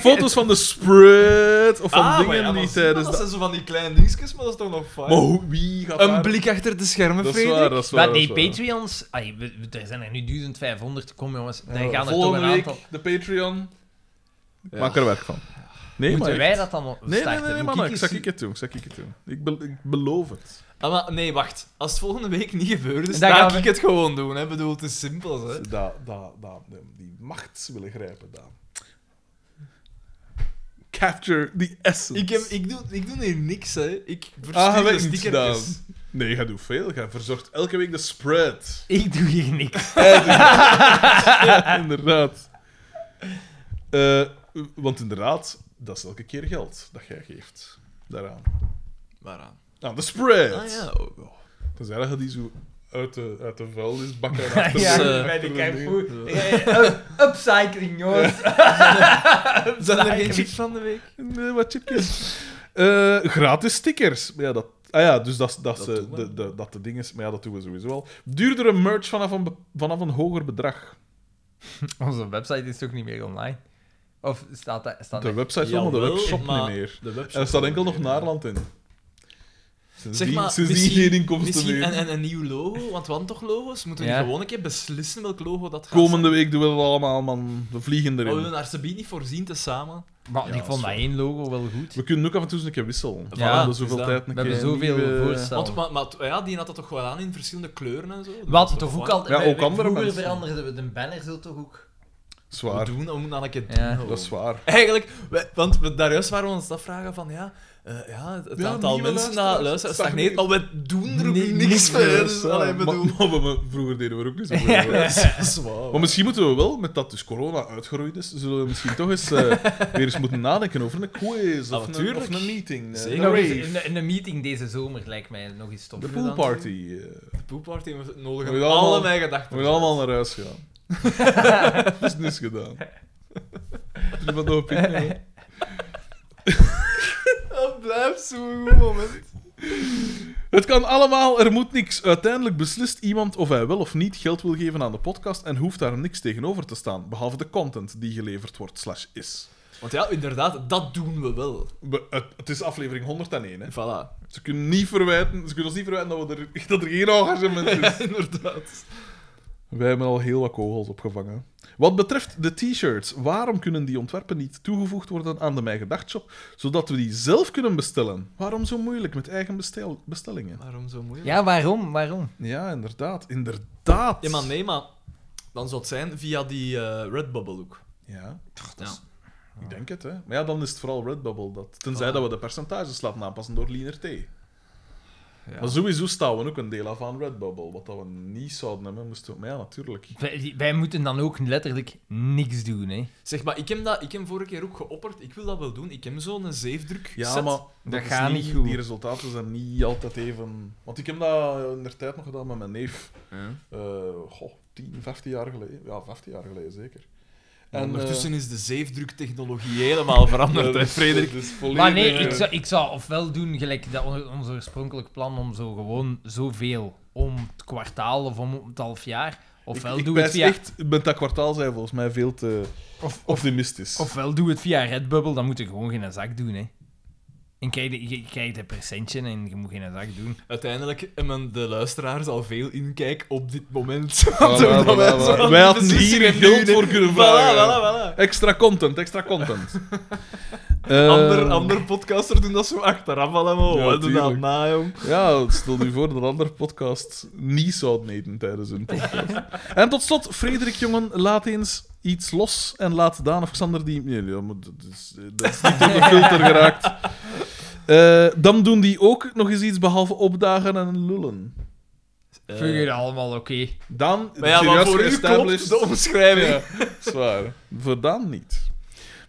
S2: Foto's van de spread, of van
S3: Ah, maar
S2: dingen
S3: ja, maar
S2: die
S3: zie maar,
S2: tijdens...
S3: Dat
S2: de-
S3: zijn zo van die kleine dingetjes, maar dat is toch nog fijn.
S2: Maar hoe- wie gaat daar-
S3: Een blik achter de schermen,
S2: Dat is
S3: Frederik.
S2: waar, dat is waar.
S1: maar die
S2: dat is waar.
S1: Patreons, ai, we- we- er zijn er nu 1500, kom jongens, dan
S2: Ja,
S1: gaan er toch
S2: Volgende
S1: een
S2: week,
S1: aantal.
S2: de Patreon.
S3: Ja.
S2: Maak er werk van. Nee,
S1: Moeten
S2: maar
S1: wij
S2: echt.
S1: dat dan nog
S2: Nee, nee,
S1: starten?
S2: nee, nee,
S1: Moet
S2: man, ik
S1: eens-
S2: zag ik het doen. Ik, zag ik, het doen. ik, be- ik beloof het.
S3: Ah, maar nee, wacht. Als het volgende week niet gebeurt, is,
S1: Dan
S3: dan
S1: gaan
S3: ga
S1: we-
S3: ik het gewoon doen. Hè. Ik bedoel, het is simpel. Hè.
S2: Dat, dat, dat, die macht willen grijpen, daar. Capture the essence.
S3: Ik, heb, ik, doe, ik doe hier niks, hè. Ik
S2: Ah, je
S3: verstuur de
S2: weet niet gedaan.
S3: stickertjes.
S2: Nee, jij doet veel. Jij verzorgt elke week de spread.
S1: Ik doe hier niks.
S2: ja, inderdaad. Eh, want inderdaad, dat is elke keer geld dat jij geeft. Daaraan.
S3: Waaraan?
S2: Aan de spread.
S3: Ah ja, oh, oh.
S2: Tenzij dat je die zo uit de, uit de vuilnisbak en
S1: Ja,
S2: achter de-
S1: bij
S3: eh,
S1: de
S2: achter ding-
S1: kijkvoer. Eh, up- Upcycling, jongens.
S3: Zijn er geen chips van de week?
S2: Nee, wat chipjes. Eh, gratis stickers. Maar ja, dat, ah ja, dus dat, dat,
S3: Dat
S2: ze-
S3: doen we.
S2: de, de, dat de ding is. Maar ja, dat doen we sowieso al. Duurdere merch vanaf een, be- vanaf een hoger bedrag.
S1: Onze website is toch niet meer online? Of staat dat... Staat
S2: De
S1: dat-
S2: website wel, maar de
S3: Jawel,
S2: webshop
S3: maar
S2: niet meer.
S3: de webshop
S2: En er staat enkel
S3: niet
S2: nog
S3: meer.
S2: Naarland in. Sindsdien,
S3: Zeg maar,
S2: sindsdien
S3: misschien-
S2: geen inkomsten
S3: Misschien
S2: meer.
S3: en, en een nieuw logo, want we hadden toch logo's? Moeten we
S1: Ja.
S3: niet gewoon een keer beslissen welk logo dat gaat
S2: Komende week doen we dat allemaal, man. We vliegen
S3: zijn? Maar Oh, we
S2: erin.
S3: willen daar Sabine niet voorzien, tezamen.
S1: Maar
S2: Ja,
S1: ik vond
S2: dat
S1: dat
S2: is
S1: één logo wel goed.
S2: We kunnen ook af en toe eens een keer wisselen.
S3: Voilà,
S2: Ja, de
S3: dus
S2: zoveel
S3: dat.
S2: tijd
S1: We
S2: een
S1: hebben
S2: keer
S1: zoveel
S2: nieuwe-
S1: voorstellen.
S3: Want, maar, maar ja, die had dat toch wel aan in verschillende kleuren en zo?
S1: We hadden toch ook al...
S2: Ja,
S1: we-
S2: ook
S1: we-
S2: andere
S1: Vroeger
S2: mensen.
S1: veranderden we de banner zo toch ook.
S2: Zwaar.
S3: We, doen, we moeten dat een keer doen.
S1: Ja.
S3: gewoon.
S2: Dat is waar.
S3: Eigenlijk, wij- want we, daar juist waren we ons afvragen van, ja, eh, ja het
S2: Ja,
S3: aantal
S2: nieuwe
S3: mensen dat
S2: luisteraars
S3: luisteren
S2: stagneert.
S3: stagneert, maar we doen er ook
S1: Nee, niks
S3: niks mee.
S1: meer,
S3: Dus, allee,
S2: Maar-
S3: bedoel...
S2: maar we- vroeger deden we er ook niet zoveel.
S3: Dat
S2: Ja.
S3: is- dat is waar.
S2: Maar misschien moeten we wel, met dat dus corona uitgeroeid is, zullen we misschien toch eens eh, weer eens moeten nadenken over een quiz
S3: Ah,
S2: of, een,
S3: natuurlijk.
S2: of een meeting. eh,
S3: Zeker.
S2: Een
S1: Nog eens,
S2: rave.
S1: een, een meeting deze zomer lijkt mij nog eens tof.
S2: De poolparty. eh.
S3: De poepparty we nodigen
S2: Moet je
S3: alle
S2: allemaal-
S3: mijn
S2: we
S3: gedachten.
S2: moeten allemaal naar huis gaan. dat is niks gedaan. Is er wat op in, hè?
S3: Dat blijft zo'n goed moment.
S2: Het kan allemaal, er moet niks. Uiteindelijk beslist iemand of hij wel of niet geld wil geven aan de podcast en hoeft daar niks tegenover te staan, behalve de content die geleverd wordt slash is.
S3: Want ja, inderdaad, dat doen we wel.
S2: We- het, het is aflevering 101, hè.
S3: Voilà.
S2: Ze kunnen, niet verwijten, ze kunnen ons niet verwijten dat, we er, dat er geen engagement is.
S3: inderdaad.
S2: Wij hebben al heel wat kogels opgevangen. Wat betreft de t-shirts, waarom kunnen die ontwerpen niet toegevoegd worden aan de Mijn Gedacht Shop, zodat we die zelf kunnen bestellen? Waarom zo moeilijk met eigen bestel- bestellingen?
S3: Waarom zo moeilijk?
S1: Ja, waarom? Waarom?
S2: Ja, inderdaad. Inderdaad.
S3: Ja, maar nee, maar dan zou het zijn via die eh, Redbubble ook.
S2: Ja,
S3: Ja.
S2: ik denk het, hè. Maar ja, dan is het vooral Redbubble. Dat, tenzij
S3: Ah.
S2: dat we de percentages laten aanpassen door Leaner T. Maar sowieso staan we ook een deel af aan Redbubble. Wat dat we niet zouden hebben, moesten we... Maar ja, natuurlijk.
S1: Wij, wij moeten dan ook letterlijk niks doen, hè.
S3: Zeg maar, ik heb dat ik heb vorige keer ook geopperd. Ik wil dat wel doen. Ik heb zo'n zeefdruk.
S2: Ja,
S3: set.
S2: maar
S1: Dat
S2: is
S1: gaat niet goed.
S2: Die resultaten zijn niet altijd even. Want ik heb dat in de tijd nog gedaan met mijn neef. Eh goh, 10, 15 jaar geleden. Ja, 15 jaar geleden zeker.
S3: En
S2: eh,
S3: ondertussen is de zeefdruktechnologie helemaal veranderd, hè,
S2: dat is-
S3: Frederik.
S2: dat is volledig,
S1: Maar nee,
S2: eh,
S1: ik zou, ik zou ofwel doen gelijk dat on- ons oorspronkelijk plan om zo gewoon zoveel om het kwartaal of om het half jaar. Ofwel
S2: ik, ik
S1: doe het
S2: pijs
S1: via,
S2: echt, met dat kwartaal zijn we volgens mij veel te
S1: of, of,
S2: optimistisch.
S1: ofwel doe het via Redbubble, dan moet je gewoon geen zak doen, hè. En krijg je, je krijgt een percentje en je moet geen zak doen.
S3: Uiteindelijk hebben de luisteraars al veel inkijk op dit moment.
S2: voilà,
S3: Omdat
S2: voilà.
S3: zo aan
S2: Wij
S3: die
S2: hadden hier
S3: beslissingen
S2: geld
S3: duwden.
S2: voor kunnen
S3: Voilà,
S2: vragen.
S3: voilà, voilà.
S2: Extra content, extra content. Eh,
S3: Ander, ander podcaster doen dat zo achteraf allemaal.
S2: Ja,
S3: Wat doen dat
S2: tuurlijk.
S3: na, jong?
S2: Ja, stel nu voor dat andere podcast niet zouden eten tijdens een podcast. en tot slot, Frederik, jongen, laat eens iets los en laat Daan of Xander die... Nee, ja, maar dat, is, dat is niet door de filter geraakt. Eh, dan doen die ook nog eens iets behalve opdagen en lullen.
S1: Vind je dat allemaal oké?
S2: Daan,
S3: Eh, maar ja, maar
S2: serieus
S3: voor u
S2: geëstablished-
S3: klopt de omschrijving.
S2: Ja, zwaar. Voor Daan niet.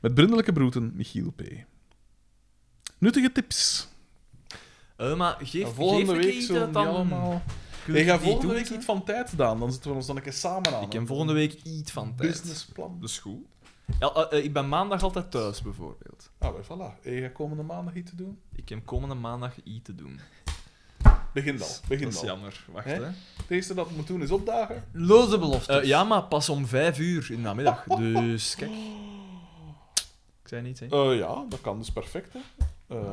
S2: Met brindelijke broeten, Michiel P. Nuttige tips.
S3: Eh, maar geef,
S2: En volgende
S3: geef een
S2: week
S3: keer iets
S2: zullen
S3: uit
S2: die
S3: dan.
S2: allemaal-
S3: Kun
S2: Ik
S3: je
S2: ga
S3: die
S2: volgende
S3: doen,
S2: week
S3: hè?
S2: niet van tijd, Daan. Dan zitten we ons dan een keer samen aan.
S3: Ik heb volgende week iets van tijd.
S2: businessplan.
S3: Dat is goed. Ja, eh, eh, ik ben maandag altijd thuis, bijvoorbeeld.
S2: Ah, wel, voilà. En je gaat komende maandag iets te doen?
S3: Ik heb komende maandag iets te doen.
S2: Begin al. Begin
S3: dat is
S2: al.
S3: jammer. Wacht,
S2: Hè?
S3: hè.
S2: Het eerste dat we moeten doen is opdagen.
S1: Loze beloftes.
S3: Eh, ja, maar pas om vijf uur in de namiddag. Dus kijk. Oh. Ik zei niets, hè.
S2: Eh, ja, dat kan dus perfect. Hè. Eh,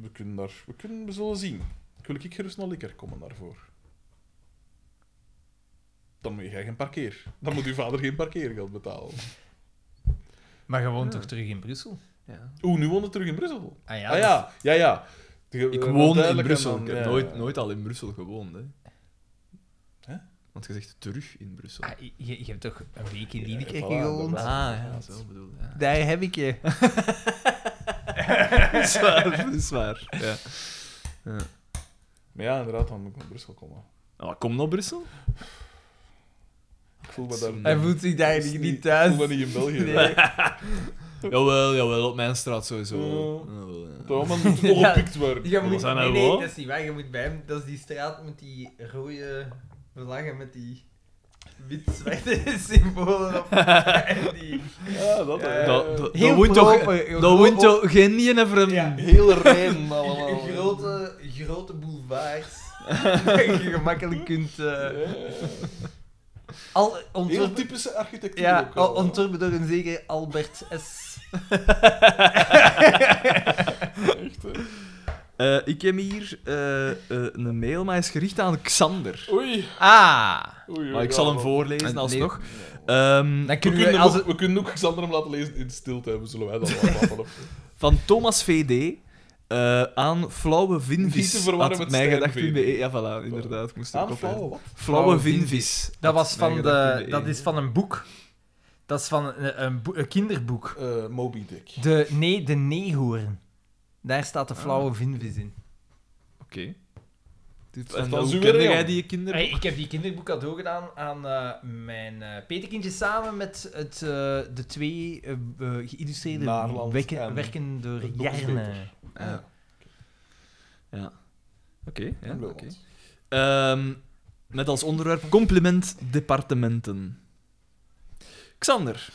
S2: we kunnen daar... We, kunnen, we zullen zien. Ik wil ik gerust naar Likker komen daarvoor. Dan moet jij geen parkeer. Dan moet uw vader geen parkeergeld betalen.
S1: Maar gewoon toch terug in Brussel?
S3: Ja.
S2: Oeh, nu woont het terug in Brussel.
S1: Ah ja,
S2: ah
S1: dat-
S2: ja, ja, ja. De-
S3: dus- Ik
S2: eh,
S3: woon in
S2: duidelijk en
S3: Brussel. ik
S2: dan-
S3: heb
S2: ja,
S3: nooit,
S2: ja.
S3: nooit al in Brussel gewoond. Hè.
S2: Hè?
S3: Want je zegt terug in Brussel.
S1: Ah, je, je hebt toch een week in Liedekerke
S2: voilà,
S1: gewoond?
S2: inderdaad.
S3: Ah, ja, zo bedoel ja.
S1: Daar heb ik je.
S3: Dat is waar, dat is waar. Ja.
S2: Maar ja, inderdaad, dan moet ik naar Brussel komen.
S3: Nou, kom naar Brussel.
S2: Ik voel me daar
S1: Hij voelt zich daar
S2: dat is
S1: niet,
S2: niet-
S1: thuis.
S2: Ik voel me niet in België.
S1: Nee.
S2: Nee.
S3: Jawel, jawel, op mijn straat sowieso.
S2: Ja.
S3: Jawel, ja.
S2: Dat allemaal moet opgepikt worden.
S1: Je moet,
S3: zijn
S1: nee,
S3: er
S1: nee,
S3: wel.
S1: dat is niet waar. Je moet bij hem... Dat is die straat met die rode vlaggen met die wit-zwarte symbolen op. En die...
S2: Ja, dat
S1: Ja, ja.
S3: Dat- dat-
S1: Heel
S3: dat woont toch,
S1: proper, heel
S3: dat woont
S1: proper.
S3: toch geen ene vreemde?
S1: Ja.
S2: Heel rein allemaal.
S1: Een grote, grote boulevards. waar je gemakkelijk kunt...
S2: Ja,
S1: eh,
S2: ja.
S1: al,
S2: Heel
S1: ontworpen-
S2: typische architectuur
S1: Ja,
S2: ook
S1: al
S2: al.
S1: ontworpen door een zeker Albert S.
S2: Echt, hè.
S3: Eh, ik heb hier eh, eh, een mail, maar hij is gericht aan Xander.
S2: Oei. oei,
S1: Ah!
S2: oei,
S3: Maar ik
S2: ja,
S3: zal hem
S2: man.
S3: voorlezen
S1: Nee.
S3: alsnog.
S1: Dan
S3: Ehm,
S2: We
S1: kunnen we...
S2: kunnen,
S1: Als
S2: ook, we kunnen ook Xander hem laten lezen in stilte. hè. We zullen wij dat wel laten.
S3: van Thomas VD eh, aan flauwe
S2: Niet
S3: vinvis.
S2: te verwarren
S3: Had
S2: met
S3: mij
S2: Stijn
S3: gedacht in de
S2: VD.
S3: E- Ja, voilà, inderdaad. Ik moest er ook
S2: Aan
S3: op
S2: flauw,
S3: flauwe,
S2: wat?
S3: flauwe vinvis.
S1: Dat,
S3: Had
S1: was
S3: mij
S1: van
S3: gedacht
S1: de,
S3: in
S1: dat
S3: E.
S1: is van een boek. Dat is van een, een, boe- een kinderboek.
S2: Eh, Moby Dick.
S1: De, nee, de neehoorn. Daar staat de
S2: Ah.
S1: flauwe vinvis in.
S3: Oké. Dit
S2: Dat
S3: En
S2: was
S3: hoe
S2: uw
S3: kende
S2: regel.
S3: jij die kinderen?
S1: Hey, ik heb die kinderboek cadeau gedaan aan eh, mijn eh petekindje samen met het, eh, de twee eh, eh, geïllustreerde
S2: Naarland
S1: wekken-
S2: en
S1: werken door
S2: het boek is
S1: Jerne.
S2: beter.
S3: Ah, Oké, ja,
S2: En
S3: oké.
S2: Wilmot.
S3: Ehm, met als onderwerp compliment departementen. Xander,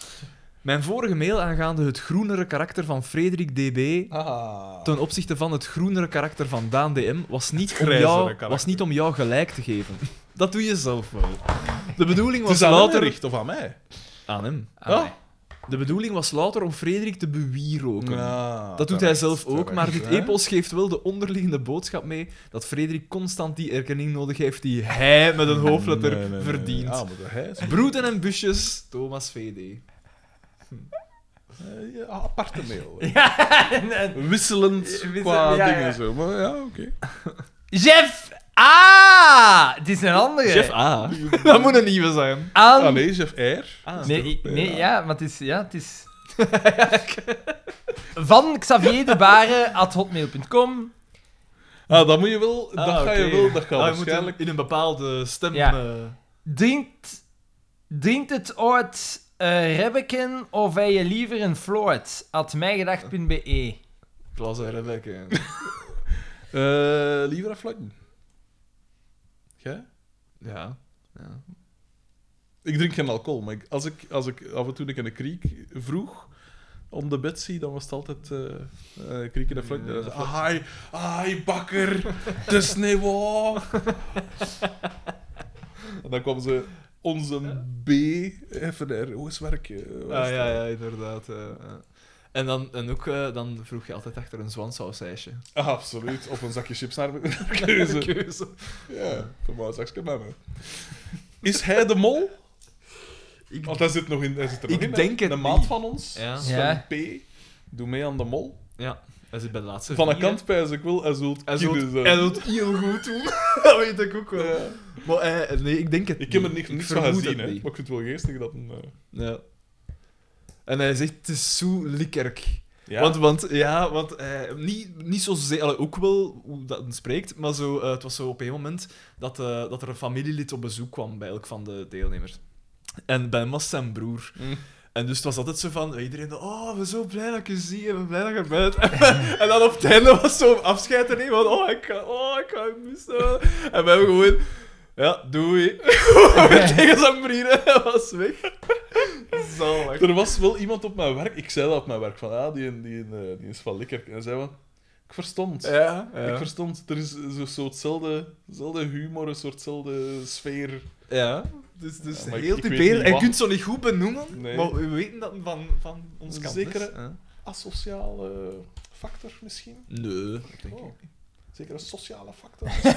S3: mijn vorige mail aangaande het groenere karakter van Frederik DB
S2: Haha.
S3: ten opzichte van het groenere karakter van Daan DM was niet, om
S2: grijzere
S3: jou,
S2: karakter.
S3: was niet om jou gelijk te geven. Dat doe je zelf wel. De bedoeling
S2: Het is
S3: was
S2: aan
S3: louter...
S2: hem gericht, of aan mij?
S3: Aan hem.
S1: Ah,
S2: Ah.
S1: nee.
S3: De bedoeling was louter om Frederik te bewieroken.
S2: Ja,
S3: Dat doet hij
S2: terecht,
S3: zelf ook,
S2: terecht,
S3: maar dit
S2: hè.
S3: epos geeft wel de onderliggende boodschap mee dat Frederik constant die erkenning nodig heeft die hij met een hoofdletter
S2: Nee, nee, nee, nee.
S3: verdient.
S2: Ah, maar dat hij is...
S3: Broeden en busjes, Thomas VD.
S2: eh, ja, aparte mail.
S1: Ja, en- en-
S2: Wisselend
S1: Wissel-
S2: qua
S1: ja, ja.
S2: dingen zo, maar ja, oké.
S1: Jeff! Ah! Het is een andere.
S3: Chef A. dat moet een nieuwe zijn.
S1: Aan...
S2: Ah nee, Jeff R.
S3: Ah.
S1: Nee,
S2: Is
S1: i-
S2: dat-
S1: nee
S2: ja.
S1: ja. maar het is... Ja, het is... Van Xavier de Baren at hotmail.com.
S2: Ah, dat moet je wel... Dat
S3: Ah,
S2: ga je
S3: oké.
S2: wel... Dat kan
S3: Ah, je moet
S2: waarschijnlijk...
S3: in in een bepaalde stem...
S1: Ja.
S3: eh,
S1: Drinkt, drinkt het ooit eh rebbeken of wij je liever een floort? At mijgedacht.be.
S3: Klasse Rebecca.
S2: Eh, liever afvlakken. Jij?
S3: ja. ja.
S2: Ik drink geen alcohol, maar ik- als, ik, als ik af en toe in een kriek vroeg om de Betsy, dan was het altijd eh eh, kriek in de vlak.
S3: Ja, ja, ja.
S2: Ai, ai, bakker, de sneeuw. en dan kwam ze onze B, even R, hoe is werk? eh, hoe is
S3: Ah, ja,
S2: het?
S3: ja, inderdaad. eh, eh. En, dan, en ook, eh, dan vroeg je altijd achter een zwansausijsje.
S2: Ah, absoluut. Of een zakje chips naar naar keuze.
S3: Keuze.
S2: ja, voor mij een zakje bij me. Is hij de mol?
S3: Ik-
S2: Want hij zit, nog in, hij zit er nog
S3: Ik
S2: in. hè.
S3: denk het
S2: De
S3: niet.
S2: maat van ons,
S3: Ja.
S2: Sven
S1: Ja.
S2: P. Doe mee aan de mol.
S3: Ja, hij zit bij de laatste
S2: Van een
S3: vier, hè.
S2: kant pijs ik wil, hij zult
S3: Hij doet,
S2: kiezen zijn.
S3: hij doet heel goed doen. dat weet ik ook wel.
S2: Ja.
S3: Maar eh, nee, ik denk het
S2: Ik heb er niks,
S3: niet.
S2: niks van
S3: vermoed het
S2: gezien, hè.
S3: niet.
S2: maar ik vind het wel geestig dat een... eh,
S3: Ja. En hij zegt, het is zo likkerk.
S2: Ja.
S3: Want, want, ja, want eh, niet, niet zozeer, allee, ook wel hoe dat het spreekt, maar zo, eh, het was zo op een moment dat, eh, dat er een familielid op bezoek kwam bij elk van de deelnemers. En bij hem was zijn broer.
S2: Mm.
S3: En dus het was altijd zo van, iedereen, oh, we zijn zo blij dat ik je zie, en we zijn blij dat je bent. en dan op het einde was zo afscheid en iemand, oh, ik ga, oh, ik ga je missen. en we hebben gewoon, ja, doei. Weer tegen zijn vrienden, hij was weg. Zalig.
S2: Er was wel iemand op mijn werk, ik zei dat op mijn werk, van ah, die, die, eh, die is van lekker. En hij zei van, ik verstond.
S3: Ja,
S2: Ik
S3: ja.
S2: verstond. Er is zo'n soortzelfde zelfde humor, een soortzelfde sfeer.
S3: Ja, dus, dus
S2: Ja, maar ik-
S3: heel
S2: ik weet
S3: typerend.
S2: niet
S3: En je
S2: wat.
S3: kunt zo niet goed benoemen,
S2: Nee.
S3: maar we weten dat van, van ons
S2: Een
S3: kant
S2: zekere-
S3: is. Ja.
S2: Asociaal eh, factor misschien?
S3: Nee, dat denk
S2: Oh.
S3: ik.
S2: Zeker een sociale factor.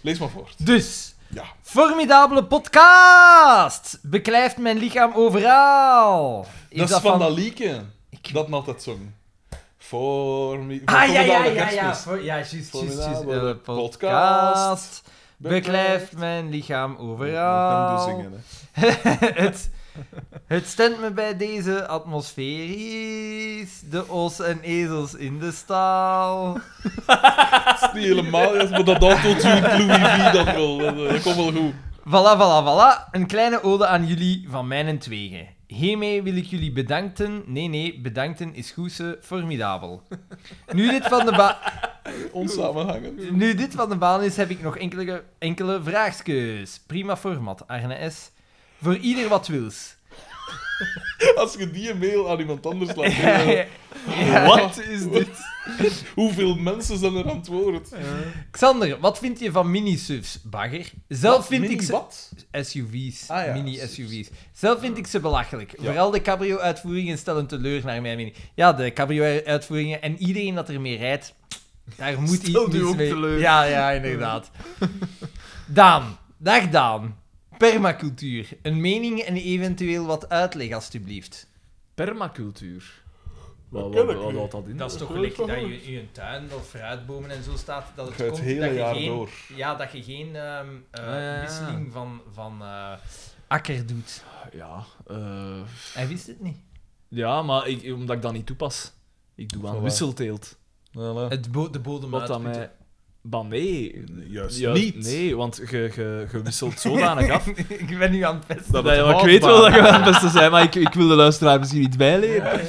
S2: Lees maar voort.
S1: Dus,
S2: Ja.
S1: formidabele podcast! Beklijft mijn lichaam overaal. Is
S2: dat is van dat liedje dat me altijd zong. Voor me,
S1: Ah, ja, ja,
S2: Formidabele
S1: ja, ja.
S2: Kerstmis.
S1: Voor- Ja, juist, juist, juist.
S2: Formidabele
S1: Eh,
S2: podcast.
S1: podcast. beklijft mijn lichaam Oh.
S2: Ja, dat kan
S1: overal.
S2: je dus zingen, hè.
S1: het, het stemt me bij deze atmosferisch. De os en ezels in de stal.
S2: Het is niet helemaal, juist, maar dat autotune Louis V dat wel. Dat, eh, dat komt wel goed.
S1: Voilà, voilà, voilà. Een kleine ode aan jullie van mijn twegen. Hiermee wil ik jullie bedanken. Nee, nee, bedanken is goese formidabel. Nu dit van de, ba-
S2: Onsamenhangend.
S1: nu dit van de baan is, heb ik nog enkele, enkele vraagskes. Prima format, Arne S. Voor ieder wat wils.
S2: Als je die mail aan iemand anders laat doen,
S1: Ja,
S2: eh,
S1: ja. Ja.
S3: Wat is dit?
S2: hoeveel mensen zijn er aan het woord?
S1: Xander, wat vind je van mini-SUVs, bagger? Zelf vind
S2: Mini
S1: ik ze...
S2: Wat?
S1: SUV's,
S2: Ah ja,
S1: mini-SUV's. Zelf vind ik ze belachelijk.
S2: Ja.
S1: Vooral de cabrio-uitvoeringen stellen teleur naar mijn mening. Ja, de cabrio-uitvoeringen en iedereen dat ermee rijdt, daar moet
S3: Stel
S1: iets
S3: die
S1: mis
S3: ook
S1: mee.
S3: teleur.
S1: Ja, ja, inderdaad. Daan, dag Daan. Permacultuur, een mening en eventueel wat uitleg alstublieft.
S3: Permacultuur. Wat,
S2: ken
S3: wat,
S2: ik
S3: wat
S2: nu.
S3: houdt dat in?
S1: Dat is toch gelijk dat je in je tuin of fruitbomen en zo staat, dat het
S2: Ga je het
S1: komt
S2: hele
S1: dat je
S2: jaar
S1: geen
S2: door.
S1: Ja, dat je geen ehm, eh,
S3: Ah, ja.
S1: wisseling van, van eh, akker doet.
S3: Ja, eh,
S1: Hij wist het niet.
S3: ja maar ik, omdat ik dat niet toepas. Ik doe aan
S2: Voilà.
S3: wisselteelt.
S2: Voilà.
S1: Het bo- de bodem
S3: Wat dan
S1: uitputten.
S3: mij... Bah, nee.
S2: Juist
S3: Ja,
S2: niet.
S3: Nee, want je je- je wisselt zodanig af.
S1: ik ben nu aan het pesten.
S3: Dat
S2: het
S3: ja, maar ik
S2: houdbaar
S3: weet wel dat je wel het beste zijn, maar ik, ik wil de luisteraar misschien iets bijleren.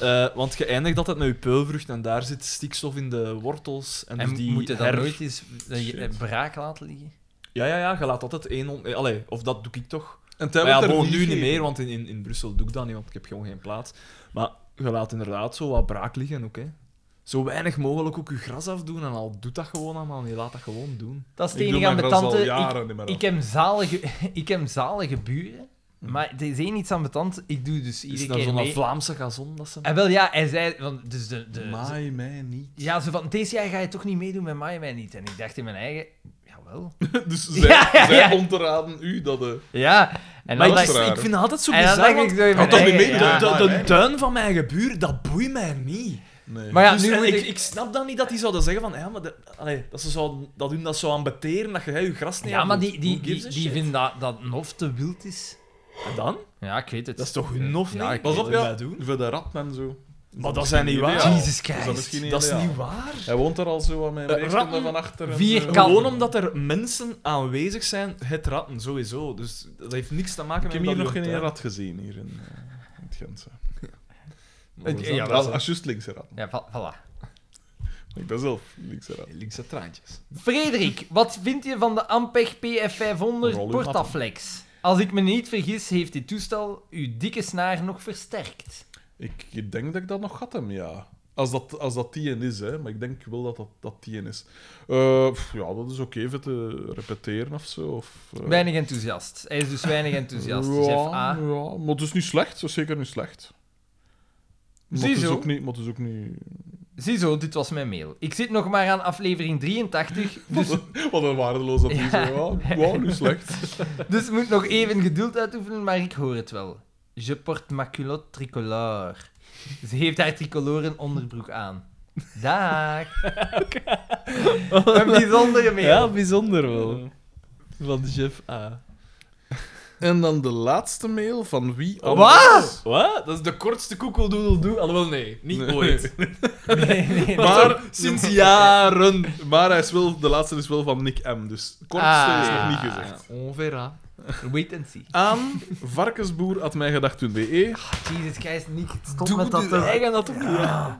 S3: Eh, want je eindigt altijd met je peulvrucht en daar zit stikstof in de wortels. En,
S1: En
S3: dus die
S1: moet je dat
S3: her-
S1: nooit eens eh, je-
S2: Shit.
S1: braak laten liggen?
S3: Ja, ja, ja, je laat altijd één... On... eh, Allee, of dat doe ik toch.
S2: En
S3: Maar ja,
S2: er
S3: bon, nu niet meer, want in, in, in Brussel doe ik dat niet, want ik heb gewoon geen plaats. Maar je laat inderdaad zo wat braak liggen ook, hè. Zo weinig mogelijk ook je gras afdoen en al doet dat gewoon allemaal, je laat dat gewoon doen.
S1: Dat is het
S2: Ik doe
S1: enige
S2: mijn
S1: aan mijn
S2: gras al
S1: tante.
S2: jaren niet meer
S1: Ik, ik, heb zalige, ik heb zalige buren, maar er is één iets aan mijn tante. Ik doe dus
S3: Is
S1: iedere
S3: dat
S1: keer
S3: zo'n
S1: mee.
S3: Vlaamse gazon dat ze...
S1: En wel, ja, hij zei... Want dus de, de,
S2: Maai mij niet.
S1: Ja, zo van, deze jaar ga je toch niet meedoen met mij, mij niet. En ik dacht in mijn eigen, jawel.
S2: Dus zij,
S1: Ja, ja,
S2: zij
S1: ja.
S2: onteraden u dat... eh,
S1: Ja, en
S3: Maar
S1: dan
S3: ik,
S2: dat is
S1: dacht
S2: raar,
S3: ik
S2: hè.
S3: vind het altijd zo
S1: en dan
S3: bizar,
S1: dacht
S3: want
S1: ik zo in mijn
S2: toch niet
S1: eigen,
S2: mee,
S1: ja.
S2: dat-
S3: De,
S2: maar
S3: de, de
S2: wij-
S3: tuin van mijn gebuur, dat boeit mij niet.
S2: nee.
S1: Maar ja,
S3: Dus,
S1: nu
S3: en
S1: moet
S3: ik,
S1: ik...
S3: ik snap dan niet dat die zouden zeggen van... Ja, maar de- allee, dat, ze zouden, dat hun dat zou aan beteren, dat je hè, je gras niet
S1: Ja, maar
S3: afdoet.
S1: die, die,
S3: Who gives
S1: die,
S3: a
S1: die
S3: shit?
S1: vinden dat, dat Nof te wild is.
S3: En dan?
S1: Ja, ik weet het.
S3: Dat is toch hun of niet?
S1: Ja, ik
S2: Pas op,
S3: Wat wil
S2: ja.
S3: dat doen?
S2: Voor de rat en zo.
S3: Maar dat zijn niet
S2: misschien
S3: waar.
S2: ideaal.
S1: Jesus
S2: Is dat
S1: Christ.
S2: misschien
S3: Dat is
S2: ideaal?
S3: niet waar.
S2: Hij woont er al zo aan mijn
S3: Eh,
S2: rechter
S3: ratten,
S2: van achter.
S1: vier
S2: en zo.
S1: Kan.
S3: Gewoon omdat er mensen aanwezig zijn, het ratten, sowieso. Dus dat heeft niks te maken met...
S2: Ik heb
S3: dat
S2: hier nog
S3: je
S2: geen
S3: tuin-
S2: rat gezien, hier in, eh, in het Gent. hè.
S3: Maar dat is
S1: Ja,
S3: dan-
S2: Dat is als juist linkse rat.
S1: Ja, va- voilà.
S2: Ik ben zelf linkse rat.
S3: Linkse traantjes.
S1: Frederik, wat vind je van de Ampeg
S2: Rol
S1: PF500
S2: uw
S1: Portaflex? Als ik me niet vergis, heeft dit toestel uw dikke snaar nog versterkt.
S2: Ik denk dat ik dat nog had hem, ja. Als dat, als dat die een is, hè. Maar ik denk wel dat dat, dat die een is. Eh, pff, ja, dat is oké even te repeteren of zo. Of, eh,
S1: Weinig enthousiast. Hij is dus weinig enthousiast,
S2: ja,
S1: Jeff A.
S2: ja, maar het is niet slecht. Dat is zeker niet slecht. Maar
S1: Ziezo.
S2: het is ook niet... Maar het is ook niet...
S1: Ziezo, dit was mijn mail. Ik zit nog maar aan aflevering 83, dus
S2: Wat een waardeloos advies.
S1: Ja.
S2: hè. Ja, ja, niet slecht.
S1: Dus moet nog even geduld uitoefenen, maar ik hoor het wel. Je porte ma culotte tricolore. Ze heeft haar tricoloren onderbroek aan. Daag. Een bijzondere mail.
S3: Ja, bijzonder wel. Van chef A.
S2: En dan de laatste mail van wie...
S3: Wat?
S2: anders?
S3: Wat? Dat is de kortste koekeldoedeldoe. Alhoewel, nee. Niet
S2: Nee.
S3: ooit.
S1: Nee, nee, nee.
S3: Maar sinds jaren.
S2: Maar hij is wel, de laatste is wel van Nick M. Dus kort
S1: Ah,
S2: is nog niet gezegd.
S3: On verra.
S1: Wait and see.
S2: Aan varkensboer.mijgedacht.be.
S1: Jesus Christ, Nick, stop
S3: Doe
S1: met dat
S3: dit.
S1: te
S3: Hij
S1: zeggen. Dat toch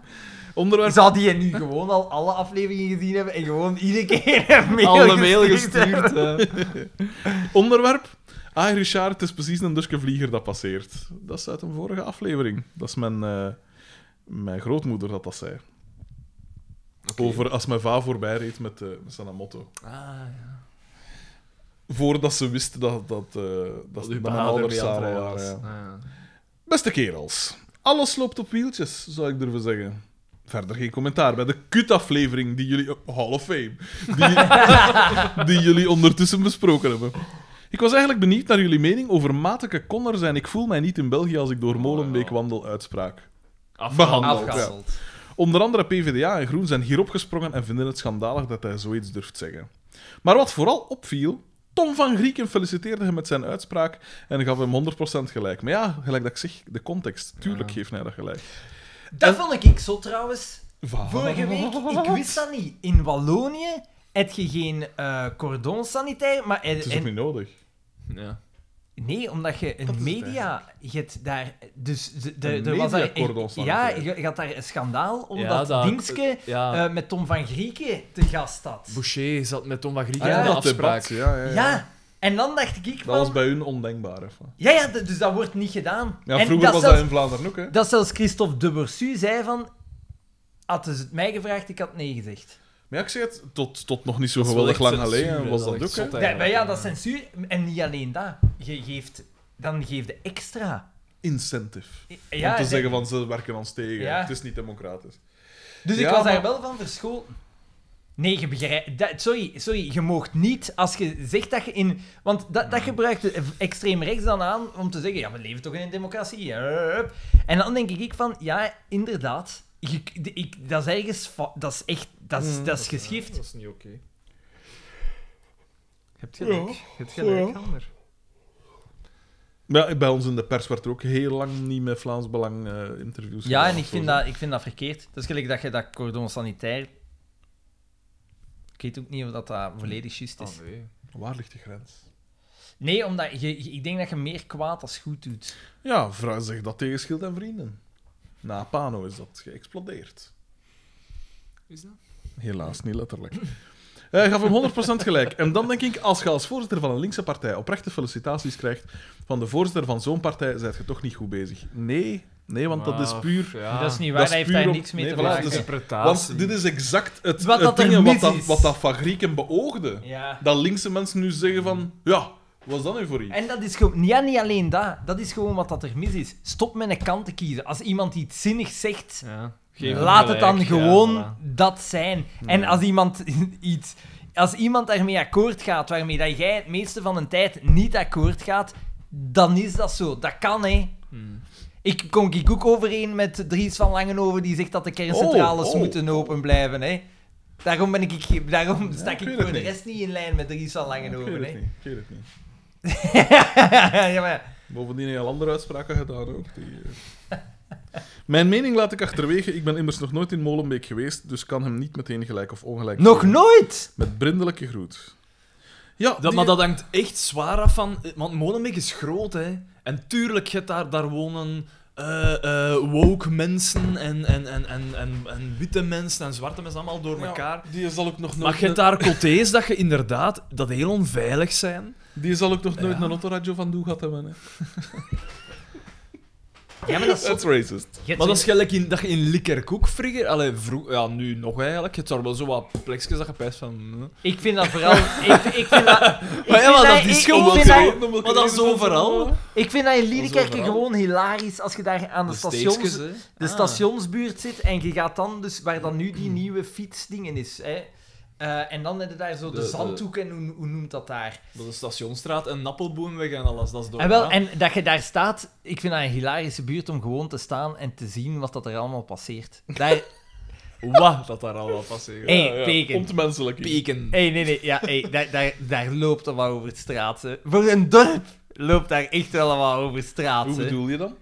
S2: Onderwerp...
S1: Zou die nu gewoon al alle afleveringen gezien hebben en gewoon iedere keer een mail
S3: Alle mail
S1: gestuurd hebben?
S3: gestuurd. eh.
S2: Onderwerp? Ah, Richard, het is precies een Duske vlieger dat passeert. Dat is uit een vorige aflevering. Dat is mijn, eh, mijn grootmoeder dat dat zei. Over als mijn va voorbij reed met, eh, met zijn motto.
S3: Ah, ja.
S2: Voordat ze wist dat, dat, eh, dat,
S3: uw
S2: dat mijn
S3: vader
S2: ouders
S3: mee aan het
S2: samen
S3: rijden
S2: waren.
S3: was.
S2: ja.
S3: Ah,
S2: Beste kerels, alles loopt op wieltjes, zou ik durven zeggen. Verder geen commentaar bij de kutaflevering die jullie... oh, Hall of Fame. Die, die jullie ondertussen besproken hebben. Ik was eigenlijk benieuwd naar jullie mening over matige Connors en ik voel mij niet in België als ik door Molenbeek wandel uitspraak.
S3: ja.
S2: Behandeld. Ja.
S1: Afgehandeld.
S2: Onder andere PvdA en Groen zijn hierop gesprongen en vinden het schandalig dat hij zoiets durft zeggen. Maar wat vooral opviel, Tom van Grieken feliciteerde hem met zijn uitspraak en gaf hem 100% gelijk. Maar ja, gelijk dat ik zeg, de context. Tuurlijk geeft hij dat gelijk.
S1: Dat vond ik zo trouwens.
S2: Wat?
S1: Vorige week, ik wist dat niet. In Wallonië heb je geen eh cordon sanitair, maar...
S2: Het is ook niet nodig.
S3: Ja.
S1: Nee, omdat je
S2: Dat
S1: een
S2: is het
S1: media... Je hebt daar... Dus de, de,
S2: Een
S1: er was daar...
S2: mediacordon
S1: Ja,
S2: sanitair.
S1: je, je had daar een schandaal, omdat
S3: Ja, dat-
S1: Dingske
S3: ja.
S1: eh, met Tom van Grieken te gast had.
S3: Boucher zat met Tom van Grieken
S2: Ah,
S3: in de
S2: dat
S3: afspraak.
S2: debat, ja, ja, ja.
S1: Ja, en dan dacht ik
S2: Dat was
S1: van...
S2: bij hun ondenkbaar. hè.
S1: Ja, ja, d- dus dat wordt niet gedaan.
S2: Ja,
S1: en dat
S2: vroeger was
S1: zelfs-
S2: dat in Vlaanderen ook, hè.
S1: Dat zelfs Christophe de Borsu zei van... Hadden ze het mij gevraagd, ik had nee gezegd.
S2: Maar ja, ik zeg het, tot, tot nog niet zo
S3: Dat is wel
S2: geweldig
S3: echt
S2: lang
S3: censuur,
S2: geleden
S3: hè.
S2: was
S3: Dat
S2: dat,
S3: is echt
S2: ook, hè.
S3: zot, hè.
S1: Ja, maar ja, dat is
S3: Ja.
S1: censuur. En niet alleen dat. Je geeft... Dan geef je extra.
S2: Incentive.
S1: Ja,
S2: om te
S1: de-
S2: zeggen van, ze werken ons tegen.
S1: Ja.
S2: Het is niet democratisch.
S1: Dus ik
S2: Ja,
S1: was daar
S2: maar-
S1: wel van verschoten. Nee, je begrijpt... dat- sorry, sorry, je moogt niet als je zegt dat je in... Want dat, dat gebruikt de extreem rechts dan aan om te zeggen, ja, we leven toch in een democratie. hup. En dan denk ik van, ja, inderdaad. Je, de- ik, dat is ergens... fa- Dat is echt... Dat is, dat is geschift.
S3: Dat is niet oké.
S1: Heb
S2: je gelijk.
S1: Je hebt
S2: gelijk, Maar ja, bij ons in de pers werd er ook heel lang niet met Vlaams Belang eh, interviews
S1: Ja,
S2: gedaan,
S1: en ik
S2: zo
S1: vind,
S2: zeg.
S1: dat, ik vind dat verkeerd. Dat is gelijk dat je dat cordon sanitair... Ik weet ook niet of dat, dat volledig juist is.
S3: Ah, nee.
S2: Waar ligt de grens?
S1: Nee, omdat je, je- ik denk dat je meer kwaad als goed doet.
S2: Ja, vrouw zegt dat tegen Schild en Vrienden. Na Pano is dat geëxplodeerd.
S3: Is dat?
S2: Helaas, niet letterlijk. Hij gaf hem 100% gelijk. En dan denk ik, als je als voorzitter van een linkse partij oprechte felicitaties krijgt van de voorzitter van zo'n partij, zijt je toch niet goed bezig. Nee, nee want dat is
S3: Maar,
S2: puur...
S3: Ja.
S1: Dat is niet waar,
S2: dat
S1: hij heeft
S2: puur
S1: daar
S2: op-
S1: niks mee
S2: nee,
S1: te
S2: voilà,
S1: maken.
S2: dus-
S3: interpretatie.
S2: Want dit is exact het,
S1: Wat
S2: het
S1: dat er
S2: ding
S1: mis
S2: wat, dat,
S1: is.
S2: wat dat van Grieken beoogde.
S1: Ja.
S2: Dat linkse mensen nu zeggen van... Ja, wat is dat nu voor iets?
S1: En dat is gewoon, ja, niet alleen dat. Dat is gewoon wat dat er mis is. Stop met een kant te kiezen. Als iemand iets zinnigs zegt,
S3: Ja.
S1: laat het dan gewoon dat zijn. En als iemand iets. Als iemand daarmee akkoord gaat, waarmee dat jij het meeste van de tijd niet akkoord gaat, dan is dat zo. Dat kan, hè. Ik kom ik ook overeen met Dries van Langenhoven, die zegt dat de kerncentrales
S2: Oh, oh.
S1: moeten open blijven, hè. Daarom, ben ik, ik- daarom stak
S2: ik
S1: ik,
S2: weet het
S1: voor de
S2: niet.
S1: rest niet in lijn met Dries van
S2: Ik
S1: Langenhoven, hè.
S2: weet het niet, ik weet het niet.
S1: ja, maar...
S2: Bovendien heel andere uitspraken gedaan ook. Die, eh. Mijn mening laat ik achterwege. Ik ben immers nog nooit in Molenbeek geweest, dus kan hem niet meteen gelijk of ongelijk.
S1: Nog
S2: geven.
S1: nooit!
S2: Met brindelijke groet. Ja,
S3: Dat,
S2: die-
S3: maar dat hangt echt zwaar af van... Want Molenbeek is groot, hè. En tuurlijk, je hebt daar, daar wonen eh, eh, woke mensen en, en, en, en, en, en witte mensen en zwarte mensen allemaal door
S2: Ja,
S3: elkaar.
S2: die zal ook nog
S3: Maar
S2: nooit,
S3: je hebt daar cotés dat je inderdaad... Dat heel onveilig zijn.
S2: die zal ook nog nooit
S3: Ja.
S2: een autoradio van Doe gehad hebben. Hè.
S1: Ja, maar dat is...
S2: That's racist.
S1: Je hebt
S3: Maar dat is
S1: zo-
S3: gelijk in, dat je in Likkerk ook vroeger... Allee, vroeg, ja, nu nog eigenlijk. Je hebt daar wel zo wat plekjes dat je pijst van... hm.
S1: Ik vind dat vooral... ik, ik vind dat... ik
S3: Maar ja,
S1: vind
S3: maar
S1: dat-
S3: dat is
S1: ik-
S3: gewoon
S1: Ik vind
S3: zo.
S1: dat,
S3: Maar dat is overal.
S1: ik vind dat in Liedekerke
S3: overal.
S1: gewoon hilarisch als je daar aan de, stations,
S3: steegjes, hè.
S1: de
S3: Ah.
S1: stationsbuurt zit en je gaat dan dus waar dan nu die nieuwe fietsdingen is, hè. Eh, en dan heb je daar zo de,
S3: De- de-
S1: zandhoek en hoe, hoe noemt dat daar?
S3: Dat is Stationsstraat en Nappelboomweg en alles. Dat is
S2: Oh,
S3: door.
S1: En, Ah, wel, en dat je daar staat, ik vind dat een hilarische buurt om gewoon te staan en te zien wat dat er allemaal passeert. Daar,
S3: Wat dat daar allemaal passeert.
S1: Hey,
S2: Ja, ja,
S1: peken.
S2: Ontmenselijk.
S3: Pieken.
S1: Hé, nee, nee, ja, hé, daar, daar, daar loopt er wel over de straat. hè. Voor een dorp loopt daar echt wel wat over straat.
S2: Hoe
S1: hè.
S2: bedoel je dan?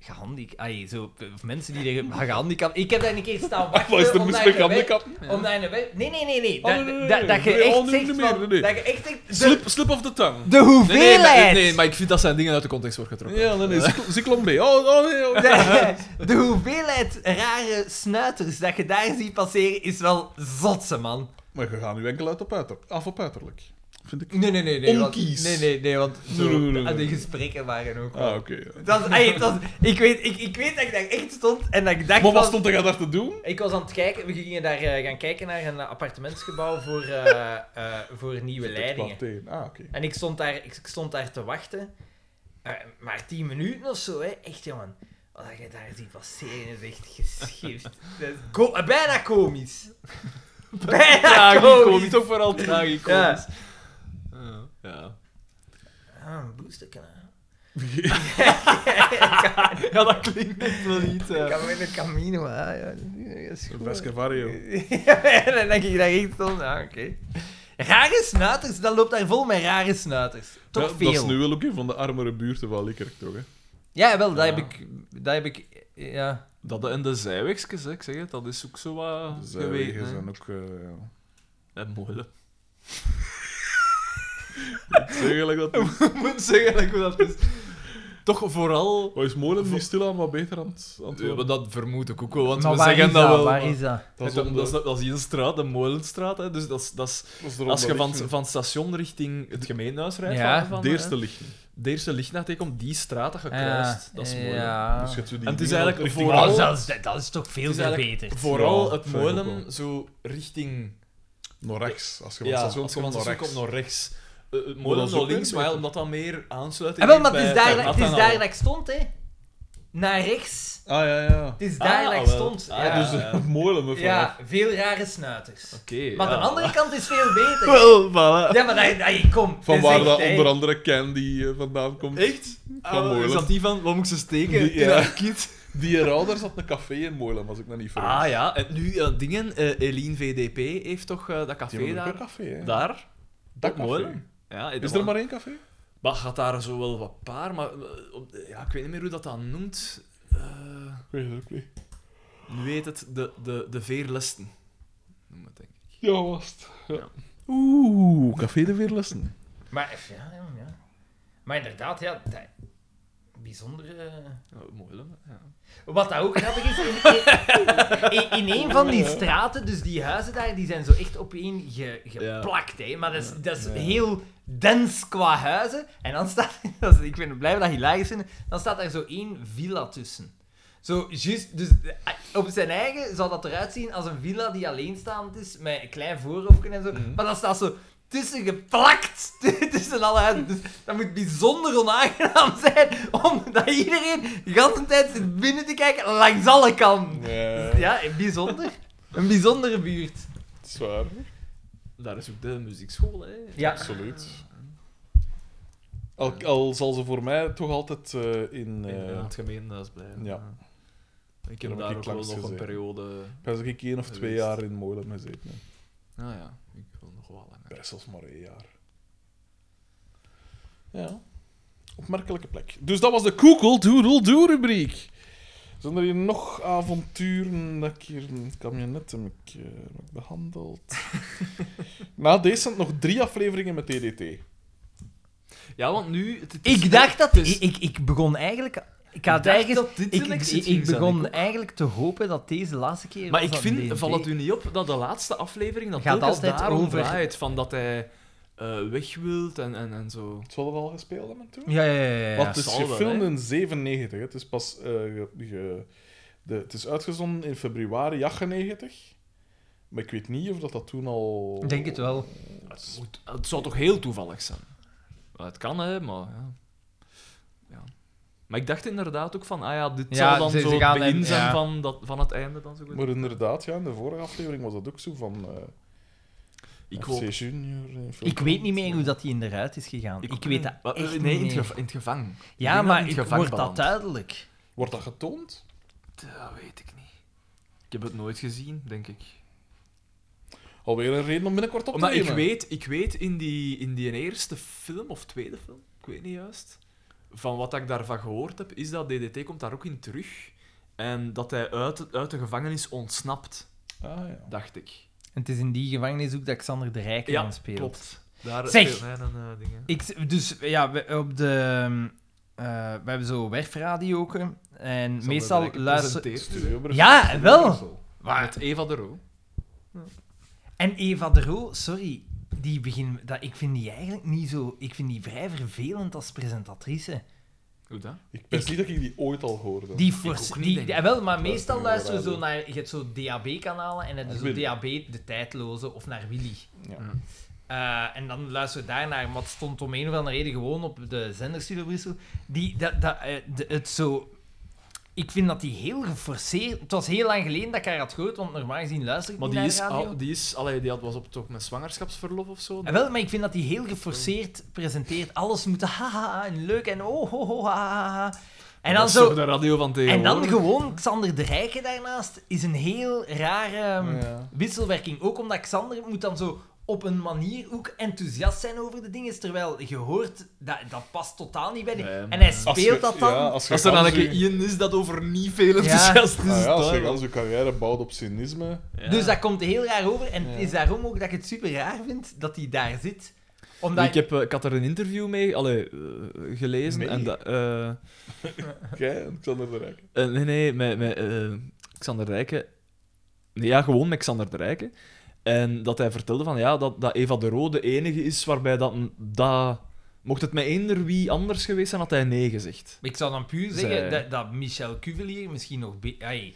S1: Gehandic- ai, zo, of mensen die er maar gehandicapt... Ik heb daar een keer staan wachten
S2: Wat is er
S1: om
S2: mis
S1: naar
S2: met
S1: een web-
S2: handicap?
S1: Om naar een web- Nee, nee, nee, nee.
S2: Oh,
S1: Dat-
S2: nee, nee,
S1: dat- Dat
S2: nee.
S1: je
S2: Oh,
S1: echt
S2: nu
S1: zegt
S2: niet meer,
S1: van-
S2: nee, nee.
S1: dat je echt zegt... de-
S2: Slip, slip of the
S1: De
S2: tongue.
S3: Nee, nee, maar,
S1: hoeveelheid...
S3: nee, maar ik vind dat zijn dingen uit de context wordt getrokken.
S2: Ja, nee, nee. cycl- Cyclon B. Oh, oh nee. oh.
S1: De, de hoeveelheid rare snuiters dat je daar ziet passeren is wel zotse, man.
S2: Maar je gaat nu enkel uit op uiter- af op uiterlijk. Vind ik.
S1: Nee, nee, nee. nee want-
S2: Onkies.
S1: Nee, nee, nee, want zo,
S2: Nee, nee, nee, nee.
S1: de gesprekken waren ook wel...
S2: Ah, oké. ja.
S1: Dat, was- ey, het was- ik, weet, ik, ik weet dat ik daar echt stond en dat ik dacht
S2: Maar wat
S1: van-
S2: stond er daar te doen?
S1: Ik was aan het kijken, we gingen daar eh, gaan kijken naar een appartementsgebouw voor, eh, eh, voor nieuwe leidingen.
S2: Exploiteren. Ah, oké.
S1: En ik stond daar, ik, ik stond daar te wachten, Eh, maar tien minuten of zo, hè. echt jongen. Wat je daar ziet passeren is echt geschift. Dat is ko- eh, bijna komisch. bijna
S3: Tragicomisch.
S1: komisch.
S3: Toch vooral tragicomisch.
S1: Ja.
S3: Ja. Ja.
S1: Ah, een boosterkanaal.
S3: ja, dat klinkt echt wel niet.
S1: Ik
S3: eh.
S1: kan met een camino, hè. Ja, dat is goed.
S2: Vasco Vario.
S1: Ja, en dan denk ik dat echt stond, ah, oké. Rare snuiters, dat loopt daar vol met rare snuiters. Toch
S2: Ja,
S1: veel.
S2: Dat is nu wel ook een van de armere buurten van Likkerk, toch? Hè?
S1: Ja, wel, dat
S3: Ja.
S1: heb ik... Dat heb ik... Ja.
S3: Dat en de zijwegsjes, hè, ik zeg het, dat is ook zo wat
S2: Dus, eh, wegen
S3: geweten. hè.
S2: zijn ook... eh, ja.
S3: En moeilijk.
S2: Ik zeg eigenlijk dat...
S3: Ik moet zeggen like, hoe dat is. Toch vooral...
S2: Wat Oh, is Molen niet stilaan wat beter aan het aan het
S3: Ja, maar
S2: worden?
S3: dat vermoed ik ook wel, want
S1: maar
S3: we
S1: waar
S3: zeggen
S1: is
S3: dat
S1: dat?
S3: wel.
S1: Waar is dat?
S2: Dat is
S3: dat,
S2: om
S3: dat, is,
S2: de-
S3: dat is die straat, de Molenstraat. Hè. Dus dat is, dat is,
S2: dat is er om
S3: als
S2: de
S3: je van,
S2: lichten.
S3: van het station richting het gemeentehuis rijdt,
S1: Ja.
S3: van, eh, Ah. van,
S2: De eerste
S3: hè,
S2: lichten.
S3: de eerste lichtnacht tegenkomt, die straat dat gekruist.
S1: Ah,
S3: dat is mooi.
S1: Ja.
S2: Dus je hebt zo die
S3: En het is
S2: dingen
S3: eigenlijk
S2: richting-
S1: Maar
S3: vooral-
S1: zelfs Oh, dat, dat is toch veel
S3: Het is eigenlijk
S1: verbeterd.
S3: Vooral
S2: Ja,
S3: het
S2: vind ik ook
S3: molen
S2: wel.
S3: zo richting...
S2: Naar rechts. Als je van
S3: Ja,
S2: het
S3: als je
S2: station
S3: van
S2: komt,
S3: het
S2: naar
S3: station
S2: rechts.
S3: komt, naar rechts. Eh, het
S2: Maar dat
S3: molen
S2: is
S3: naar
S2: ook weer
S3: links, maar ja,
S2: beter.
S3: omdat dat meer aansluiting
S1: Ah, wel,
S3: heeft
S1: maar het is
S3: bij
S1: daar, het is
S3: Atanal.
S1: daar dat ik stond, hè. Naar rechts.
S2: Ah, ja, ja.
S1: Het is daar
S3: Ah,
S1: dat ik
S3: wel.
S1: stond.
S3: Ah,
S1: ja.
S2: Dus
S3: ja.
S2: eh, Molen, mevrouw.
S1: Ja, veel rare snuiters.
S3: Oké,
S1: Maar
S3: ja.
S1: de andere kant is veel beter.
S3: Wel, voilà.
S1: Ja, maar daar, daar- kom.
S2: Van
S1: dat is
S2: waar
S1: echt,
S2: dat
S1: hè.
S2: onder andere Candy eh, vandaan komt.
S3: Echt?
S2: Van
S3: Ah, is
S2: Molen.
S3: dat die van, wat moet ik ze steken?
S2: Die-
S3: In
S2: ja.
S3: haar kit?
S2: Die rouder zat een café in Molen, als ik me niet vergis.
S3: Ah ja, en nu eh, dingen, eh Eline VDP heeft toch eh, dat
S2: Die
S3: café
S2: hebben ook
S3: daar?
S2: een café, hè?
S3: Daar?
S2: Dat
S3: Op
S2: café.
S3: Molen? Ja,
S2: Is er maar één café?
S3: Maar gaat daar zo wel wat paar, maar eh, op de- ja, ik weet niet meer hoe dat dan noemt. Eh,
S2: Ik weet het ook niet.
S3: nu heet het de, de, de Veerlesten. Noem het denk ik.
S2: Ja, was het. Ja.
S3: Ja.
S2: Oeh, café de Veerlessen.
S1: Maar, ja, ja, ja. maar inderdaad, ja, dat- bijzondere...
S3: Ja, mooi, hè? Ja.
S1: Wat dat ook grappig is, in, in, in een van die straten, dus die huizen daar, die zijn zo echt opeen ge- geplakt, hè. Maar dat is, dat is
S2: Ja.
S1: heel dens qua huizen. En dan staat, dat is- ik ben blij dat hilarisch vinden, dan staat daar zo één villa tussen. Zo, juist, dus eh, op zijn eigen zal dat eruit zien als een villa die alleenstaand is, met een klein voorhoofdje en zo.
S2: Mhm.
S1: Maar dan staat zo tussen geplakt, tussen alle huizen. Dus dat moet bijzonder onaangenaam zijn, omdat iedereen de hele tijd zit binnen te kijken langs alle kanten.
S2: Nee,
S1: Ja, bijzonder. Een bijzondere buurt.
S2: het is waar.
S3: Daar is ook de muziekschool, hè?
S1: Ja.
S2: Absoluut. Al, al zal ze voor mij toch altijd eh, in...
S3: In,
S2: eh,
S3: in het gemeentehuis blijven.
S2: Ja.
S3: Ik
S2: Daar
S3: heb
S2: heb
S3: daar
S2: ik
S3: ook wel
S2: langs
S3: nog een
S2: gezeten.
S3: periode...
S2: Ik ben ik één of twee
S3: Geweest.
S2: jaar in Molen gezeten. hè.
S3: Nou ja, ik wil nog wel langer.
S2: Best zelfs maar één jaar. Ja. Opmerkelijke plek. Dus dat was de Google Doodle Doo rubriek. Zijn er hier nog avonturen dat ik hier een kabinet heb ik, eh, heb ik behandeld? Na deze zijn het nog drie afleveringen met TDT.
S3: Ja, want nu... het- het is
S1: Ik
S3: net-
S1: dacht dat...
S3: het is-
S1: Dus- Ik, ik, ik begon eigenlijk... Ik had
S3: dacht
S1: eigenlijk...
S3: dat dit
S1: Ik,
S3: een
S1: ik,
S3: exit
S1: ik
S3: ging zijn,
S1: begon
S3: ik ook.
S1: eigenlijk te hopen dat deze laatste keer...
S3: Maar
S1: was
S3: ik
S1: dat
S3: vind,
S1: DND.
S3: valt het u niet op dat de laatste aflevering dat
S1: Gaat
S3: telkens
S1: altijd
S3: daarom
S1: over-
S3: draait, van dat hij eh, weg wilt en, en, en zo.
S2: Zal dat al gespeeld hebben toen?
S1: Ja, ja, ja. ja, ja.
S2: Want het is
S3: zal wel,
S2: gefilmd
S3: hè.
S2: in 97. hè. Het is pas eh, ge- ge- de, het is uitgezonden in februari 98. Maar ik weet niet of dat, dat toen al.
S1: Ik denk het wel.
S3: Het, moet- het zou toch heel toevallig zijn? Wel, het kan, hè, maar... Ja. Ja. Maar ik dacht inderdaad ook van, ah ja, dit
S1: Ja,
S3: zal dan
S1: ze- ze
S3: zo het
S1: gaan
S3: begin
S1: hem-
S3: zijn
S1: ja.
S3: van, dat, van het einde dan zo goed.
S2: Maar inderdaad, ja, in de vorige aflevering was dat ook zo van eh
S3: ik
S2: FC
S3: hoop...
S2: Junior. eh, Phil
S3: Oh.
S1: Ik weet niet meer hoe
S2: Collins.
S1: dat die in de ruit is gegaan. Ik, weet dat
S3: Wat-
S1: echt
S3: eh, Nee, in
S1: niet
S3: het,
S1: meer.
S3: geva- in het gevangen. denk
S1: Ja,
S3: dat
S1: maar
S3: het in
S1: ik
S3: het gevangen
S1: wordt dat
S3: belandt.
S1: duidelijk.
S2: Wordt dat getoond?
S3: Dat weet ik niet. Ik heb het nooit gezien, denk ik.
S2: Alweer een reden om binnenkort op te
S3: Omdat
S2: nemen.
S3: ik weet, ik weet in, die, in die eerste film, of tweede film, ik weet niet juist, van wat ik daarvan gehoord heb, is dat DDT komt daar ook in terug. En dat hij uit, uit de gevangenis ontsnapt,
S2: Ah, ja.
S3: dacht ik.
S1: En het is in die gevangenis ook dat Xander de Rijken
S3: Ja,
S1: aan speelt.
S3: Klopt. Daar
S1: Zeg!
S3: speelt hij dan eh, dingen.
S1: Ik, dus ja, we, op de... eh, we hebben zo werfradio ook. hè. En meestal luisteren...
S3: luistert...
S2: Studio Brussel.
S1: Ja,
S2: Studio
S1: wel.
S2: Brussel.
S3: Met Eva de Roo.
S1: En Eva de Roo, sorry, die begin, dat, ik vind die eigenlijk niet zo... Ik vind die vrij vervelend als presentatrice.
S3: Hoe dat?
S2: Ik wist niet dat ik die ooit al hoorde.
S1: Die fors,
S3: ook niet,
S1: die,
S3: denk ik.
S1: eh, wel, maar
S2: Luister
S1: meestal
S2: naar
S1: luisteren we
S2: radio.
S1: zo naar... Je hebt zo DAB-kanalen en dan
S2: Naar
S1: zo
S2: Willy.
S1: DAB, de tijdloze, of naar Willy.
S3: Hm.
S2: Ja.
S1: Eh, en dan luisteren we daarnaar, wat stond om een of andere reden gewoon op de zenderstudio Brussel. Die, dat, dat, eh, de- het zo... Ik vind dat die heel geforceerd... Het was heel lang geleden dat ik haar had gehoord, want normaal gezien luister ik
S3: Maar
S1: niet
S3: die
S1: naar
S3: is...
S1: radio.
S3: Al, die is allee, die had, was op toch met zwangerschapsverlof of zo?
S1: Ja, wel, maar ik vind dat hij heel geforceerd presenteert. Alles moet haha en leuk en oh ho ho ha, ha, ha. En
S3: Dat
S1: dan
S3: is toch
S1: zo.
S3: de radio van
S1: En
S3: tegenwoordig.
S1: dan gewoon Xander de Rijken daarnaast is een heel rare ehm,
S2: Ja.
S1: wisselwerking. Ook omdat Xander moet dan zo op een manier ook enthousiast zijn over de dingen. Terwijl je hoort, dat, dat past totaal niet bij die...
S3: Nee,
S1: en hij
S3: maar-
S2: Als
S1: speelt
S2: je-
S1: dat dan.
S2: Ja, als je
S3: Als er dan een
S2: gans
S3: keer
S2: je-
S3: Ian is dat over niet veel
S1: Ja.
S3: enthousiast is.
S2: Ah ja, als
S3: dan-
S2: je gans je carrière bouwt op cynisme.
S3: Ja.
S1: Dus dat komt heel raar over. En
S2: Ja.
S1: het is daarom ook dat ik het super raar vind dat hij daar zit. Omdat...
S3: Ik, heb, eh, ik had er een interview mee allee, eh, gelezen.
S2: Mee?
S3: En dat, eh,
S2: Jij en Xander de Rijk.
S3: Eh, nee, nee, met, met eh, Xander Rijken. Nee, ja, gewoon met Xander de Rijken. En dat hij vertelde van, ja, dat, dat Eva de Rode de enige is waarbij dat, dat... Mocht het met eender wie anders geweest zijn, had hij nee gezegd.
S1: Ik zou dan puur zeggen
S3: Zij-
S1: dat, dat Michel Cuvelier misschien nog... be- Ai,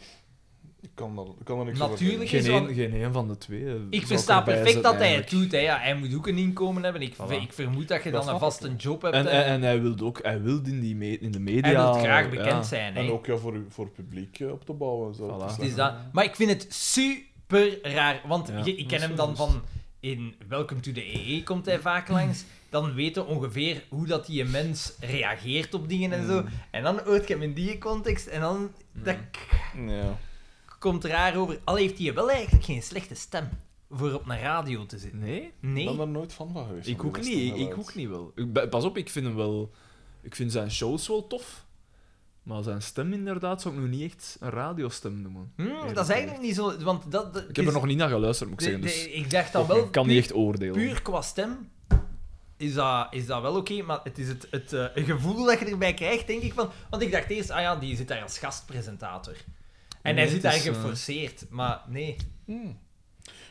S2: Ik kan daar, ik kan daar niks
S1: Natuurlijk.
S2: over
S3: Geen
S1: Geen
S3: een, geen een van de twee. eh, zou
S1: ik versta
S3: erbij
S1: perfect
S3: zetten,
S1: dat hij het
S3: eigenlijk.
S1: doet. Hè. Ja, hij moet ook een inkomen hebben. Ik,
S3: Voilà.
S1: ik vermoed dat je
S2: Dat
S1: dan een
S2: snap
S1: vaste job hebt. eh,
S3: En,
S1: hè.
S3: en, en hij wilde ook hij wilde in, die me- in de media... eh,
S1: hij wil graag
S3: ja.
S1: bekend zijn.
S2: zeggen.
S1: Hè.
S2: En ook ja, voor, u- voor het publiek eh, op te bouwen en zo.
S3: Voilà.
S2: Het is
S1: Het is
S2: dan-
S1: dat. Maar ik vind het super raar, want
S3: Ja,
S1: je- ik
S3: dat
S1: ken
S3: is
S1: hem
S3: wel
S1: dan
S3: juist.
S1: van in Welcome to the EE komt hij vaak langs. Dan weten we ongeveer hoe dat die mens reageert op dingen en
S3: Mm.
S1: zo. En dan hoort je hem in die context en dan dat k-
S2: Ja.
S1: komt raar over. Al heeft hij wel eigenlijk geen slechte stem voor op een radio te zitten.
S3: Nee?
S2: Ik
S1: Nee.
S2: ben daar nooit van van geweest.
S3: Ik
S2: van die
S3: ook
S2: gasten,
S3: niet, ik
S2: inderdaad.
S3: ook niet wel. Ik ben- Pas op, ik vind hem wel... Ik vind zijn shows wel tof. Maar zijn stem inderdaad zou ik nog niet echt een radiostem noemen.
S1: Hm, dat is eigenlijk niet zo, want dat... dat-
S3: Ik heb er nog niet naar geluisterd, moet ik
S1: de-
S3: zeggen. Dus
S1: de- Ik dacht dan wel...
S3: ik kan
S1: puur-
S3: niet echt oordelen.
S1: Puur qua stem is dat, is dat wel oké, maar het is het, het eh, gevoel dat je erbij krijgt, denk ik. Van, want ik dacht eerst, ah ja, die zit daar als gastpresentator. En hij
S3: Nee,
S1: zit
S3: het
S1: daar
S3: is, eh,
S1: geforceerd, maar nee.
S2: Hmm.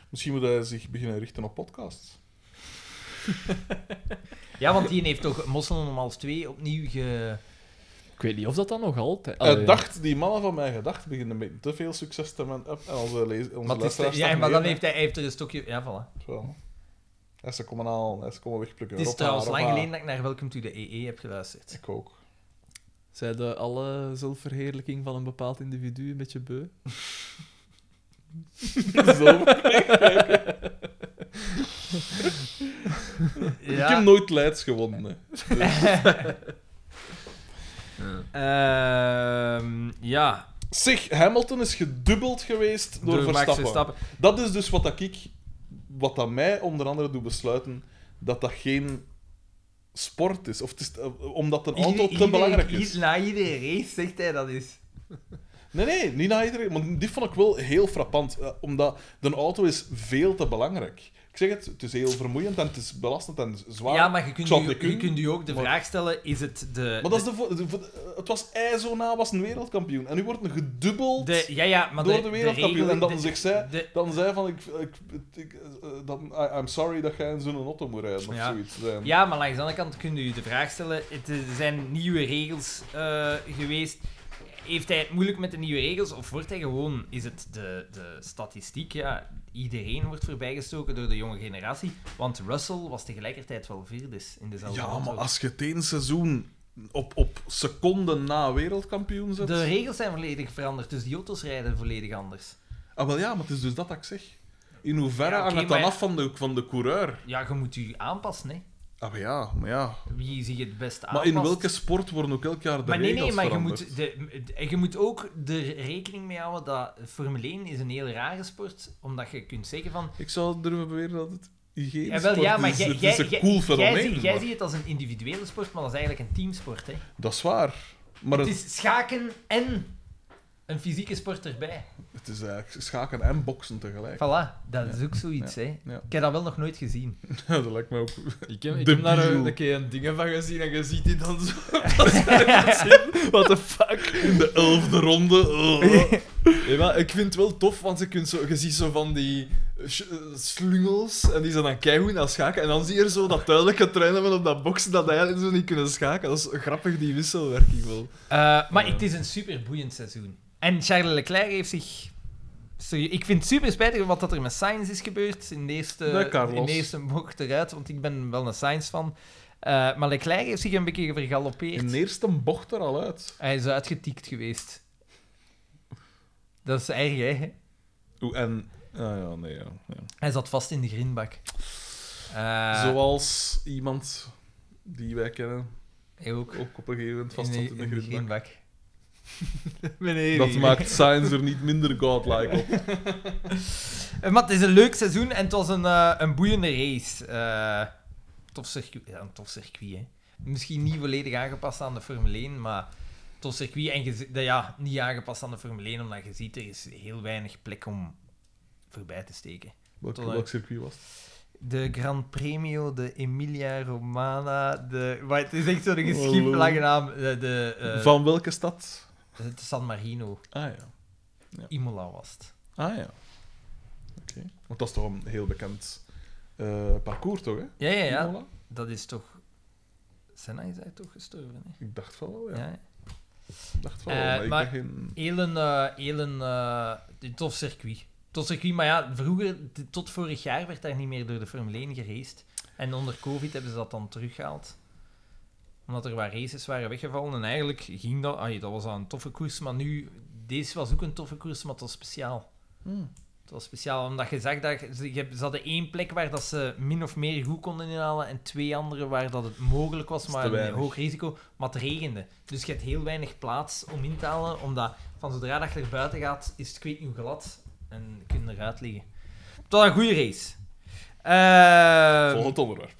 S2: Misschien moet hij zich beginnen richten op podcasts.
S1: Ja, want die heeft toch Mosselen om half twee opnieuw ge...
S3: Ik weet niet of dat dan nog altijd...
S1: Eh,
S2: Hij
S3: Allee.
S2: dacht, die mannen van mijn gedachten beginnen met te veel succes te hebben. En onze, lees, onze
S1: Maar, het is-
S2: luisteraars
S1: ja,
S2: staan
S1: maar dan
S2: mee,
S1: heeft hij, hij heeft er een stokje... Ja, voilà.
S2: hè. Zo. En ze komen aan, en ze komen wegplukken.
S1: Het is
S2: Hoppa,
S1: trouwens lang
S2: hoppa.
S1: geleden dat ik naar Welcome to the EE heb geluisterd.
S2: ah, Ik ook.
S3: Zij de alle zelfverheerlijking van een bepaald individu een beetje beu?
S2: Zo. Ik heb
S1: Ja,
S2: nooit Leids gewonnen. hè.
S1: ehm, ja.
S2: Zeg, Hamilton is gedubbeld geweest door,
S1: Max
S2: Verstappen.
S1: Verstappen.
S2: Dat is dus wat dat ik, wat dat mij onder andere doet besluiten, dat dat geen sport is. Of het is eh, omdat een
S1: Ieder-
S2: auto te
S1: iedere-
S2: belangrijk
S1: ied-
S2: is.
S1: Na iedere race zegt hij dat is...
S2: Nee, nee, niet naar iedereen. Want die vond ik wel heel frappant. eh, omdat de auto is veel te belangrijk. Ik zeg het, het is heel vermoeiend en het is belastend en zwaar.
S1: Ja, maar je
S2: Ik
S1: kunt,
S2: zou
S1: u,
S2: het niet
S1: je
S2: kunnen,
S1: kunt u ook de
S2: maar-
S1: vraag stellen: is het de.
S2: Maar dat is de, vo- de vo- het was IJzona was een wereldkampioen. En nu wordt een gedubbeld.
S1: de- ja, ja, maar
S2: door
S1: de,
S2: de, wereldkampioen.
S1: regel-
S2: En dan
S1: de-
S2: zegt zij,
S1: de-
S2: dan zei van, ik, ik, ik- eh, dan, I- I'm sorry dat jij in zo'n auto moet rijden of
S1: Ja.
S2: zoiets. eh. zijn.
S1: ja, maar langs de andere kant kunt u de vraag stellen: het, eh, er zijn nieuwe regels eh, geweest. Heeft hij het moeilijk met de nieuwe regels of wordt hij gewoon, is het de, de statistiek? Ja, iedereen wordt voorbijgestoken door de jonge generatie. Want Russell was tegelijkertijd wel vierde in dezelfde
S2: Ja,
S1: auto.
S2: maar als je het één seizoen op, op seconden na wereldkampioen zet...
S1: De regels zijn volledig veranderd, dus die auto's rijden volledig anders.
S2: Ah, wel ja, maar het is dus dat dat ik zeg. In hoeverre
S1: Ja, oké,
S2: hangt het dan
S1: maar-
S2: af van de, van de coureur?
S1: Ja, je moet je aanpassen, hè.
S2: Ah, maar ja, maar ja.
S1: Wie zich het best aanpast.
S2: Maar in welke sport worden ook elk jaar de
S1: maar nee,
S2: regels
S1: nee, maar je
S2: veranderd?
S1: moet, de, de- je moet ook er rekening mee houden dat Formule 1 is een heel rare sport, omdat je kunt zeggen van...
S2: Ik zou durven beweren dat het geen
S1: Ja, wel, ja, maar
S2: is.
S1: jij-
S2: Het
S1: jij-
S2: is een
S1: jij-
S2: cool
S1: Jij,
S2: fenomeen.
S1: ziet- jij
S2: maar-
S1: ziet het als een individuele sport, maar dat is eigenlijk een teamsport. Hè.
S2: Dat is waar. Maar
S1: Het is schaken en een fysieke sport erbij.
S2: het is eigenlijk schaken en boksen tegelijk.
S1: Voilà, dat is ook zoiets. Hè.
S2: Ja.
S1: Ik heb dat wel nog nooit gezien.
S2: dat lijkt mij ook.
S3: Ik heb, ik
S2: Debiel.
S3: heb daar eh, een, een keer een dingen van gezien en je ziet die dan zo... What the fuck?
S2: In de elfde ronde. oh.
S3: Nee, maar ik vind het wel tof, want je, kunt zo, je ziet zo van die sh- eh, slungels en die zijn dan keigoed aan schaken. En dan zie je er zo dat duidelijke trein hebben op dat boksen dat hij eigenlijk zo niet kunnen schaken. Dat is grappig, die wisselwerking wel.
S1: Eh, maar
S3: Ja.
S1: het is een superboeiend seizoen. En Charles Leclerc heeft zich. Sorry, ik vind het super spijtig wat dat er met Sainz is gebeurd. In de
S2: Nee,
S1: eerste,
S2: Carlos.
S1: in de eerste bocht eruit, want ik ben wel een Sainz van. Eh, maar Leclerc heeft zich een beetje vergalopeerd.
S2: In de eerste bocht er al uit.
S1: Hij is uitgetikt geweest. Dat is erg, hè?
S2: Oeh, en. Ah ja, nee, ja. ja.
S1: Hij zat vast in de grindbak. Eh,
S2: Zoals iemand die wij kennen
S1: Hij ook.
S2: ook op een gegeven moment
S1: in de,
S2: vast zat in de
S1: in de
S2: grindbak.
S1: grindbak.
S3: Meneer.
S2: Dat
S3: hier.
S2: maakt Science er niet minder godlike op.
S1: Eh, Maar het is een leuk seizoen en het was een, eh, een boeiende race. Eh, tof circuit. Ja, een tof circuit, hè. Misschien niet volledig aangepast aan de Formule 1, maar tof circuit. En je zi- dat ja, niet aangepast aan de Formule 1, omdat je ziet, er is heel weinig plek om voorbij te steken.
S2: Welk,
S1: Tot dan.
S2: welk circuit was het?
S1: De Gran Premio, de Emilia Romana, de... Maar het is echt zo'n
S2: Hallo.
S1: geschiep lange naam. De, de, eh,
S2: Oh. Van welke stad?
S1: het San Marino,
S2: Ah ja.
S1: Imola was het.
S2: Ah ja. Oké. Want dat is toch een heel bekend eh, parcours, toch? Hè?
S1: Ja, ja, ja.
S2: Imola?
S1: Dat is toch... Senna is daar toch gestorven, hè?
S2: Ik dacht van wel, ja.
S1: ja.
S2: Ik dacht van wel,
S1: Eh,
S2: maar ik
S1: maar-
S2: ben geen...
S1: Elen, eh Elen eh, een tof circuit. Tof circuit, maar ja, vroeger, t- tot vorig jaar, werd daar niet meer door de Formule 1 geraced. En onder COVID hebben ze dat dan teruggehaald. Omdat er wat races waren weggevallen. En eigenlijk ging dat... Ai, dat was al een toffe koers, maar nu... Deze was ook een toffe koers, maar het was speciaal.
S2: Hmm.
S1: Het was speciaal, omdat je zag dat... Ze, je hebt- ze hadden één plek waar dat ze min of meer goed konden inhalen en twee andere waar dat het mogelijk was,
S2: is
S1: maar
S2: te
S1: een
S2: weinig.
S1: hoog risico. Maar het regende. Dus je hebt heel weinig plaats om in te halen, omdat van zodra dat je er buiten gaat, is het kweet nu glad en kun je eruit liggen. Het was een goede race. Ehm,
S2: Volgend onderwerp.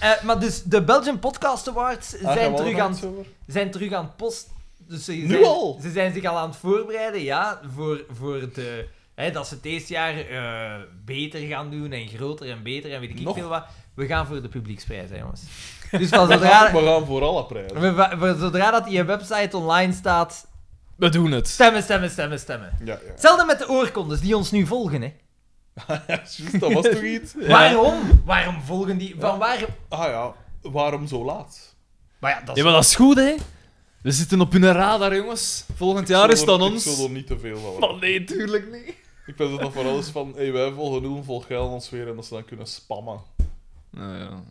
S1: eh, maar dus, de Belgian Podcast Awards
S2: Ah, gaan
S1: zijn
S2: we
S1: terug
S2: allemaal
S1: aan
S2: iets over?
S1: zijn terug aan het post. Dus ze,
S2: Nu
S1: zijn,
S2: al?
S1: ze zijn zich al aan het voorbereiden, ja, voor, voor de, hè, dat ze het deze jaar eh, beter gaan doen en groter en beter en weet ik niet
S2: Nog?
S1: veel wat. We gaan voor de publieksprijs, hè, jongens. Dus van
S2: We gaan,
S1: zodra,
S2: we gaan voor alle prijzen.
S1: we- we- we- zodra dat je website online staat,
S3: We doen het.
S1: stemmen, stemmen, stemmen, stemmen.
S2: Ja, ja.
S1: Hetzelfde met de oorkondes die ons nu volgen, hè.
S2: Juist, dat was toch iets?
S1: Waarom? Waarom volgen die? Van
S2: Ja.
S1: waar...
S2: Ah ja, waarom zo laat?
S1: Maar ja, dat is...
S3: Ja, maar dat is goed, hè? We zitten op hun radar, jongens. Volgend jaar is het aan
S2: dan
S3: ons.
S2: Ik zal er niet te veel van
S3: Maar
S2: houden.
S3: Oh, nee, tuurlijk niet.
S2: Ik ben er nog voor alles van, hey, wij volgen nul, volg jij ons weer, en dat ze dan kunnen spammen.
S3: Nou ja.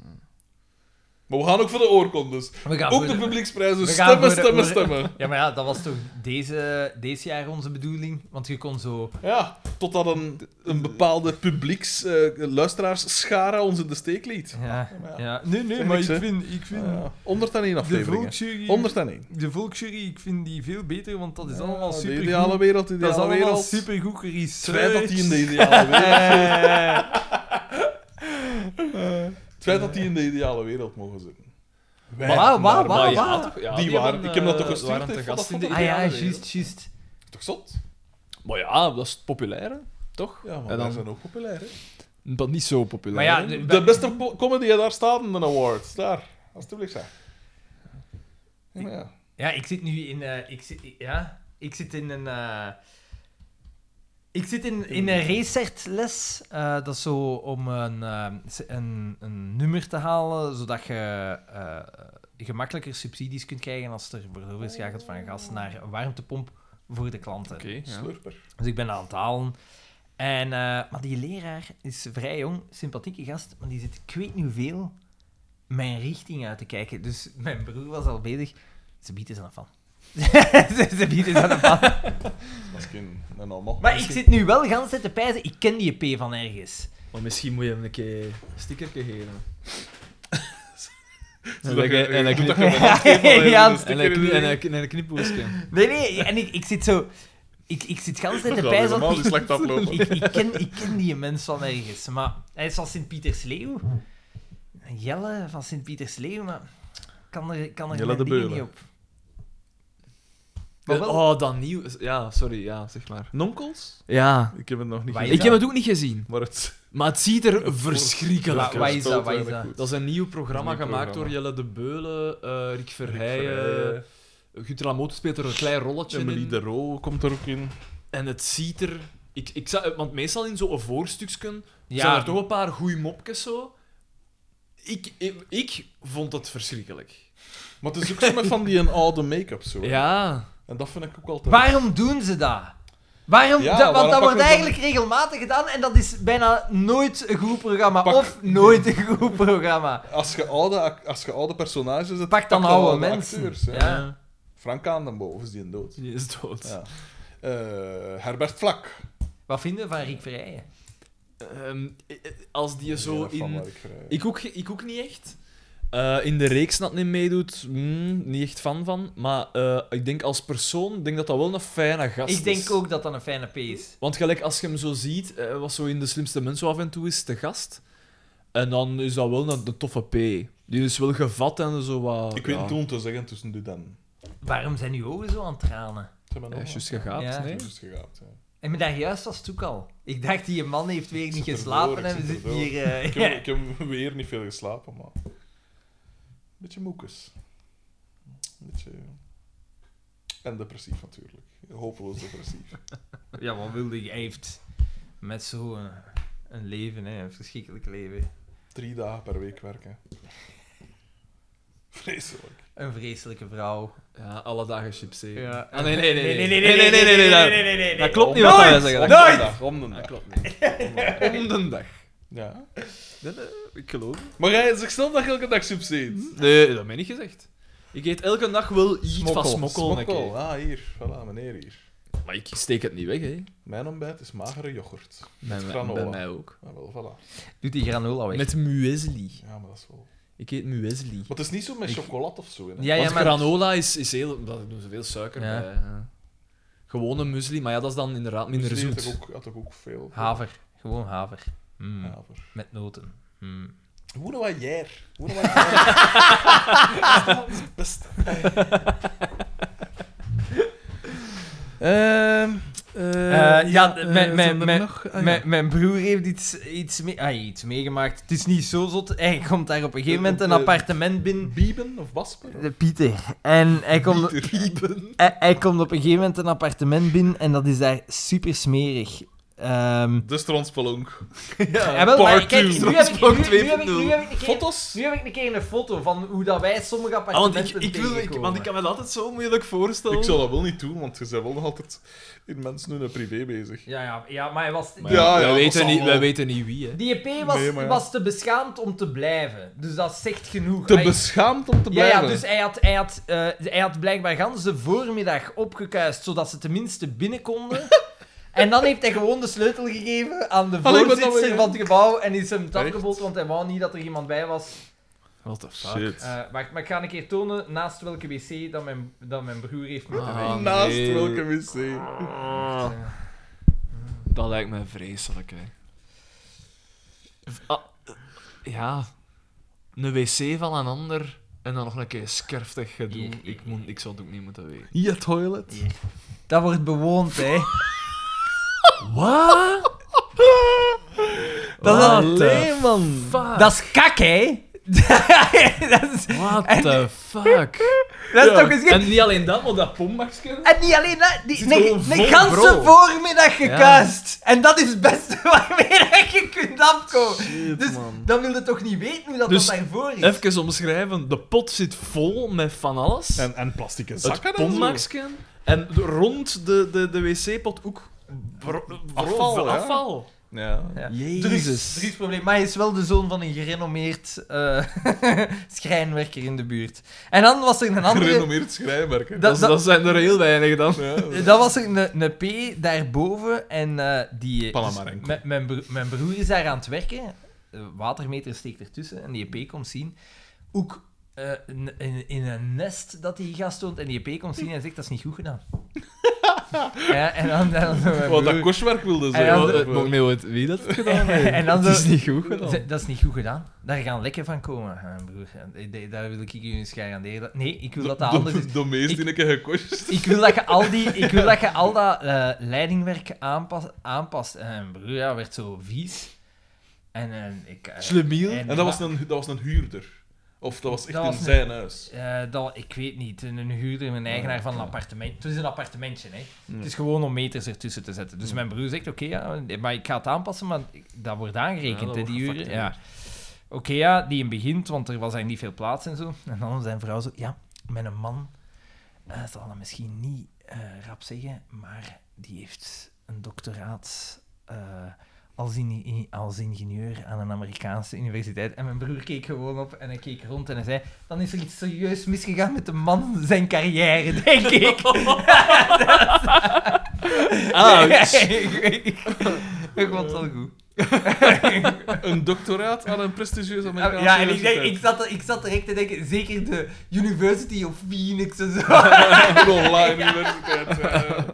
S2: Maar we gaan ook voor de oorkondes.
S1: We gaan
S2: Ook
S1: voor
S2: de publieksprijzen.
S1: we gaan
S2: stemmen,
S1: voor de
S2: stemmen,
S1: oor-
S2: stemmen.
S1: Ja, maar ja, dat was toch deze, deze jaar onze bedoeling? Want je kon zo...
S2: Ja, totdat een, een bepaalde publieks, eh, luisteraars-schara ons in de steek liet.
S1: Ja,
S2: maar ja.
S1: ja. Nee, nee,
S2: Zeg
S1: maar
S2: niks,
S1: ik
S2: hè.
S1: vind, ik vind
S2: Ah, ja. 101
S1: de,
S2: afleveringen.
S1: volksjury,
S2: 101.
S1: de volksjury, ik vind die veel beter, want dat is
S2: Ja,
S1: allemaal
S2: de
S1: super.
S2: ideale wereld, de
S1: dat is
S2: ideale
S1: allemaal
S2: wereld.
S1: supergoed
S2: Het feit dat
S1: geresearched.
S2: hij in de ideale wereld...
S1: Eh,
S2: Het feit dat die in de ideale wereld mogen zitten. Wij-
S1: Maar- Wauw, wauw,
S3: Maar ja,
S1: wauw.
S3: toch- ja,
S2: Die waren-
S3: hebben,
S2: ik heb dat toch
S3: eh,
S2: gestuurd,
S3: waren
S2: hè,
S3: te
S2: van
S3: gast
S2: dat
S3: in de
S1: ah ja,
S3: ideale wereld.
S1: juist, juist.
S2: Toch zot?
S3: Maar ja, dat is het populaire, toch?
S2: Ja, maar
S3: En
S2: wij
S3: dan-
S2: zijn ook populair, hè.
S3: Dat niet zo
S1: Maar
S3: populair.
S1: ja,
S3: hè.
S2: De beste po- comedy, daar staat een award. Daar, alstublieft, zeg. Ja, maar ja.
S1: Ja, ik zit nu in... eh, ik zit, ja, ik zit in een... eh, ik zit in, in een racertles. Eh, dat is zo om een, eh, een, een nummer te halen, zodat je eh, gemakkelijker subsidies kunt krijgen als er bijvoorbeeld is gaat van gas naar een warmtepomp voor de klanten.
S3: Oké, ja.
S2: Slurper.
S1: Dus ik ben aan het halen. En, eh, maar die leraar is vrij jong, sympathieke gast, maar die zit, ik weet niet hoeveel, mijn richting uit te kijken. Dus mijn broer was al bezig. Ze biedt is aan een fan. ze ze biedt is aan een fan.
S2: Misschien een allemaal.
S1: Maar ik zit nu wel gans te pijzen, ik ken die P van ergens.
S3: Maar misschien moet je hem een keer een stickerke geven.
S2: Zodat je- je
S3: en
S2: doet
S3: een
S2: dat je
S3: knip-
S2: een handgeef alleen
S1: Ja,
S2: met een
S1: en
S3: en een
S2: sticker in
S3: kni-
S2: de-
S3: en een kni- en een knipoogstje.
S1: Nee, nee, en ik, ik zit zo... Ik, ik zit gans
S2: Dat
S1: te
S2: gaat
S1: pijzen.
S2: helemaal
S1: want
S2: niet
S1: ik-
S2: slecht aflopen.
S1: Ik, ik, ken, ik ken die mens van ergens, maar hij is van Sint-Pietersleeuw. Jelle van Sint-Pietersleeuw, maar kan er, kan er
S2: Jelle
S1: mijn
S2: de
S1: dingen
S2: Beulen.
S1: niet op. Maar wel-
S3: Oh, dat nieuw. Ja, sorry, ja, zeg maar.
S2: Nonkels?
S3: Ja.
S2: Ik heb het nog niet
S1: Waar is
S2: gezien.
S3: Ik heb het ook niet gezien,
S2: Maar het...
S3: maar het ziet er
S1: Wa-
S3: verschrikkelijk
S1: wat
S3: uit.
S1: is dat, wat is
S2: Stelt weinig
S1: dat?
S2: goed.
S3: Dat is een nieuw programma
S2: Een nieuw
S3: gemaakt
S2: programma.
S3: door Jelle de Beulen, eh Rick
S2: Rick
S3: Verheijen.
S2: Verheijen.
S3: Guter Lamotte speelt er een klein rolletje
S2: Emily
S3: in.
S2: de Roo komt er ook in.
S3: En het ziet er... Ik, ik zag, want meestal in zo'n voorstukje
S1: Ja.
S3: zijn er toch een paar goeie mopjes zo. Ik, ik, ik vond het verschrikkelijk.
S2: Maar het is ook zo met van die een oude make-up zo. hè.
S3: Ja.
S2: En dat vind ik ook altijd...
S1: Waarom doen ze dat? Waarom, dat-
S2: Ja, waarom
S1: want dat
S2: pakken
S1: wordt
S2: we
S1: eigenlijk regelmatig gedaan en dat is bijna nooit een goed programma.
S2: Pak-
S1: Of nooit een goed programma.
S2: Als je oude, ac- als je oude personages hebt,
S1: Pak dan oude mensen.
S2: acteurs, hè.
S1: Ja.
S2: Frank Aandenboven is die dood.
S3: Die is dood.
S2: Ja. Eh, Herbert Vlak.
S1: Wat vinden we van Rick Verrijen?
S3: Ehm, eh, eh, als die zo
S2: Ja, van
S3: in...
S2: waar ik eh, vrij-
S3: Ik ook, ge- ik ook niet echt. Eh, in de reeks dat niet meedoet, hmm, niet echt fan van. Maar eh, ik denk als persoon, ik denk dat dat wel een fijne gast is.
S1: Ik denk ook dat dat een fijne P is.
S3: Want gelijk als je hem zo ziet, eh, was zo in de slimste mens zo af en toe is te gast. En dan is dat wel een, een toffe P. Die is wel gevat en zo wat.
S2: Ik weet
S3: ja.
S2: niet hoe om te zeggen tussen dit en.
S1: Waarom zijn uw ogen zo aan het tranen?
S2: Zijn we
S3: Hij is
S2: nog?
S3: juist gegaapt,
S1: Ja.
S3: nee?
S2: Juist gegaapt, ja.
S1: En me daar juist was het ook al. Ik dacht, die man heeft weer
S2: Ik
S1: niet
S2: zit erdoor,
S1: geslapen
S2: ik
S1: en we
S2: zit
S1: zitten
S2: erdoor.
S1: hier... eh,
S2: Ik
S1: ja.
S2: heb, ik heb weer niet veel geslapen, maar... Beetje moekes. Beetje... En depressief natuurlijk. Hopeloos depressief.
S1: Ja, wat wilde hij? Hij heeft met zo'n een, leven, hè, een verschrikkelijk leven.
S2: Drie dagen per week werken. Vreselijk.
S1: Een vreselijke vrouw.
S3: Ja, alle dagen chips eten.
S1: Ja.
S3: Ah, nee, nee, nee.
S1: Nee, nee, nee, nee, nee, nee,
S3: dat-
S1: nee, nee, nee,
S3: Dat klopt niet
S1: nee.
S3: wat wij
S1: Nooit!
S3: zeggen. dat
S2: Om de
S3: klopt
S2: dag, om de
S3: niet. Dat
S2: dag.
S3: klopt niet. Om de dag.
S2: Ja.
S3: Nee, nee, Ik geloof het.
S2: Maar jij zegt zelf dat je elke dag chips eet.
S3: Nee, dat ben ik gezegd. Ik eet elke dag wel iets van smokkel. een
S2: Smokkel.
S3: keer.
S2: Ah, hier. Voilà, meneer hier.
S3: Maar ik steek het niet weg, hè.
S2: Mijn ontbijt is magere yoghurt.
S3: Bij, mij-
S2: granola.
S3: bij mij ook.
S2: Ah, wel, voilà.
S1: Doet die granola weg.
S3: Met muesli.
S2: Ja, maar dat is wel...
S3: Ik eet muesli.
S2: Maar het is niet zo met
S3: Ik-
S2: chocolade of zo, hè.
S1: Ja,
S3: Want
S1: maar-
S3: granola is, is heel... Daar doen ze veel suiker
S1: Ja.
S3: bij. ja. Gewone muesli, maar ja, dat is dan inderdaad minder
S2: Misschien had
S3: zoet.
S2: ik ook- Had ik ook veel...
S1: Haver. Gewoon haver. Mm.
S2: Haver.
S1: Met noten. Mm.
S2: Hoe nou wat jij? Hoe nou wat jij? Dat is het beste. Ehm, eh,
S1: Eh, ja,
S2: eh,
S1: mijn- mijn-
S2: zijn er
S1: mijn-
S2: nog? Ah,
S1: Mijn-
S2: ja.
S1: Mijn broer heeft iets, iets, mee, ah, iets meegemaakt. Het is niet zo zot. Hij komt daar op een gegeven moment een
S2: Eh, eh,
S1: appartement binnen.
S2: Bieben of Basper?
S1: De Pieter. En hij komt,
S2: Bieben.
S1: hij, hij komt op een gegeven moment een appartement binnen en dat is daar super smerig. Ehm
S2: De Stronspelonk.
S1: ja, wel, maar
S3: part
S1: kijk,
S3: two.
S1: nu heb ik- nu-
S3: Strandbank
S1: nu heb ik- nu heb ik een keer-
S2: Foto's?
S1: nu heb ik een keer een foto van hoe dat wij sommige
S3: Ah, want, ik,
S1: appartementen
S3: ik wil, ik, want ik kan me dat altijd zo moeilijk voorstellen.
S2: Ik zou dat wel niet doen, want je bent wel nog altijd in mensen hun privé bezig.
S1: Ja, ja, ja, maar hij was...
S3: Maar
S2: Ja, ja,
S3: wij,
S2: dat
S3: weten
S2: zal
S3: niet,
S2: wel.
S3: wij weten niet wie, hè.
S1: Die EP was,
S2: Nee, maar ja.
S1: was te beschaamd om te blijven. Dus dat zegt genoeg.
S2: Te
S1: Hij-
S2: beschaamd om te
S1: ja,
S2: blijven.
S1: ja, dus hij had, hij, had, eh, hij had blijkbaar gans de voormiddag opgekuist, zodat ze tenminste binnen konden. en dan heeft hij gewoon de sleutel gegeven aan de
S2: Allee, wat dan
S1: voorzitter
S2: weer?
S1: van het gebouw en is hem het
S2: Echt?
S1: afgebold, want hij wou niet dat er iemand bij was.
S3: What the
S2: Shit.
S1: Eh, wacht, maar ik ga een keer tonen naast welke wc dat mijn, dat mijn broer heeft moeten
S3: Ah.
S1: rijden.
S2: Naast
S3: nee.
S2: welke wc.
S3: Dat lijkt me vreselijk, hè. Ah, ja. Een wc van een ander en dan nog een keer skerftig gedoe.
S1: Hier, hier,
S3: Ik, moet, ik zou het ook niet moeten weten.
S2: Je toilet.
S1: Dat wordt bewoond, hè.
S3: Wat?
S1: Dat is
S3: What
S1: alleen,
S3: the
S1: man.
S3: fuck?
S1: Dat is kak, hè. dat is,
S3: What
S1: En-
S3: the fuck?
S1: dat is
S3: Ja.
S1: toch eens
S3: En niet alleen dat, maar dat pompbakje.
S1: En niet alleen dat, die,
S3: Zit
S1: nee,
S3: gewoon vol,
S1: een ganse
S3: bro.
S1: voormiddag gekuist. En dat is het beste waarmee dat je kunt afkomen. dus dan wil je toch niet weten hoe dat,
S3: Dus
S1: dat daarvoor is.
S3: Even omschrijven. De pot zit vol met van alles.
S2: En, en plastic zakken.
S3: het
S2: en zo.
S3: pompbakje. En de- rond de, de, de wc-pot ook... bro-
S2: Afval,
S3: bro-
S2: ja.
S3: afval.
S2: Ja.
S1: Ja.
S3: Jezus.
S1: Er is probleem. Maar hij is wel de zoon van een gerenommeerd eh, schrijnwerker in de buurt. En dan was er een andere...
S2: Gerenommeerd schrijnwerk. hè.
S1: Dat-
S3: Dat, is- dat zijn er heel weinig dan.
S2: Ja,
S1: Eh, Dat was er een, een P daarboven en eh, die...
S2: Panamarenko.
S1: mijn- mijn, broer, mijn broer is daar aan het werken. Eh, Watermeter steekt ertussen en die P komt zien. Ook eh, in, in, in een nest dat die gast stond en die P komt zien en zegt dat is niet goed gedaan. ja, en dan, dan zo mijn
S2: Wat dat
S1: broer,
S2: kostwerk wilde
S1: En
S2: zo.
S1: dan
S3: Ja,
S1: de-
S2: of,
S3: ik
S2: eh,
S3: mag niet weten wie dat gedaan heeft.
S1: En dan
S3: het
S1: de-
S3: is niet goed gedaan.
S1: "Z- dat is niet goed gedaan. Daar gaan lekken van komen, Ja, mijn broer. En ik denk, Daar wil ik jullie eens garanderen. Nee, ik wil dat dat anders is.
S2: De, de meest
S1: Ik-
S2: die ik heb gekost.
S1: Ik wil dat je al, die, ik wil dat, je al dat eh, leidingwerk aanpast, aanpast. En mijn broer ja, werd zo vies. En, eh, ik... eh,
S3: Slemiel.
S1: en-
S2: En dat was, een, dat was een huurder. Of dat was echt
S1: Dat
S2: in
S1: was een-
S2: zijn huis.
S1: eh, dat, ik weet niet, een een huurder, een eigenaar van een appartement. Het is een appartementje, hè.
S2: Ja.
S1: Het is gewoon om meters ertussen te zetten. Dus mijn broer zegt, oké, ja, maar ik ga het aanpassen, maar ik- dat wordt
S3: Ja,
S1: aangerekend,
S3: dat
S1: hè,
S3: wordt
S1: die uren.
S3: gefactureerd.
S1: Ja. Oké, ja, die in begint, want er was eigenlijk niet veel plaats en zo. En dan zijn vrouw zo, ja, met een man eh, zal dat misschien niet eh, rap zeggen, maar die heeft een doctoraat eh, als, in, in- als ingenieur aan een Amerikaanse universiteit. En mijn broer keek gewoon op en hij keek rond en hij zei, dan is er iets serieus misgegaan met de man, zijn carrière, denk ik.
S3: Ah,
S1: ik, ik, ik vond het wel goed.
S2: Een doctoraat aan een prestigieuze Amerikaanse
S1: Ja, en ik, denk,
S2: universiteit.
S1: ik, zat, ik zat direct te denken, zeker de University of Phoenix en zo.
S2: Een online universiteit. ja.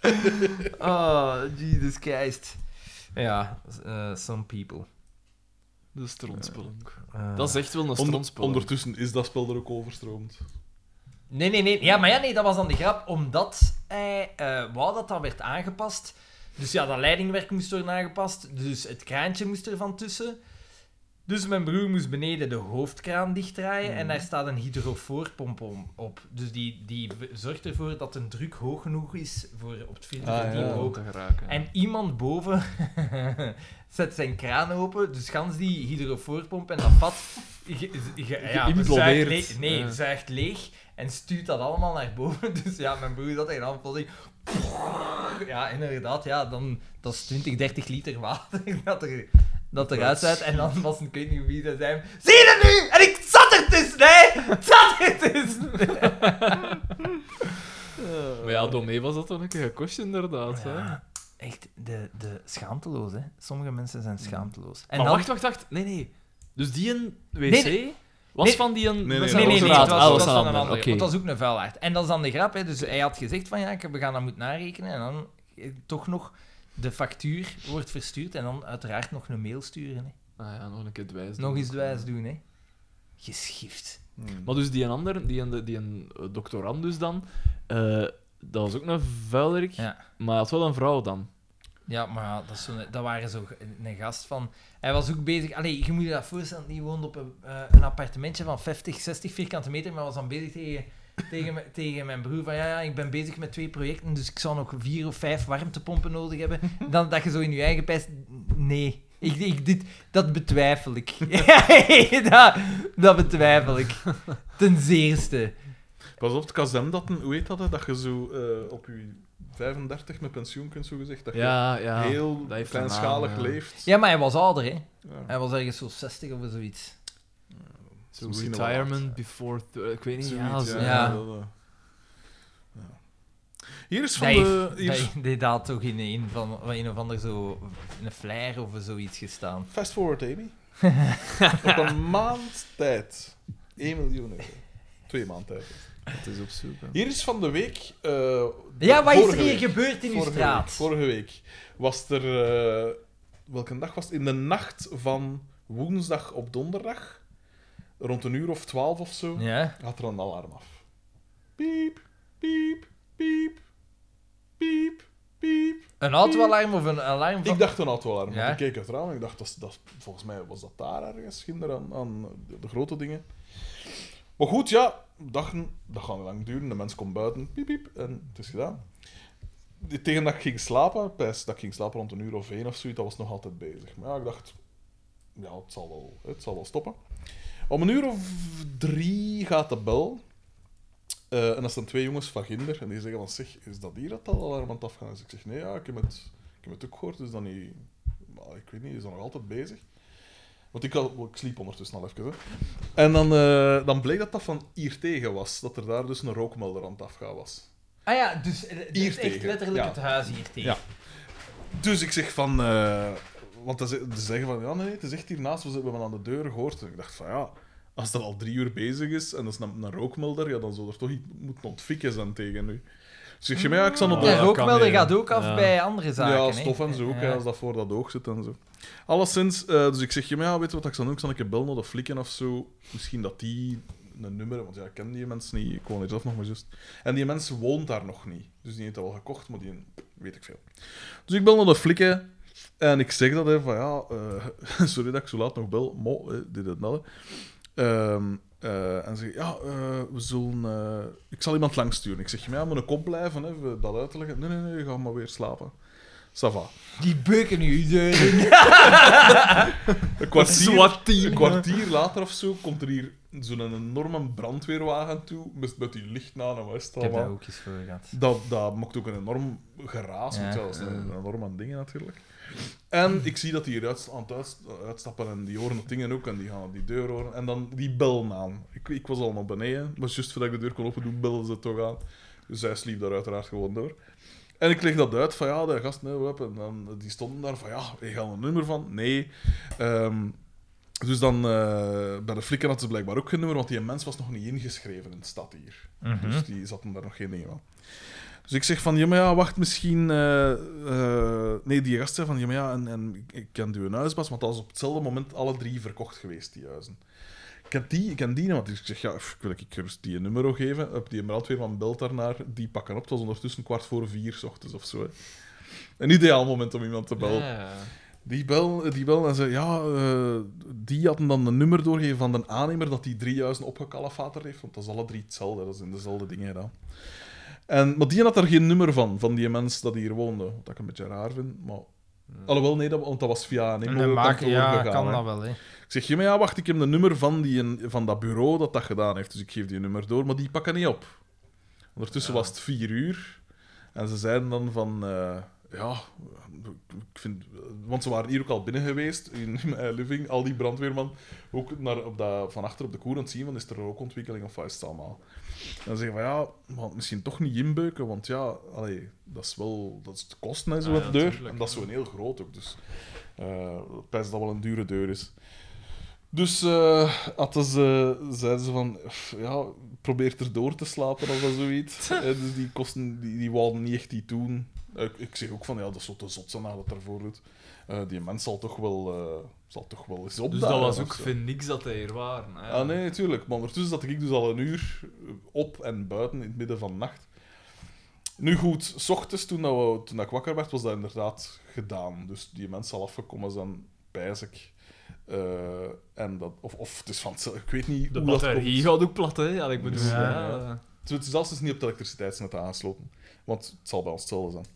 S1: Oh, Jesus Christ. Ja, eh, some people.
S2: De stronspelonk.
S1: Eh,
S3: Dat is echt wel een
S2: Onder-
S3: stronspel.
S2: ondertussen is dat spel er ook overstroomd.
S1: Nee, nee, nee. Ja, maar ja, nee, dat was dan de grap. Omdat hij eh wou dat dat werd aangepast. Dus ja, dat leidingwerk moest worden aangepast. Dus het kraantje moest er van tussen. Dus mijn broer moest beneden de hoofdkraan dichtdraaien.
S2: Mhm.
S1: En daar staat een hydrofoorpomp om- op. Dus die, die zorgt ervoor dat de druk hoog genoeg is voor op het vierde
S2: Ah,
S1: verdiep
S2: ja.
S1: ook.
S3: te geraken.
S1: En iemand boven zet zijn kraan open, dus gans die hydrofoorpomp en dat vat ge- ge- ja,
S3: Geïmplodeerd.
S1: zuigt, nee, nee,
S3: Ja.
S1: zuigt leeg en stuurt dat allemaal naar boven. Dus ja, mijn broer dat en dan plotseling... Ja, inderdaad, ja, dan, dat is 20, 30 liter water dat, er, dat eruit zuigt. En dan was een, ik weet niet wie dat zei, zie je het nu? En ik zat er tussen, nee, ik zat er dus." tussen.
S3: Maar ja, Domé was dat dan een keer gekost, inderdaad. hè.
S1: Ja. Echt, de, de schaamteloos, hè. Sommige mensen zijn schaamteloos. En
S3: maar
S1: dan-
S3: wacht, wacht, wacht. Nee, nee. Dus die een wc
S1: Nee, nee.
S3: was
S1: Nee.
S3: van die een...
S2: Nee,
S3: dat
S1: Nee,
S3: zijn
S1: nee, nee,
S3: doctoraat.
S1: het was,
S3: Ah,
S1: het was
S3: dat
S1: van
S3: was
S1: een
S3: een
S1: ander.
S3: ander.
S1: Want
S3: Oké.
S1: dat is ook een vuilaard. En dat is dan de grap, hè. Dus hij had gezegd van, ja, ik- we gaan dat moeten narekenen. En dan eh, toch nog de factuur wordt verstuurd en dan uiteraard nog een mail sturen, hè.
S3: Ah ja, nog een keer dwijs.
S1: Nog eens wijs doen, hè. Geschift.
S3: Maar dus die een ander, die een, die een eh, doctorand dus dan, eh, dat was ook een vuilerik,
S1: Ja.
S3: maar hij had wel een vrouw dan.
S1: Ja, maar ja, dat, is zo'n- dat waren zo een- een gast van... Hij was ook bezig... Allee, je moet je dat voorstellen, die woonde op een, eh, een appartementje van 50, 60 vierkante meter, maar was dan bezig tegen, tegen, me- tegen mijn broer van ja, ja, ik ben bezig met twee projecten, dus ik zou nog vier of vijf warmtepompen nodig hebben. Dan dat je zo in je eigen pijs... Nee. Ik, ik, dit, dat betwijfel ik. dat, dat betwijfel ik. Ten zeerste.
S2: Pas op, het kazem dat een, hoe heet dat, hè, dat je zo eh, op je 35 met pensioen kunt, zo gezegd. Dat
S3: Ja,
S2: je
S3: ja.
S2: heel
S3: dat heeft een
S2: kleinschalig
S3: naam, ja.
S2: leeft.
S1: Ja, maar hij was ouder, hè.
S2: Ja.
S1: Hij was ergens zo 60 of zoiets.
S3: Zo
S2: Misschien wel
S3: retirement
S2: laat.
S3: before... th- ik weet niet,
S2: Zoiets,
S3: ja. zo-
S1: ja. Ja.
S2: dat, eh, ja. Hier is van
S1: Nee,
S2: de... Hier is-
S1: die had toch in een, van, van een of ander zo een flyer of zoiets gestaan.
S2: Fast forward, Amy. op een maand tijd. 1 miljoen euro. Twee maand tijd.
S3: Het is op zoek. hè.
S2: Hier is van de week... eh,
S1: Ja, wat is er
S2: vorige
S1: hier
S2: week.
S1: gebeurd in uw
S2: vorige Week,
S1: straat?
S2: vorige week was er. eh, welke dag was het? In de nacht van woensdag op donderdag, rond een uur of twaalf of zo,
S1: Ja,
S2: had er een alarm af. Piep, piep, piep, piep, piep.
S1: een auto-alarm of een alarm van...
S2: Ik dacht een auto-alarm. want
S1: Ja.
S2: Ik keek uit het raam en ik dacht, dat, is- dat, is- volgens mij was dat daar ergens, kinder aan, aan de, de grote dingen. Maar goed, ja, dachten, dat gaat niet lang duren. De mens komt buiten, piep, piep, en het is gedaan. De- Tegen dat ik ging slapen, pijs, dat ik ging slapen rond een uur of één of zoiets, dat was nog altijd bezig. Maar ja, ik dacht, ja, het zal wel, het zal wel stoppen. Om een uur of drie gaat de bel. Eh, en dat zijn twee jongens van Ginder. En die zeggen van, zeg, is dat hier dat dat alarm aan het afgaan is? Ik zeg, nee, ja, ik heb het, ik heb het ook gehoord. Dus dan niet... Maar ik weet niet, is dat nog altijd bezig? Want ik, had, oh, ik sliep ondertussen al even. Hè. En dan, eh, dan bleek dat dat van hier tegen was. Dat er daar dus een rookmelder aan het afgaan was.
S1: Ah ja, dus eh, dit
S2: Hier
S1: is echt
S2: tegen,
S1: letterlijk
S2: ja.
S1: het huis hier tegen.
S2: Ja. Dus ik zeg van... eh, want ze ze zeggen van, ja nee, het is echt hiernaast, we hebben aan de deur gehoord. En ik dacht van, ja, als dat al drie uur bezig is en dat is een, een rookmelder, ja, dan zou er toch iets moeten ontfikken zijn tegen nu. Dus ik zeg, maar ja, ik zal op
S3: Ah,
S1: De
S2: de...
S3: dat kan
S1: rookmelder
S3: niet,
S1: gaat ook af
S3: ja.
S1: bij andere zaken,
S2: Ja,
S1: hè.
S2: stof en zo ook, hè,
S1: Ja.
S2: als dat voor dat oog zit en zo. Alleszins, eh, dus ik zeg, ja, maar ja, weet je wat ik zal doen? Ik zal een keer bellen naar de flikken of zo. Misschien dat die een nummer, want ja, ik ken die mensen niet, ik woon hier zelf nog maar juist. En die mensen woont daar nog niet. Dus die heeft dat wel gekocht, maar die weet ik veel. Dus ik bel naar de flikken en ik zeg dat, hè, van ja, eh, sorry dat ik zo laat nog bel, mo, eh, dit en dat. hè. Ehm, eh, en ze zeggen, ja, eh, we zullen... eh, ik zal iemand langs sturen. Ik zeg, ja, maar een kop blijven, hè, we dat uit te leggen. Nee, nee, nee, ga maar weer slapen. Ça va.
S1: Die beuken nu. ze-
S2: Een
S3: SWAT
S2: kwartier,
S3: team.
S2: een kwartier later of zo komt er hier zo'n enorme brandweerwagen toe, met, met die licht na en west
S1: Ik heb daar
S2: allemaal.
S1: ook eens voor gehad.
S2: Dat, dat maakt ook een enorm geraas, want
S1: Ja,
S2: ja, dat is een,
S1: eh.
S2: een enorm aan dingen natuurlijk. En ik zie dat die hier uit, aan het uit- uitstappen en die horen dat dingen ook en die gaan die deur horen. En dan die bellen aan. Ik, ik was al naar beneden, maar juist voordat ik de deur kon open doen, belden ze toch aan. Dus zij sliep daar uiteraard gewoon door. En ik leg dat uit van ja, de gasten hè, wap. en dan, eh, die stonden daar van ja, we gaan een nummer van. Nee. Ehm, dus dan eh, bij de flikken had ze blijkbaar ook geen nummer, want die mens was nog niet ingeschreven in de stad hier.
S1: Mhm.
S2: Dus die zaten daar nog geen dingen van. Dus ik zeg van, ja, maar ja, wacht, misschien... eh, eh, nee, die gast zei van, ja, maar ja, en, en ik- ik ken die een huisbaas, want dat is op hetzelfde moment alle drie verkocht geweest, die huizen. Ik ken die, ik ken die, nou, want ik zeg, ja, pff, ik wil ik gerust die een nummer ook geven. Heb die brandweerman belt daarnaar, die pakken op. Het was ondertussen kwart voor vier 's ochtends of zo. hè. Een ideaal moment om iemand te
S3: Oh,
S2: bellen. Die bel, die bel en ze, ja, eh, die hadden dan een nummer doorgegeven van de aannemer dat die 3000 opgekalafaterd heeft, want dat is alle drie hetzelfde, dat zijn dezelfde dingen gedaan. En, maar die had er geen nummer van, van die mens dat hier woonde, wat ik een beetje raar vind, maar... Alhoewel, nee, dat, want dat was via een
S1: En
S2: inwoner
S1: de maker, ja, kan
S2: hè.
S1: dat wel, hè.
S2: Ik zeg, ja, maar ja, wacht, ik heb een nummer van, die, een- van dat bureau dat dat gedaan heeft, dus ik geef die nummer door, maar die pakken niet op. Ondertussen was het vier uur en ze zeiden dan van, eh, ja, ik vind, want ze waren hier ook al binnen geweest in mijn living, al die brandweerman, ook naar, op dat, van achter op de koer aan het zien, van is er rookontwikkeling of wat is het allemaal. En dan zeggen we, ja, maar misschien toch niet inbeuken, want ja, allee, dat is wel, dat is de kosten en zo
S3: Ah,
S2: aan
S3: ja,
S2: de deur,
S3: tuurlijk,
S2: en dat is zo'n heel groot ook, dus eh ik pijs dat wel een dure deur is. Dus eh hadden ze, zeiden ze van, "Pff, ja, probeer er door te slapen of dat zoiets. Eh, dus die kosten, die, die wouden niet echt die doen. Eh, ik, ik zeg ook van, ja, dat is zo te zot zijn dat ervoor doet. Eh, die mens zal toch wel, eh, zal toch wel eens
S3: Dus
S2: opdagen.
S3: dat was
S2: of
S3: ook
S2: zo.
S3: vind niks dat hij er waren. hè.
S2: Ah, nee, natuurlijk. Maar ondertussen zat ik dus al een uur op en buiten in het midden van de nacht. Nu goed, s ochtends toen, dat we, toen dat ik wakker werd, was dat inderdaad gedaan. Dus die mensen al afgekomen zijn, pijs ik. Eh, en dat, of, of het is van hetzelfde- ik weet niet
S3: De
S2: hoe dat
S3: batterie
S2: komt.
S3: gaat ook plat, hè? Ja, ik bedoel,
S2: Ja,
S3: ja.
S2: ja. Het is zelfs dus niet op het elektriciteitsnet aansloten, want het zal bij ons hetzelfde zijn.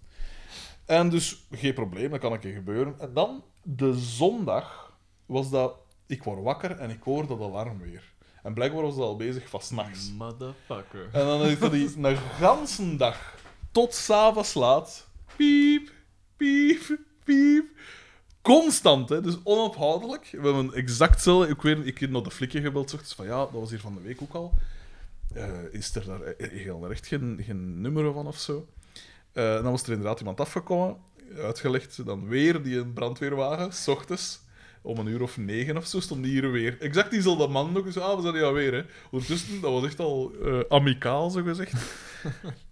S2: En dus geen probleem, dat kan een keer gebeuren. En dan, de zondag, was dat... Ik word wakker en ik hoor dat alarm weer. En blijkbaar was dat al bezig van 's nachts.
S3: Motherfucker.
S2: En dan heeft hij een ganse dag tot s'avonds laat. Piep, piep, piep. Constant, hè? dus onophoudelijk. We hebben exact zo. Ik weet, ik heb nog de flikje gebeld. zocht, dus van ja, dat was hier van de week ook al. Eh, is er daar eh, heel recht geen, geen nummer van of zo? Eh, dan was er inderdaad iemand afgekomen, uitgelegd. Dan weer die een brandweerwagen, s ochtends. Om een uur of negen of zo stond die hier weer. Exact diezelfde man nog eens. Ah, we zijn hier alweer, hè. Ondertussen, dat was echt al eh, amicaal, zo gezegd.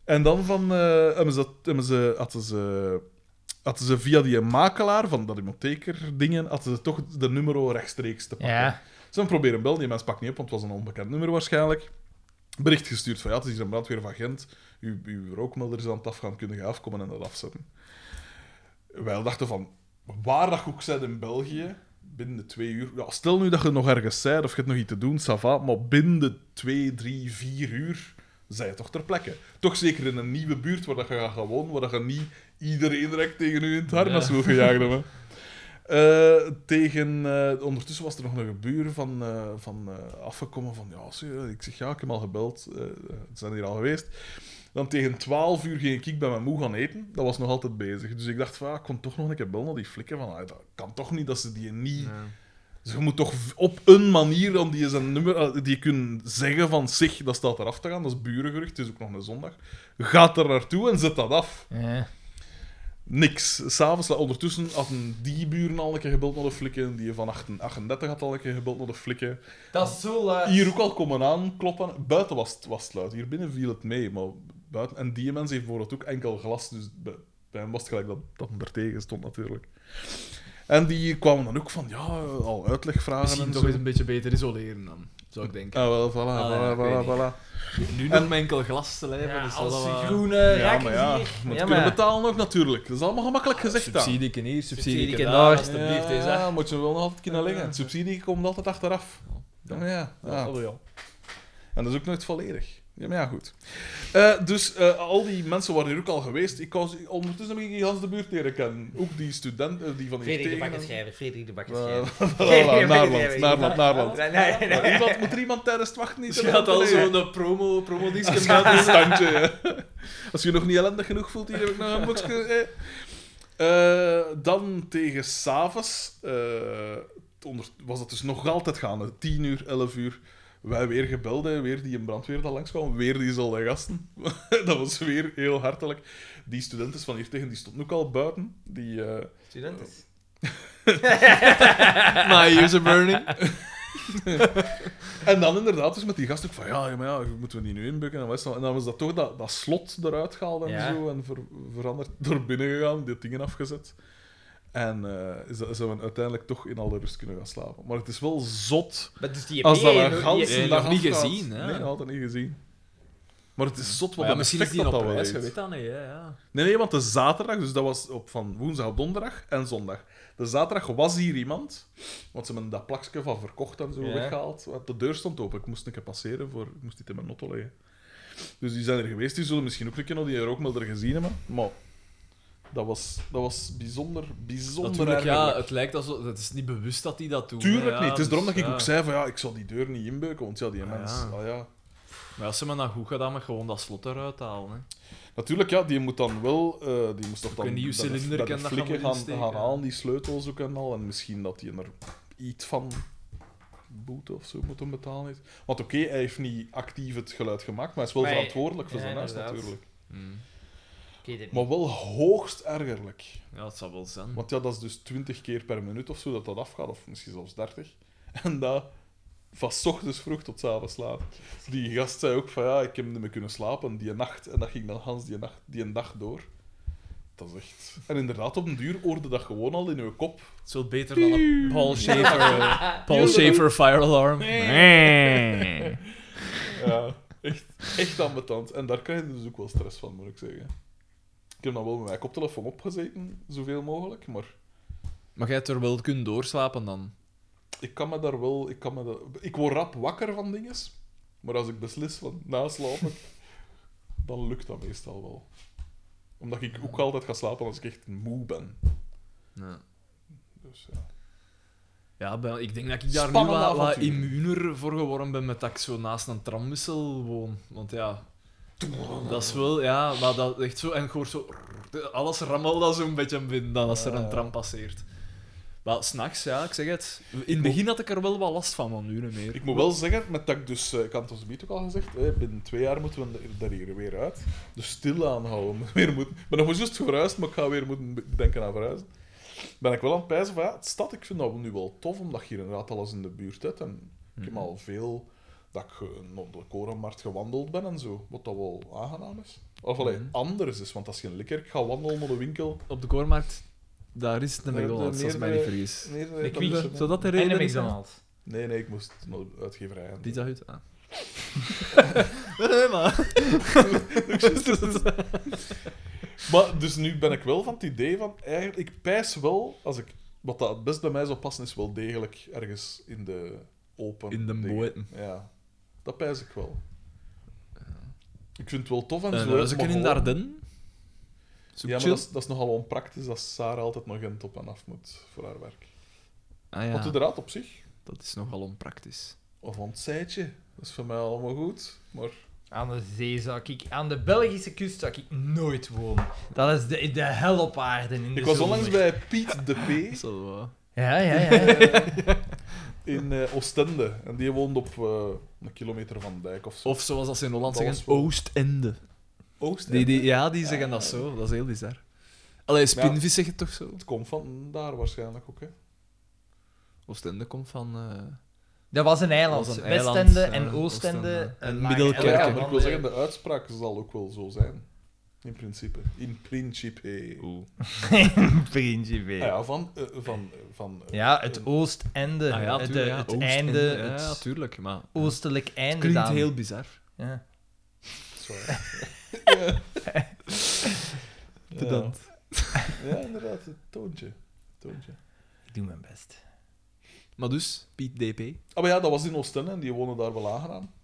S2: en dan van, eh, hebben ze, hebben ze, hadden ze... Hadden ze via die makelaar van dat hypotheker dingen, hadden ze toch de nummer rechtstreeks te pakken.
S1: Ja.
S2: Ze hebben proberen bellen, die mens pakt niet op, want het was een onbekend nummer waarschijnlijk. Bericht gestuurd van ja, het is hier een brandweer van Gent. Uw, uw rookmelder is aan het afgaan, kunnen je afkomen en dat afzetten. Wij dachten van, waar dat je ook zit in België, binnen de twee uur... Ja, stel nu dat je nog ergens bent of je hebt nog iets te doen, ça va, maar binnen de twee, drie, vier uur zij toch ter plekke. Toch zeker in een nieuwe buurt waar dat je gaat gaan wonen, waar dat je niet iedereen direct tegen u in het harnas
S3: Ja.
S2: wil gejaagd hebben. Eh, tegen, eh, ondertussen was er nog een buur van, eh, van eh, afgekomen van ja, zie, ik zeg ja, ik heb al gebeld, eh, eh, ze zijn hier al geweest. Dan tegen 12 uur ging ik bij mijn moe gaan eten. Dat was nog altijd bezig. Dus ik dacht van, ja, ik kon toch nog een keer bellen naar die flikken. Van, ah, dat kan toch niet dat ze die niet...
S3: Ja.
S2: Dus je moet toch v- op een manier dan die zijn nummer, eh, die kunnen zeggen van zich, dat staat eraf te gaan, dat is burengerucht, het is ook nog een zondag. Gaat er naartoe en zet dat af.
S1: Ja.
S2: Niks. S'avonds, eh, ondertussen hadden die buren al een keer gebeld naar de flikken, die van 8 en 38 had al een keer gebeld naar de flikken.
S3: Dat is zo laat.
S2: Hier ook al komen aan, kloppen. Buiten was het, was het luid, hier binnen viel het mee, maar buiten... En die mens heeft voor het ook enkel glas, dus bij, bij hem was het gelijk dat, dat hem er tegen stond natuurlijk. En die kwamen dan ook van, ja, al uitleg vragen
S3: Misschien
S2: en
S3: toch
S2: zo.
S3: eens een beetje beter isoleren dan, zou ik denken.
S2: Ah, wel, voilà,
S3: Ah, ja,
S2: voilà,
S3: ik
S2: voilà,
S3: weet niet.
S2: voilà.
S3: Nu
S2: En-
S3: nog mijn enkel glas te lijven, dus is wel eh,
S1: als die
S3: wat-
S1: groene
S2: Ja,
S1: rakkers
S2: maar ja,
S1: hier.
S2: je moet
S1: Ja,
S2: kunnen
S1: maar-
S2: betalen ook natuurlijk. Dat is allemaal gemakkelijk gezegd dan.
S3: Subsidieken hier, subsidieken
S1: Subsidieken
S3: daar,
S1: daar.
S3: alstublieft.
S2: ja,
S3: Is, hè.
S2: ja, moet je wel nog altijd kunnen leggen. Het subsidie komt altijd achteraf. Ja,
S3: Ja.
S2: maar ja, ja.
S3: Oh, Ja, ja.
S2: En dat is ook nooit volledig. Ja, maar ja, goed. Eh, dus eh, al die mensen waren hier ook al geweest. Ik was, ondertussen heb ik die Hans de buurt leren kennen. Ook die student, eh, die van hier
S1: Frederik de
S2: tegen-
S1: Bakkenschrijver, Frederik de
S2: Eh,
S1: Bakkenschrijver.
S2: voilà,
S1: Frederik de
S2: Naarland,
S1: Bakkenschrijver.
S2: Naarland, Naarland.
S1: Nee, nee, nee.
S2: Maar iemand- Moet er iemand tijdens het wachten niet
S3: Dus je
S2: te
S3: had al
S2: lang liggen?
S3: zo'n promo, promo
S2: Ik heb een standje, ja. Als je je nog niet ellendig genoeg voelt, hier heb ik nog een boxje. eh. Eh, dan tegen s'avonds eh, onder- was dat dus nog altijd gaande. 10 uur, 11 uur. Wij weer gebeld, hè, weer die in brandweer dat langskwam, weer diezelfde gasten. dat was weer heel hartelijk. Die student is van hier tegen, die stond ook al buiten. Die, eh,
S1: Student is.
S3: My ears are burning.
S2: En dan inderdaad dus met die gast ook van ja, ja, maar ja, moeten we die nu inbukken? En, wat is dat? en dan was dat toch dat, dat slot eruit gehaald en
S1: Ja.
S2: zo en ver- veranderd, door binnen gegaan, die dingen afgezet. En eh, is dat, zijn we uiteindelijk toch in alle rust kunnen gaan slapen. Maar het is wel zot
S1: Maar dus die EP
S2: als dat
S1: en-
S2: een
S1: die-
S3: die-
S2: ganse
S3: die-
S2: dag
S3: nog niet
S2: afgaat.
S3: gezien, hè?
S2: Nee, altijd niet gezien. Maar het is zot wat
S3: Maar ja,
S2: een
S3: misschien is
S2: effect
S3: die
S2: dat
S3: nog op
S2: dat wel
S3: reis, je
S2: heeft.
S3: weet dat niet. Hè? Ja.
S2: Nee, nee, want de zaterdag, dus dat was op van woensdag op donderdag en zondag. De zaterdag was hier iemand, want ze hebben dat plakje van verkocht en zo
S1: Ja.
S2: weggehaald. Want De deur stond open, ik moest een keer passeren, voor, ik moest dit in mijn auto leggen. Dus die zijn er geweest, die zullen misschien ook een keer nog die rookmelder gezien hebben. Maar dat was, dat was bijzonder, bijzonder
S3: Natuurlijk, ja,
S2: ergerlijk.
S3: het lijkt alsof... Het is niet bewust dat hij dat doet. hè,
S2: Tuurlijk
S3: ja,
S2: niet, het is
S3: dus,
S2: daarom dat ik
S3: ja.
S2: ook zei van ja, ik zal die deur niet inbeuken, want ja, die
S3: Ah,
S2: mens,
S3: ja.
S2: ah ja...
S3: Maar als ze me dan goed gedaan, maar gewoon dat slot eruit halen. Hè.
S2: Natuurlijk, ja, die moet dan wel... eh, die moest toch dan
S3: een nieuw
S2: bij de-
S3: cilinder
S2: bij
S3: kan
S2: de
S3: dat
S2: flikken
S3: gaan
S2: gaan,
S3: insteken,
S2: gaan
S3: ja.
S2: halen, die sleutels ook en al. En misschien dat die er iets van boete of zo moet om betalen. is. Want oké, hij heeft niet actief het geluid gemaakt, maar hij is wel
S1: Maar hij-
S2: verantwoordelijk voor
S1: ja,
S2: zijn huis
S1: inderdaad.
S2: natuurlijk.
S3: Hmm.
S1: Ik weet het niet.
S2: Maar wel hoogst ergerlijk.
S3: Ja, dat zal wel zijn.
S2: Want ja, dat is dus 20 keer per minuut of zo dat dat afgaat, of misschien zelfs 30. En dat van 's ochtends vroeg tot 's avonds laat. Die gast zei ook van ja, ik heb niet meer kunnen slapen die nacht. En dat ging dan gans die, nacht, die een dag door. Dat is echt. En inderdaad, op een duur hoorde dat gewoon al in uw kop.
S3: Het is wel beter dan een Paul Schaefer, eh, Paul
S2: Tuurlijk.
S3: Schaefer fire alarm.
S2: Ja, echt, echt ambetant. En daar krijg je dus ook wel stress van, moet ik zeggen. Ik heb dan wel met mijn koptelefoon opgezeten, zoveel mogelijk. Maar
S3: Maar jij hebt er wel kunnen doorslapen dan.
S2: ik kan me daar wel. Ik, kan me daar, ik word rap wakker van dingen. Maar als ik beslis van naslapen, dan lukt dat meestal wel. Omdat ik ook altijd ga slapen als ik echt moe ben.
S3: Ja.
S2: Dus ja.
S3: Ja, ben- ik denk dat ik daar
S2: Spannende
S3: nu wat, wat
S2: avontuur.
S3: immuuner voor geworden ben met dat ik zo naast een tramwissel woon. Want ja, dat is wel, ja, maar dat echt zo. En ik hoor zo, alles rammelt dat zo'n beetje binnen dan als er een tram passeert. Maar s'nachts, ja, ik zeg het. In het begin had ik er wel wat last van, maar nu niet meer.
S2: Ik moet wel zeggen, met dat ik dus, eh, ik had het ons meet ook al gezegd, hè, binnen twee jaar moeten we er- daar hier weer uit. Dus stil aanhouden. Weer moeten, ik ben nog maar juist verhuisd, maar ik ga weer moeten be- denken aan verhuizen. Ben ik wel aan het pijzen van, ja, het stad, ik vind dat nu wel tof, omdat je hier inderdaad alles in de buurt hebt. En ik heb al veel dat ik eh, op de korenmarkt gewandeld ben en zo, wat dat wel aangenaam is. Of alleen
S3: Mhm.
S2: anders is, want als je in Likkerk gaat wandelen naar de winkel...
S3: Op de koormarkt, daar is de
S2: Daar heb je
S3: McDonald's, als ik mij niet
S2: meerdere-
S3: vergis.
S2: Nee,
S1: De
S2: nee,
S1: Quick.
S2: dat is-
S3: Zou dat de
S1: En
S3: reden
S1: de
S3: is?
S1: McDonald's.
S2: nee, nee, ik moest naar de uitgeverij. en-
S3: Pizza Hut, ah. nee, nee, maar...
S2: Maar dus nu ben ik wel van het idee van, eigenlijk, ik pijs wel, als ik, wat dat het best bij mij zou passen, is wel degelijk ergens in de open.
S3: In de
S2: dingen.
S3: boten.
S2: Ja, dat pijs ik wel. Ik vind het wel tof en
S3: En
S2: zo.
S3: dat Eh, is ook
S2: maar
S3: in
S2: gewoon-
S3: Darden. Zo
S2: Ja, maar
S3: chill.
S2: dat is, dat is nogal onpraktisch dat Sarah altijd nog Gent op en af moet voor haar werk.
S3: Ah ja,
S2: Want inderdaad, op zich,
S3: dat is nogal onpraktisch.
S2: of een zijtje, dat is voor mij allemaal goed. Maar
S1: Aan de zee zou ik... Aan de Belgische kust zou ik nooit wonen. Dat is de, de hel op aarde. In de
S2: ik was
S1: zomer.
S2: onlangs bij Piet de P.
S3: Is wel eh, waar.
S1: Ja, ja, ja.
S2: in eh, Oostende. En die woont op eh, een kilometer van de dijk of zo.
S3: Of zoals dat ze in Holland
S2: Dat
S3: zeggen,
S2: was wel-
S3: Oostende.
S2: Oostende.
S3: Die, die, ja, die zeggen dat zo. Dat is heel bizar. Allee, Spinvis zegt het toch zo?
S2: Het komt van daar waarschijnlijk ook, hè?
S3: Oostende komt van... eh,
S1: Dat was een
S3: Dat
S1: eiland.
S3: was een
S1: Westende
S3: eiland,
S1: en
S3: ja,
S1: Oostende.
S3: Oostende.
S1: eh,
S3: En
S1: lagen
S2: Ja,
S3: Middelkerken.
S1: elkaar
S2: maar ik
S1: van
S2: wil zeggen,
S1: de-
S2: de uitspraak zal ook wel zo zijn. In principe. In principe.
S1: Vriendje weer.
S2: Ah ja, van... eh, van, van eh,
S1: Ja, het oostende.
S3: ah ja,
S1: het,
S3: tuurlijk,
S1: eh,
S3: ja,
S1: het
S3: Oostende,
S1: einde.
S3: Ja,
S1: het
S3: ja, tuurlijk, maar...
S1: oostelijk einde.
S3: Het klinkt
S1: dan.
S3: heel bizar.
S1: Ja.
S2: sorry. ja.
S3: Bedankt.
S2: Ja, inderdaad. Het toontje. Het toontje.
S1: Ik doe mijn best.
S3: Maar dus, Piet DP.
S2: Ah, maar ja, dat was in Oostende en die wonen daar wel aangenaam.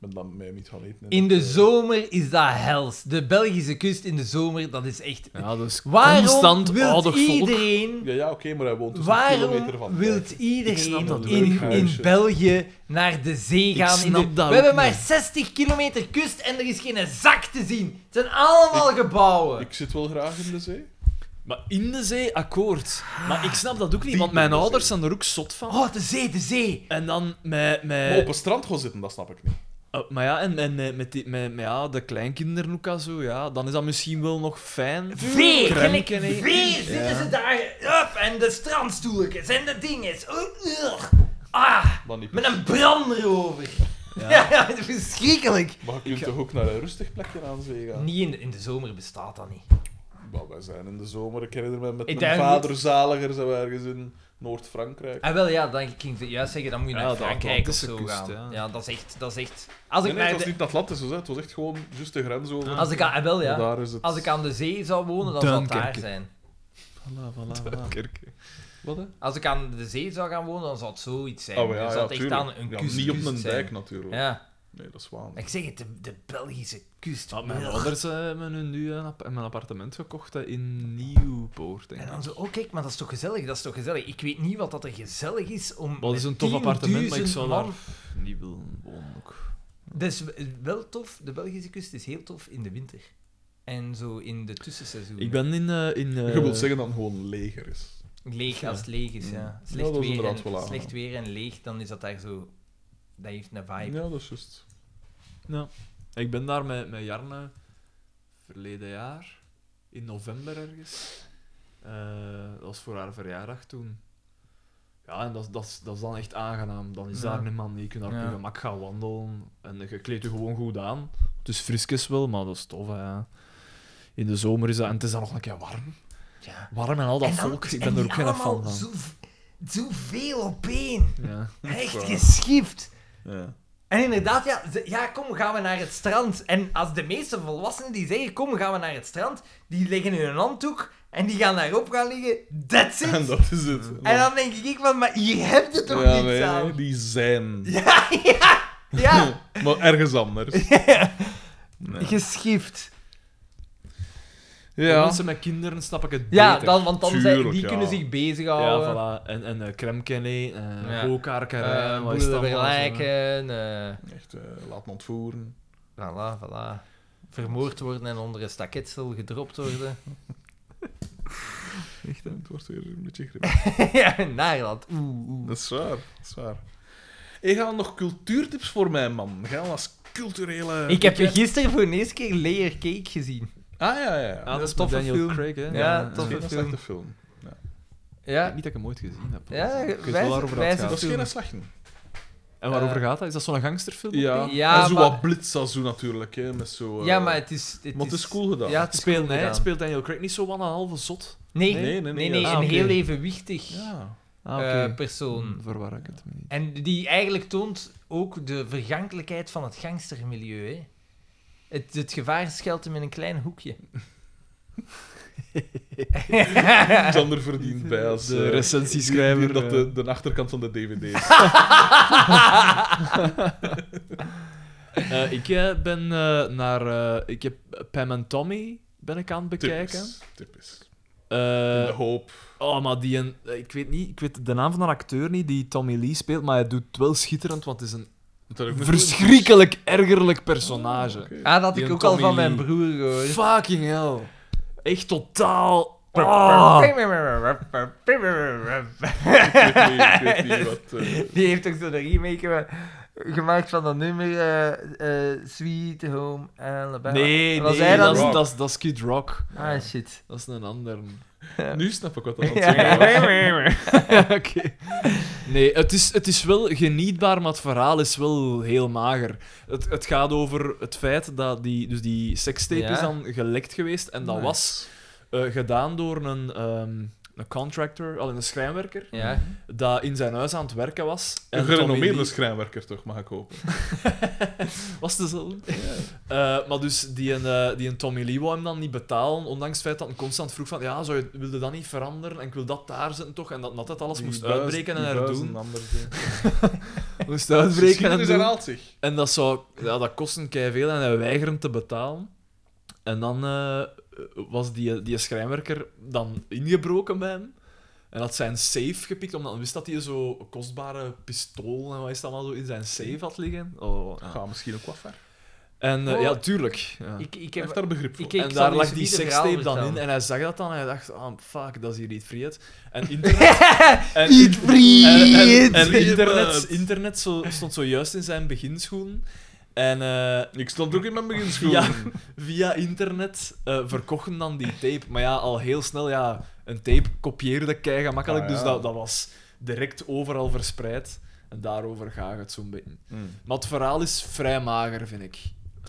S2: Ik ben dan mee niet gaan eten.
S1: In
S2: het,
S1: de
S2: eh,
S1: zomer is dat hels. De Belgische kust in de zomer, dat is echt.
S3: Ja, dus
S1: Waarom
S3: constant
S1: wilt
S3: ouder volk.
S1: iedereen.
S2: Ja, ja oké, maar hij woont dus een kilometer
S1: Waarom
S2: van
S1: wilt
S3: Ik snap
S1: iedereen
S3: dat
S1: in,
S2: ook.
S1: in België naar de zee gaan? in de-
S3: snap dat
S1: We
S3: ook
S1: hebben maar
S3: niet.
S1: 60 kilometer kust en er is geen zak te zien. Het zijn allemaal gebouwen. Eh.
S2: Ik zit wel graag in de zee.
S3: Maar in de zee, akkoord. Maar ik snap dat ook niet,
S2: Diep
S3: want
S2: in
S3: mijn
S2: de
S3: ouders zijn er ook zot van.
S1: Oh, de zee, de zee!
S3: En dan met... met...
S2: Maar op een strand gaan zitten, dat snap ik niet.
S3: Eh, maar ja, en, en met, met, die- met, met ja, de kleinkinderen ook al zo, ja, dan is dat misschien wel nog fijn.
S1: Vee, gelijk
S3: Kremken, hè.
S1: vee, zitten
S3: Ja.
S1: ze daar. Up, en de strandstoeltjes en de dinges. Oh, ugh. Ah,
S2: Dan niet.
S1: met een brander over. Ja,
S3: Ja.
S1: ja, dat is verschrikkelijk.
S2: Maar je kunt toch ook naar een rustig plekje aan zee gaan?
S1: Niet in de, in de zomer bestaat dat niet.
S2: Maar wij zijn in de zomer, ik herinner me met
S1: Ik
S2: mijn
S1: denk
S2: vader zaliger zijn we ergens in Noord-Frankrijk.
S1: Ah, wel ja, dan ging ik juist zeggen, dan moet je
S3: Ja,
S1: naar
S3: de
S1: Frankrijk of
S3: Atlantische
S1: zo
S3: kust,
S1: gaan. Ja.
S3: ja.
S1: dat is echt, dat is echt... Als ik,
S2: Nee, nee, het
S1: naar
S2: was
S1: de,
S2: niet in het Atlantis, dus, hè. het was echt gewoon juist de grens over.
S1: als ik, aan, ah, wel,
S2: Maar
S1: ja.
S2: Daar is het.
S1: als ik aan de zee zou wonen, dan zou het daar
S3: Duinkerke.
S1: zijn.
S3: Voilà, voilà, voilà.
S2: Wat, hè?
S1: Als ik aan de zee zou gaan wonen, dan zou het zoiets zijn.
S2: Oh, ja,
S1: dus
S2: ja,
S1: dat het echt
S2: tuurlijk.
S1: aan een
S2: Ja,
S1: kust,
S2: Niet op
S1: kust
S2: een
S1: zijn.
S2: dijk, natuurlijk.
S1: Ja,
S2: Nee, dat is waanzin.
S1: ik zeg het, de, de Belgische kust.
S3: Maar mijn
S1: Ugh.
S3: ouders eh, hebben hun nu een, app- mijn appartement gekocht hè, in Nieuwpoort, denk
S1: En
S3: ik.
S1: dan zo, oh kijk, maar dat is toch gezellig, dat is toch gezellig. Ik weet niet wat dat er gezellig is om
S3: Wel, het is
S1: met
S3: een tof appartement, maar ik
S1: 10.000
S3: zou
S1: man-
S3: daar niet willen wonen ook.
S1: Dat is wel tof, de Belgische kust is heel tof in de winter. En zo in de tussenseizoen.
S3: Ik ben in... eh, in eh,
S2: Je wilt zeggen dat het gewoon leger is.
S1: Leeg, als het leeg is, ja.
S2: Mm. Ja,
S1: Slecht,
S2: dat is
S1: weer
S2: inderdaad
S1: en,
S2: wel aan,
S1: slecht
S2: ja.
S1: weer en leeg, dan is dat daar zo... Dat heeft een vibe.
S2: Ja, dat is juist.
S3: Ja. Ik ben daar met, met Jarne verleden jaar, in november ergens. Eh, dat was voor haar verjaardag toen. Ja, en dat, is- dat, is- dat is dan echt aangenaam. Dan is
S1: Ja.
S3: daar niemand. Je kunt daar op
S1: Ja.
S3: je gemak gaan wandelen. En je kleedt je gewoon goed aan. Het is frisjes wel, maar dat is tof. Hè. In de zomer is dat... En het is dan nog een keer warm.
S1: Ja.
S3: Warm en al dat
S1: En dan-
S3: volk. Ik
S1: en
S3: ben er
S1: die
S3: ook geen fan
S1: allemaal
S3: van.
S1: Zo, zoveel op één.
S3: Ja.
S1: Echt
S2: Waar.
S1: geschift.
S2: Ja.
S1: En inderdaad, ja, ze- ja, kom, gaan we naar het strand. En als de meeste volwassenen die zeggen, kom, gaan we naar het strand, die leggen hun handdoek en die gaan daarop gaan liggen. That's it.
S2: En
S1: En,
S2: dat is het.
S1: dan denk ik van, maar hier heb je toch
S2: Ja,
S1: niets
S2: nee,
S1: aan?
S2: die zijn.
S1: Ja, ja, ja.
S2: maar ergens anders. Nee.
S1: Geschift.
S3: Voor
S2: Ja.
S3: Mensen met kinderen snap ik het
S1: Ja,
S3: beter.
S1: dan, want dan zijn,
S2: Tuurlijk,
S1: die
S2: ja.
S1: kunnen zich
S3: Ja,
S1: bezighouden.
S3: voilà. En, en eh Kremkenny, eh
S1: Ja.
S3: Gookarkerij,
S1: Eh,
S3: wat is dat
S1: boeren
S3: allemaal zo?
S1: vergelijken. eh,
S2: Echt, eh, laat me ontvoeren.
S1: voilà, voilà. Vermoord worden en onder een staketsel gedropt worden.
S2: Echt, hè? Het wordt weer een beetje grimmig.
S1: ja, in Nederland. Oeh, oeh.
S2: dat is waar. Dat is waar. Hey, gaan nog cultuurtips voor mij, man? Gaan we als culturele...
S1: Ik heb gisteren voor de eerste keer Layer Cake gezien.
S2: Ah, ja, ja. ja.
S3: Ah, dat is
S1: een
S3: met
S1: toffe
S3: Daniel
S1: film.
S3: Craig, hè?
S1: Ja,
S2: dat
S1: toffe
S2: is
S3: Ik
S2: geen
S1: film.
S2: slechte film.
S3: weet
S1: Ja,
S3: niet dat ik hem ooit gezien heb.
S1: Ja,
S3: Ik weet
S1: wij-
S3: wel waarover
S1: wij
S3: dat
S1: zijn
S2: Dat
S3: gaat.
S2: is geen slechte.
S3: En waarover
S1: Eh,
S3: gaat dat? Is dat zo'n gangsterfilm?
S2: Ja.
S1: Ja,
S2: en zo
S1: maar-
S2: wat blitz als zo natuurlijk, hè. Met zo... eh,
S1: ja maar het is... Het
S2: maar het is cool gedaan.
S1: Ja, het is cool
S3: Speelt, nee,
S1: gedaan.
S3: speelt Daniel Craig niet zo wat een halve zot?
S1: Nee,
S2: Nee,
S1: nee,
S2: nee,
S1: nee,
S2: nee,
S1: een
S2: ja.
S3: Ah, oké.
S1: heel evenwichtig
S2: Ja.
S3: Ah, Hmm.
S1: eh,
S3: Dan
S1: persoon.
S3: Verwar ik het me niet.
S1: En die eigenlijk toont ook de vergankelijkheid van het gangstermilieu. Hè. Het, het gevaar schuilt hem in een klein hoekje.
S2: Xander verdient bij als...
S3: De
S2: eh,
S3: recensieschrijver,
S2: die- die- Dat
S3: eh.
S2: de, de achterkant van de dvd is.
S3: Eh, ik eh, ben eh, naar... eh, ik heb Pam en Tommy ben ik aan het bekijken.
S2: Typisch. Typisch.
S3: Eh,
S2: In de hoop.
S3: Oh, maar die... Een, eh, ik weet niet... Ik weet de naam van de acteur niet die Tommy Lee speelt, maar hij doet het wel schitterend, want het is een
S2: Dat er ook nog-
S3: verschrikkelijk ergerlijk personage.
S2: Oké.
S1: Ah, dat had
S3: Die
S1: ik
S3: een
S1: ook al
S3: Tommy
S1: van mijn
S3: Lee.
S1: broer gehoord.
S3: Fucking hell. Echt totaal.
S1: Oh.
S3: Ah.
S2: Ik weet niet, ik weet niet wat... eh,
S1: Die heeft ook zo'n remake eh, gemaakt van dat nummer eh, eh, Sweet Home Alabama.
S3: Nee,
S1: Was
S3: nee,
S1: hij
S3: dat,
S1: dat
S3: is,
S2: niet?
S3: dat, is, dat is Kid Rock.
S1: Ah, shit.
S3: Dat is een ander.
S2: eh, Nu snap ik wat dat aan het zeggen was.
S1: Ja.
S3: Oké. Nee, het is, het is wel genietbaar, maar het verhaal is wel heel mager. Het, het gaat over het feit dat die, dus die sekstape
S1: Ja.
S3: is dan gelekt geweest. En dat
S2: Nice.
S3: was eh, gedaan door een, ehm, een contractor, al een schrijnwerker,
S1: ja.
S3: dat in zijn huis aan het werken was.
S2: Een dus.
S3: Tommy
S2: gerenommeerde
S3: Lee-
S2: schrijnwerker, toch, mag ik hopen.
S3: Was het zo? Eh, maar dus die, een, eh, die een Tommy Lee wou hem dan niet betalen, ondanks het feit dat hij constant vroeg van ja, zou je, wil je dat niet veranderen en ik wil dat daar zitten toch? En dat dat het alles
S2: Die
S3: moest
S2: buis-
S3: uitbreken en
S2: die buis
S3: herdoen.
S2: anders, hè.
S3: Moest uitbreken en
S2: Geschiedenis
S3: doen.
S2: herhaalt zich.
S3: En dat, zou, ja, dat kostte veel en hij weigerde te betalen. En dan eh, was die, die schrijnwerker dan ingebroken bij hem. En had zijn safe gepikt, omdat hij wist dat hij zo
S1: Ah.
S3: kostbare pistool en wat is dat allemaal zo in zijn safe had liggen. Oh, ja.
S2: Ga misschien ook wat ver.
S3: En eh,
S1: Oh.
S3: ja, tuurlijk. Ja.
S1: Ik, ik
S2: Hij
S1: heb...
S2: heeft daar begrip voor.
S1: ik- ik
S3: en
S1: zal
S3: daar
S1: u
S3: lag
S1: zo
S3: die
S1: niet een verhaal
S3: sekstape dan in.
S1: vertellen.
S3: En hij zag dat dan en hij dacht, ah, fuck, dat is hier niet vreed. En internet... en,
S1: Eat
S3: en, en,
S1: breed!
S3: en
S2: Vreed.
S3: internet, internet zo, stond zojuist in zijn beginschoenen. En eh,
S2: Ik stond ook in mijn beginschool.
S3: Ja. via internet eh, verkochten dan die tape. Maar ja, al heel snel, ja, een tape kopieerde kei gemakkelijk.
S2: Ah, ja.
S3: Dus dat, dat was direct overal verspreid. En daarover gaat het zo'n beetje.
S2: Mm.
S3: Maar het verhaal is vrij mager, vind ik.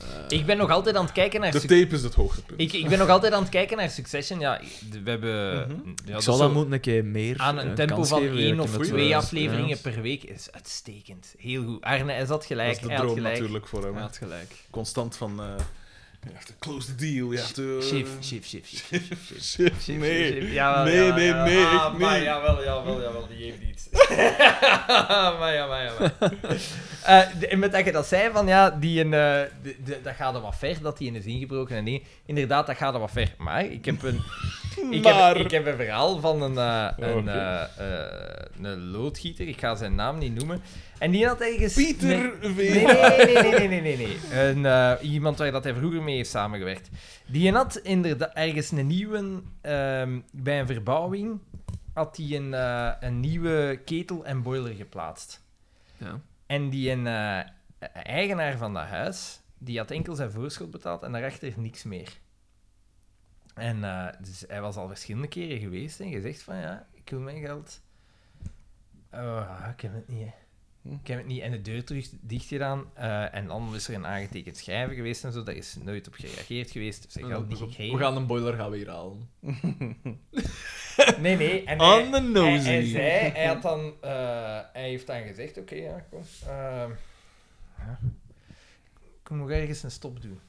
S3: Eh,
S1: Ik ben nog altijd aan het kijken naar...
S2: De
S1: Suc-
S2: tape is het hoogtepunt.
S1: Ik, ik ben nog altijd aan het kijken naar Succession. Ja, we hebben...
S2: Mhm.
S1: ja,
S3: ik
S1: dat
S3: zal
S1: is
S3: dat
S1: zo-
S3: moeten een keer meer
S1: aan een
S3: eh,
S1: tempo
S3: kans
S1: van
S3: geven,
S1: één
S3: werken
S1: of
S3: met,
S1: twee
S3: eh,
S1: afleveringen
S3: ja.
S1: per week is uitstekend. Heel goed. Arne, hij zat
S2: dat
S1: gelijk.
S2: is de
S1: hij had
S2: droom
S1: gelijk.
S2: natuurlijk voor hem.
S3: Ja,
S2: hè.
S3: het gelijk.
S2: Constant van... eh je hebt to close the deal. Je hebt to...
S1: Chief, chief, chief, chief, chief, chief.
S2: Shit,
S1: Chief,
S2: Eh, nee.
S1: chief, chief. Jawel,
S2: Nee,
S1: jawel,
S2: nee,
S1: jawel.
S2: nee,
S1: Ah,
S2: echt
S1: Maar
S2: niet.
S1: jawel, jawel, jawel, die heeft iets. maar ja, maar ja, maar. Eh, de- en met dat je dat zei, van ja, die een, eh, de- de- dat gaat er wat ver, dat die in is ingebroken en dingen. Inderdaad, dat gaat er wat ver. Maar ik heb een, ik
S2: Maar-
S1: heb, ik heb een verhaal van een, eh, een,
S2: Oké.
S1: eh, eh, een loodgieter, ik ga zijn naam niet noemen. En die had ergens... Nee.
S2: Pieter V.
S1: Nee, nee, nee, nee, nee, nee, nee, nee. Een, eh, iemand waar dat hij vroeger mee heeft samengewerkt. Die had inderdaad ergens een nieuwe, ehm, bij een verbouwing, had hij een, eh, een nieuwe ketel en boiler geplaatst.
S3: Ja.
S1: En die een, eh, eigenaar van dat huis, die had enkel zijn voorschot betaald en daarachter niks meer. En eh, dus hij was al verschillende keren geweest en gezegd van ja, ik wil mijn geld. Oh, ik heb het niet. hè. Ik heb het niet. En de deur terug dicht gedaan. eh, en dan is er een aangetekend schrijven geweest en zo. Daar is nooit op gereageerd geweest. Dus zijn geld niet
S3: We
S1: gekregen.
S3: gaan een boiler gaan we hier halen.
S1: Nee, nee.
S2: Oh,
S1: En hij,
S3: On the
S1: hij,
S3: nosy.
S1: hij zei, hij, had dan, eh, hij heeft dan gezegd, oké, ja, kom. ehm, ja. Ik moet nog ergens een stop doen.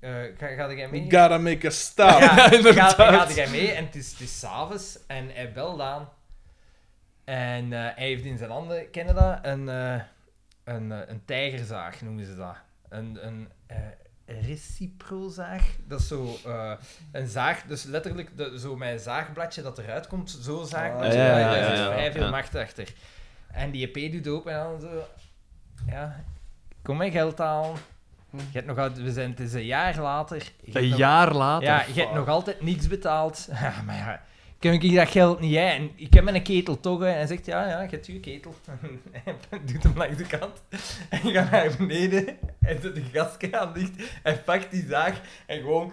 S1: Eh, ga, ga jij mee?
S2: Gotta make a stop.
S1: Ja,
S3: inderdaad.
S1: Ga, gaat jij mee en het is, het is s'avonds en hij belt aan. En eh, hij heeft in zijn handen, kennen dat, een, eh, een, eh, een tijgerzaag noemen ze dat. Een, een eh, reciprozaag. Dat is zo eh, een zaag, dus letterlijk de, zo mijn zaagbladje dat eruit komt, zo zaag. Dus
S2: Ah,
S1: maar zo,
S3: ja, ja,
S1: daar
S3: ja,
S1: zit
S3: ja,
S1: vrij veel
S3: ja.
S1: macht achter. En die EP doet open en dan zo... Ja, kom mijn geld halen. Je hebt nog, al- we zijn, het is een jaar later. Je hebt
S3: Een
S1: nog-
S3: jaar later.
S1: ja, je hebt nog altijd niets betaald. Ja, maar ja, kan ik dat geld niet, hè? En ik heb mijn ketel toch, hè? En hij zegt, ja, ja, je hebt je ketel. En doet hem langs de kant. En gaat naar beneden. En zet de gaskraan dicht. En pakt die zaag. En gewoon...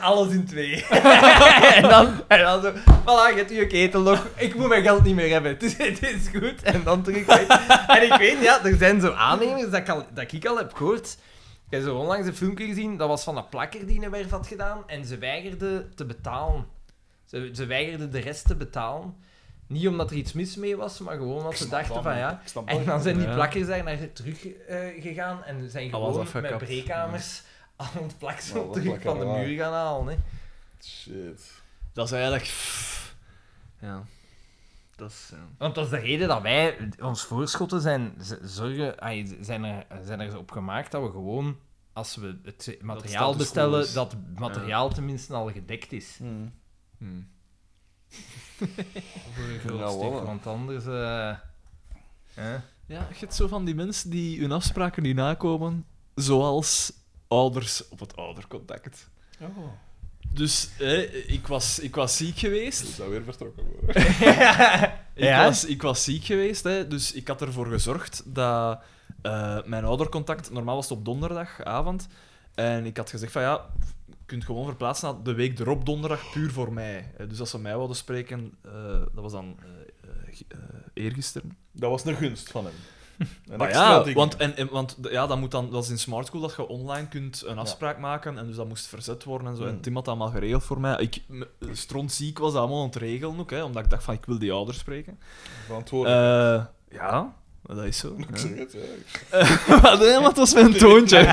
S1: Alles in twee. en, dan, en dan zo... Voilà, je hebt je ketel nog. Ik moet mijn geld niet meer hebben. Het is, het is goed. En dan terug weg. En ik weet, ja, er zijn zo aannemers dat ik al, dat ik al heb gehoord... Ik heb zo onlangs een filmpje gezien, dat was van een plakker die een werf had gedaan en ze weigerde te betalen. Ze, ze weigerde de rest te betalen. Niet omdat er iets mis mee was, maar gewoon omdat ze dachten van ja. En dan zijn die
S3: Ja.
S1: plakkers daar naar terug eh, gegaan en zijn
S3: Alles
S1: gewoon met
S3: afgekapt.
S1: breekkamers al het
S2: Ja,
S1: plaksel
S2: dat
S1: terug
S2: plakken
S1: van de
S2: we
S1: muur gaan halen. Hè.
S2: Shit.
S3: Dat is eigenlijk... Ja. Dat is... ja.
S1: Want dat is de reden dat wij, ons voorschotten zijn, z- zorgen, ai, zijn, er, zijn er op gemaakt dat we gewoon, als we het materiaal
S3: status quo is.
S1: bestellen, dat materiaal tenminste al gedekt is.
S3: Hm.
S1: Voor een groot
S2: Nou,
S1: stuk,
S2: voilà.
S1: want anders... eh, hè?
S3: Ja, je hebt zo van die mensen die hun afspraken niet nakomen, zoals ouders op het oudercontact.
S2: Oh.
S3: Dus hè, ik, was, ik was ziek
S2: Dat
S3: geweest.
S2: zou weer vertrokken worden.
S3: Ik,
S1: Ja?
S3: was, ik was ziek geweest, hè, dus ik had ervoor gezorgd dat eh, mijn oudercontact, normaal was het op donderdagavond, en ik had gezegd van ja, je kunt gewoon verplaatsen naar de week erop donderdag puur voor mij. Eh, Dus als ze mij wilden spreken, eh, dat was dan eh, eh, gi- eh, eergisteren.
S2: Dat was een gunst van hem. Een
S3: Maar
S2: extra
S3: ja,
S2: ding.
S3: want, en, en- want d- ja, dat, moet dan, dat is in Smart School dat je online kunt een afspraak maken en dus dat moest verzet worden en zo. En
S2: Hmm.
S3: Tim had dat allemaal geregeld voor mij. Ik, m- strontziek was dat allemaal aan het regelen ook, hè, omdat ik dacht van ik wil die ouders spreken.
S2: Verantwoordelijk.
S3: Eh, ja, dat is zo.
S2: Oh, Ik zeg
S1: eh,
S2: het, ja.
S3: Ja. Wat, hè, want dat is mijn toontje.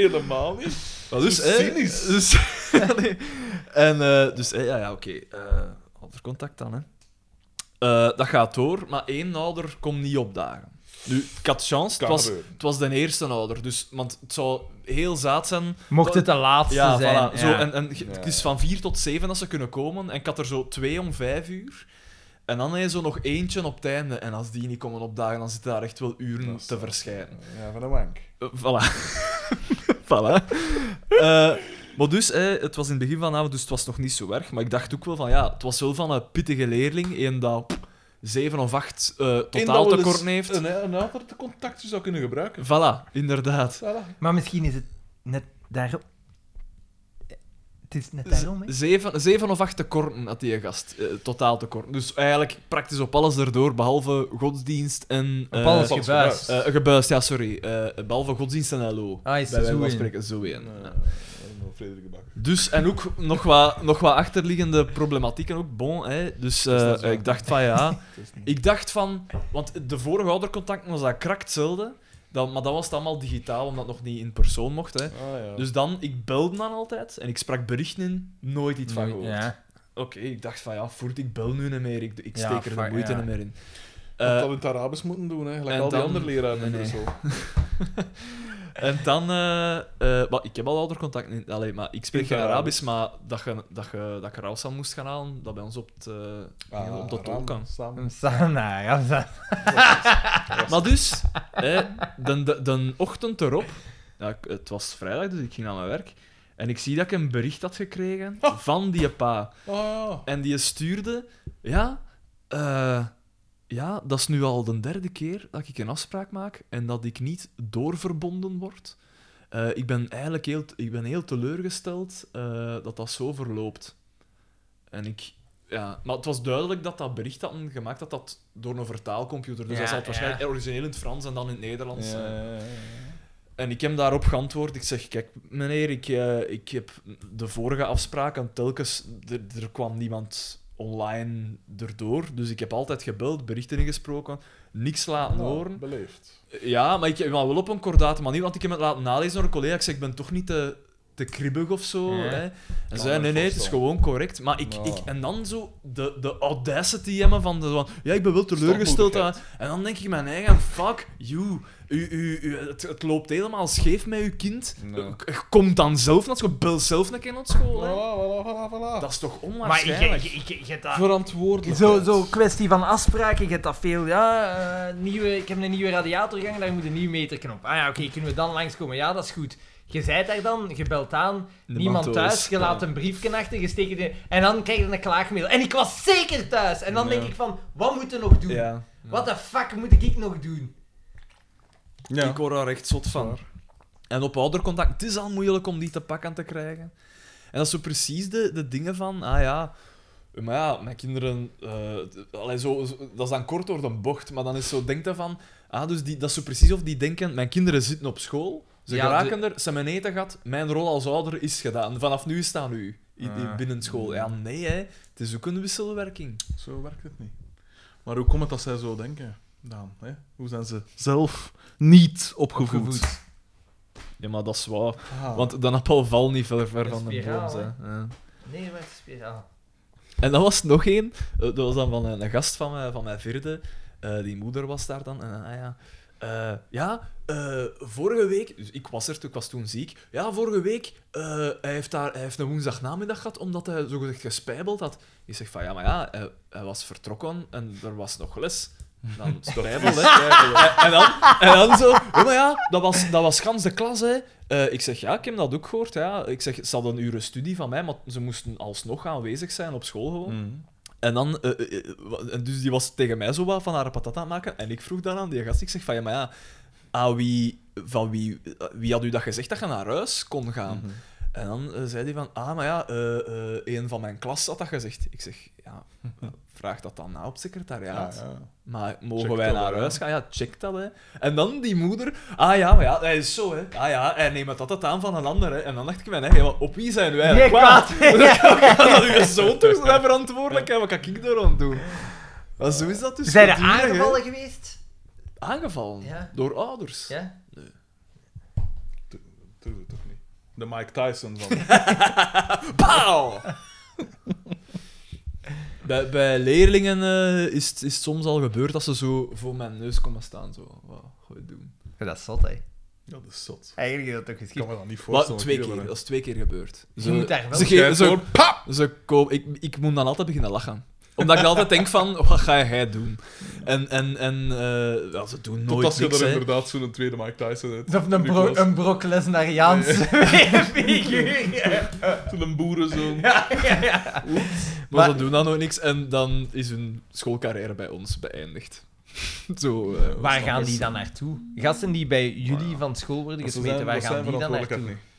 S2: Helemaal niet.
S3: Wat dus,
S2: Zo
S1: eh,
S3: hè,
S2: cynisch.
S3: Dus, Allee. en eh, dus, hè, ja, ja oké. eh, ouder contact dan, hè. Eh, dat gaat door, maar één ouder komt niet opdagen. Nu, ik had chance, het
S2: Kan
S3: was,
S2: gebeuren.
S3: Het was de eerste ouder, dus, want het zou heel zaad zijn.
S1: Mocht het de laatste
S3: Ja,
S1: zijn.
S3: voilà. Zo,
S1: ja.
S3: en, en, ge-
S2: Ja.
S3: Het is van vier tot zeven dat ze kunnen komen. En ik had er zo twee om vijf uur. En dan heb je zo nog eentje op het einde. En als die niet komen opdagen, dan zitten daar echt wel uren
S2: Dat is
S3: te
S2: zo.
S3: verschijnen.
S2: Ja, van een wank.
S3: Eh, voilà. voilà. Eh, maar dus, eh, het was in het begin van de avond, dus het was nog niet zo erg. Maar ik dacht ook wel van, ja, het was wel van een pittige leerling. Een dat pff, zeven of acht eh, totaal tekort heeft.
S2: Een, een ander contact zou kunnen gebruiken.
S3: Voilà, inderdaad.
S2: Voilà.
S1: Maar misschien is het net daarom. Het is net
S3: Z-
S1: daarom, hè?
S3: Zeven, zeven of acht tekorten had die gast. eh, totaal tekorten. Dus eigenlijk praktisch op alles erdoor, behalve godsdienst en... eh,
S1: Op alles
S2: eh,
S1: gebuist.
S3: eh, gebuist, ja, sorry. Eh, behalve godsdienst en LO.
S1: Ah, is zo
S3: Bij wijze van
S1: in.
S3: spreken, zo in.
S2: En,
S3: Ja.
S2: eh, Frederik de Bakker.
S3: Dus, en ook nog wat, nog wat achterliggende problematieken ook, bon, hè. Dus eh,
S2: Is dat zo?
S3: ik dacht van, ja...
S2: Het is niet-
S3: Ik dacht van... Want de vorige oudercontacten was dat krak hetzelfde. Dat, maar dat was het allemaal digitaal, omdat het nog niet in persoon mocht, hè.
S2: Ah, ja.
S3: Dus dan, ik belde dan altijd en ik sprak berichten in, nooit iets van gehoord.
S1: Ja.
S3: Oké, ik dacht van, ja, voert, ik bel nu niet meer, ik, ik
S1: Ja,
S3: steek er
S1: fuck,
S3: de moeite
S1: ja.
S3: niet meer in. Eh,
S2: Dat hadden we in het Arabisch moeten doen, hè. Gelijk
S3: en
S2: al die
S3: dan-
S2: andere leraren
S3: Nee,
S2: in
S3: nee.
S2: Brussel.
S3: En dan, eh, eh, maar ik heb al oudercontact niet. Allee, maar ik spreek
S2: In
S3: geen
S2: het
S3: Arabisch, maar dat, je, dat, je, dat ik Rausan moest gaan halen, dat bij ons op het. eh,
S2: Ah,
S3: op dat
S2: raam,
S3: ook kan.
S2: samen.
S1: Een sauna, ja. een sauna.
S3: Maar dus, eh, de, de, de ochtend erop, ja, ik- het was vrijdag, dus ik ging naar mijn werk. En ik zie dat ik een bericht had gekregen van die pa.
S2: Ah,
S1: Oh.
S2: ja.
S3: En die stuurde, ja, eh, ja, dat is nu al de derde keer dat ik een afspraak maak en dat ik niet doorverbonden word. Eh, ik ben eigenlijk heel, ik ben heel teleurgesteld eh, dat dat zo verloopt. En ik, ja, maar het was duidelijk dat dat bericht had gemaakt dat dat door een vertaalcomputer. Dus
S1: Ja,
S3: dat zal het
S1: ja.
S3: waarschijnlijk origineel in het Frans en dan in het Nederlands. eh.
S2: Ja,
S3: zijn.
S2: ja, ja, ja.
S3: En ik heb daarop geantwoord. Ik zeg, kijk, meneer, ik, eh, ik heb de vorige afspraak en telkens... Er, er kwam niemand online erdoor. Dus ik heb altijd gebeld, berichten ingesproken, niks laten
S2: Nou,
S3: horen.
S2: Beleefd.
S3: Ja, maar, ik, maar wel op een kordate manier, want ik heb het laten nalezen door een collega. Ik zeg, ik ben toch niet te, te kribbig of zo.
S1: Ja.
S3: Hè? En
S2: Kan
S3: zei,
S2: me
S3: nee, nee, het is
S2: voorstellen. Nou.
S3: gewoon correct. Maar ik,
S2: Ja.
S3: ik, en dan zo de, de audacity hebben van, de, van, ja, ik ben wel teleurgesteld. aan- En dan denk ik mijn eigen, fuck you. U, u, u- het, het loopt helemaal scheef met uw kind. Eh,
S2: Ja.
S3: K- Kom dan zelf naar school. Bel zelf een keer naar school. hè.
S2: Voilà, voilà, voilà, voilà.
S3: Dat is toch
S1: Maar ik,
S3: onwaarschijnlijk?
S1: ik, Ah. ik, ik heb dat...
S2: Verantwoordelijk.
S1: Zo, zo kwestie van afspraken, je hebt dat veel. Ja, eh, nieuwe, ik heb een nieuwe radiator gehangen, daar moet een nieuw meterknop. Ah ja, oké, kunnen we dan langskomen? Ja, dat is goed. Je zijt daar dan, je belt aan, niemand
S3: hoort.
S1: thuis, je laat een briefje achter, je steekt het in, en dan krijg je een klaagmail. En ik was zeker thuis! En dan
S3: Ja.
S1: denk ik van, wat moet je nog doen?
S3: Ja.
S1: Wat de fuck moet ik nog doen?
S2: Ja.
S3: Ik word daar echt zot van.
S2: Zwaar.
S3: En op oudercontact, het is al moeilijk om die te pakken te krijgen. En dat is zo precies de, de dingen van, ah ja, maar ja, mijn kinderen, eh, t- allee, zo, zo- dat is dan kort door de bocht, maar dan is zo, denk dan van, ah, dus die, dat is zo precies of die denken, mijn kinderen zitten op school, ze
S1: Ja,
S3: geraken er, ze hebben eten gehad, mijn rol als ouder is gedaan, vanaf nu is het aan u, i- i-
S2: Ah.
S3: binnen school. Ja, nee, hè. het is ook een wisselwerking.
S2: Zo werkt het niet. Maar hoe komt het dat zij zo denken, Daan? Hè? Hoe zijn ze zelf niet opgevoed?
S1: Opgevoed.
S3: Ja, maar dat is waar,
S2: Ah.
S3: want dan appel val niet veel ver
S1: Een
S3: van de boom.
S1: spiraal,
S3: hè.
S1: hè.
S3: Ja.
S1: Nee, wat is spiraal?
S3: En dat was nog één. Eh, Dat was dan van een een gast van mijn, van mijn vierde. Eh, die moeder was daar dan. En, eh, ah ja, Eh, ja eh, vorige week... Dus ik was er, toen- ik was toen ziek. Ja, vorige week, eh, hij, heeft daar, hij heeft een woensdagnamiddag gehad, omdat hij zogezegd gespijbeld had. Ik zeg van, ja, maar ja, hij, hij was vertrokken en er was nog les. Dan spijbel, hè. En dan, en dan zo, ja, maar ja, dat was, dat was gans de klas, hè. Eh, ik zeg, ja, ik heb dat ook gehoord, ja. Ik zeg, ze hadden een uren studie van mij, maar ze moesten alsnog aanwezig zijn op school gewoon.
S2: Mhm.
S3: En dan, eh, eh, eh, wa- en dus die was tegen mij zo wat van haar patata aan het maken. En ik vroeg dan aan die gast, ik zeg van, ja, maar ja, aan wie, van wie, eh, wie had u dat gezegd dat je naar huis kon gaan?
S2: Mhm.
S3: En dan eh, zei hij van, ah, maar ja, eh, eh, een van mijn klas had dat gezegd. Ik zeg, ja, eh, vraag dat dan na op het secretariaat.
S2: Ah, ja.
S3: Maar mogen
S2: Check
S3: wij
S2: dat
S3: naar
S2: wel,
S3: huis
S2: ja.
S3: gaan? Ja, check dat, hè. En dan die moeder, ah ja, maar ja, hij is zo, hè. Ah ja, hij neemt dat dat aan van een ander, hè. En dan dacht ik, mij, hè, maar op wie zijn wij
S1: Nee, kwaad!
S3: dat uw zoon toch zijn verantwoordelijkheid, wat kan ik daar aan doen? Maar zo is dat dus.
S1: Zijn er
S3: voortdurend, hè.
S1: aangevallen geweest?
S3: Aangevallen?
S1: Ja.
S3: Door ouders?
S1: Ja?
S2: Doe het toch niet. De Mike Tyson van...
S3: Pauw! bij, bij leerlingen eh, is, het- is het soms al gebeurd dat ze zo voor mijn neus komen staan. Zo, wat ga je doen?
S1: Dat is zot, hè.
S2: Ja, dat is zot.
S1: Eigenlijk is dat toch
S2: Ik kan
S1: geschikt.
S2: me dat niet
S3: Wat,
S2: voorstellen.
S3: twee keer, dat is twee keer gebeurd.
S1: Je moet daar wel-
S3: Ze,
S2: Jij
S3: geven- ze,
S2: gewoon, pap!
S3: ze ko- ik, ik moet dan altijd beginnen lachen. Omdat ik altijd denk van, wat ga jij doen? En, en, en eh, ja, ze doen nooit
S2: Totdat je
S3: niks,
S2: er
S3: hè.
S2: inderdaad zo'n tweede Mike Tyson uit.
S1: Of een, bro
S2: Nicolas.
S1: een Brock Lesnariaans figuur.
S2: Zo'n boerenzoon.
S1: Ja, ja, ja.
S3: Maar,
S1: Maar-
S3: ze doen dan nooit niks en dan is hun schoolcarrière bij ons beëindigd. Zo, eh,
S1: Waar
S3: snap
S1: gaan
S3: eens.
S1: die dan naartoe? Gasten die bij jullie van school worden
S2: Dat ze
S1: gesmeten,
S2: zijn-
S1: waar
S2: dat
S1: gaan
S2: zijn
S1: die dan
S2: verantwoordelijkheid
S1: naartoe?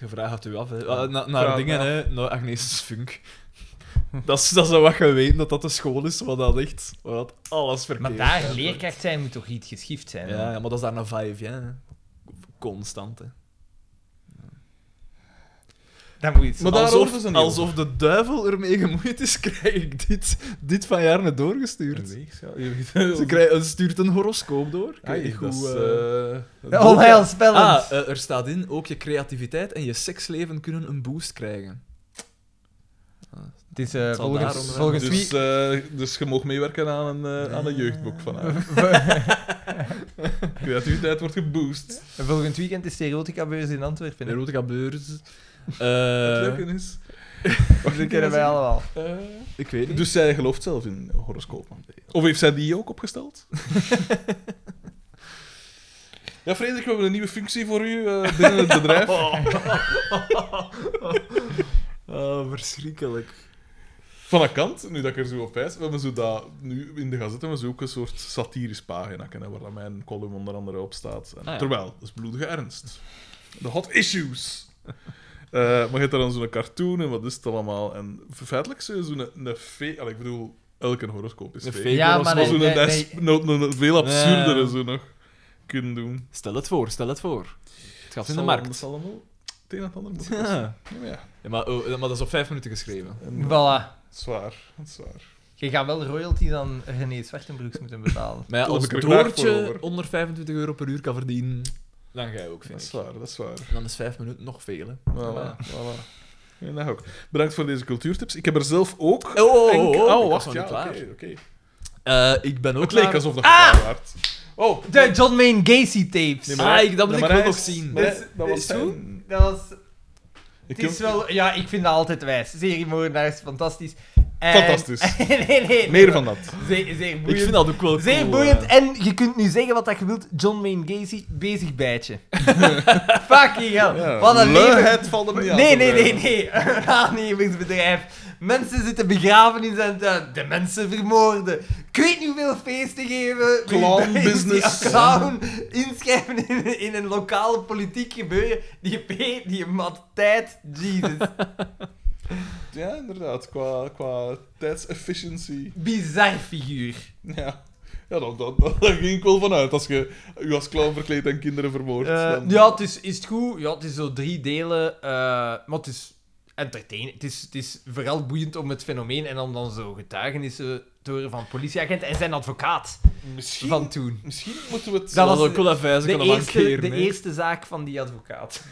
S3: Je vraagt u af, hè. Ah, na- naar
S2: Vraag
S3: dingen,
S2: me af.
S3: hè. Naar Agnes Funk. dat, is, dat is wel wat je weet, dat dat de school is waar dat ligt. Waar dat alles
S1: Maar
S3: verkeerd
S1: daar,
S3: gaat.
S1: leerkracht zijn moet toch iets geschift zijn?
S3: Ja, ja, maar dat is daar een vijf, hè. Constant, hè.
S1: Dan moet je iets...
S2: Maar daar horen ze
S3: alsof,
S2: niet
S3: alsof de duivel ermee gemoeid is, krijg ik dit, dit van jaar net doorgestuurd.
S2: Een weegschaal.
S3: Ze, krijgen, ze stuurt een horoscoop door. Ik weet
S2: Ai,
S3: niet
S2: dat is,
S3: hoe, Ah, eh,
S2: eh,
S1: Ja, oh, Onheilspellend.
S3: Ah, eh, er staat in, ook je creativiteit en je seksleven kunnen een boost krijgen.
S1: het is eh,
S3: het zal
S1: volgens,
S3: daarom zijn.
S1: volgens
S2: Dus,
S1: wie...
S2: eh, dus je mag meewerken aan een, eh, aan een jeugdboek van haar. Creativiteit wordt geboost.
S1: Volgend weekend is de erotica-beurs in Antwerpen. hè?
S3: Erotica beurs.
S2: het
S3: Eh
S2: leuke is...
S1: Dat kennen wij allemaal.
S2: Eh,
S3: ik weet niet.
S2: dus zij gelooft zelf in horoscopen. Of heeft zij die ook opgesteld? ja, Frederik, we hebben een nieuwe functie voor u eh, binnen het bedrijf.
S3: Ah, verschrikkelijk.
S2: Van een kant, nu dat ik er zo op wijs, we hebben zo dat, nu in de gazette hebben we zo ook een soort satirisch pagina, hè, waar dat mijn column onder andere op staat. En,
S3: Ah, ja.
S2: Terwijl, dat is bloedige ernst. De hot issues. Eh, maar je hebt daar dan zo'n cartoon en wat is het allemaal. En feitelijk zijn zo'n een fake... allee, Ik bedoel, elke horoscoop is
S3: Een
S2: fake.
S3: fake
S1: Ja,
S3: horoscoop.
S1: maar
S2: Maar
S1: nee,
S2: zo'n
S1: nee,
S2: dat
S1: nee.
S2: is nog- nog een veel absurdere
S3: Ja.
S2: zo nog kunnen doen.
S3: Stel het voor, stel het voor. Het gaat in de
S2: Zal-
S3: markt.
S2: zal allemaal het een en het ander moeten kosten.
S3: Ja.
S2: Ja, maar ja.
S3: Ja, maar, oh, maar dat is op vijf minuten geschreven.
S2: En,
S1: Voilà.
S2: zwaar, zwaar.
S1: Je gaat wel royalty dan René Zwartenbroeks moeten betalen.
S3: Maar ja,
S2: Tot
S3: als
S2: ik er graag voor
S3: Doortje
S2: over.
S3: onder 25 euro per uur kan verdienen, dan ga je ook,
S2: Dat
S3: vind
S2: is
S3: ik.
S2: waar, dat is waar.
S3: En dan is vijf minuten nog veel, hè.
S2: Voilà, voilà. Ja, nou ook. Bedankt voor deze cultuurtips. Ik heb er zelf ook.
S3: Oh, oh, oh,
S2: enke-
S3: oh, ik was
S2: wacht,
S3: nog
S2: ja,
S3: niet
S2: oké.
S3: klaar.
S2: oké.
S3: Eh, ik ben ook
S2: Het leek
S3: naar-
S2: alsof dat
S1: Ah!
S2: gedaan werd. Oh,
S1: De John Wayne Gacy tapes.
S2: Nee, maar-
S3: Ah, ik, dat moet
S2: Ja,
S3: ik
S2: maar
S3: ook
S2: hij
S3: nog
S2: is-
S3: zien.
S2: maar hij-
S1: Dit-
S2: dat
S1: dit-
S2: was
S1: zo?
S2: zijn-
S1: Dat was...
S2: Ik
S1: Het is
S2: heb-
S1: wel... Ja, ik vind dat altijd wijs. Seriemoordenaars, fantastisch. En-
S2: Fantastisch.
S1: nee, nee, nee.
S2: Meer van dat.
S1: Zeer, zeer boeiend.
S3: Ik vind dat ook wel
S1: Zeer
S3: cool,
S1: boeiend.
S3: eh.
S1: En je kunt nu zeggen wat dat je wilt. John Wayne Gacy, bezig bijtje. Fucking hell.
S2: Ja.
S1: Wat een leven.
S2: Leuheid valt hem niet aan
S1: Nee,
S2: te
S1: nee, nee,
S2: wijzen.
S1: nee. Een aannemingsbedrijf. Mensen zitten begraven in zijn tuin. De mensen vermoorden. Ik weet niet hoeveel feesten geven.
S2: Clown business.
S1: Ja, Clown. Inschrijven in, in een lokale politiek gebeuren. Die P, die mat tijd. Jesus.
S2: Ja, inderdaad. Qua, qua tijdsefficiëntie.
S1: Bizar figuur.
S2: Ja. Ja, dat, dat, dat, daar ging ik wel vanuit. Als je u als clown verkleed en kinderen vermoordt.
S1: Eh,
S2: dan-
S1: ja, het is, is het goed. Ja, het is zo drie delen. eh, maar het is entertaining. Het is, het is vooral boeiend om het fenomeen en om dan zo getuigenissen te horen van politieagenten en zijn advocaat
S2: misschien,
S1: van toen.
S2: misschien moeten we het...
S1: Dat
S3: Dat
S1: was
S3: was ook wel een vijze
S1: De
S3: kunnen
S1: eerste,
S3: mankeren.
S1: de
S3: hè.
S1: eerste zaak van die advocaat.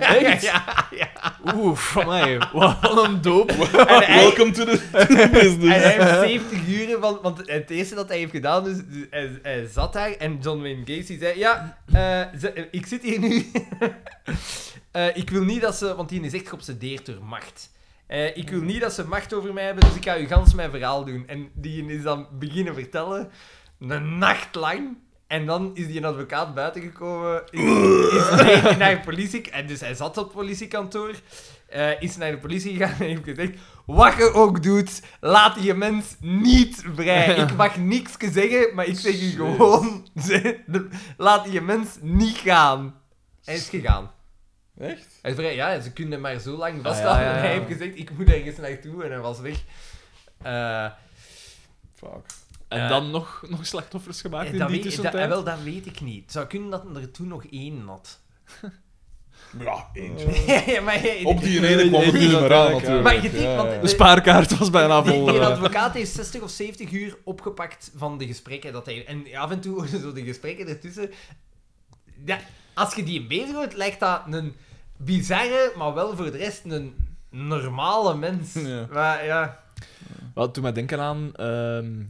S3: Echt?
S1: Ja, ja.
S3: Oeh, van mij. Wat een doop.
S1: En hij,
S2: Welcome to the, to the
S1: en
S2: business.
S1: hij heeft 70 uren, van, want het eerste dat hij heeft gedaan, dus dus hij, hij zat daar en John Wayne Gacy zei, ja, eh, ze- eh, ik zit hier nu. Eh, ik wil niet dat ze, want die is echt geobsedeerd door macht. Eh, ik wil niet dat ze macht over mij hebben, dus ik ga u gans mijn verhaal doen. En die is dan beginnen vertellen, een nacht lang. En dan is die advocaat buiten gekomen, is, is mee naar de politie... En dus hij zat op het politiekantoor, eh, is naar de politie gegaan en heeft gezegd... Wat je ook doet, laat je mens niet vrij. Ik mag niks zeggen, maar ik zeg je gewoon... laat je mens niet gaan. Hij is gegaan.
S2: Echt?
S1: Hij is vrij, ja, ze kunnen maar zo lang vasthouden.
S3: Ah, ja, ja, ja.
S1: En hij heeft gezegd, ik moet ergens naartoe en hij was weg. Eh,
S2: Fuck.
S3: En dan nog, nog slachtoffers gemaakt in
S1: eh, dat,
S3: die
S1: weet, dat,
S3: tussentijd.
S1: wel, dat weet ik niet. Het zou kunnen dat er toen nog één had.
S2: Ja, eentje.
S1: ja, maar, jij-
S2: Op die ene kwam het
S3: Nee,
S2: niet
S3: nee,
S2: meer
S3: nee,
S2: aan,
S3: nee,
S2: natuurlijk.
S1: maar je denkt,
S2: Ja,
S1: want-
S2: ja.
S3: De spaarkaart was bijna
S1: Die,
S3: vol.
S1: die
S3: eh.
S1: advocaat heeft 60 of 70 uur opgepakt van de gesprekken dat hij... En af en toe horen zo de gesprekken ertussen... Ja, als je die bezig houdt, lijkt dat een bizarre, maar wel voor de rest een normale mens.
S2: Ja.
S1: Maar ja...
S3: Wat doet mij denken aan ehm,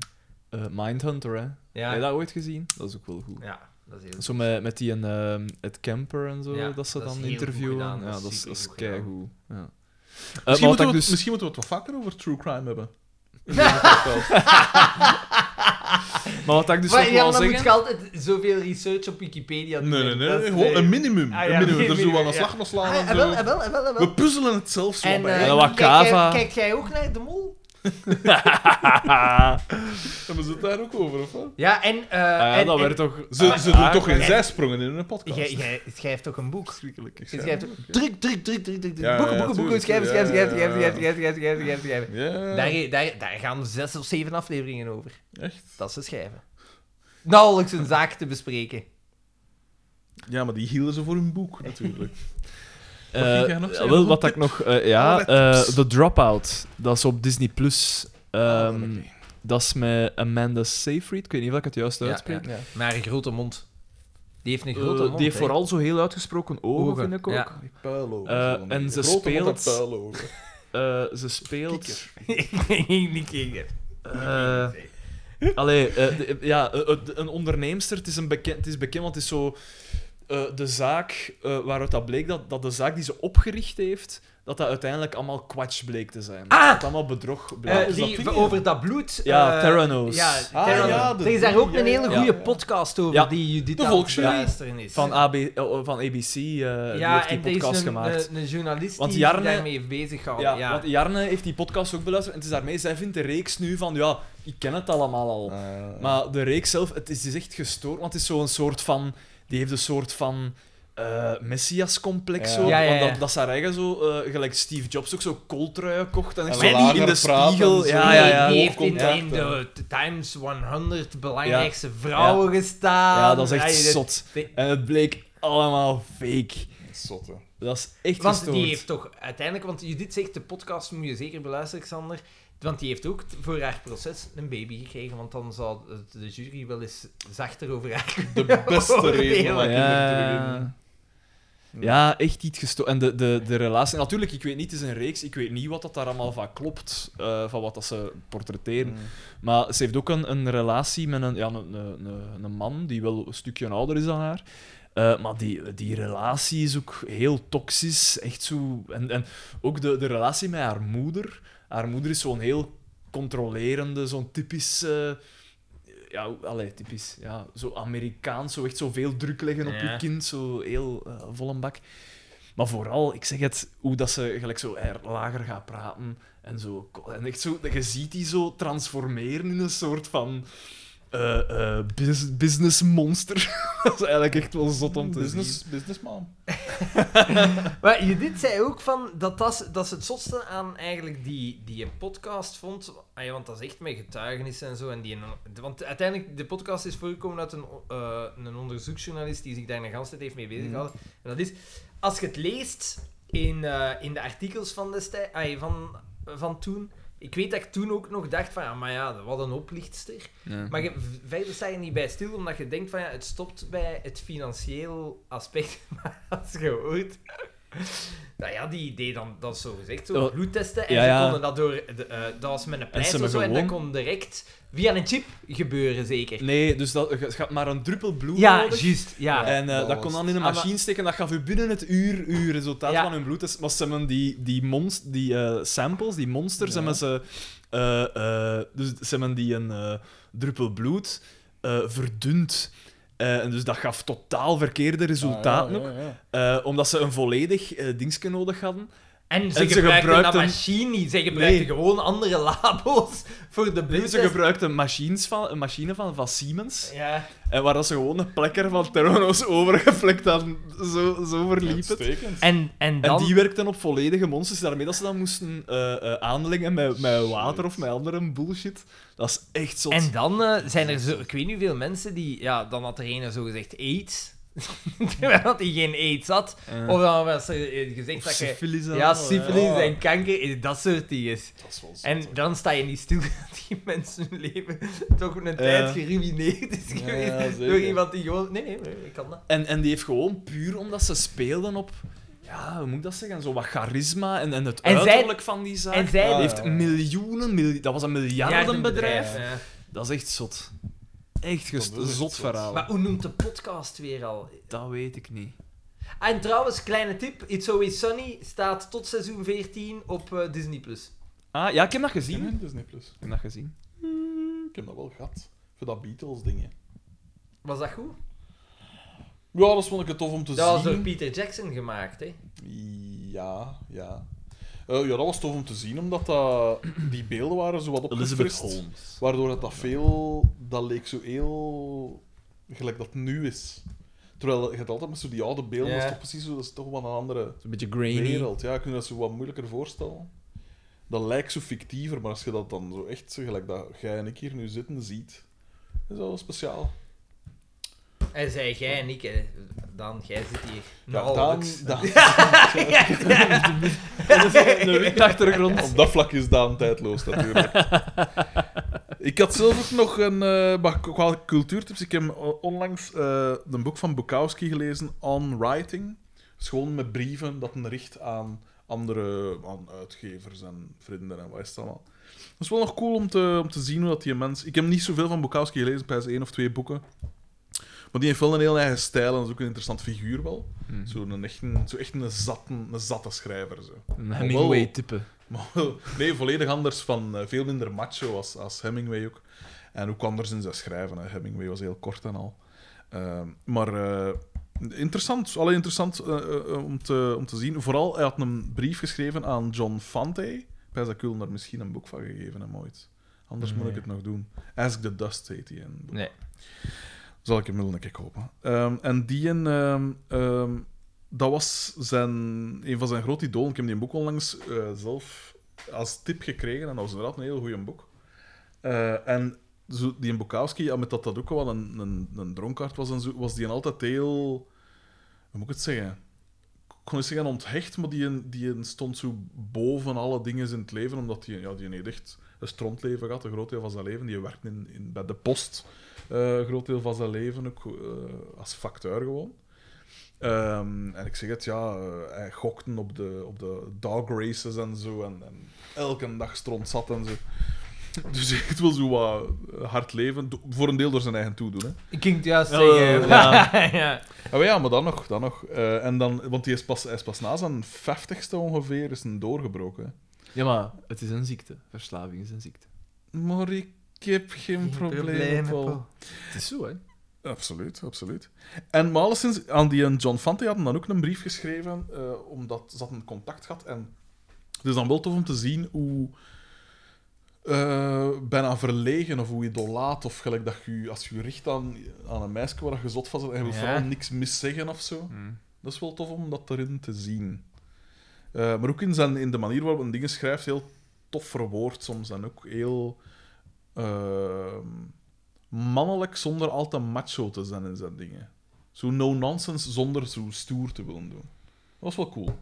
S3: eh, Mindhunter, hè?
S1: Ja.
S3: Heb je dat ooit gezien? Dat is ook wel goed.
S1: Ja, dat is heel
S3: Zo met, met die en, ehm, Ed Kemper en zo,
S1: Ja,
S3: dat ze
S1: dat is
S3: dan
S1: heel goed
S3: interviewen.
S1: gedaan,
S3: ja,
S1: dat is
S3: dat is, dat is
S1: supergoed gedaan.
S3: keigoed. Ja. Eh, maar
S2: misschien,
S3: wat
S2: moeten
S3: ik
S2: we,
S3: dus...
S2: misschien moeten we het wat vaker over true crime hebben. In deze podcast.
S3: Maar wat ik dus
S1: maar
S3: nog
S1: ja,
S3: wil
S1: maar dan moet
S3: zeggen...
S1: je altijd zoveel research op Wikipedia doen.
S2: nee, nee, nee.
S1: Dat is-
S2: Gewoon een minimum.
S1: Ah, ja,
S2: een minimum.
S1: een
S2: Er zo
S1: minimum,
S2: wel een
S1: ja.
S2: slag
S1: Ah,
S2: slaan.
S1: ja,
S2: en
S1: wel,
S2: zo.
S1: ah, wel, ah, wel, ah, wel.
S2: We puzzelen het zelf zo
S1: En,
S2: bij.
S1: eh,
S3: En wat
S1: kijk, jij-
S3: kava.
S1: Kijk jij ook naar de mol?
S2: Hebben ze het daar ook over, of wat?
S1: Ja, en... eh,
S3: Ah,
S1: en,
S3: dat
S1: en-
S3: werd toch...
S2: Ze,
S3: ah,
S2: ze
S3: ah,
S2: doen toch geen
S1: ja.
S2: zijsprongen in hun podcast.
S1: Jij- Jij schrijft ook een boek.
S2: Schrikkelijk. Ik
S1: Je
S2: zei-
S1: schrijft ook... Druk, druk, druk, druk, druk.
S2: Ja, ja,
S1: druk. Boeken, boeken, boeken.
S2: tuurlijk,
S1: Schrijven,
S2: ja,
S1: schrijven, schrijven,
S2: ja, ja.
S1: schrijven, schrijven, schrijven, schrijven, schrijven, schrijven. Daar,
S2: Ja,
S1: daar, daar gaan zes of zeven afleveringen over.
S2: echt.
S1: Dat is het schrijven. Nauwelijks een zaak te bespreken.
S2: Ja, maar die hielden ze voor hun boek, natuurlijk.
S3: eh,
S2: Wat ging jij nog zeggen?
S3: wel, wat ik nog... eh, ja,
S2: Allerlei
S3: eh
S2: tips.
S3: The Dropout. Dat is op Disney+. Plus. Ehm,
S2: Oké.
S3: dat is met Amanda Seyfried. Ik weet niet of ik het juist uitspreek.
S1: Ja. Maar een grote mond. Die heeft een
S3: Eh,
S1: grote mond.
S3: die heeft
S1: hè.
S3: vooral zo heel uitgesproken ogen,
S1: Ogen,
S3: vind ik ook.
S1: ja.
S2: Die puilogen,
S3: Eh,
S2: zullen we
S3: en
S2: noemen.
S3: ze
S2: Grote mond en
S3: speelt-
S2: puilogen.
S3: Eh, ze speelt...
S2: Kikker.
S1: Ik ging niet kijken.
S3: Eh, allee, eh, de- ja, eh, eh, de- een onderneemster, het is, een bekend, het is bekend, want het is zo... eh, de zaak eh, waaruit dat bleek, dat, dat de zaak die ze opgericht heeft, dat dat uiteindelijk allemaal kwatsch bleek te zijn.
S1: Ah!
S3: Dat het allemaal bedrog bleek.
S1: Eh,
S2: is dat
S1: die,
S2: ding,
S1: over dat bloed.
S3: Ja,
S1: eh,
S3: Theranos.
S1: Ja,
S2: Ah,
S1: Theranos.
S2: ja, de
S1: er is daar ook
S2: ding,
S1: een
S2: ja,
S1: hele
S2: ja,
S1: goede
S2: ja.
S1: podcast over
S3: Ja.
S1: die Judith
S2: De
S1: aan het
S2: Volksjury.
S1: luisteren is.
S3: van, AB, eh, van ABC, eh, die
S1: ja,
S3: heeft
S1: en
S3: die
S1: er is
S3: podcast
S1: een, eh,
S3: gemaakt.
S1: een- een journalist
S3: Want
S1: die
S3: Jarne-
S1: zich daarmee heeft bezig gehouden.
S3: ja,
S1: Ja,
S3: Want Jarne heeft die podcast ook beluisterd en het is daarmee, zij vindt de reeks nu van, ja, ik ken het allemaal al.
S2: Eh,
S3: Maar de reeks zelf, het is, het is echt gestoord, want het is zo'n soort van... Die heeft een soort van eh messias-complex,
S2: Ja.
S3: zo.
S1: Ja, ja,
S3: Want
S1: ja.
S3: dat, dat is haar eigen zo, eh, gelijk Steve Jobs ook zo kooltruien kocht en echt
S2: En
S3: zo
S2: lager
S3: in de
S2: praten,
S3: spiegel.
S2: zo.
S3: Ja, ja, ja.
S1: Die heeft in,
S2: Hoofdcontact,
S1: in de Times 100 de belangrijkste
S3: belangrijkste
S1: vrouwen gestaan.
S3: Ja, dat is echt
S1: dat-
S3: zot.
S1: die-
S3: En het bleek allemaal fake.
S2: Zot, hè.
S3: Dat is echt
S1: Want
S3: gestoord.
S1: die heeft toch uiteindelijk, want Judith zegt de podcast moet je zeker beluisteren, Xander. Want die heeft ook t- voor haar proces een baby gekregen, want dan zou het- de jury wel eens zachter over haar
S2: De
S1: kunnen
S2: beste
S1: oordelen.
S2: reden. dat ik er
S3: Ja.
S2: terug in-
S3: ja, echt iets gestoord. En de, de, de relatie... Natuurlijk, ik weet niet, het is een reeks. Ik weet niet wat dat daar allemaal van klopt, eh, van wat dat ze portretteren.
S2: Mm.
S3: Maar ze heeft ook een, een relatie met een, ja, een, een, een- een man die wel een stukje ouder is dan haar. Eh, maar die, die relatie is ook heel toxisch. Echt zo, en, en ook de, de relatie met haar moeder. Haar moeder is zo'n heel controlerende, zo'n typisch. eh, ja, hoe- allee, typisch. Ja, zo Amerikaans, zo echt zo veel druk leggen op
S1: Ja.
S3: je kind. Zo heel eh, vol een bak. Maar vooral, ik zeg het, hoe dat ze gelijk zo er- lager gaat praten en zo. En echt zo, je ziet die zo transformeren in een soort van eh, eh, bus- business monster. dat is eigenlijk echt wel zot om te zien.
S2: Business, businessman.
S1: Maar Judith zei ook van dat, dat, dat ze het zotste aan eigenlijk die, die podcast vond. Ah ja, want dat is echt met getuigenissen en zo. En die, want uiteindelijk, de podcast is voorgekomen uit een, eh, een onderzoeksjournalist die zich daar de hele tijd heeft mee bezig gehouden. En dat is, als je het leest in, eh, in de artikels van, destij, ah, van, van toen. Ik weet dat ik toen ook nog dacht van, ah, maar ja, wat een oplichtster. Maar je, v- verder sta je niet bij stil, omdat je denkt van ja, het stopt bij het financieel aspect. Maar als je hoort... Nou ja, die idee dan, dat is zo gezegd, zo
S3: Oh,
S1: bloedtesten. En
S3: ja,
S1: ze
S3: ja.
S1: konden dat door... de, eh, dat was met een prijs
S3: ze
S1: of zo,
S3: me
S1: en dat
S3: gewoon-
S1: kon direct via een chip gebeuren, zeker.
S3: Nee, dus dat, je gaat maar een druppel bloed
S1: ja,
S3: nodig.
S1: juist, ja.
S3: En eh,
S2: dat
S3: dat
S2: was-
S3: kon dan in
S1: Ah,
S3: een
S1: maar-
S3: machine steken. Dat gaf u binnen het uur uw resultaat
S1: Ja.
S3: van hun bloed. Dus was ze hebben die, die, monst, die eh, samples, die monsters,
S2: Ja.
S3: hebben ze... eh, eh, dus ze hebben die een eh, druppel bloed eh, verdund. Eh, en dus dat gaf totaal verkeerde resultaten
S2: Ah,
S3: ook.
S2: ja, ja, ja.
S3: Eh, omdat ze een volledig eh dingetje nodig hadden.
S1: En ze
S3: en ze
S1: gebruikten dat
S3: gebruikten-
S1: machine niet. Ze gebruikten
S3: Nee.
S1: gewoon andere labo's voor de
S3: Ze
S1: bloedtest.
S3: gebruikten machines van, een machine van, van Siemens.
S1: Ja.
S3: En waar dat ze gewoon een plekker van Terranos overgeflikt hadden. Zo, zo verliep het.
S2: Uitstekend.
S1: En, en dan...
S3: En die werkten op volledige monsters, Dus daarmee dat ze dan moesten eh, eh, aanlengen met, met water of met andere bullshit. Dat is echt zot.
S1: En dan eh, zijn er zo, ik weet niet hoeveel mensen die, ja, dan had er een zo gezegd AIDS, terwijl dat hij geen AIDS had.
S3: Eh.
S1: Of dan was er eh, gezegd
S3: Of
S1: dat je,
S3: syfilis en
S1: ja,
S3: al,
S1: syfilis
S2: ja.
S1: en kanker, eh, dat soort dingen.
S2: Dat is wel zot,
S1: En
S2: hè.
S1: dan sta je niet stil dat die mensen hun leven toch een
S3: Ja.
S1: tijd geruineerd is
S2: Ja,
S1: geweest
S2: zeker.
S1: door iemand die gewoon, nee, nee, nee, ik kan dat.
S3: En, en die heeft gewoon puur omdat ze speelden op, ja, hoe moet ik dat zeggen, zo wat charisma en, en het
S1: En zij-
S3: uiterlijk van die zaak.
S1: En zij
S2: Ah,
S3: heeft miljoenen, mil- dat was een miljardenbedrijf.
S1: bedrijf. ja.
S3: Dat is echt zot. Echt gest-
S2: Dat is echt
S3: zot
S2: zot.
S3: verhaal.
S1: Maar hoe noemt de podcast weer al?
S3: Dat weet ik niet.
S1: En trouwens, kleine tip: It's Always Sunny staat tot seizoen 14 op eh, Disney. Plus.
S3: Ah, ja, ik heb dat gezien.
S2: Ken
S3: Ik
S2: je Disney Plus?
S3: heb dat gezien.
S2: Ik heb dat wel gehad. Voor dat Beatles-dingen.
S1: Was dat goed?
S2: Ja, dat vond ik het tof om te
S1: Dat was door
S2: zien.
S1: Peter Jackson gemaakt, hè?
S2: Ja, ja. Eh, ja, dat was tof om te zien, omdat dat, die beelden waren zo wat
S3: Elizabeth
S2: opgefrist.
S3: Holmes.
S2: Waardoor dat, dat veel... Dat leek zo heel... Gelijk dat het nu is. Terwijl je het altijd met zo die oude beelden,
S1: Ja.
S2: dat is toch precies zo, dat is toch wat een andere
S3: Een beetje grainy.
S2: wereld. Ja, kun je dat zo wat moeilijker voorstellen? Dat lijkt zo fictiever, maar als je dat dan zo echt, zo gelijk dat jij en ik hier nu zitten, ziet, is dat wel speciaal.
S1: En zei jij en ik, hè? Dan, jij zit hier.
S2: Ja,
S1: nauwelijks.
S2: Daan- Daan-
S3: Dat is een- een wit achtergrond.
S2: Op dat vlak is Daan tijdloos, natuurlijk. ik had zelf ook nog een... eh, maar qua cultuurtips, ik heb onlangs eh een boek van Bukowski gelezen, On Writing. Dus gewoon met brieven dat een richt aan andere aan uitgevers en vrienden en wat is het allemaal. Dat is wel nog cool om te, om te zien hoe dat die mens... Ik heb niet zoveel van Bukowski gelezen, bij één of twee boeken. Maar die heeft wel een heel eigen stijl en is ook een interessant figuur wel.
S3: Mhm.
S2: Zo'n echt, zo echt een, zatten, een zatte schrijver. Zo.
S3: Een Hemingway-type.
S2: Maar wel- nee, volledig anders van eh, veel minder macho als, als Hemingway ook. En ook anders in zijn schrijven. Hè. Hemingway was heel kort en al. Ehm, maar eh, interessant, alleen interessant eh, eh, eh, om, te, om te zien. Vooral, hij had een brief geschreven aan John Fante. Bij dat Kulner misschien een boek van gegeven hem ooit. Anders moet ik
S1: Nee.
S2: het nog doen. Ask the Dust heet hij. een boek.
S1: Nee.
S2: Zal ik hem wel een keer kopen. Ehm, en die een, ehm, ehm, dat was zijn, een van zijn grote idolen. Ik heb die boek onlangs eh, zelf als tip gekregen. En dat was inderdaad een heel goed boek. Eh, en zo, die Bukowski, ja, met dat dat ook wel een, een, een dronkaard was, en zo, was die een altijd heel... Hoe moet ik het zeggen? Ik kon niet zeggen onthecht, maar die, een- die een stond zo boven alle dingen in het leven. Omdat die, een- ja, die een heeft echt een strontleven gehad, een groot deel van zijn leven. Die werkte in, in, bij de post eh, een groot deel van zijn leven, ook eh, als facteur gewoon. Ehm, en ik zeg het, ja, eh, hij gokte op de, op de dog races en zo, en, en elke dag stront zat en zo. Dus echt wel zo wat hard leven, do- voor een deel door zijn eigen toedoen. Hè.
S1: Ik ging het juist
S3: Oh,
S1: zeggen.
S3: ja.
S1: eh, ja.
S2: Ah, maar ja, maar dan nog, dan nog. Eh, en dan, want die is pas, hij is pas na zijn vijftigste ongeveer, is een doorgebroken. hè.
S3: Ja, maar het is een ziekte. Verslaving is een ziekte.
S2: Maar ik heb geen, probleem, eh, Paul.
S3: Het is zo, hè.
S2: Absoluut, absoluut. En maar alleszins, aan die en John Fante hadden dan ook een brief geschreven, eh, omdat ze hadden contact gehad. En het is dan wel tof om te zien hoe eh, bijna verlegen of hoe idolaat of gelijk dat je als je je richt aan, aan een meisje waar je zot van bent en je wil
S1: Ja.
S2: vooral niks miszeggen of zo. Dat is wel tof om dat erin te zien. Eh, maar ook in, zijn, in de manier waarop een dingen schrijft, heel tof verwoord soms. En ook heel ehm, mannelijk zonder al te macho te zijn in zijn dingen. Zo no-nonsense zonder zo stoer te willen doen. Dat was wel cool.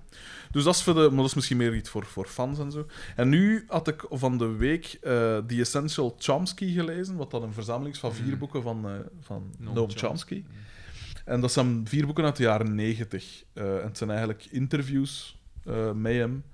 S2: Dus dat is, voor de, maar dat is misschien meer iets voor, voor fans en zo. En nu had ik van de week eh The Essential Chomsky gelezen, wat dan een verzameling is van vier
S3: Mm.
S2: boeken van, eh, van
S3: Noam
S2: Noam,
S3: Chomsky. Mm.
S2: Chomsky. En dat zijn vier boeken uit de jaren negentig. eh, en het zijn eigenlijk interviews eh, met hem.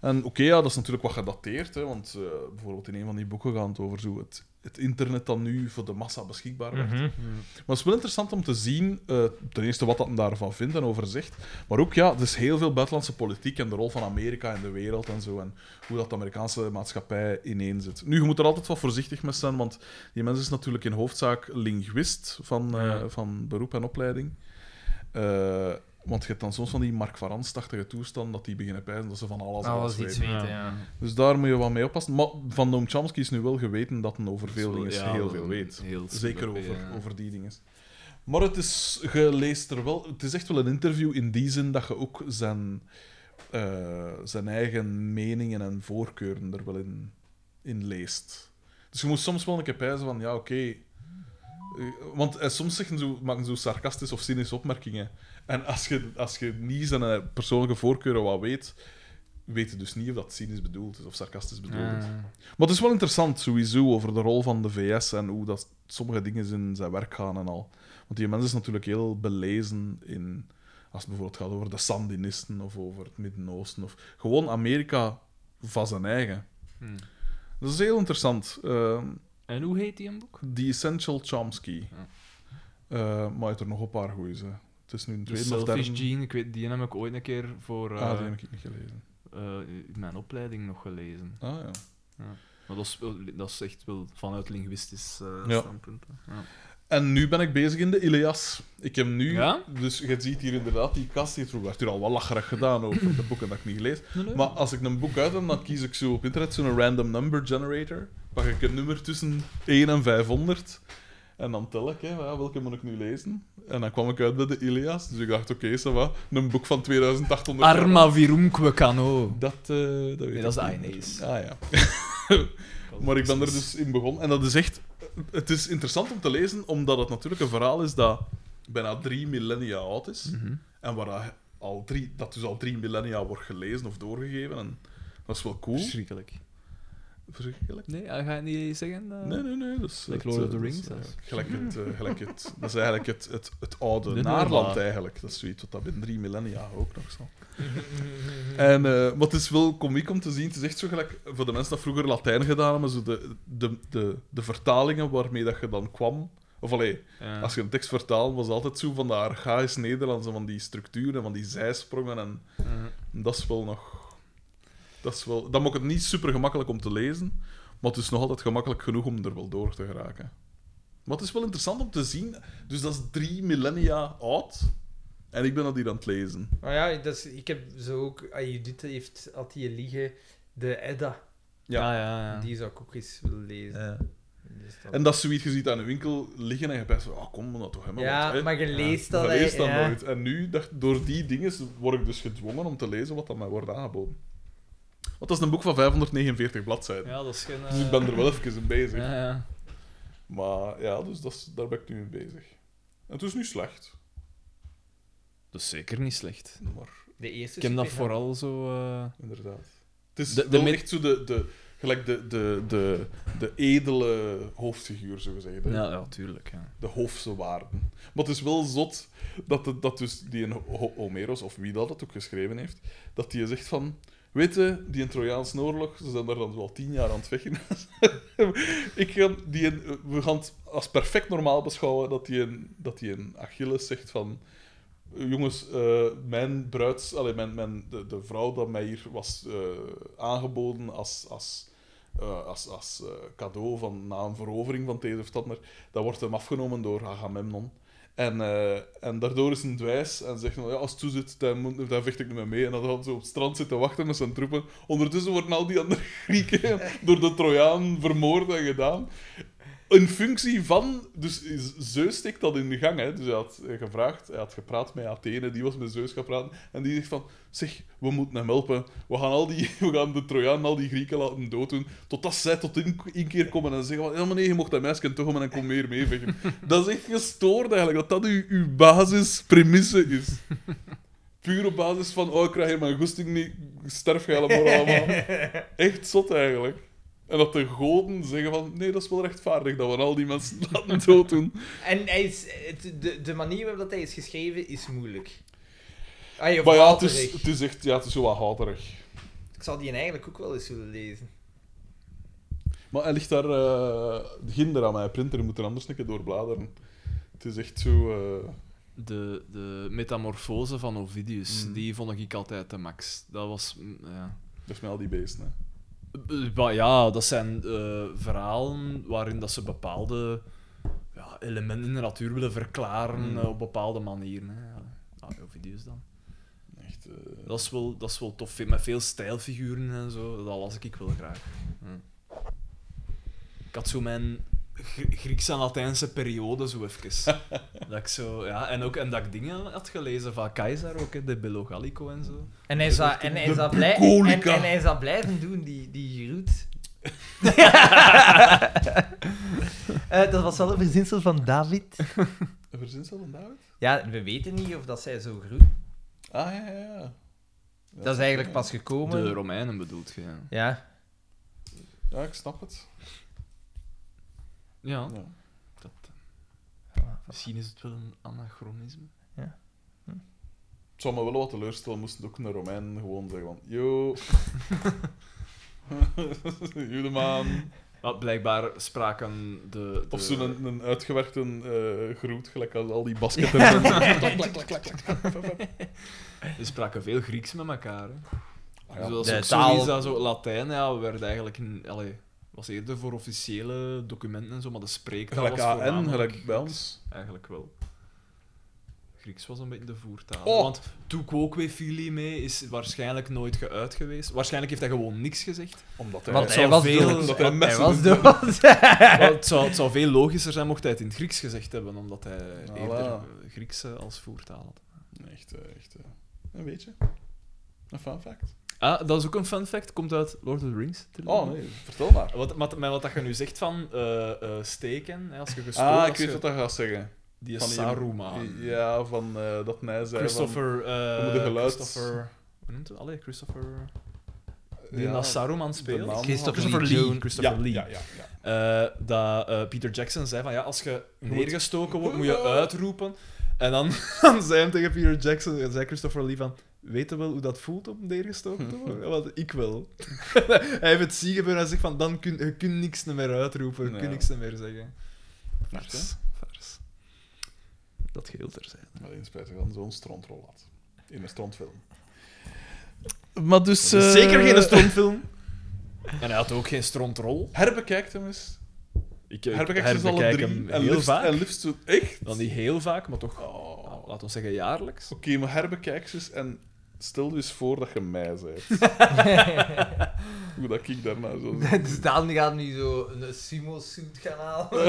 S2: En oké, ja, dat is natuurlijk wat gedateerd. Hè, want eh, bijvoorbeeld in een van die boeken gaat het over zo het, het internet dat nu voor de massa beschikbaar werd.
S1: Mhm.
S2: Maar het is wel interessant om te zien, eh, ten eerste wat dat men daarvan vindt en over zegt. Maar ook, ja, dus heel veel buitenlandse politiek en de rol van Amerika in de wereld en zo. En hoe dat de Amerikaanse maatschappij ineen zit. Nu, je moet er altijd wat voorzichtig mee zijn, want die mens is natuurlijk in hoofdzaak linguist van, eh,
S3: Ja.
S2: van beroep en opleiding. Eh, want je hebt dan soms van die Mark Varans-tachtige toestand dat die beginnen pijzen dat ze van alles,
S1: Alles iets
S2: weten.
S1: weten,
S3: Ja.
S1: ja.
S2: Dus daar moet je wel mee oppassen. Maar van Noam Chomsky is nu wel geweten dat hij over veel dingen
S3: Ja,
S2: heel
S3: dat-
S2: veel weet.
S3: heel
S2: Zeker
S3: super,
S2: over,
S3: ja.
S2: over die dingen. Maar het is, je leest er wel... Het is echt wel een interview in die zin dat je ook zijn, eh, zijn eigen meningen en voorkeuren er wel in, in leest. Dus je moet soms wel een keer pijzen van, ja, oké... eh, want eh, soms zeggen ze, maken ze sarcastische of cynische opmerkingen. En als je, als je niet zijn eh, persoonlijke voorkeuren wat weet, weet je dus niet of dat cynisch bedoeld is of sarcastisch bedoeld
S3: Ah.
S2: is. Maar het is wel interessant sowieso over de rol van de VS en hoe dat sommige dingen in zijn werk gaan en al. Want die mens is natuurlijk heel belezen in. Als het bijvoorbeeld gaat over de Sandinisten of over het Midden-Oosten. Of gewoon Amerika van zijn eigen.
S3: Hmm.
S2: Dat is heel interessant. Ehm,
S3: En hoe heet die een boek?
S2: The Essential Chomsky.
S3: Ja.
S2: Eh, maar hij heeft er nog een paar goeie. hè. Het is nu een
S3: De
S2: tweede of
S3: Selfish
S2: derde.
S3: Gene, ik weet, die heb ik ooit een keer voor eh,
S2: Ah, die heb ik niet gelezen.
S3: eh, in mijn opleiding nog gelezen.
S2: Ah, ja.
S3: Maar dat is, wel- dat is echt wel vanuit linguistisch eh,
S2: Ja.
S3: standpunt. hè. Ja.
S2: En nu ben ik bezig in de Ilias. Ik heb nu...
S3: Ja?
S2: Dus je ziet hier inderdaad die kast. Hier werd hier al wel lacherig gedaan over de boeken dat ik niet lees. Maar als ik een boek uit heb, dan kies ik zo op internet zo'n random number generator. Pak ik een nummer tussen 1 en 500. En dan tel ik, hè, ja, welke moet ik nu lezen? En dan kwam ik uit bij de Ilias. Dus ik dacht, oké, ça va. Een boek van 2800 euro.
S3: Arma virumque cano.
S2: Dat, eh dat weet
S3: Nee, dat is de
S2: ik niet
S3: Aeneis.
S2: meer. Ah ja. maar ik ben er dus in begonnen. En dat is echt... Het is interessant om te lezen, omdat het natuurlijk een verhaal is dat bijna drie millennia oud is.
S3: Mhm.
S2: En waar dat al drie, dat dus al drie millennia wordt gelezen of doorgegeven. En dat is wel cool.
S3: Verschrikkelijk.
S2: Verschrikkelijk.
S3: Nee, hij gaat niet zeggen. eh,
S2: Nee, nee, nee. Dat is,
S3: Like Lord
S2: het,
S3: of the
S2: eh, dat
S3: Rings,
S2: is, eh,
S3: dat is-
S2: gelijk het, eh, gelijk het, dat is eigenlijk het, het, het oude
S3: De
S2: naarland,
S3: Noorla.
S2: eigenlijk. Dat is zoiets wat dat binnen drie millennia ook nog zal. En eh, wat is wel komiek om te zien, het is echt zo gelijk voor de mensen dat vroeger Latijn gedaan hebben, zo de, de, de, de vertalingen waarmee dat je dan kwam. Of allee,
S3: ja.
S2: als je een tekst vertaalde, was het altijd zo van de archaïs Nederlands en van die structuren, van die zijsprongen. En
S3: Eh,
S2: dat is wel nog. Dat is wel, dan maakt het niet super gemakkelijk om te lezen, maar het is nog altijd gemakkelijk genoeg om er wel door te geraken. Maar het is wel interessant om te zien. Dus dat is drie millennia oud. En ik ben dat hier aan het lezen.
S1: Nou ja, dus ik heb zo ook... ah, Judith heeft, had hier liggen, de Edda.
S2: Ja.
S1: Ah,
S3: ja, Ah, ja, ja.
S1: Die zou ik ook eens willen lezen. Dus dat-
S2: En dat is zoiets, je ziet aan de winkel liggen en je bent van, ah, kom, maar dat toch helemaal
S1: ja,
S2: wat, hè.
S1: maar je leest dat,
S2: Je
S1: hè,
S2: leest dat
S1: ja.
S2: nooit. En nu, dacht, door die dingen, word ik dus gedwongen om te lezen wat dat mij wordt aangeboden. Want dat is een boek van 549 bladzijden.
S3: Ja, dat is geen...
S2: Dus ik ben er wel even in bezig.
S3: Ja, ja.
S2: Maar ja, dus dat is, daar ben ik nu mee bezig. En het is nu slecht.
S3: Dat is zeker niet slecht.
S2: Maar
S1: De eerste
S3: Ik heb dat
S1: superheld.
S3: vooral zo... eh,
S2: inderdaad. Het is
S3: De- de
S2: wel
S3: min-
S2: echt zo de, de, gelijk de, de, de, de edele hoofdfiguur, zo gezegd. hè.
S3: Ja, ja, tuurlijk. Ja.
S2: de hoofdse waarden. Maar het is wel zot dat, het, dat dus die een Ho- Homeros, of wie dat, dat ook geschreven heeft, dat die zegt van... Weet je, die Trojaanse oorlog, ze zijn daar dan wel tien jaar aan het vechten. Ik ga die een, we gaan het als perfect normaal beschouwen dat die een, dat die een Achilles zegt van... Jongens, eh, mijn bruids... Allee, mijn, mijn, de, de vrouw dat mij hier was eh, aangeboden als, als, eh, als, als eh, cadeau van, na een verovering van deze of dat maar, dat wordt hem afgenomen door Agamemnon. En, eh, en daardoor is hij dwijs en zegt: nou, ja, Als het toe zit, dan, moet- dan vecht ik niet meer mee. En dan gaat ze op het strand zitten wachten met zijn troepen. Ondertussen worden al die andere Grieken door de Trojaan vermoord en gedaan. Een functie van. Dus Zeus steekt dat in de gang. Hè. Dus hij had eh, gevraagd, hij had gepraat met Athene, die was met Zeus gaan praten. En die zegt van: Zeg, we moeten hem helpen. We gaan, al die, we gaan de Trojaan en al die Grieken laten dooddoen. Totdat zij tot in, inkeer komen en zeggen: van, Ja, maar nee, je mocht dat meisje toch maar en kom meer meevechten. Dat is echt gestoord eigenlijk, dat dat uw, uw basispremisse is. Puur op basis van: Oh, ik krijg hier mijn goesting niet, ik sterf je helemaal allemaal. Echt zot eigenlijk. En dat de goden zeggen van, nee, dat is wel rechtvaardig dat we al die mensen laten dooddoen.
S1: En hij is, het- de, de manier waarop dat hij is geschreven is moeilijk. Ah, je
S2: Maar ja, het
S1: vaterig.
S2: is, het is echt, ja, het is zo wat houterig.
S1: Ik zou die eigenlijk ook wel eens willen lezen.
S2: Maar hij ligt daar eh ginder aan mijn printer, je moet er anders een keer doorbladeren. Het is echt zo... eh,
S3: De, de metamorfose van Ovidius,
S2: Mm.
S3: die vond ik altijd de max. Dat was... mm, Ja.
S2: dat is met al die beesten, hè.
S3: Eh, Maar ja, dat zijn eh, verhalen waarin dat ze bepaalde ja, elementen in de natuur willen verklaren
S2: Mm.
S3: eh, op bepaalde manieren. Hè. Ja. Ah, Ovidius dan.
S2: Echt... eh,
S3: Dat is, wel, dat is wel tof, met veel stijlfiguren en zo. Dat las ik wel graag. Hm. Ik had zo mijn Gr- Griekse en Latijnse periode zo even. dat ik zo, ja, en, ook, en dat ik dingen had gelezen van Keizer ook, hè, de Bello Gallico en zo.
S1: En hij zou, en hij
S2: de
S1: zou, blij, en,
S2: bucolica.
S1: en hij zou blijven doen, die, die roet. Eh, dat was wel een verzinsel van David.
S2: Een verzinsel van David?
S1: Ja, we weten niet of dat zij zo groeit.
S2: Ah, ja, ja, ja. Ja,
S1: Dat is eigenlijk
S2: ja.
S1: pas gekomen.
S3: De Romeinen bedoelt je. Ja.
S1: Ja.
S2: Ja, ik snap het.
S3: Ja,
S2: Ja.
S3: Dat, misschien is het wel een anachronisme.
S2: Het zou me wel wat teleurstellen, moesten ook een Romein gewoon zeggen van... Yo... Judeman...
S3: Maar blijkbaar spraken de... de
S2: Of zo'n een, een uitgewerkte eh, groet, gelijk als al die basketten. Klak, klak, klak, klak, klak.
S3: Er spraken veel Grieks met elkaar. Hè.
S2: Ah, ja.
S3: Zoals
S4: De
S3: ook
S4: taal-
S3: zoiets dat zo Latijn ja, werd eigenlijk in, allee, was eerder voor officiële documenten en zo, maar de spreektaal
S2: Gelijk
S3: was
S2: AN,
S3: voornamelijk
S2: gelijk bij
S3: Grieks.
S2: ons.
S3: Eigenlijk wel. Grieks was een beetje de voertaal.
S2: Oh.
S3: Want tu quoque fili mee is waarschijnlijk nooit geuit geweest. Waarschijnlijk heeft hij gewoon niks gezegd.
S2: Omdat
S3: Want
S2: hij...
S3: zou
S4: was
S3: veel-
S4: dood.
S2: dat hij
S4: Hij,
S2: messen
S4: was
S2: doet.
S4: dood.
S3: Maar het, zou, het zou veel logischer zijn mocht hij het in het Grieks gezegd hebben, omdat hij
S2: Ah, Voilà.
S3: eerder eh, Grieks eh, als voertaal had.
S2: Echt, eh, echt. eh, Een beetje. Een fun fact.
S3: Ah, dat is ook een fun fact, komt uit Lord of the Rings.
S2: Oh nee, vertel maar.
S3: Wat, maar, maar wat dat je nu zegt van eh, eh, steken, hè, als je gestoord
S2: Ah, ik
S3: als
S2: weet
S3: je-
S2: wat dat gaat zeggen.
S3: Die
S2: Van die-
S3: Saruman.
S2: Ja, van eh, dat mij zei
S3: Christopher...
S2: we
S3: eh
S2: moeten geluid-
S3: Christopher... Hoe noemt het? Allee, Christopher...
S2: van...
S3: Die
S2: ja,
S3: dat Saruman
S2: de
S3: speelt.
S2: naam-
S1: Christopher
S3: Christopher
S1: Lee
S3: Lee.
S1: June.
S3: Christopher
S2: ja,
S3: Lee.
S2: Ja, ja, ja.
S3: Eh, dat eh, Peter Jackson zei van ja, als je
S2: moet-
S3: neergestoken wordt, moet je uitroepen. En dan, dan zei hij tegen Peter Jackson, en zei Christopher Lee van, weet je wel hoe dat voelt om neergestoken te worden? Want ik wel. hij heeft het zien gebeuren en hij zegt van, dan kun je kunt niks meer uitroepen, je
S2: Ja.
S3: kunt niks meer zeggen.
S2: Echt, hè?
S3: Vers, vers. Dat geheel er zijn.
S2: Alleen spijtig van zo'n strontrol had. In een strontfilm. Maar dus... eh,
S3: Zeker geen strontfilm. En hij had ook geen strontrol.
S2: Herbekijk hem eens.
S3: Ik, ik
S2: Herbekijk ze eens alle
S3: herbekijk
S2: drie.
S3: hem
S2: en
S3: heel
S2: liefst,
S3: vaak.
S2: En liefst zo... Echt?
S3: Dan niet heel vaak, maar toch,
S2: Oh.
S3: nou, laten we zeggen, jaarlijks.
S2: Oké, maar herbekijk ze eens en stel je eens voor dat je mij bent. Hoe dat ik daarna zo...
S1: Dus Daan gaat nu zo een sumo-suit gaan halen.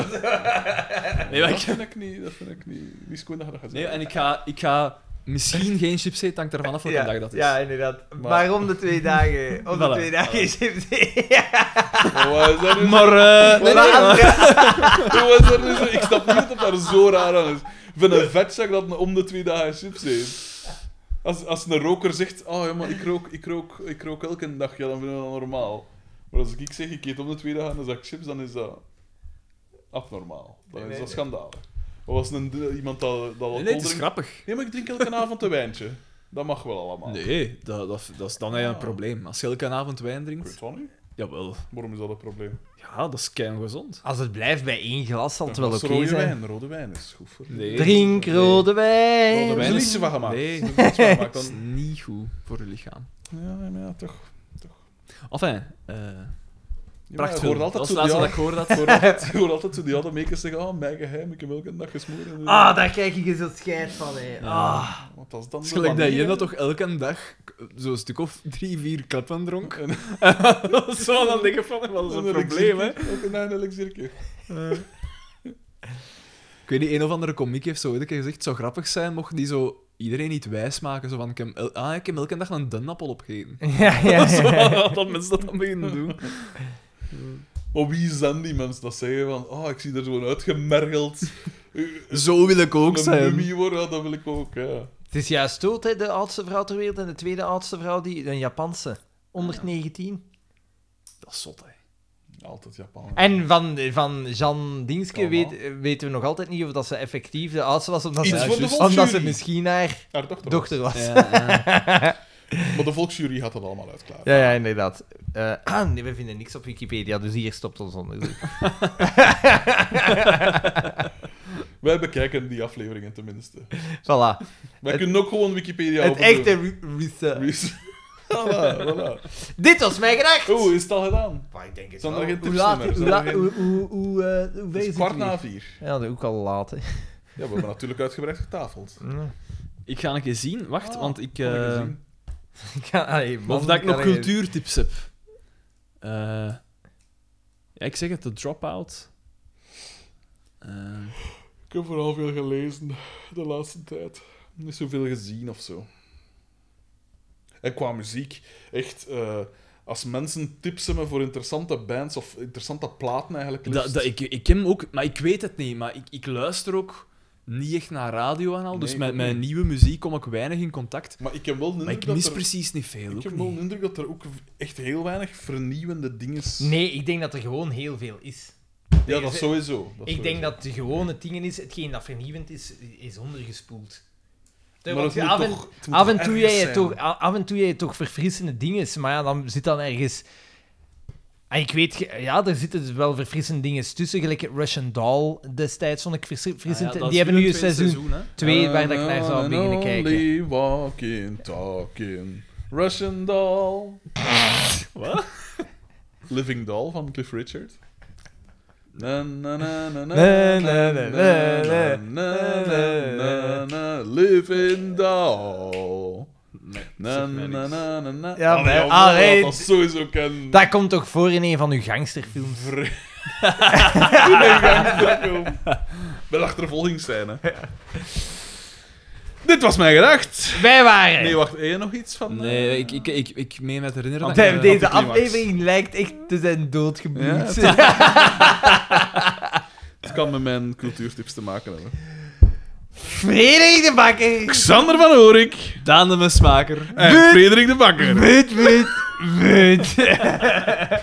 S3: Nee, maar
S2: dat
S3: ik-
S2: vind ik niet. Dat vind ik niet. Wie is koen dat je dat gaat
S3: Nee,
S2: zeggen?
S3: en ik ga, ik ga misschien geen chips eten, hangt ervan af welke dag dat is.
S1: Ja, inderdaad. Maar,
S2: Maar
S1: om de twee dagen. Om
S3: Voilà.
S1: de twee dagen is het.
S2: Maar Oh, wat is dat nu?
S3: Maar, eh,
S2: Nee,
S1: Maar
S2: nee,
S1: als-
S2: Hoe was dat nu zo? Ik snap niet dat het daar zo raar aan is. Ik vind een vetzak dat een om de twee dagen chips eet. Als, als een roker zegt, oh ja, maar ik rook, ik, rook, ik rook elke dag, ja, dan vinden we dat normaal. Maar als ik zeg, ik eet om de twee dagen een zak chips, dan is dat abnormaal.
S1: Nee,
S2: Dan is
S1: nee,
S2: dat
S1: nee.
S2: schandalig. Of als een, iemand dat, dat
S3: nee,
S2: alcohol
S3: nee, het is
S2: drinkt,
S3: grappig.
S2: Nee, maar ik drink elke avond een wijntje. Dat mag wel allemaal.
S3: Nee, dat, dat, dat is dan eigenlijk een
S2: Ah.
S3: probleem. Als je elke avond wijn
S2: Ik
S3: drinkt,
S2: weet van u.
S3: jawel.
S2: Waarom is dat een probleem?
S3: Ja, dat is gezond.
S1: Als het blijft bij één glas, zal het wel
S2: Dat is
S1: oké
S2: rode
S1: zijn.
S2: wijn. Rode wijn is goed voor u.
S3: Nee.
S1: Drink
S3: Nee.
S1: rode wijn.
S3: Rode
S2: Er is
S3: wijn
S2: er
S3: is-
S2: niets van gemaakt.
S3: nee.
S2: Er is niets van gemaakt.
S3: Dat is
S2: Dan...
S3: niet goed voor je lichaam.
S2: Ja, ja, maar ja, toch.
S3: Enfin, eh
S2: Ja, maar
S3: prachtig.
S2: Je hoort altijd
S3: dat is
S2: zo
S3: het laatste
S2: die
S3: dat ik hoor dat.
S2: je hoort altijd- je hoort altijd zo die oude makers zeggen, ah, mijn geheim, ik heb elke dag eh, gesmoren.
S1: Ah, daar krijg je zo scheid van, hè. Ah.
S3: Ah,
S2: Want dat is dan
S3: het is
S2: de
S3: gelijk dat
S2: manier,
S3: Jenna
S2: hè.
S3: toch elke dag zo'n stuk of drie, vier klappen dronk. dat is wel aan het denken van, dat is een probleem, hè.
S2: elixiertje. Elke dag een elixiertje.
S3: Ik weet niet, een of andere komiek heeft zo ooit een keer gezegd, het zou grappig zijn mocht die zo iedereen niet wijs maken. Zo van, ik heb, el- ah, ik heb elke dag een dennappel opgegeten.
S1: Ja, ja,
S3: zo,
S1: ja.
S3: van, dat mensen dat dan beginnen doen.
S2: Maar wie zijn die mensen dat zeggen van, ah, ik zie er zo uitgemergeld. eh,
S3: Zo wil ik ook
S2: Een
S3: zijn.
S2: mummie worden, ja, dat wil ik ook, ja.
S1: Het is juist dood, hè, de oudste vrouw ter wereld en de tweede oudste vrouw, die, een Japanse. 119.
S3: Dat is zot, hè.
S2: Altijd Japan.
S1: En van, van Jean Dingske
S2: Kan
S1: weet, weten we nog altijd niet of dat ze effectief de oudste was, omdat,
S2: Iets
S1: ze,
S2: voor de
S3: juist.
S1: omdat
S2: volksjury.
S1: ze misschien haar
S2: Haar dochter. was.
S1: dochter was. Ja,
S2: Maar de volksjury had dat allemaal uitklaar.
S1: ja, inderdaad. Eh, ah, nee, we vinden niks op Wikipedia, dus hier stopt ons onderzoek.
S2: Wij bekijken die afleveringen tenminste.
S1: Voilà.
S2: Wij
S1: Het-
S2: kunnen ook gewoon Wikipedia
S1: Het
S2: over doen.
S1: echte re- research.
S2: Reese. voilà, voilà.
S1: Dit was mijn gedacht!
S2: Oeh, is het al gedaan?
S1: Maar ik denk het
S2: Zijn er
S1: wel.
S2: geen
S1: Hoe
S2: tips
S1: laat?
S2: meer?
S1: Hoe
S2: Zijn er
S1: laat?
S2: geen-
S1: Hoe, hoe, hoe, eh, hoe
S2: Het
S1: weet
S2: is
S1: het
S2: kwart na
S1: hier?
S2: vier.
S1: Ja, dat is ook al laat, hè.
S2: Ja, we hebben natuurlijk uitgebreid getafeld.
S3: Ik ga een keer zien, wacht,
S2: Ah,
S3: want ik...
S2: Heb je
S3: eh,
S2: gezien?
S1: Ik ga- allee, man,
S3: of dat ik
S1: ik
S3: nog
S1: kan er-
S3: cultuurtips heb. Eh, ja, ik zeg het, de dropout. Eh,
S2: Ik heb vooral veel gelezen de laatste tijd. Niet zoveel gezien of zo. En qua muziek, echt. eh, als mensen tips hebben voor interessante bands of interessante platen eigenlijk.
S3: dat,
S2: liefst.
S3: dat, ik, ik ken ook, maar ik weet het niet, maar ik, ik luister ook niet echt naar radio en al. dus
S2: Nee,
S3: met,
S2: ik
S3: met
S2: ook niet.
S3: nieuwe muziek kom ik weinig in contact.
S2: Maar ik heb wel de
S3: Maar
S2: indruk
S3: ik mis
S2: dat er,
S3: precies niet veel.
S2: ik
S3: Ook
S2: heb wel de
S3: niet.
S2: indruk dat er ook echt heel weinig vernieuwende dingen zijn.
S1: Nee, ik denk dat er gewoon heel veel is.
S2: Ja, dat sowieso. Dat
S1: Ik denk
S2: sowieso.
S1: dat de gewone dingen is, hetgeen dat vernieuwend is, is ondergespoeld.
S2: Maar
S1: Want
S2: het moet
S1: af, en,
S2: toch- het moet
S1: af en toe
S2: ergens
S1: jij je
S2: zijn.
S1: toch, a- af en toe jij je toch verfrissende dingen, maar ja, dan zit dan ergens En Ah, ik weet, ge- ja, er zitten dus wel verfrissende dingen tussen. Gelijk Russian Doll destijds vond ik
S2: Ah
S1: versi-
S3: Ah
S1: verfrissend. die hebben nu een seizoen
S4: hè?
S1: twee waar dat ik naar zou
S2: And
S1: beginnen kijken.
S2: Only walking, talking, Russian doll.
S3: Wat?
S2: Living Doll van Cliff Richard. Na, na, na, na, na,
S1: Na, na, na,
S2: na,
S1: na,
S2: na, na, na, na, Living Doll.
S3: Nee,
S2: Na, na, na, na, na, na.
S1: Ja,
S2: Allee,
S1: maar-
S2: jongen, dat
S1: allee,
S2: was sowieso ken.
S1: Dat komt toch voor in een van uw gangsterfilms?
S2: Met achtervolgingsscène. Dit was mijn gedacht.
S1: Wij waren.
S2: Nee, wacht. Heb je nog iets van...
S3: Nee,
S2: eh,
S3: ik, ik, ik, ik meen me te herinneren
S2: Want
S3: dat ik,
S1: De-
S3: eh,
S1: deze
S2: anticlimax.
S1: aflevering lijkt echt te zijn doodgebloed.
S2: Het kan met mijn cultuurtips te maken hebben.
S1: Frederik de Bakker.
S2: Xander van Oorik
S3: Daan de Mesmaker.
S2: en
S1: Wut.
S2: Frederik de Bakker.
S1: Wut, wut, wut.